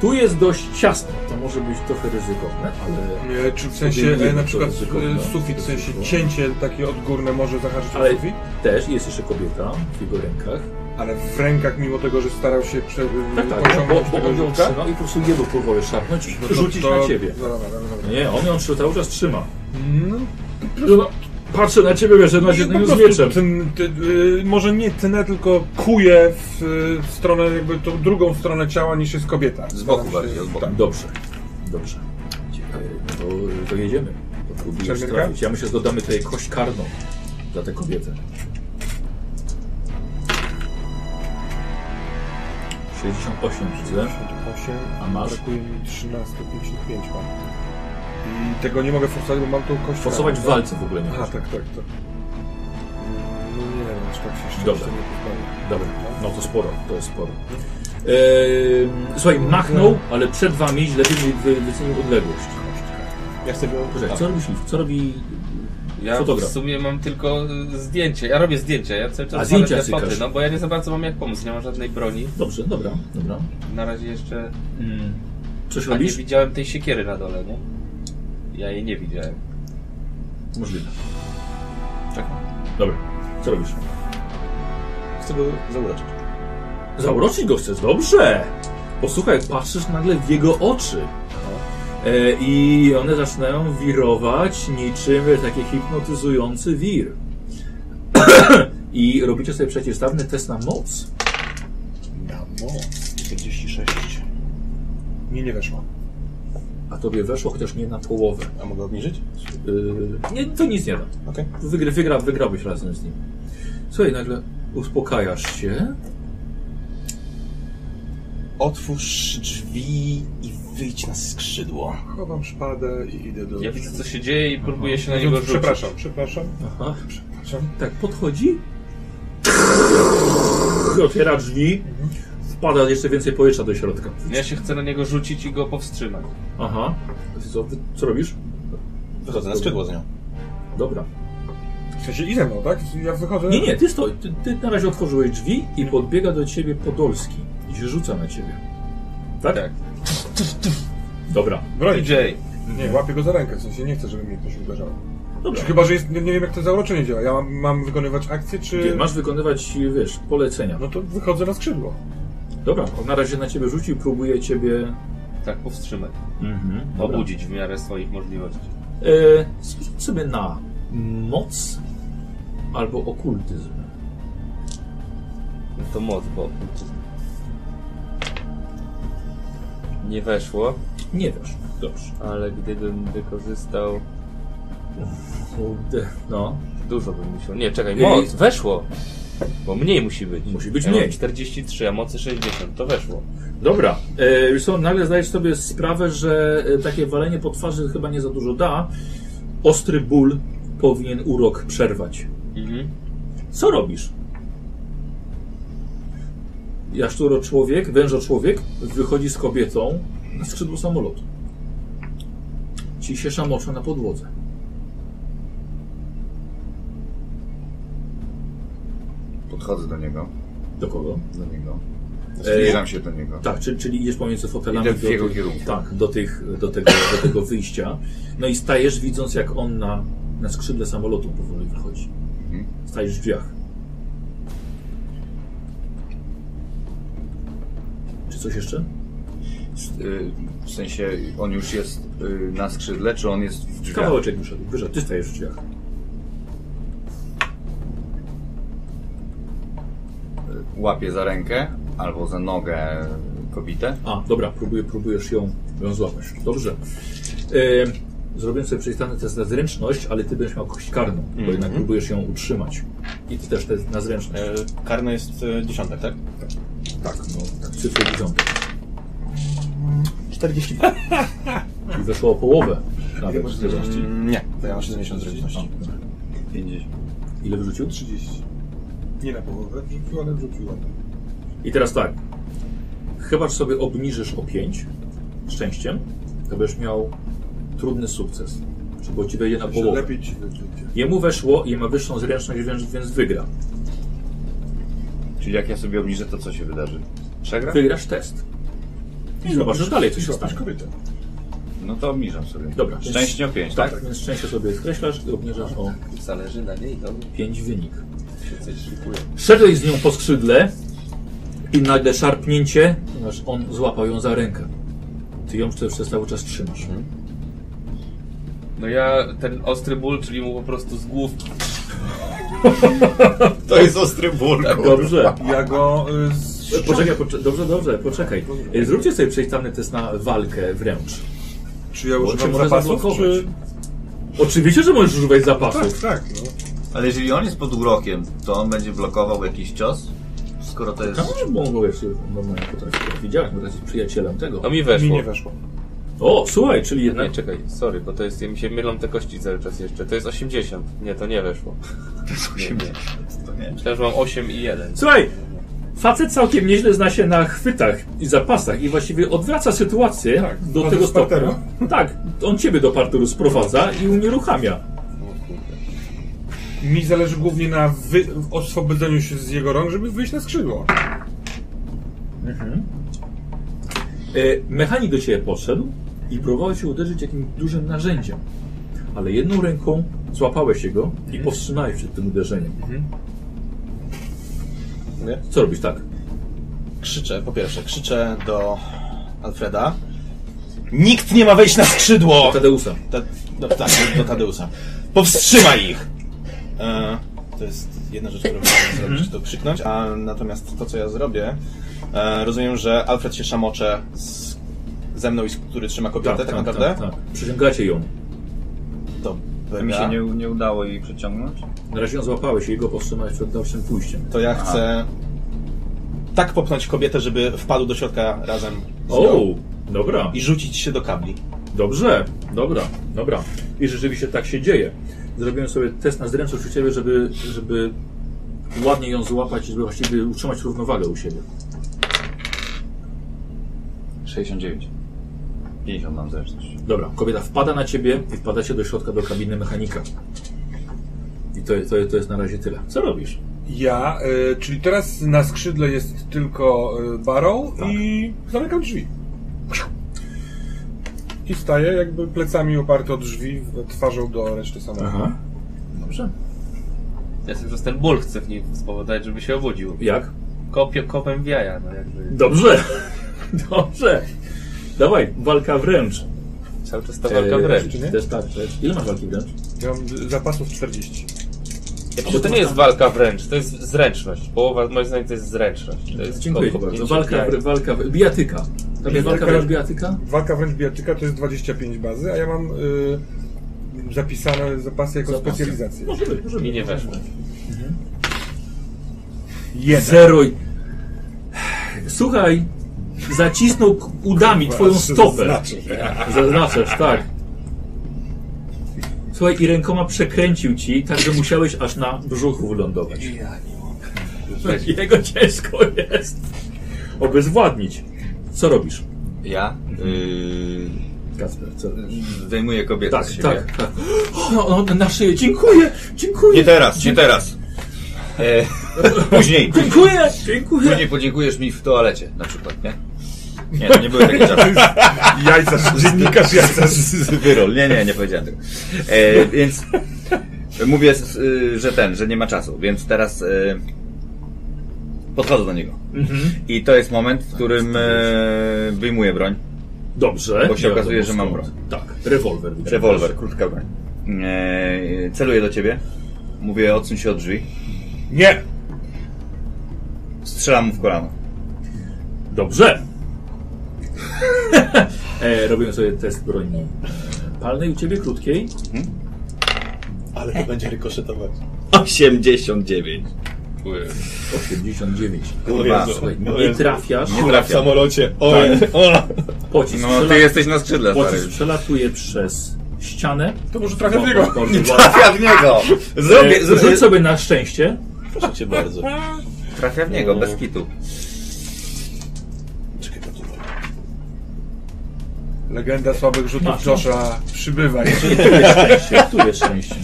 [SPEAKER 1] Tu jest dość ciasno, to może być trochę ryzykowne, ale...
[SPEAKER 4] E, Czy w
[SPEAKER 1] Nie,
[SPEAKER 4] sensie
[SPEAKER 1] nie,
[SPEAKER 4] e, na
[SPEAKER 1] to
[SPEAKER 4] przykład
[SPEAKER 1] ryzykowne.
[SPEAKER 4] e, sufit, w sensie cięcie takie odgórne może zahaczyć
[SPEAKER 1] No. Ale-
[SPEAKER 4] o sufit,
[SPEAKER 1] Też jest jeszcze kobieta w jego rękach.
[SPEAKER 4] ale w rękach mimo tego, że starał się prze,
[SPEAKER 1] Tak, tak, no, bo,
[SPEAKER 4] pociągnąć
[SPEAKER 1] bo
[SPEAKER 4] tego
[SPEAKER 1] on ją
[SPEAKER 4] żółka,
[SPEAKER 1] trzymał i po prostu jego próbował szarpnąć i
[SPEAKER 4] no to-
[SPEAKER 1] rzucić
[SPEAKER 4] to-
[SPEAKER 1] na ciebie.
[SPEAKER 4] No, dobra, dobra, dobra.
[SPEAKER 1] Nie, on ją trzy- cały czas trzyma.
[SPEAKER 4] No,
[SPEAKER 1] Mm. Patrzę na ciebie, wiesz, że na
[SPEAKER 4] po
[SPEAKER 1] jednym z
[SPEAKER 4] prostu
[SPEAKER 1] mieczem.
[SPEAKER 4] Ten, ty, y, może nie tnę, tylko kuję w, y, stronę, jakby tą drugą stronę ciała niż jest kobieta.
[SPEAKER 2] Z boku
[SPEAKER 4] Staram się-
[SPEAKER 2] bardziej, od boku.
[SPEAKER 4] Tak.
[SPEAKER 1] Dobrze, dobrze. Ciekawe, no To, to jedziemy. To próbujesz
[SPEAKER 4] Czerwionka?
[SPEAKER 1] trafić. Ja myślę, że dodamy tutaj kość karną dla tę kobietę. 68 widzę,
[SPEAKER 4] 58,
[SPEAKER 1] a masz?
[SPEAKER 4] brakuje mi 13, 55 mam. Mm, Tego nie mogę forsować, bo mam tu kość.
[SPEAKER 1] Forsować w
[SPEAKER 4] rany,
[SPEAKER 1] walce w ogóle nie
[SPEAKER 4] tak?
[SPEAKER 1] można.
[SPEAKER 4] Aha, tak, tak, tak. Mm, No nie wiem, aż tak się szczęście
[SPEAKER 1] Dobra.
[SPEAKER 4] nie pozbawię.
[SPEAKER 1] Dobra, no to sporo, to jest sporo. Ehm, słuchaj, machnął, ale przed wami źle wy- wy- wycenił odległość.
[SPEAKER 3] Ja chcę go...
[SPEAKER 1] Poczekaj, co robisz? Co robi...
[SPEAKER 5] Ja
[SPEAKER 1] Fotograf.
[SPEAKER 5] w sumie mam tylko y, zdjęcie. Ja robię zdjęcia, ja cały
[SPEAKER 1] A,
[SPEAKER 5] czas
[SPEAKER 1] zdjęcia
[SPEAKER 5] walę te foty,
[SPEAKER 1] cykasz.
[SPEAKER 5] no bo ja nie za bardzo mam jak pomóc, nie mam żadnej broni.
[SPEAKER 1] Dobrze, dobra, dobra.
[SPEAKER 5] Na razie jeszcze
[SPEAKER 1] Mm. Coś
[SPEAKER 5] a nie
[SPEAKER 1] robisz?
[SPEAKER 5] widziałem tej siekiery na dole, nie? Ja jej nie widziałem.
[SPEAKER 1] Możliwe.
[SPEAKER 5] Czekam.
[SPEAKER 1] Dobra, co robisz?
[SPEAKER 3] tak, Chcę go zauroczyć.
[SPEAKER 1] Zauroczyć go chcesz, dobrze! Posłuchaj, patrzysz nagle w jego oczy. E, I one zaczynają wirować niczym taki hipnotyzujący wir. [COUGHS] I robicie sobie przeciwstawny test na moc.
[SPEAKER 3] Na moc. 46.
[SPEAKER 4] Mi nie weszło.
[SPEAKER 1] A tobie weszło chociaż nie na połowę.
[SPEAKER 3] A mogę obniżyć?
[SPEAKER 1] Yy, nie, to nic nie da.
[SPEAKER 3] Okej.
[SPEAKER 1] Wygra, wygra, wygrałbyś razem z nim. Słuchaj, nagle uspokajasz się.
[SPEAKER 3] Otwórz drzwi i wyjdź na skrzydło.
[SPEAKER 4] Chowam szpadę i idę do...
[SPEAKER 5] Ja widzę co się dzieje i próbuję
[SPEAKER 1] No
[SPEAKER 5] się na
[SPEAKER 4] Przepraszam,
[SPEAKER 5] niego rzucić.
[SPEAKER 4] Przepraszam, przepraszam.
[SPEAKER 1] Aha.
[SPEAKER 4] przepraszam.
[SPEAKER 1] Tak, podchodzi. Otwiera drzwi. Wpada jeszcze więcej powietrza do środka.
[SPEAKER 5] No Ja się chcę na niego rzucić i go powstrzymać.
[SPEAKER 1] Aha. Co, ty- co robisz?
[SPEAKER 3] Wychodzę na skrzydło z nią.
[SPEAKER 1] Dobra.
[SPEAKER 4] W sensie idę, no, tak? Ja wychodzę...
[SPEAKER 1] Nie, nie, ty stoi. Ty, ty na razie otworzyłeś drzwi i podbiega do ciebie Podolski. I się rzuca na ciebie. Tak?
[SPEAKER 5] Tak.
[SPEAKER 1] Dobra.
[SPEAKER 4] Broń.
[SPEAKER 5] DJ,
[SPEAKER 4] Nie, łapię go za rękę, w sensie nie chcę, żeby mnie ktoś uderzał.
[SPEAKER 1] Dobra.
[SPEAKER 4] Czy chyba, że jest, nie, nie wiem jak to zauroczenie działa. Ja mam, mam wykonywać akcję,
[SPEAKER 1] Gdzie
[SPEAKER 4] czy...
[SPEAKER 1] Masz wykonywać, wiesz, polecenia.
[SPEAKER 4] No to wychodzę na skrzydło.
[SPEAKER 1] Dobra, on na razie na ciebie rzuci, próbuje ciebie...
[SPEAKER 5] tak, powstrzymać.
[SPEAKER 1] Mhm,
[SPEAKER 5] Obudzić w miarę swoich możliwości.
[SPEAKER 1] E, Zrób sobie na moc albo okultyzm.
[SPEAKER 5] No to moc, bo... Nie weszło,
[SPEAKER 1] Nie wiesz. Dobrze.
[SPEAKER 5] ale gdybym wykorzystał...
[SPEAKER 1] Kurde, No.
[SPEAKER 5] Dużo bym musiał. Nie, czekaj,
[SPEAKER 1] Ej.
[SPEAKER 5] moc, weszło! Bo mniej musi być.
[SPEAKER 1] Musi być
[SPEAKER 5] ja mam
[SPEAKER 1] mniej.
[SPEAKER 5] 43, a mocy 60, to weszło.
[SPEAKER 1] Dobra. E, wiesz co, nagle zdajesz sobie sprawę, że e, takie walenie po twarzy chyba nie za dużo da. Ostry ból powinien urok przerwać.
[SPEAKER 5] Mhm.
[SPEAKER 1] Co robisz? Jaszczuro człowiek, wężo człowiek wychodzi z kobietą na skrzydło samolotu. Ci się szamocze na podłodze.
[SPEAKER 2] Podchodzę do niego,
[SPEAKER 1] Do kogo?
[SPEAKER 2] do niego.
[SPEAKER 1] E,
[SPEAKER 2] Zbliżam się do niego.
[SPEAKER 1] Tak, czyli, czyli idziesz pomiędzy fotelami
[SPEAKER 2] Idę w
[SPEAKER 1] do,
[SPEAKER 2] jego
[SPEAKER 1] tych-
[SPEAKER 2] kierunku.
[SPEAKER 1] tak, do, tych, do, tego, do tego wyjścia. No i stajesz widząc jak on na, na skrzydle samolotu powoli wychodzi.
[SPEAKER 2] Mhm.
[SPEAKER 1] Stajesz w drzwiach. Czy coś jeszcze?
[SPEAKER 2] Tak. S- y, W sensie on już jest y, na skrzydle, czy on jest w drzwiach?
[SPEAKER 1] Kawałeczek wyszedł. Wyszedł. Ty stajesz w drzwiach.
[SPEAKER 2] Łapie za rękę albo za nogę kobietę.
[SPEAKER 1] A, dobra, próbuję, próbujesz ją, ją złapać. Dobrze. Yy, zrobiłem sobie przejstany test na zręczność, ale ty będziesz miał kość karną, bo
[SPEAKER 2] Mhm.
[SPEAKER 1] jednak próbujesz ją utrzymać. I ty też test na zręczność.
[SPEAKER 3] E, karne jest e, dziesiątek, tak?
[SPEAKER 1] Tak, no, tak, cyfry dziesiątek.
[SPEAKER 3] 42.
[SPEAKER 1] [LAUGHS] I weszło o połowę. Nawet.
[SPEAKER 3] Mm, nie, to ja mam 70 z rodzicności.
[SPEAKER 2] 50.
[SPEAKER 1] Ile wyrzucił?
[SPEAKER 4] 30. Nie na połowę, wrzucił, ale wrzuciłem.
[SPEAKER 1] I teraz tak. Chyba że sobie obniżysz o 5 szczęściem, to będziesz miał trudny sukces. Czy Bo ci wejdzie na
[SPEAKER 4] Jeszcze
[SPEAKER 1] połowę.
[SPEAKER 4] lepiej ci wyjdzie.
[SPEAKER 1] Jemu weszło i ma wyższą zręczność, więc, więc wygra.
[SPEAKER 2] Czyli jak ja sobie obniżę, to co się wydarzy? Przegra?
[SPEAKER 1] Wygrasz test. I zobaczysz dalej, co się
[SPEAKER 4] Złapiesz
[SPEAKER 1] stanie.
[SPEAKER 4] kobietę.
[SPEAKER 2] No to obniżam sobie.
[SPEAKER 1] Dobra, więc-
[SPEAKER 2] Szczęście o 5, tak?
[SPEAKER 1] Tak, więc szczęście sobie skreślasz i obniżasz o
[SPEAKER 5] Zależy na niej, to
[SPEAKER 1] 5 wynik.
[SPEAKER 5] się coś szykuje.
[SPEAKER 1] Szedłeś z nią po skrzydle i nagle szarpnięcie, ponieważ on złapał ją za rękę. Ty ją przez przez cały czas trzymasz.
[SPEAKER 5] Mhm. No ja ten ostry ból, czyli mu po prostu z główki.
[SPEAKER 2] To jest ostry ból.
[SPEAKER 3] Tak,
[SPEAKER 1] Dobrze.
[SPEAKER 4] Ja go... Y, z...
[SPEAKER 1] E, Poczekaj, poczekaj, dobrze, dobrze, poczekaj. E, Zróbcie sobie przejstany test na walkę wręcz.
[SPEAKER 4] Czy ja
[SPEAKER 1] Bo cię
[SPEAKER 4] używam
[SPEAKER 1] można
[SPEAKER 4] zapasów,
[SPEAKER 1] zablokować.
[SPEAKER 4] czy...
[SPEAKER 1] Oczywiście, że możesz używać
[SPEAKER 4] Tak,
[SPEAKER 1] zapasów.
[SPEAKER 4] tak, no.
[SPEAKER 2] Ale jeżeli on jest pod urokiem, to on będzie blokował jakiś cios? Skoro to jest...
[SPEAKER 1] No, Tam mogłeś normalnie potrafić. Widziałem, bo jesteś przyjacielem tego.
[SPEAKER 5] No mi weszło.
[SPEAKER 4] Mi nie weszło.
[SPEAKER 1] O, słuchaj, czyli jednak...
[SPEAKER 5] Nie, czekaj, sorry, bo to jest, mi się mylą te kości cały czas jeszcze. To jest 80. Nie, to nie weszło.
[SPEAKER 2] To jest 80. To nie.
[SPEAKER 5] Myślałem, że mam 8 i 1.
[SPEAKER 1] Słuchaj, facet całkiem nieźle zna się na chwytach i zapasach i właściwie odwraca sytuację do
[SPEAKER 8] wchodzę
[SPEAKER 1] tego
[SPEAKER 8] z parteru.
[SPEAKER 1] stopnia. Tak, on ciebie do parteru sprowadza i unieruchamia.
[SPEAKER 4] Mi zależy głównie na wy... oswobodzeniu się z jego rąk, żeby wyjść na skrzydło.
[SPEAKER 1] E, mechanik do ciebie podszedł i próbował cię uderzyć jakimś dużym narzędziem. Ale jedną ręką złapałeś jego i powstrzymałeś przed tym uderzeniem.
[SPEAKER 3] Nie?
[SPEAKER 1] Co robisz tak?
[SPEAKER 3] Krzyczę, po pierwsze, krzyczę do Alfreda. Nikt nie ma wejść na skrzydło!
[SPEAKER 1] Tadeusa.
[SPEAKER 3] Ta, no, tak, do Tadeusa. Powstrzymaj ich! E, to jest jedna rzecz, którą mogę zrobić,
[SPEAKER 2] Mhm.
[SPEAKER 3] to krzyknąć, a natomiast to, co ja zrobię, e, rozumiem, że Alfred się szamocze z, ze mną, i z, który trzyma kobietę, tak, naprawdę?
[SPEAKER 1] tak, tak. Przyciągacie ją.
[SPEAKER 3] To
[SPEAKER 2] tak. To mi
[SPEAKER 3] bega.
[SPEAKER 2] się nie, nie udało jej przeciągnąć?
[SPEAKER 1] Na razie ją złapałeś i jego powstrzymałeś przed dalszym pójściem.
[SPEAKER 3] To ja chcę tak popchnąć kobietę, żeby wpadł do środka razem z
[SPEAKER 1] O,
[SPEAKER 3] nią
[SPEAKER 1] dobra.
[SPEAKER 3] i rzucić się do kabli.
[SPEAKER 1] Dobrze, dobra, dobra. I rzeczywiście tak się dzieje. Zrobiłem sobie test na zręczność u siebie, żeby, żeby ładnie ją złapać, żeby właściwie utrzymać równowagę u siebie.
[SPEAKER 2] 69. 50 mam zręczność.
[SPEAKER 1] Dobra, kobieta wpada na ciebie i wpadacie do środka do kabiny mechanika. I to, to, to jest na razie tyle. Co robisz?
[SPEAKER 4] Ja, y, czyli teraz na skrzydle jest tylko y, barą
[SPEAKER 1] Tak.
[SPEAKER 4] i zamykam drzwi. I staję jakby plecami oparty o drzwi, twarzą do reszty samochodu.
[SPEAKER 1] Dobrze.
[SPEAKER 5] Ja sobie przez ten ból chcę w niej spowodować, żeby się obudził.
[SPEAKER 1] Jak?
[SPEAKER 5] Kopie, kopem w jaja, no jakby.
[SPEAKER 1] Dobrze. [LAUGHS] Dobrze. Dawaj, walka wręcz.
[SPEAKER 5] Cały czas ta walka
[SPEAKER 1] Eee,
[SPEAKER 5] wręcz.
[SPEAKER 4] nie?
[SPEAKER 1] Też tak. też. Ile masz walki wręcz?
[SPEAKER 4] Ja mam y, zapasów 40.
[SPEAKER 5] Bo to nie jest walka wręcz, to jest zręczność. Połowa, moim zdaniem, to jest zręczność. To jest
[SPEAKER 1] Dziękuję
[SPEAKER 5] kop-
[SPEAKER 1] Ci bardzo.
[SPEAKER 5] kopnięcie w
[SPEAKER 1] Walka,
[SPEAKER 5] jaja.
[SPEAKER 1] wr- walka, wr- bijatyka. Tam jest walka wręcz bijatyka?
[SPEAKER 4] Walka wręcz bijatyka to jest 25 bazy, a ja mam y, zapisane zapasy jako
[SPEAKER 1] Zapasy.
[SPEAKER 4] specjalizację.
[SPEAKER 1] Możemy, możemy.
[SPEAKER 5] I nie weszło.
[SPEAKER 1] Zero. i- Słuchaj, zacisnął k- udami twoją stopę. Zaznaczasz, tak. Słuchaj, i rękoma przekręcił ci, tak że musiałeś aż na brzuchu wylądować. Jego ciężko jest obezwładnić. Co robisz,
[SPEAKER 2] Ja? Yy,
[SPEAKER 1] Kasper? Co robisz?
[SPEAKER 2] zdejmuję kobietę
[SPEAKER 1] Tak,
[SPEAKER 2] z siebie.
[SPEAKER 1] tak, tak. O, [GASPS] no, no, na szyję. Dziękuję, dziękuję,
[SPEAKER 2] Nie teraz, nie teraz. E, [LAUGHS] później.
[SPEAKER 1] dziękuję, dziękuję.
[SPEAKER 2] Później podziękujesz mi w toalecie na przykład, nie? Nie, to nie były takie czasy.
[SPEAKER 8] Jajca, dziennikarz jajca.
[SPEAKER 2] [LAUGHS] Wyrol, nie, nie, nie powiedziałem tego. E, więc mówię, s- y, że ten, że nie ma czasu, więc teraz e, podchodzę do niego. I to jest moment, w którym e, wyjmuję broń.
[SPEAKER 1] Dobrze.
[SPEAKER 2] Bo się
[SPEAKER 1] Nie
[SPEAKER 2] okazuje,
[SPEAKER 1] wiadomo
[SPEAKER 2] że mam
[SPEAKER 1] skąd. Tak, rewolwer. wyciągasz.
[SPEAKER 2] Rewolwer, krótka broń. E, celuję do ciebie. Mówię, odsuń się od drzwi.
[SPEAKER 8] Nie!
[SPEAKER 2] Strzelam mu w kolano.
[SPEAKER 1] Dobrze. [LAUGHS] e, robiłem sobie test broni e, palnej u ciebie, krótkiej.
[SPEAKER 3] Ale to będzie rykoszetować.
[SPEAKER 2] 89.
[SPEAKER 1] 89.
[SPEAKER 2] Kurwa. No
[SPEAKER 1] Słuchaj, nie trafiasz, Tak.
[SPEAKER 2] Nie
[SPEAKER 3] W
[SPEAKER 2] trafia.
[SPEAKER 3] samolocie. Oj, o.
[SPEAKER 1] pocisk,
[SPEAKER 2] No,
[SPEAKER 1] przela
[SPEAKER 2] ty jesteś na skrzydle, stary.
[SPEAKER 1] pocisk przelatuje przez ścianę.
[SPEAKER 4] To może trafię w niego.
[SPEAKER 1] Bardzo ładnie.
[SPEAKER 2] Trafia w niego!
[SPEAKER 1] E,
[SPEAKER 2] Zrobię,
[SPEAKER 1] Rzuć
[SPEAKER 2] zrobię.
[SPEAKER 1] sobie na szczęście.
[SPEAKER 3] Proszę cię bardzo.
[SPEAKER 2] Trafia w
[SPEAKER 5] Mm.
[SPEAKER 2] niego, bez kitu.
[SPEAKER 3] Czekaj, bo tu mam.
[SPEAKER 4] Legenda słabych rzutów
[SPEAKER 1] Masz.
[SPEAKER 4] Josha przybywa.
[SPEAKER 1] E, Które szczęście?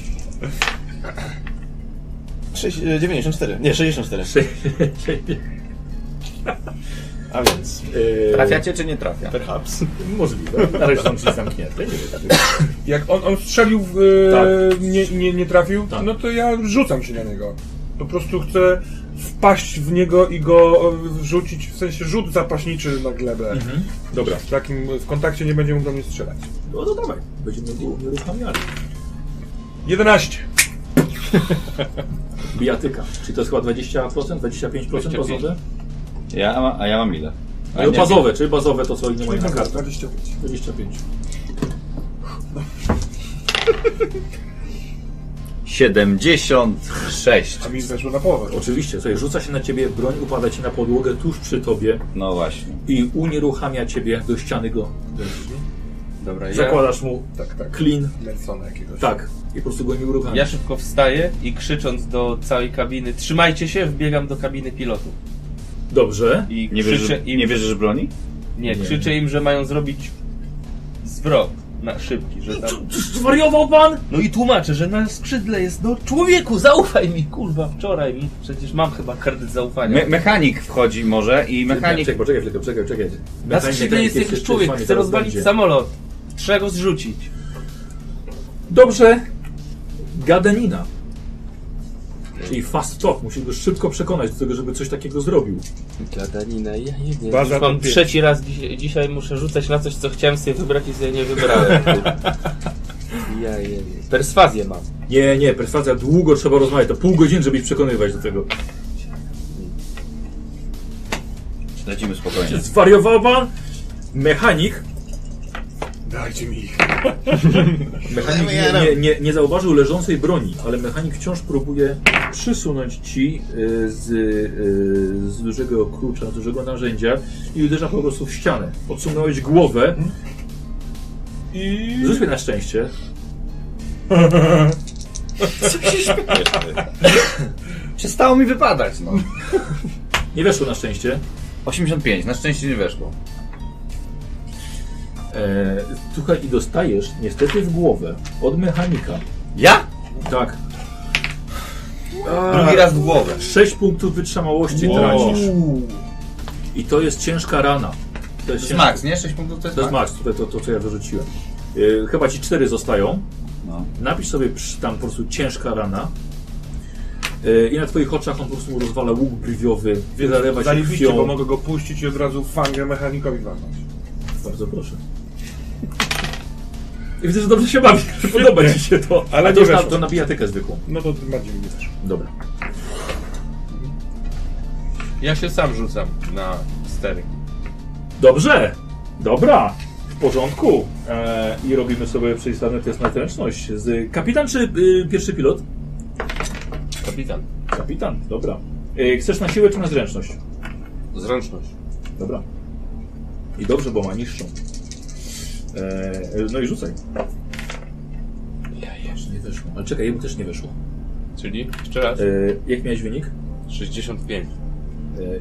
[SPEAKER 3] Sześć- e, 94.
[SPEAKER 2] [LAUGHS]
[SPEAKER 3] Nie, 64. A więc,
[SPEAKER 2] Trafiacie czy nie trafia?
[SPEAKER 3] perhaps.
[SPEAKER 1] [LAUGHS] Możliwe. Na razie są drzwi zamknięte. Nie wiem.
[SPEAKER 4] Jak on, on strzelił w, e,
[SPEAKER 1] Tak.
[SPEAKER 4] nie, nie, nie trafił,
[SPEAKER 1] Tak.
[SPEAKER 4] no to ja rzucam się na niego. Po prostu chcę wpaść w niego i go e, wrzucić, w sensie rzut zapaśniczy na glebę.
[SPEAKER 1] Mhm. Dobra.
[SPEAKER 4] W takim w kontakcie nie będzie mógł do mnie strzelać.
[SPEAKER 1] No to dawaj. Będziemy go uruchamiali.
[SPEAKER 4] 11!
[SPEAKER 1] Bijatyka. Czyli to jest chyba 20%, 25% bazowe?
[SPEAKER 2] Ja, ma- a ja mam ile? A
[SPEAKER 1] No,
[SPEAKER 2] nie-
[SPEAKER 1] bazowe, czyli bazowe to co innego mają na kartę.
[SPEAKER 4] 25.
[SPEAKER 1] 25.
[SPEAKER 2] 76.
[SPEAKER 4] A mi weszło na połowę.
[SPEAKER 1] Oczywiście, słuchaj, rzuca się na ciebie, broń upada ci na podłogę tuż przy tobie
[SPEAKER 2] No właśnie.
[SPEAKER 1] i unieruchamia ciebie do ściany go.
[SPEAKER 5] Dobra, ja,
[SPEAKER 1] Zakładasz mu
[SPEAKER 4] Tak, tak.
[SPEAKER 1] klin.
[SPEAKER 4] Męcona jakiegoś.
[SPEAKER 1] Tak. I po prostu go nie uruchamia.
[SPEAKER 5] ja szybko wstaję i krzycząc do całej kabiny, trzymajcie się, wbiegam do kabiny pilotów.
[SPEAKER 1] Dobrze.
[SPEAKER 5] I
[SPEAKER 2] Nie
[SPEAKER 5] krzyczę
[SPEAKER 2] wierzysz,
[SPEAKER 5] im,
[SPEAKER 2] nie wierzysz w broni?
[SPEAKER 5] nie,
[SPEAKER 1] nie.
[SPEAKER 5] krzyczę im, że mają zrobić zwrot na szybki, że tam...
[SPEAKER 1] Zwariował pan?
[SPEAKER 5] No i tłumaczę, że na skrzydle jest, no człowieku, zaufaj mi, kurwa, wczoraj mi, przecież mam chyba kredyt zaufania.
[SPEAKER 2] Me mechanik wchodzi może i mechanik...
[SPEAKER 9] Czekaj,
[SPEAKER 2] Znaczy,
[SPEAKER 9] poczekaj, chwilkę, czekaj, czekaj.
[SPEAKER 5] na skrzydle jest jakiś człowiek, chce rozwalić samolot, trzeba go zrzucić.
[SPEAKER 1] Dobrze. Gadanina. Czyli fast talk. Musisz go szybko przekonać do tego, żeby coś takiego zrobił.
[SPEAKER 5] Gadanina, ja nie wiem.
[SPEAKER 10] Baza
[SPEAKER 5] Już mam
[SPEAKER 10] to pies.
[SPEAKER 5] trzeci raz dziś, dzisiaj muszę rzucać na coś, co chciałem sobie wybrać i sobie nie wybrałem. kurwa. [LAUGHS] ja nie wiem. Perswazję mam.
[SPEAKER 1] Nie, nie, perswazja długo trzeba rozmawiać. To pół godziny, żeby ich przekonywać do tego.
[SPEAKER 2] Lecimy spokojnie.
[SPEAKER 1] Zwariował pan? Mechanik.
[SPEAKER 4] Dajcie mi ich.
[SPEAKER 1] Mechanik nie, nie, nie, nie zauważył leżącej broni, ale mechanik wciąż próbuje przysunąć ci y, z, y, z dużego klucza, z dużego narzędzia i uderza po prostu w ścianę. Odsunąłeś głowę i... Rzuć mi na szczęście.
[SPEAKER 2] [LAUGHS] Przestało mi wypadać, no.
[SPEAKER 1] Nie weszło na szczęście.
[SPEAKER 2] 85, na szczęście nie weszło.
[SPEAKER 1] E, słuchaj, i dostajesz niestety w głowę od mechanika.
[SPEAKER 2] Ja?
[SPEAKER 1] Tak.
[SPEAKER 2] Drugi raz w głowę.
[SPEAKER 1] 6 punktów wytrzymałości tracisz. I to jest ciężka rana. To
[SPEAKER 2] To
[SPEAKER 1] jest
[SPEAKER 2] jest
[SPEAKER 1] ciężka
[SPEAKER 2] max, nie? 6 punktów to jest
[SPEAKER 1] To jest
[SPEAKER 4] tak?
[SPEAKER 5] Tak.
[SPEAKER 2] max.
[SPEAKER 1] max, to, to, to co ja wyrzuciłem. Yy, chyba ci cztery zostają.
[SPEAKER 2] No.
[SPEAKER 1] Napisz sobie przy- tam po prostu ciężka rana. Yy, I na twoich oczach on po prostu rozwala łuk brwiowy, zalewa się
[SPEAKER 4] Zajebiście, bo
[SPEAKER 1] krwią.
[SPEAKER 4] mogę go puścić i od razu fangę mechanikowi walnąć.
[SPEAKER 1] Bardzo proszę. I widzę, że dobrze się
[SPEAKER 4] [LAUGHS]
[SPEAKER 1] bawi, że podoba ci się to.
[SPEAKER 4] Ale
[SPEAKER 1] A to,
[SPEAKER 4] nie
[SPEAKER 1] już na,
[SPEAKER 4] weszło.
[SPEAKER 1] to na bijatykę zwykłą.
[SPEAKER 4] No to bardziej mi też.
[SPEAKER 1] Dobra.
[SPEAKER 5] Ja się sam rzucam na stery.
[SPEAKER 1] Dobrze! Dobra! W porządku. E, I robimy sobie przeciwstawny test na zręczność. Z kapitan czy y, pierwszy pilot?
[SPEAKER 5] Kapitan.
[SPEAKER 1] Kapitan, dobra. Y, chcesz na siłę czy na zręczność?
[SPEAKER 5] Zręczność.
[SPEAKER 1] Dobra. I dobrze, bo ma niższą. Eee, no i rzucaj. Ja jeszcze nie weszło. Ale czekaj, jemu też nie weszło.
[SPEAKER 5] Czyli jeszcze raz.
[SPEAKER 1] Eee, jak miałeś wynik? Eee,
[SPEAKER 5] 65.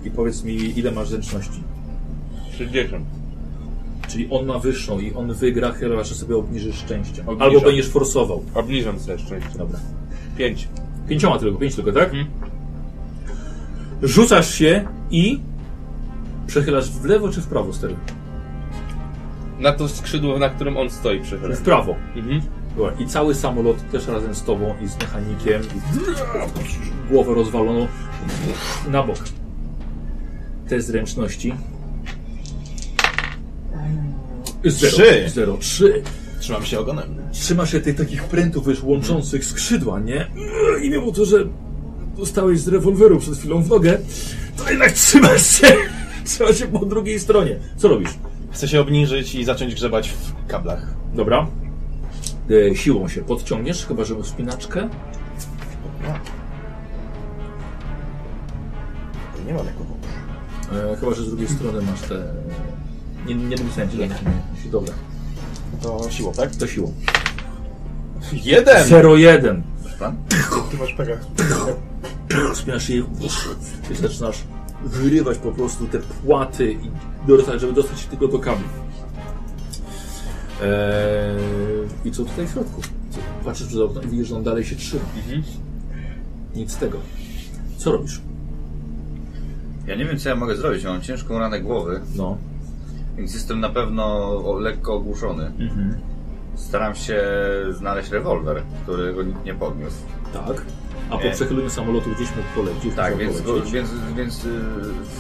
[SPEAKER 1] I powiedz mi, ile masz zręczności.
[SPEAKER 5] 60.
[SPEAKER 1] Czyli on ma wyższą i on wygra, chyba że sobie obniżysz szczęście.
[SPEAKER 5] Obniżam.
[SPEAKER 1] Albo będziesz forsował.
[SPEAKER 5] Obniżam sobie szczęście.
[SPEAKER 1] Dobra.
[SPEAKER 5] 5.
[SPEAKER 1] Pięcioma tylko, pięć tylko, tak? Rzucasz się i przechylasz w lewo czy w prawo stery?
[SPEAKER 5] Na to skrzydło, na którym on stoi przychylę.
[SPEAKER 1] W prawo.
[SPEAKER 5] Mhm.
[SPEAKER 1] Dobra, I cały samolot też razem z tobą i z mechanikiem i głowę rozwaloną na bok. Te zręczności. Zero.
[SPEAKER 3] Trzy.
[SPEAKER 1] Zero. Trzy.
[SPEAKER 3] Trzymam się ogonem.
[SPEAKER 1] Trzymasz się tych takich prętów wiesz, łączących skrzydła, nie? I mimo to, że dostałeś z rewolweru przed chwilą w nogę, to jednak trzymasz się. [LAUGHS] Trzymasz się po drugiej stronie. Co robisz?
[SPEAKER 3] Chcę się obniżyć i zacząć grzebać w kablach.
[SPEAKER 1] Dobra. E, siłą się podciągniesz, chyba że wspinaczkę.
[SPEAKER 3] Nie mam jako
[SPEAKER 1] E, chyba, że z drugiej strony masz te... e, Nie, nie napisałem ci tak. Dobra,
[SPEAKER 3] To siłą, tak?
[SPEAKER 1] to siłą.
[SPEAKER 3] Jeden!
[SPEAKER 1] 0-1.
[SPEAKER 4] Ty masz pegach.
[SPEAKER 1] Rozpinasz je, wiesz, zaczynasz wyrywać po prostu te płaty i dorastać, żeby dostać się tylko do kabli. Eee, I co tutaj w środku? Co- Patrzysz przez okno i widzisz, że on dalej się trzyma. Nic z tego. Co robisz?
[SPEAKER 2] Ja nie wiem, co ja mogę zrobić. Mam ciężką ranę głowy,
[SPEAKER 1] No.
[SPEAKER 2] więc jestem na pewno o- lekko ogłuszony. Staram się znaleźć rewolwer, którego nikt nie podniósł.
[SPEAKER 1] Tak. A po
[SPEAKER 2] E.
[SPEAKER 1] przechyleniu samolotu gdzieś mógł polecić.
[SPEAKER 2] Tak,
[SPEAKER 1] mógł
[SPEAKER 2] więc,
[SPEAKER 1] polecieć.
[SPEAKER 2] więc, więc y,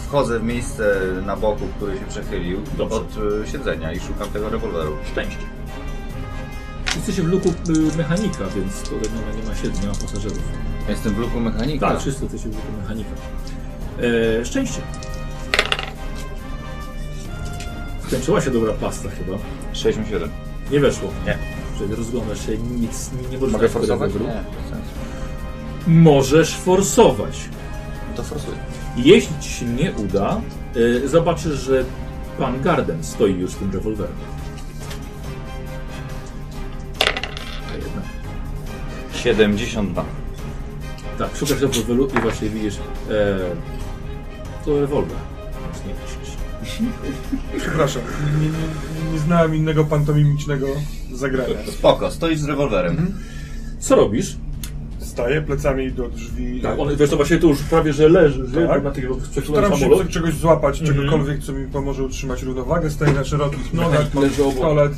[SPEAKER 2] wchodzę w miejsce na boku, który się przechylił
[SPEAKER 1] Dobrze.
[SPEAKER 2] od y, siedzenia i szukam tego rewolweru.
[SPEAKER 1] szczęście. Jesteście w luku y, mechanika, więc to tak, no, nie ma siedzenia, nie ma pasażerów.
[SPEAKER 2] Ja Jestem w luku mechanika.
[SPEAKER 1] Tak, wszyscy jesteście w luku mechanika. E, szczęście. Skończyła się dobra pasta chyba.
[SPEAKER 2] 67.
[SPEAKER 1] Nie weszło.
[SPEAKER 2] Nie.
[SPEAKER 1] Czyli rozglądasz się, nic, nie, nie możesz
[SPEAKER 2] Mogę
[SPEAKER 1] znaleźć
[SPEAKER 2] forsować?
[SPEAKER 1] tego wyboru.
[SPEAKER 2] Nie, bez sensu.
[SPEAKER 1] Możesz forsować.
[SPEAKER 2] To forsuję.
[SPEAKER 1] Jeśli ci się nie uda, e, zobaczysz, że pan Garden stoi już z tym rewolwerem.
[SPEAKER 2] 72.
[SPEAKER 11] Tak, szukasz rewolweru i właśnie widzisz e, to rewolwer. Więc nie myślisz.
[SPEAKER 4] Przepraszam, nie, nie, nie znałem innego pantomimicznego zagrania.
[SPEAKER 2] Spoko, stoisz z
[SPEAKER 3] Mhm.
[SPEAKER 2] rewolwerem.
[SPEAKER 11] Co robisz?
[SPEAKER 4] Staję plecami do drzwi.
[SPEAKER 1] Tak, on, wiesz, to właśnie tu już prawie, że leży, że
[SPEAKER 4] Tak.
[SPEAKER 1] na tych przechwylonych
[SPEAKER 4] Staram się
[SPEAKER 1] samolot.
[SPEAKER 4] czegoś złapać,
[SPEAKER 1] Mhm.
[SPEAKER 4] czegokolwiek, co mi pomoże utrzymać równowagę. Staję na szerokich
[SPEAKER 1] No
[SPEAKER 4] nogach, mam
[SPEAKER 1] Tak, leży obok.
[SPEAKER 4] pistolet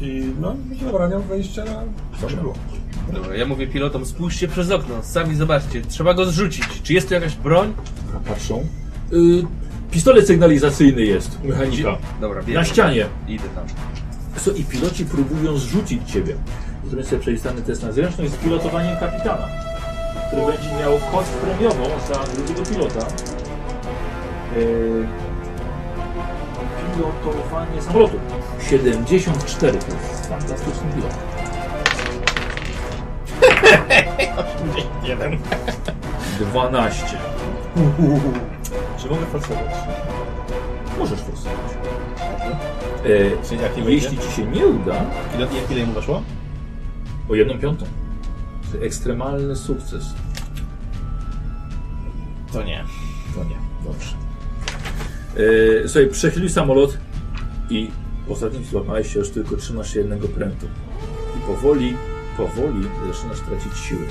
[SPEAKER 4] i no, zabraniam wejścia na co było.
[SPEAKER 5] Dobra, ja mówię pilotom, spójrzcie przez okno, sami zobaczcie, trzeba go zrzucić. Czy jest tu jakaś broń?
[SPEAKER 4] tak.
[SPEAKER 1] Patrzą. Y, pistolet sygnalizacyjny jest u mechanika.
[SPEAKER 5] Dobra,
[SPEAKER 1] Tak. Na
[SPEAKER 5] wiem.
[SPEAKER 1] ścianie.
[SPEAKER 5] Idę tam.
[SPEAKER 1] Co, I piloci próbują zrzucić ciebę. Zrobię sobie przeistany test na zręczność z pilotowaniem kapitana, który będzie miał kost premiową za drugiego pilota. Yy, pilotowanie samolotu. 74 to jest fantastyczny pilot.
[SPEAKER 3] Jeden.
[SPEAKER 1] 12.
[SPEAKER 4] Czy mogę forsować?
[SPEAKER 1] Możesz forsować. Yy,
[SPEAKER 3] Czyli jaki
[SPEAKER 1] jeśli ci się nie uda,
[SPEAKER 3] Ile, jak ile mu weszło?
[SPEAKER 1] o jedną piątą. To jest Ekstremalny sukces.
[SPEAKER 3] To nie.
[SPEAKER 1] No nie, dobrze. Yy, słuchaj, przechylił samolot i ostatnim złapałeś się, już tylko trzymasz się jednego prętu. I powoli, powoli zaczynasz tracić siły.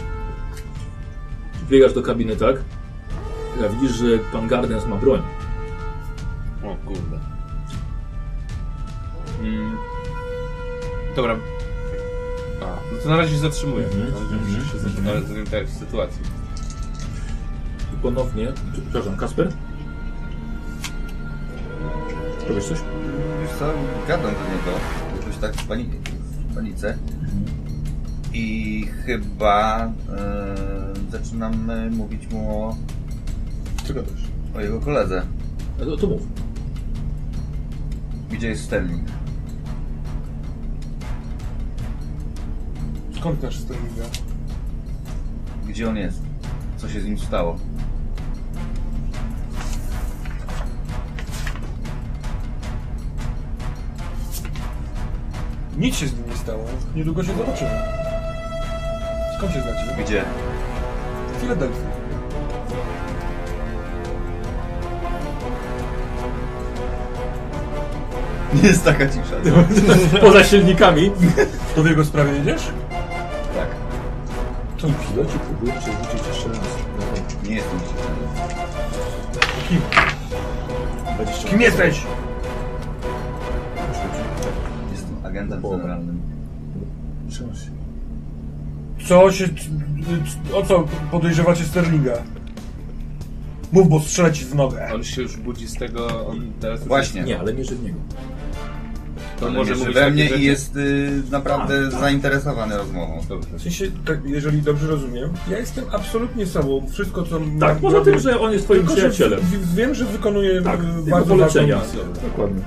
[SPEAKER 1] Biegasz do kabiny, tak? A widzisz, że pan Gardens ma broń.
[SPEAKER 5] O kurde. Mm. Dobra. A, no to na razie się zatrzymuję.
[SPEAKER 1] Mhm.
[SPEAKER 5] Ale muszę się zatrzymać, zorientować w sytuacji.
[SPEAKER 1] I ponownie, czy- przepraszam, Kasper? Robisz coś?
[SPEAKER 2] Wiesz co, gadam do niego, jakoś tak w panice. W panice. I chyba e, zaczynam e, mówić mu o,
[SPEAKER 4] Czego też?
[SPEAKER 2] o jego koledze.
[SPEAKER 1] A No to, to mów.
[SPEAKER 2] Gdzie jest Sterling?
[SPEAKER 4] Skąd nasz sterlinga?
[SPEAKER 2] Gdzie on jest? Co się z nim stało?
[SPEAKER 4] Nic się z nim nie stało. Niedługo się zobaczymy. Skąd się znacie?
[SPEAKER 2] Gdzie?
[SPEAKER 4] Filadelfia.
[SPEAKER 2] Nie jest taka cisza.
[SPEAKER 1] Poza silnikami.
[SPEAKER 4] To w jego sprawie jedziesz?
[SPEAKER 2] Tak,
[SPEAKER 1] To piloci próbują cię rzucić jeszcze raz.
[SPEAKER 2] nie jestem cisza.
[SPEAKER 4] Kim jesteś?
[SPEAKER 2] Jestem agentem generalnym.
[SPEAKER 1] Trzymasz się.
[SPEAKER 4] Co się... O co podejrzewacie sterlinga? Mów, bo strzelę ci w nogę.
[SPEAKER 5] On się już budzi z tego, on teraz już
[SPEAKER 2] Właśnie.
[SPEAKER 1] Nie, ale nie że w niego.
[SPEAKER 5] jest-
[SPEAKER 2] To
[SPEAKER 5] to
[SPEAKER 2] może
[SPEAKER 5] może mówić
[SPEAKER 2] we
[SPEAKER 5] takie
[SPEAKER 2] mnie
[SPEAKER 5] rzeczy.
[SPEAKER 2] i jest y, naprawdę zainteresowany rozmową. Dobrze.
[SPEAKER 4] W sensie, tak, jeżeli dobrze rozumiem, ja jestem absolutnie sobą. Wszystko, co...
[SPEAKER 1] Tak,
[SPEAKER 4] mam-
[SPEAKER 1] poza tym, że on jest twoim
[SPEAKER 4] Tylko, że
[SPEAKER 1] przyjacielem.
[SPEAKER 4] w- wiem, że wykonuję
[SPEAKER 1] Tak,
[SPEAKER 4] e,
[SPEAKER 1] jego
[SPEAKER 4] bardzo ważną
[SPEAKER 1] polecenia.
[SPEAKER 4] misję.
[SPEAKER 1] Dokładnie.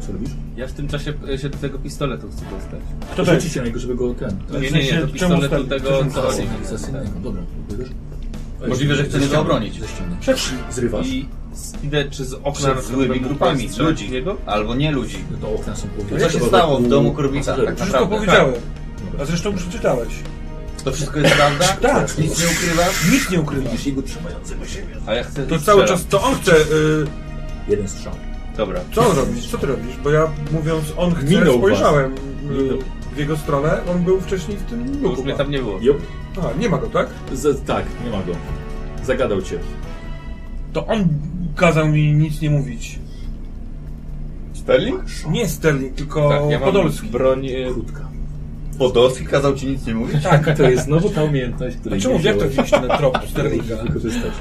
[SPEAKER 1] Co robisz?
[SPEAKER 5] Ja w tym czasie e, się do tego pistoletu chcę dostać.
[SPEAKER 4] To
[SPEAKER 1] Rzucić
[SPEAKER 4] też.
[SPEAKER 1] się na niego, żeby go ten...
[SPEAKER 5] Nie, nie, nie,
[SPEAKER 4] sensie,
[SPEAKER 5] do
[SPEAKER 4] czemu
[SPEAKER 5] pistoletu
[SPEAKER 4] stali-
[SPEAKER 5] tego,
[SPEAKER 4] czemu
[SPEAKER 5] co
[SPEAKER 4] stali-
[SPEAKER 1] Zasynego, dobra.
[SPEAKER 2] Możliwe, że chce mnie obronić.
[SPEAKER 4] Przepraszam.
[SPEAKER 1] Zrywasz.
[SPEAKER 5] I z- idę czy z okna
[SPEAKER 2] Przed
[SPEAKER 5] na przykład
[SPEAKER 2] złymi
[SPEAKER 5] będę mógł
[SPEAKER 2] grupami
[SPEAKER 5] strzelać
[SPEAKER 2] ludzi.
[SPEAKER 5] w niego?
[SPEAKER 2] Albo nie ludzi.
[SPEAKER 1] No to okna są powiedzone.
[SPEAKER 2] Co się stało w domu Korwita? Tak
[SPEAKER 4] Wszystko
[SPEAKER 2] naprawdę.
[SPEAKER 4] powiedziałem. A zresztą przeczytałeś.
[SPEAKER 2] To wszystko jest prawda?
[SPEAKER 4] Tak.
[SPEAKER 2] Nic nie ukrywasz?
[SPEAKER 4] Nic nie ukrywasz.
[SPEAKER 1] Jego trzymającego siebie.
[SPEAKER 5] A ja chcę
[SPEAKER 4] To cały
[SPEAKER 5] strzelam.
[SPEAKER 4] czas to on chce. y,
[SPEAKER 1] Jeden strzał.
[SPEAKER 5] Dobra.
[SPEAKER 4] co on robisz? Co ty robisz? Bo ja mówiąc on chce,
[SPEAKER 1] Minął was.
[SPEAKER 4] spojrzałem y,
[SPEAKER 1] Minął.
[SPEAKER 4] w jego stronę. On był wcześniej w tym
[SPEAKER 5] Bo
[SPEAKER 4] luku.
[SPEAKER 5] już mnie tam nie było.
[SPEAKER 1] Jop.
[SPEAKER 4] A, nie ma go, tak?
[SPEAKER 1] Z, tak, nie ma go. Zagadał cię.
[SPEAKER 4] To on kazał mi nic nie mówić.
[SPEAKER 2] Sterling?
[SPEAKER 4] Nie Sterling, tylko
[SPEAKER 5] Tak, ja mam
[SPEAKER 4] Podolski.
[SPEAKER 5] broń... e,
[SPEAKER 1] Krótka.
[SPEAKER 2] Podolski kazał ci nic nie mówić?
[SPEAKER 1] Tak, to jest znowu ta umiejętność, której
[SPEAKER 4] Dlaczego
[SPEAKER 1] nie
[SPEAKER 4] jak to
[SPEAKER 1] wziąłeś.
[SPEAKER 4] wziąć na trop Sterlinga?
[SPEAKER 1] wykorzystać.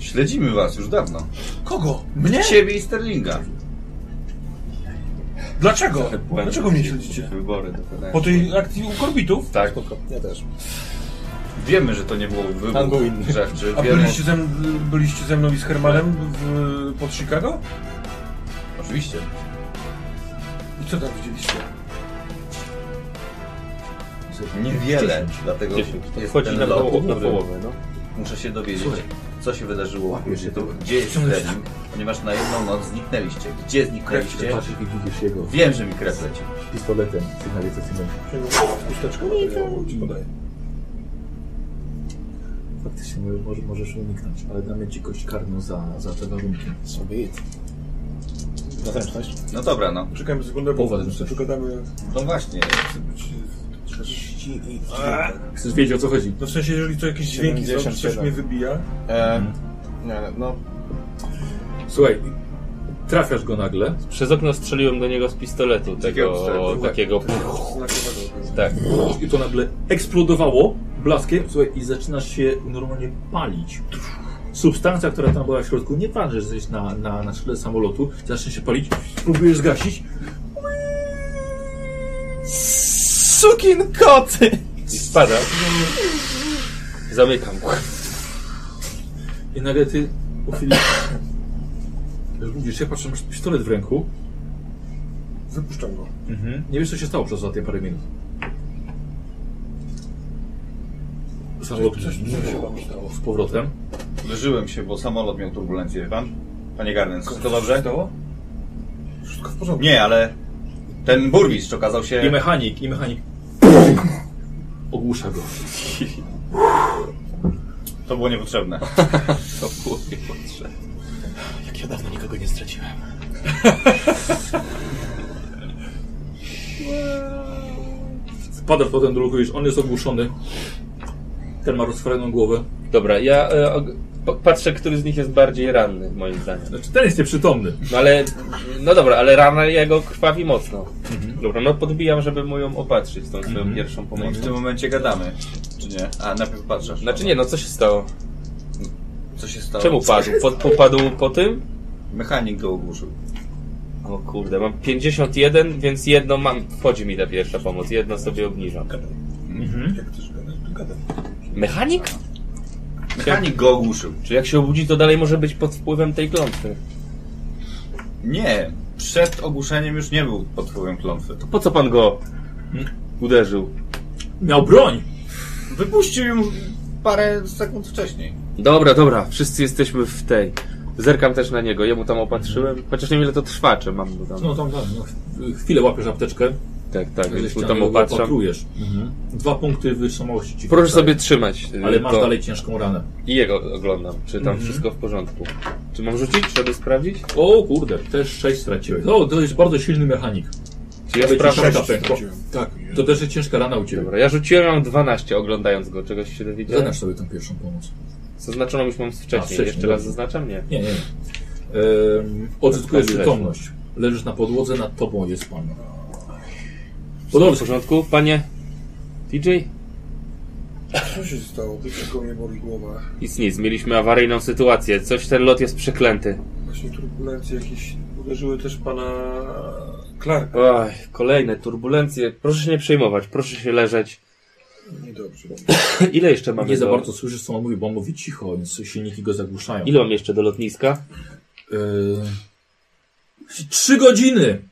[SPEAKER 2] Śledzimy was już dawno.
[SPEAKER 4] Kogo? Mnie?
[SPEAKER 2] Ciebie i Sterlinga.
[SPEAKER 4] Dlaczego?
[SPEAKER 5] błędy.
[SPEAKER 4] Dlaczego mnie śledzicie?
[SPEAKER 5] Wybory dokonają.
[SPEAKER 4] Po tej akcji u korbitów?
[SPEAKER 2] Tak.
[SPEAKER 3] Ja też.
[SPEAKER 2] Wiemy, że to nie było
[SPEAKER 3] Tango
[SPEAKER 2] wybuch
[SPEAKER 3] inny.
[SPEAKER 2] grzewczy.
[SPEAKER 4] A
[SPEAKER 2] Wiemy,
[SPEAKER 4] byliście ze, m- byliście ze mną i z Hermanem w, pod Chicago?
[SPEAKER 2] Oczywiście.
[SPEAKER 4] I co tam widzieliście?
[SPEAKER 2] Niewiele, dlatego jest
[SPEAKER 5] Chodzi
[SPEAKER 2] ten
[SPEAKER 5] na,
[SPEAKER 2] lot,
[SPEAKER 5] poło na
[SPEAKER 2] który
[SPEAKER 5] połowę, no.
[SPEAKER 2] Muszę się dowiedzieć,
[SPEAKER 1] Słuchaj.
[SPEAKER 2] co się wydarzyło.
[SPEAKER 1] Wiesz,
[SPEAKER 2] Tu, gdzie jest Sterling? Ponieważ na jedną noc zniknęliście. Gdzie zniknęliście?
[SPEAKER 1] Patrzysz i widzisz jego
[SPEAKER 2] Wiem, że mi krew leci.
[SPEAKER 1] pistoletem sygnalizacyjnym.
[SPEAKER 4] Usteczkę materiału ci podaję.
[SPEAKER 1] Faktycznie mo- może, możesz uniknąć, ale damy ci kość karną za, za te warunki.
[SPEAKER 3] Sobie it. Natręczność?
[SPEAKER 2] No dobra, no.
[SPEAKER 4] Czekajmy sekundę,
[SPEAKER 1] Poważnie,
[SPEAKER 4] bo
[SPEAKER 1] coś.
[SPEAKER 4] przegadamy...
[SPEAKER 2] No właśnie.
[SPEAKER 1] Chcesz wiedzieć o co chodzi?
[SPEAKER 4] No w sensie, jeżeli to jakieś dźwięki są, czy coś
[SPEAKER 3] 77.
[SPEAKER 4] mnie wybija...
[SPEAKER 3] E,
[SPEAKER 2] Mhm.
[SPEAKER 3] nie, no,
[SPEAKER 1] Słuchaj, trafiasz go nagle.
[SPEAKER 5] Przez okno strzeliłem do niego z pistoletu,
[SPEAKER 2] Takiego
[SPEAKER 5] tego
[SPEAKER 2] pistoletu.
[SPEAKER 5] takiego...
[SPEAKER 4] Znakowego.
[SPEAKER 5] Tak.
[SPEAKER 1] I to nagle eksplodowało blaskiem, słuchaj, i zaczynasz się normalnie palić. Substancja, która tam była w środku, nie patrz, że jesteś na, na, na szkle samolotu, zaczyna się palić, próbujesz zgasić.
[SPEAKER 3] Sukin koty!
[SPEAKER 5] I spada. Zamykam.
[SPEAKER 1] I nagle ty po chwili budzisz się, patrzysz, masz pistolet w ręku.
[SPEAKER 4] Wypuszczam go.
[SPEAKER 1] Nie wiesz, co się stało przez ostatnie parę minut. Samolot
[SPEAKER 4] Coś, coś się wam stało.
[SPEAKER 1] z powrotem.
[SPEAKER 2] Leżyłem się, bo samolot miał turbulencję, wie pan? Panie Garnens, wszystko dobrze?
[SPEAKER 4] Wszystko w porządku.
[SPEAKER 2] Nie, ale ten burmistrz okazał
[SPEAKER 1] I
[SPEAKER 2] się...
[SPEAKER 1] mechanik, i mechanik. Ogłusza go.
[SPEAKER 2] To było niepotrzebne.
[SPEAKER 5] To było niepotrzebne.
[SPEAKER 3] Jak ja dawno nikogo nie straciłem.
[SPEAKER 1] Wpadasz potem do ruchu, już on jest ogłuszony. Ten ma rozfraną głowę.
[SPEAKER 5] Dobra, ja e, og- pa- patrzę, który z nich jest bardziej ranny, moim zdaniem.
[SPEAKER 1] Znaczy, ten jest nieprzytomny.
[SPEAKER 5] No ale, no dobra, ale rana jego krwawi mocno. Dobra, no podbijam, żeby mu ją opatrzyć, tą swoją pierwszą
[SPEAKER 2] No i w
[SPEAKER 5] pomocą.
[SPEAKER 2] tym momencie gadamy. Czy nie? A, najpierw patrzasz.
[SPEAKER 5] Znaczy nie, no co się stało?
[SPEAKER 2] Co się stało?
[SPEAKER 5] Czemu padł? Po, popadł po tym?
[SPEAKER 2] Mechanik go ogłuszył.
[SPEAKER 5] O kurde, mam 51, więc jedno mam. Wchodzi mi ta pierwsza pomoc, jedno sobie obniżam. Mhm.
[SPEAKER 4] Jak chcesz gadać, to gadaj.
[SPEAKER 5] Mechanik?
[SPEAKER 2] Mechanik go ogłuszył.
[SPEAKER 5] Czy jak się obudzi, to dalej może być pod wpływem tej klątwy?
[SPEAKER 2] Nie, przed ogłuszeniem już nie był pod wpływem klątwy.
[SPEAKER 5] Po co pan go Mhm. uderzył?
[SPEAKER 1] Miał broń!
[SPEAKER 2] Wypuścił ją parę sekund wcześniej.
[SPEAKER 5] Dobra, dobra, wszyscy jesteśmy w tej. Zerkam też na niego, jemu tam opatrzyłem. Chociaż nie wiem, ile to trwa, czy mam go tam.
[SPEAKER 1] No tam, tam no, ch- chwilę łapiesz apteczkę,
[SPEAKER 5] tak, tak,
[SPEAKER 1] No ze
[SPEAKER 5] więc mu
[SPEAKER 1] ściany
[SPEAKER 5] tam
[SPEAKER 1] go
[SPEAKER 5] opatrzam. Mhm.
[SPEAKER 1] opatrujesz. Dwa punkty wytrzymałości ci
[SPEAKER 5] Proszę
[SPEAKER 1] wstaje.
[SPEAKER 5] sobie trzymać. y,
[SPEAKER 1] Ale masz
[SPEAKER 5] to.
[SPEAKER 1] dalej Mhm. ciężką ranę.
[SPEAKER 5] I jego oglądam, czy tam wszystko w porządku. Czy mam rzucić, żeby sprawdzić?
[SPEAKER 1] O kurde, też sześć straciłeś. O, to jest bardzo silny mechanik.
[SPEAKER 5] Czy ja
[SPEAKER 1] Ale ci
[SPEAKER 5] sprawdzam?
[SPEAKER 1] sześć
[SPEAKER 4] straciłem.
[SPEAKER 1] Tak, to też jest ciężka rana u ciebie.
[SPEAKER 5] Dobra, ja rzuciłem, mam 12 oglądając go, czegoś się dowiedziałem.
[SPEAKER 1] Zadasz sobie tą pierwszą pomoc.
[SPEAKER 5] Zaznaczoną już mam wcześniej,
[SPEAKER 1] A, no. wcześniej,
[SPEAKER 5] jeszcze raz
[SPEAKER 1] dobrze.
[SPEAKER 5] zaznaczam? Nie.
[SPEAKER 1] Nie, nie, nie. Ehm, odzyskujesz
[SPEAKER 5] Leży.
[SPEAKER 1] przytomność. Leżysz na podłodze, nad tobą jest pan. Podobno
[SPEAKER 5] W porządku, panie DJ?
[SPEAKER 4] Co się stało? Dlaczego mnie boli głowa?
[SPEAKER 5] Nic, nic, mieliśmy awaryjną sytuację, coś ten lot jest przeklęty.
[SPEAKER 4] Właśnie turbulencje jakieś uderzyły też pana Clarka.
[SPEAKER 5] Oj, kolejne turbulencje, proszę się nie przejmować, proszę się
[SPEAKER 1] [LAUGHS]
[SPEAKER 5] leżeć.
[SPEAKER 4] Niedobrze.
[SPEAKER 5] Ile jeszcze mamy
[SPEAKER 1] nie
[SPEAKER 5] do...
[SPEAKER 1] za bardzo słyszysz, co on mówi, bo on mówi cicho, więc silniki go zagłuszają.
[SPEAKER 5] Ile mam jeszcze do lotniska?
[SPEAKER 1] Ehm, Trzy godziny!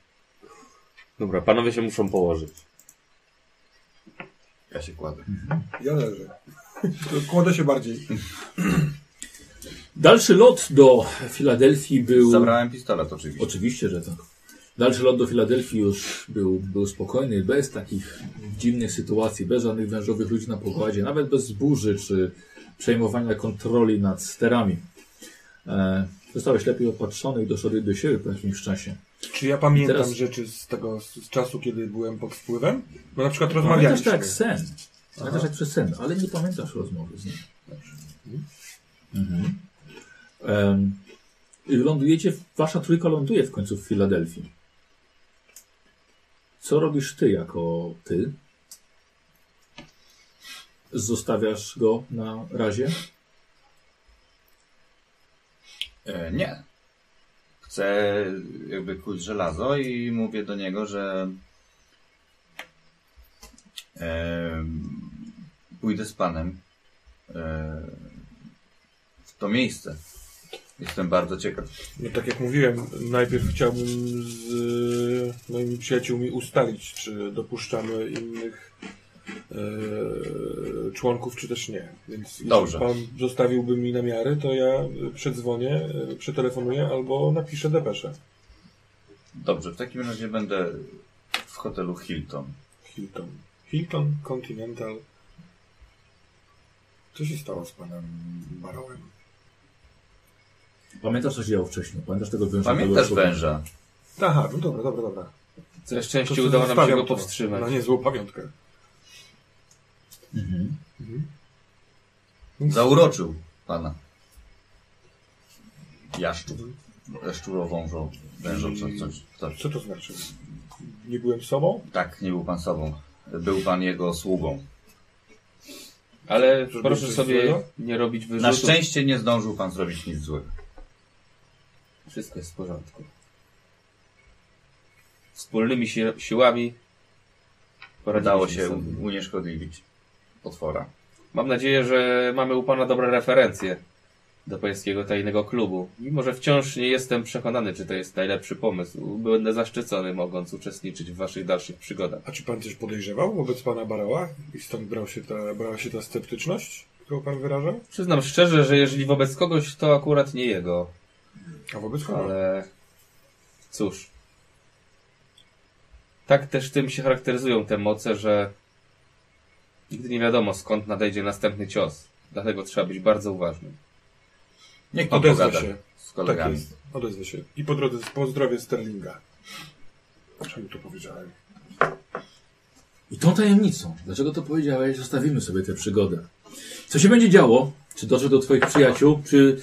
[SPEAKER 5] Dobra, panowie się muszą położyć.
[SPEAKER 2] Ja się kładę.
[SPEAKER 4] Ja leżę. [LAUGHS] To Kładę się bardziej.
[SPEAKER 1] Dalszy lot do Filadelfii był.
[SPEAKER 2] Zabrałem pistolet oczywiście.
[SPEAKER 1] Oczywiście, że tak. Dalszy lot do Filadelfii już był, był spokojny, bez takich dziwnych sytuacji, bez żadnych wężowych ludzi na pokładzie, nawet bez burzy czy przejmowania kontroli nad sterami. E, zostałeś lepiej opatrzony i doszedłeś do siebie po jakimś czasie.
[SPEAKER 4] Czy ja pamiętam
[SPEAKER 1] Teraz-
[SPEAKER 4] rzeczy z tego z, z czasu, kiedy byłem pod wpływem? Bo na przykład
[SPEAKER 1] Pamiętasz
[SPEAKER 4] rozmawialiśmy.
[SPEAKER 1] tak jak sen. Pamiętasz jak przez sen, ale nie pamiętasz rozmowy z nim. Mhm. Em, i lądujecie, w- wasza trójka ląduje w końcu w Filadelfii. Co robisz ty jako ty? Zostawiasz go na razie?
[SPEAKER 2] E, nie. Chcę jakby kuć żelazo i mówię do niego, że e, pójdę z panem e, w to miejsce. Jestem bardzo ciekaw.
[SPEAKER 4] No tak jak mówiłem, najpierw chciałbym z e, moimi przyjaciółmi ustalić, czy dopuszczamy innych e, członków, czy też nie. Więc
[SPEAKER 2] Dobrze.
[SPEAKER 4] jeśli pan zostawiłby mi namiary, to ja e, przedzwonię, e, przetelefonuję albo napiszę depeszę.
[SPEAKER 2] Dobrze, w takim razie będę w hotelu Hilton.
[SPEAKER 4] Hilton. Hilton Continental Co się stało z panem Barołem?
[SPEAKER 12] Pamiętasz, co się działo wcześniej? Pamiętasz tego węża?
[SPEAKER 2] Pamiętasz
[SPEAKER 12] tego człowieka?
[SPEAKER 2] węża?
[SPEAKER 4] Aha, no dobra, dobra, dobra.
[SPEAKER 5] Całe
[SPEAKER 4] To
[SPEAKER 5] szczęście
[SPEAKER 4] co,
[SPEAKER 5] udało nam się
[SPEAKER 4] zostawiam
[SPEAKER 5] go
[SPEAKER 4] to No Na
[SPEAKER 5] powstrzymać.
[SPEAKER 4] niezłą pamiątkę.
[SPEAKER 12] Mhm.
[SPEAKER 2] Zauroczył pana. Jaszczur. Jaszczuro wążą. Wężą, co, coś, coś.
[SPEAKER 4] Co to znaczy? Nie byłem sobą?
[SPEAKER 2] Tak, nie był pan sobą. Był pan jego sługą.
[SPEAKER 5] Ale
[SPEAKER 4] Żeby
[SPEAKER 5] proszę
[SPEAKER 4] coś
[SPEAKER 5] sobie
[SPEAKER 4] złego?
[SPEAKER 5] nie robić wyrzutów.
[SPEAKER 2] Na szczęście nie zdążył pan zrobić nic złego.
[SPEAKER 5] Wszystko jest w porządku. Wspólnymi si- siłami poradziliśmy
[SPEAKER 2] Udało się
[SPEAKER 5] sobie.
[SPEAKER 2] unieszkodliwić potwora.
[SPEAKER 5] Mam nadzieję, że mamy u Pana dobre referencje do pańskiego tajnego klubu. Mimo, że wciąż nie jestem przekonany, czy to jest najlepszy pomysł. Będę zaszczycony, mogąc uczestniczyć w Waszych dalszych przygodach.
[SPEAKER 4] A czy pan coś podejrzewał wobec pana Baroła? I stąd brał się ta, brała się ta sceptyczność, którą pan wyrażał?
[SPEAKER 5] Przyznam szczerze, że jeżeli wobec kogoś, to akurat nie jego,
[SPEAKER 4] A wobec kogo?
[SPEAKER 5] ale cóż. Tak też tym się charakteryzują te moce, że nigdy nie wiadomo, skąd nadejdzie następny cios. Dlatego trzeba być bardzo uważnym.
[SPEAKER 2] Niech pan
[SPEAKER 4] Odezwę
[SPEAKER 2] pogada
[SPEAKER 4] się.
[SPEAKER 2] z
[SPEAKER 4] Tak
[SPEAKER 2] kolegami.
[SPEAKER 4] jest. Odezwę się. I po drodze pozdrowię Sterlinga. Czemu to powiedziałem?
[SPEAKER 12] I tą tajemnicą, dlaczego to powiedziałeś, zostawimy sobie tę przygodę. Co się będzie działo? Czy dotrze do Twoich przyjaciół? Czy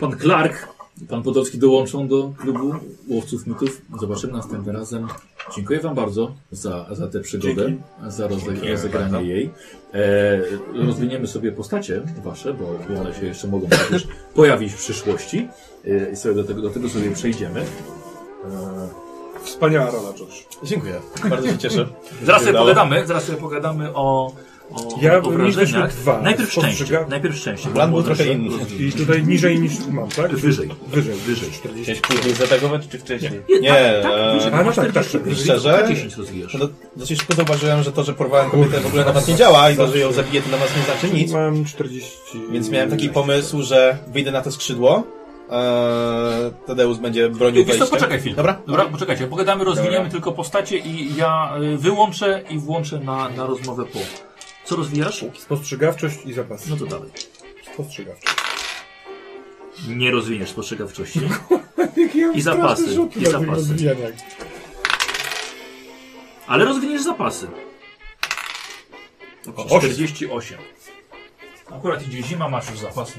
[SPEAKER 12] pan Clark i pan Podolski dołączą do klubu łowców mitów? Zobaczymy następnym razem. Dziękuję Wam bardzo za, za tę przygodę, za rozde- rozegranie jej. E, rozwiniemy sobie postacie Wasze, bo, bo one się jeszcze mogą przecież pojawić w przyszłości. E, I sobie do tego, do tego sobie przejdziemy.
[SPEAKER 4] Wspaniała rola, Josh.
[SPEAKER 3] Dziękuję. Bardzo się cieszę.
[SPEAKER 1] Zaraz sobie
[SPEAKER 3] Udało.
[SPEAKER 1] pogadamy, zaraz sobie pogadamy o, o,
[SPEAKER 4] Ja
[SPEAKER 1] o
[SPEAKER 4] bym myślał
[SPEAKER 1] wrażeniach.
[SPEAKER 4] dwa.
[SPEAKER 1] Najpierw szczęście,
[SPEAKER 4] Spostrzega-
[SPEAKER 1] najpierw szczęście.
[SPEAKER 3] Plan
[SPEAKER 1] bo
[SPEAKER 3] był
[SPEAKER 1] może
[SPEAKER 3] trochę
[SPEAKER 1] się-
[SPEAKER 3] inny.
[SPEAKER 4] I tutaj niżej niż mam, tak?
[SPEAKER 1] Wyżej.
[SPEAKER 4] Wyżej, wyżej. 40.
[SPEAKER 5] Chciałeś później zaatakować, czy wcześniej?
[SPEAKER 1] Nie,
[SPEAKER 3] Nie,
[SPEAKER 1] tak, tak,
[SPEAKER 3] e,
[SPEAKER 1] wyżej.
[SPEAKER 4] ale
[SPEAKER 1] Masz
[SPEAKER 4] tak,
[SPEAKER 1] 40,
[SPEAKER 4] tak, tak.
[SPEAKER 1] wyżej,
[SPEAKER 3] Szczerze?
[SPEAKER 1] 10 rozwijasz.
[SPEAKER 3] No,
[SPEAKER 2] znaczy,
[SPEAKER 3] dosyć szybko zauważyłem, że to, że porwałem kobietę w ogóle na was nie działa i to, że ją zabiję to na was nie znaczy nic.
[SPEAKER 4] Mam 40.
[SPEAKER 3] Więc miałem taki pomysł, że wyjdę na to skrzydło. Eee, Tadeusz będzie bronił
[SPEAKER 1] Wiesz co,
[SPEAKER 3] wejścia.
[SPEAKER 1] poczekaj chwilę.
[SPEAKER 3] Dobra?
[SPEAKER 1] Dobra, poczekajcie, pogadamy, rozwiniemy
[SPEAKER 5] Dobra.
[SPEAKER 1] tylko postacie i ja y, wyłączę i włączę na, na rozmowę po. Co rozwijasz?
[SPEAKER 4] Spostrzegawczość i zapas.
[SPEAKER 1] No to dalej.
[SPEAKER 4] Spostrzegawczość.
[SPEAKER 1] Nie rozwiniesz spostrzegawczości.
[SPEAKER 4] Jakie
[SPEAKER 1] I zapasy, straszny rzut i na tych zapasy. Ale rozwiniesz zapasy.
[SPEAKER 4] osiem.
[SPEAKER 1] 48. Akurat idzie zima, masz już zapasy.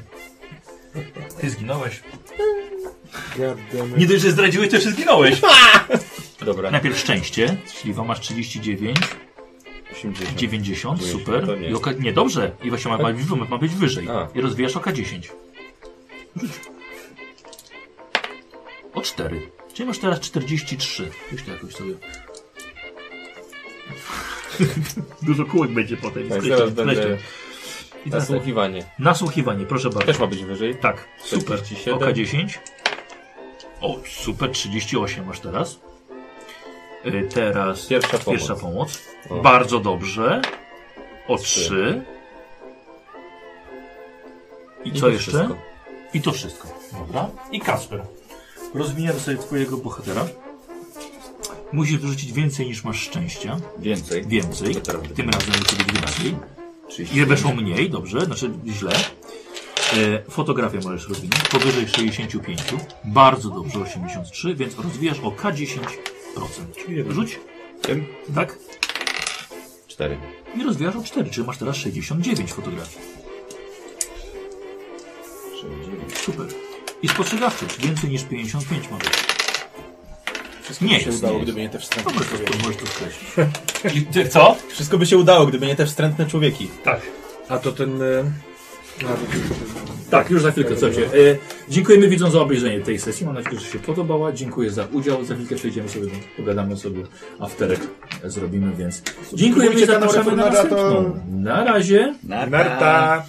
[SPEAKER 1] Ty zginąłeś. Nie dość, że zdradziłeś, to jeszcze
[SPEAKER 5] [LAUGHS]
[SPEAKER 1] zginąłeś.
[SPEAKER 5] Dobra.
[SPEAKER 1] Najpierw szczęście, czyli wam masz 39,
[SPEAKER 5] 80.
[SPEAKER 1] 90,
[SPEAKER 5] to
[SPEAKER 1] super.
[SPEAKER 5] nie
[SPEAKER 1] I oka... Nie, dobrze. I właśnie ma, ma, być, [LAUGHS] ma być wyżej.
[SPEAKER 5] A.
[SPEAKER 1] I rozwijasz oka 10. O 4. Czyli masz teraz 43. Już to jakoś sobie. [LAUGHS] Dużo kółek będzie potem.
[SPEAKER 5] Tak,
[SPEAKER 1] Skrycie,
[SPEAKER 5] zaraz będę
[SPEAKER 1] skrycie. I teraz tak.
[SPEAKER 5] nasłuchiwanie.
[SPEAKER 1] Nasłuchiwanie, proszę bardzo.
[SPEAKER 5] Też ma być wyżej.
[SPEAKER 1] Tak, super.
[SPEAKER 5] 47.
[SPEAKER 1] Oka 10. O, super, 38 masz teraz. Y, Teraz
[SPEAKER 5] Pierwsza pomoc.
[SPEAKER 1] Pierwsza pomoc.
[SPEAKER 5] O.
[SPEAKER 1] Bardzo dobrze. O
[SPEAKER 5] Trzy.
[SPEAKER 1] 3. I
[SPEAKER 5] I
[SPEAKER 1] co
[SPEAKER 5] to
[SPEAKER 1] jeszcze?
[SPEAKER 5] wszystko.
[SPEAKER 1] I to wszystko. Dobra. I Kasper. Rozwijam sobie twojego bohatera. Musisz wyrzucić więcej niż masz szczęścia.
[SPEAKER 2] Więcej.
[SPEAKER 1] Więcej.
[SPEAKER 2] Naprawdę.
[SPEAKER 1] Tym razem jest sobie więcej. Ile weszło mniej, dobrze, znaczy źle. E, fotografię możesz rozwinąć powyżej 65. Bardzo dobrze, 83, więc rozwijasz o K10%. Rzuć.
[SPEAKER 3] Tym?
[SPEAKER 1] Tak?
[SPEAKER 5] Cztery.
[SPEAKER 1] I rozwijasz o 4, czyli masz teraz 69 fotografii. 69. Super. I spostrzegawczość, więcej niż 55 mamy.
[SPEAKER 3] Wszystko
[SPEAKER 1] Nie
[SPEAKER 3] by się
[SPEAKER 1] jest,
[SPEAKER 3] udało,
[SPEAKER 1] nie
[SPEAKER 3] gdyby nie te wstrętne
[SPEAKER 1] Możesz
[SPEAKER 3] człowieki.
[SPEAKER 1] to, możesz to skreślić. co?
[SPEAKER 3] Wszystko by się udało, gdyby nie te wstrętne człowieki.
[SPEAKER 1] Tak.
[SPEAKER 4] A to ten. e, A, to
[SPEAKER 1] Tak, już za chwilkę, słuchajcie. E, dziękujemy widzom za obejrzenie tej sesji. Mam nadzieję, że się podobała. Dziękuję za udział. Za chwilkę przejdziemy sobie, pogadamy sobie, afterek zrobimy, więc dziękujemy i
[SPEAKER 3] Subskrybujcie
[SPEAKER 1] zapraszamy na
[SPEAKER 3] kanał Reformata, to-
[SPEAKER 1] następną. Na razie.
[SPEAKER 4] Narta!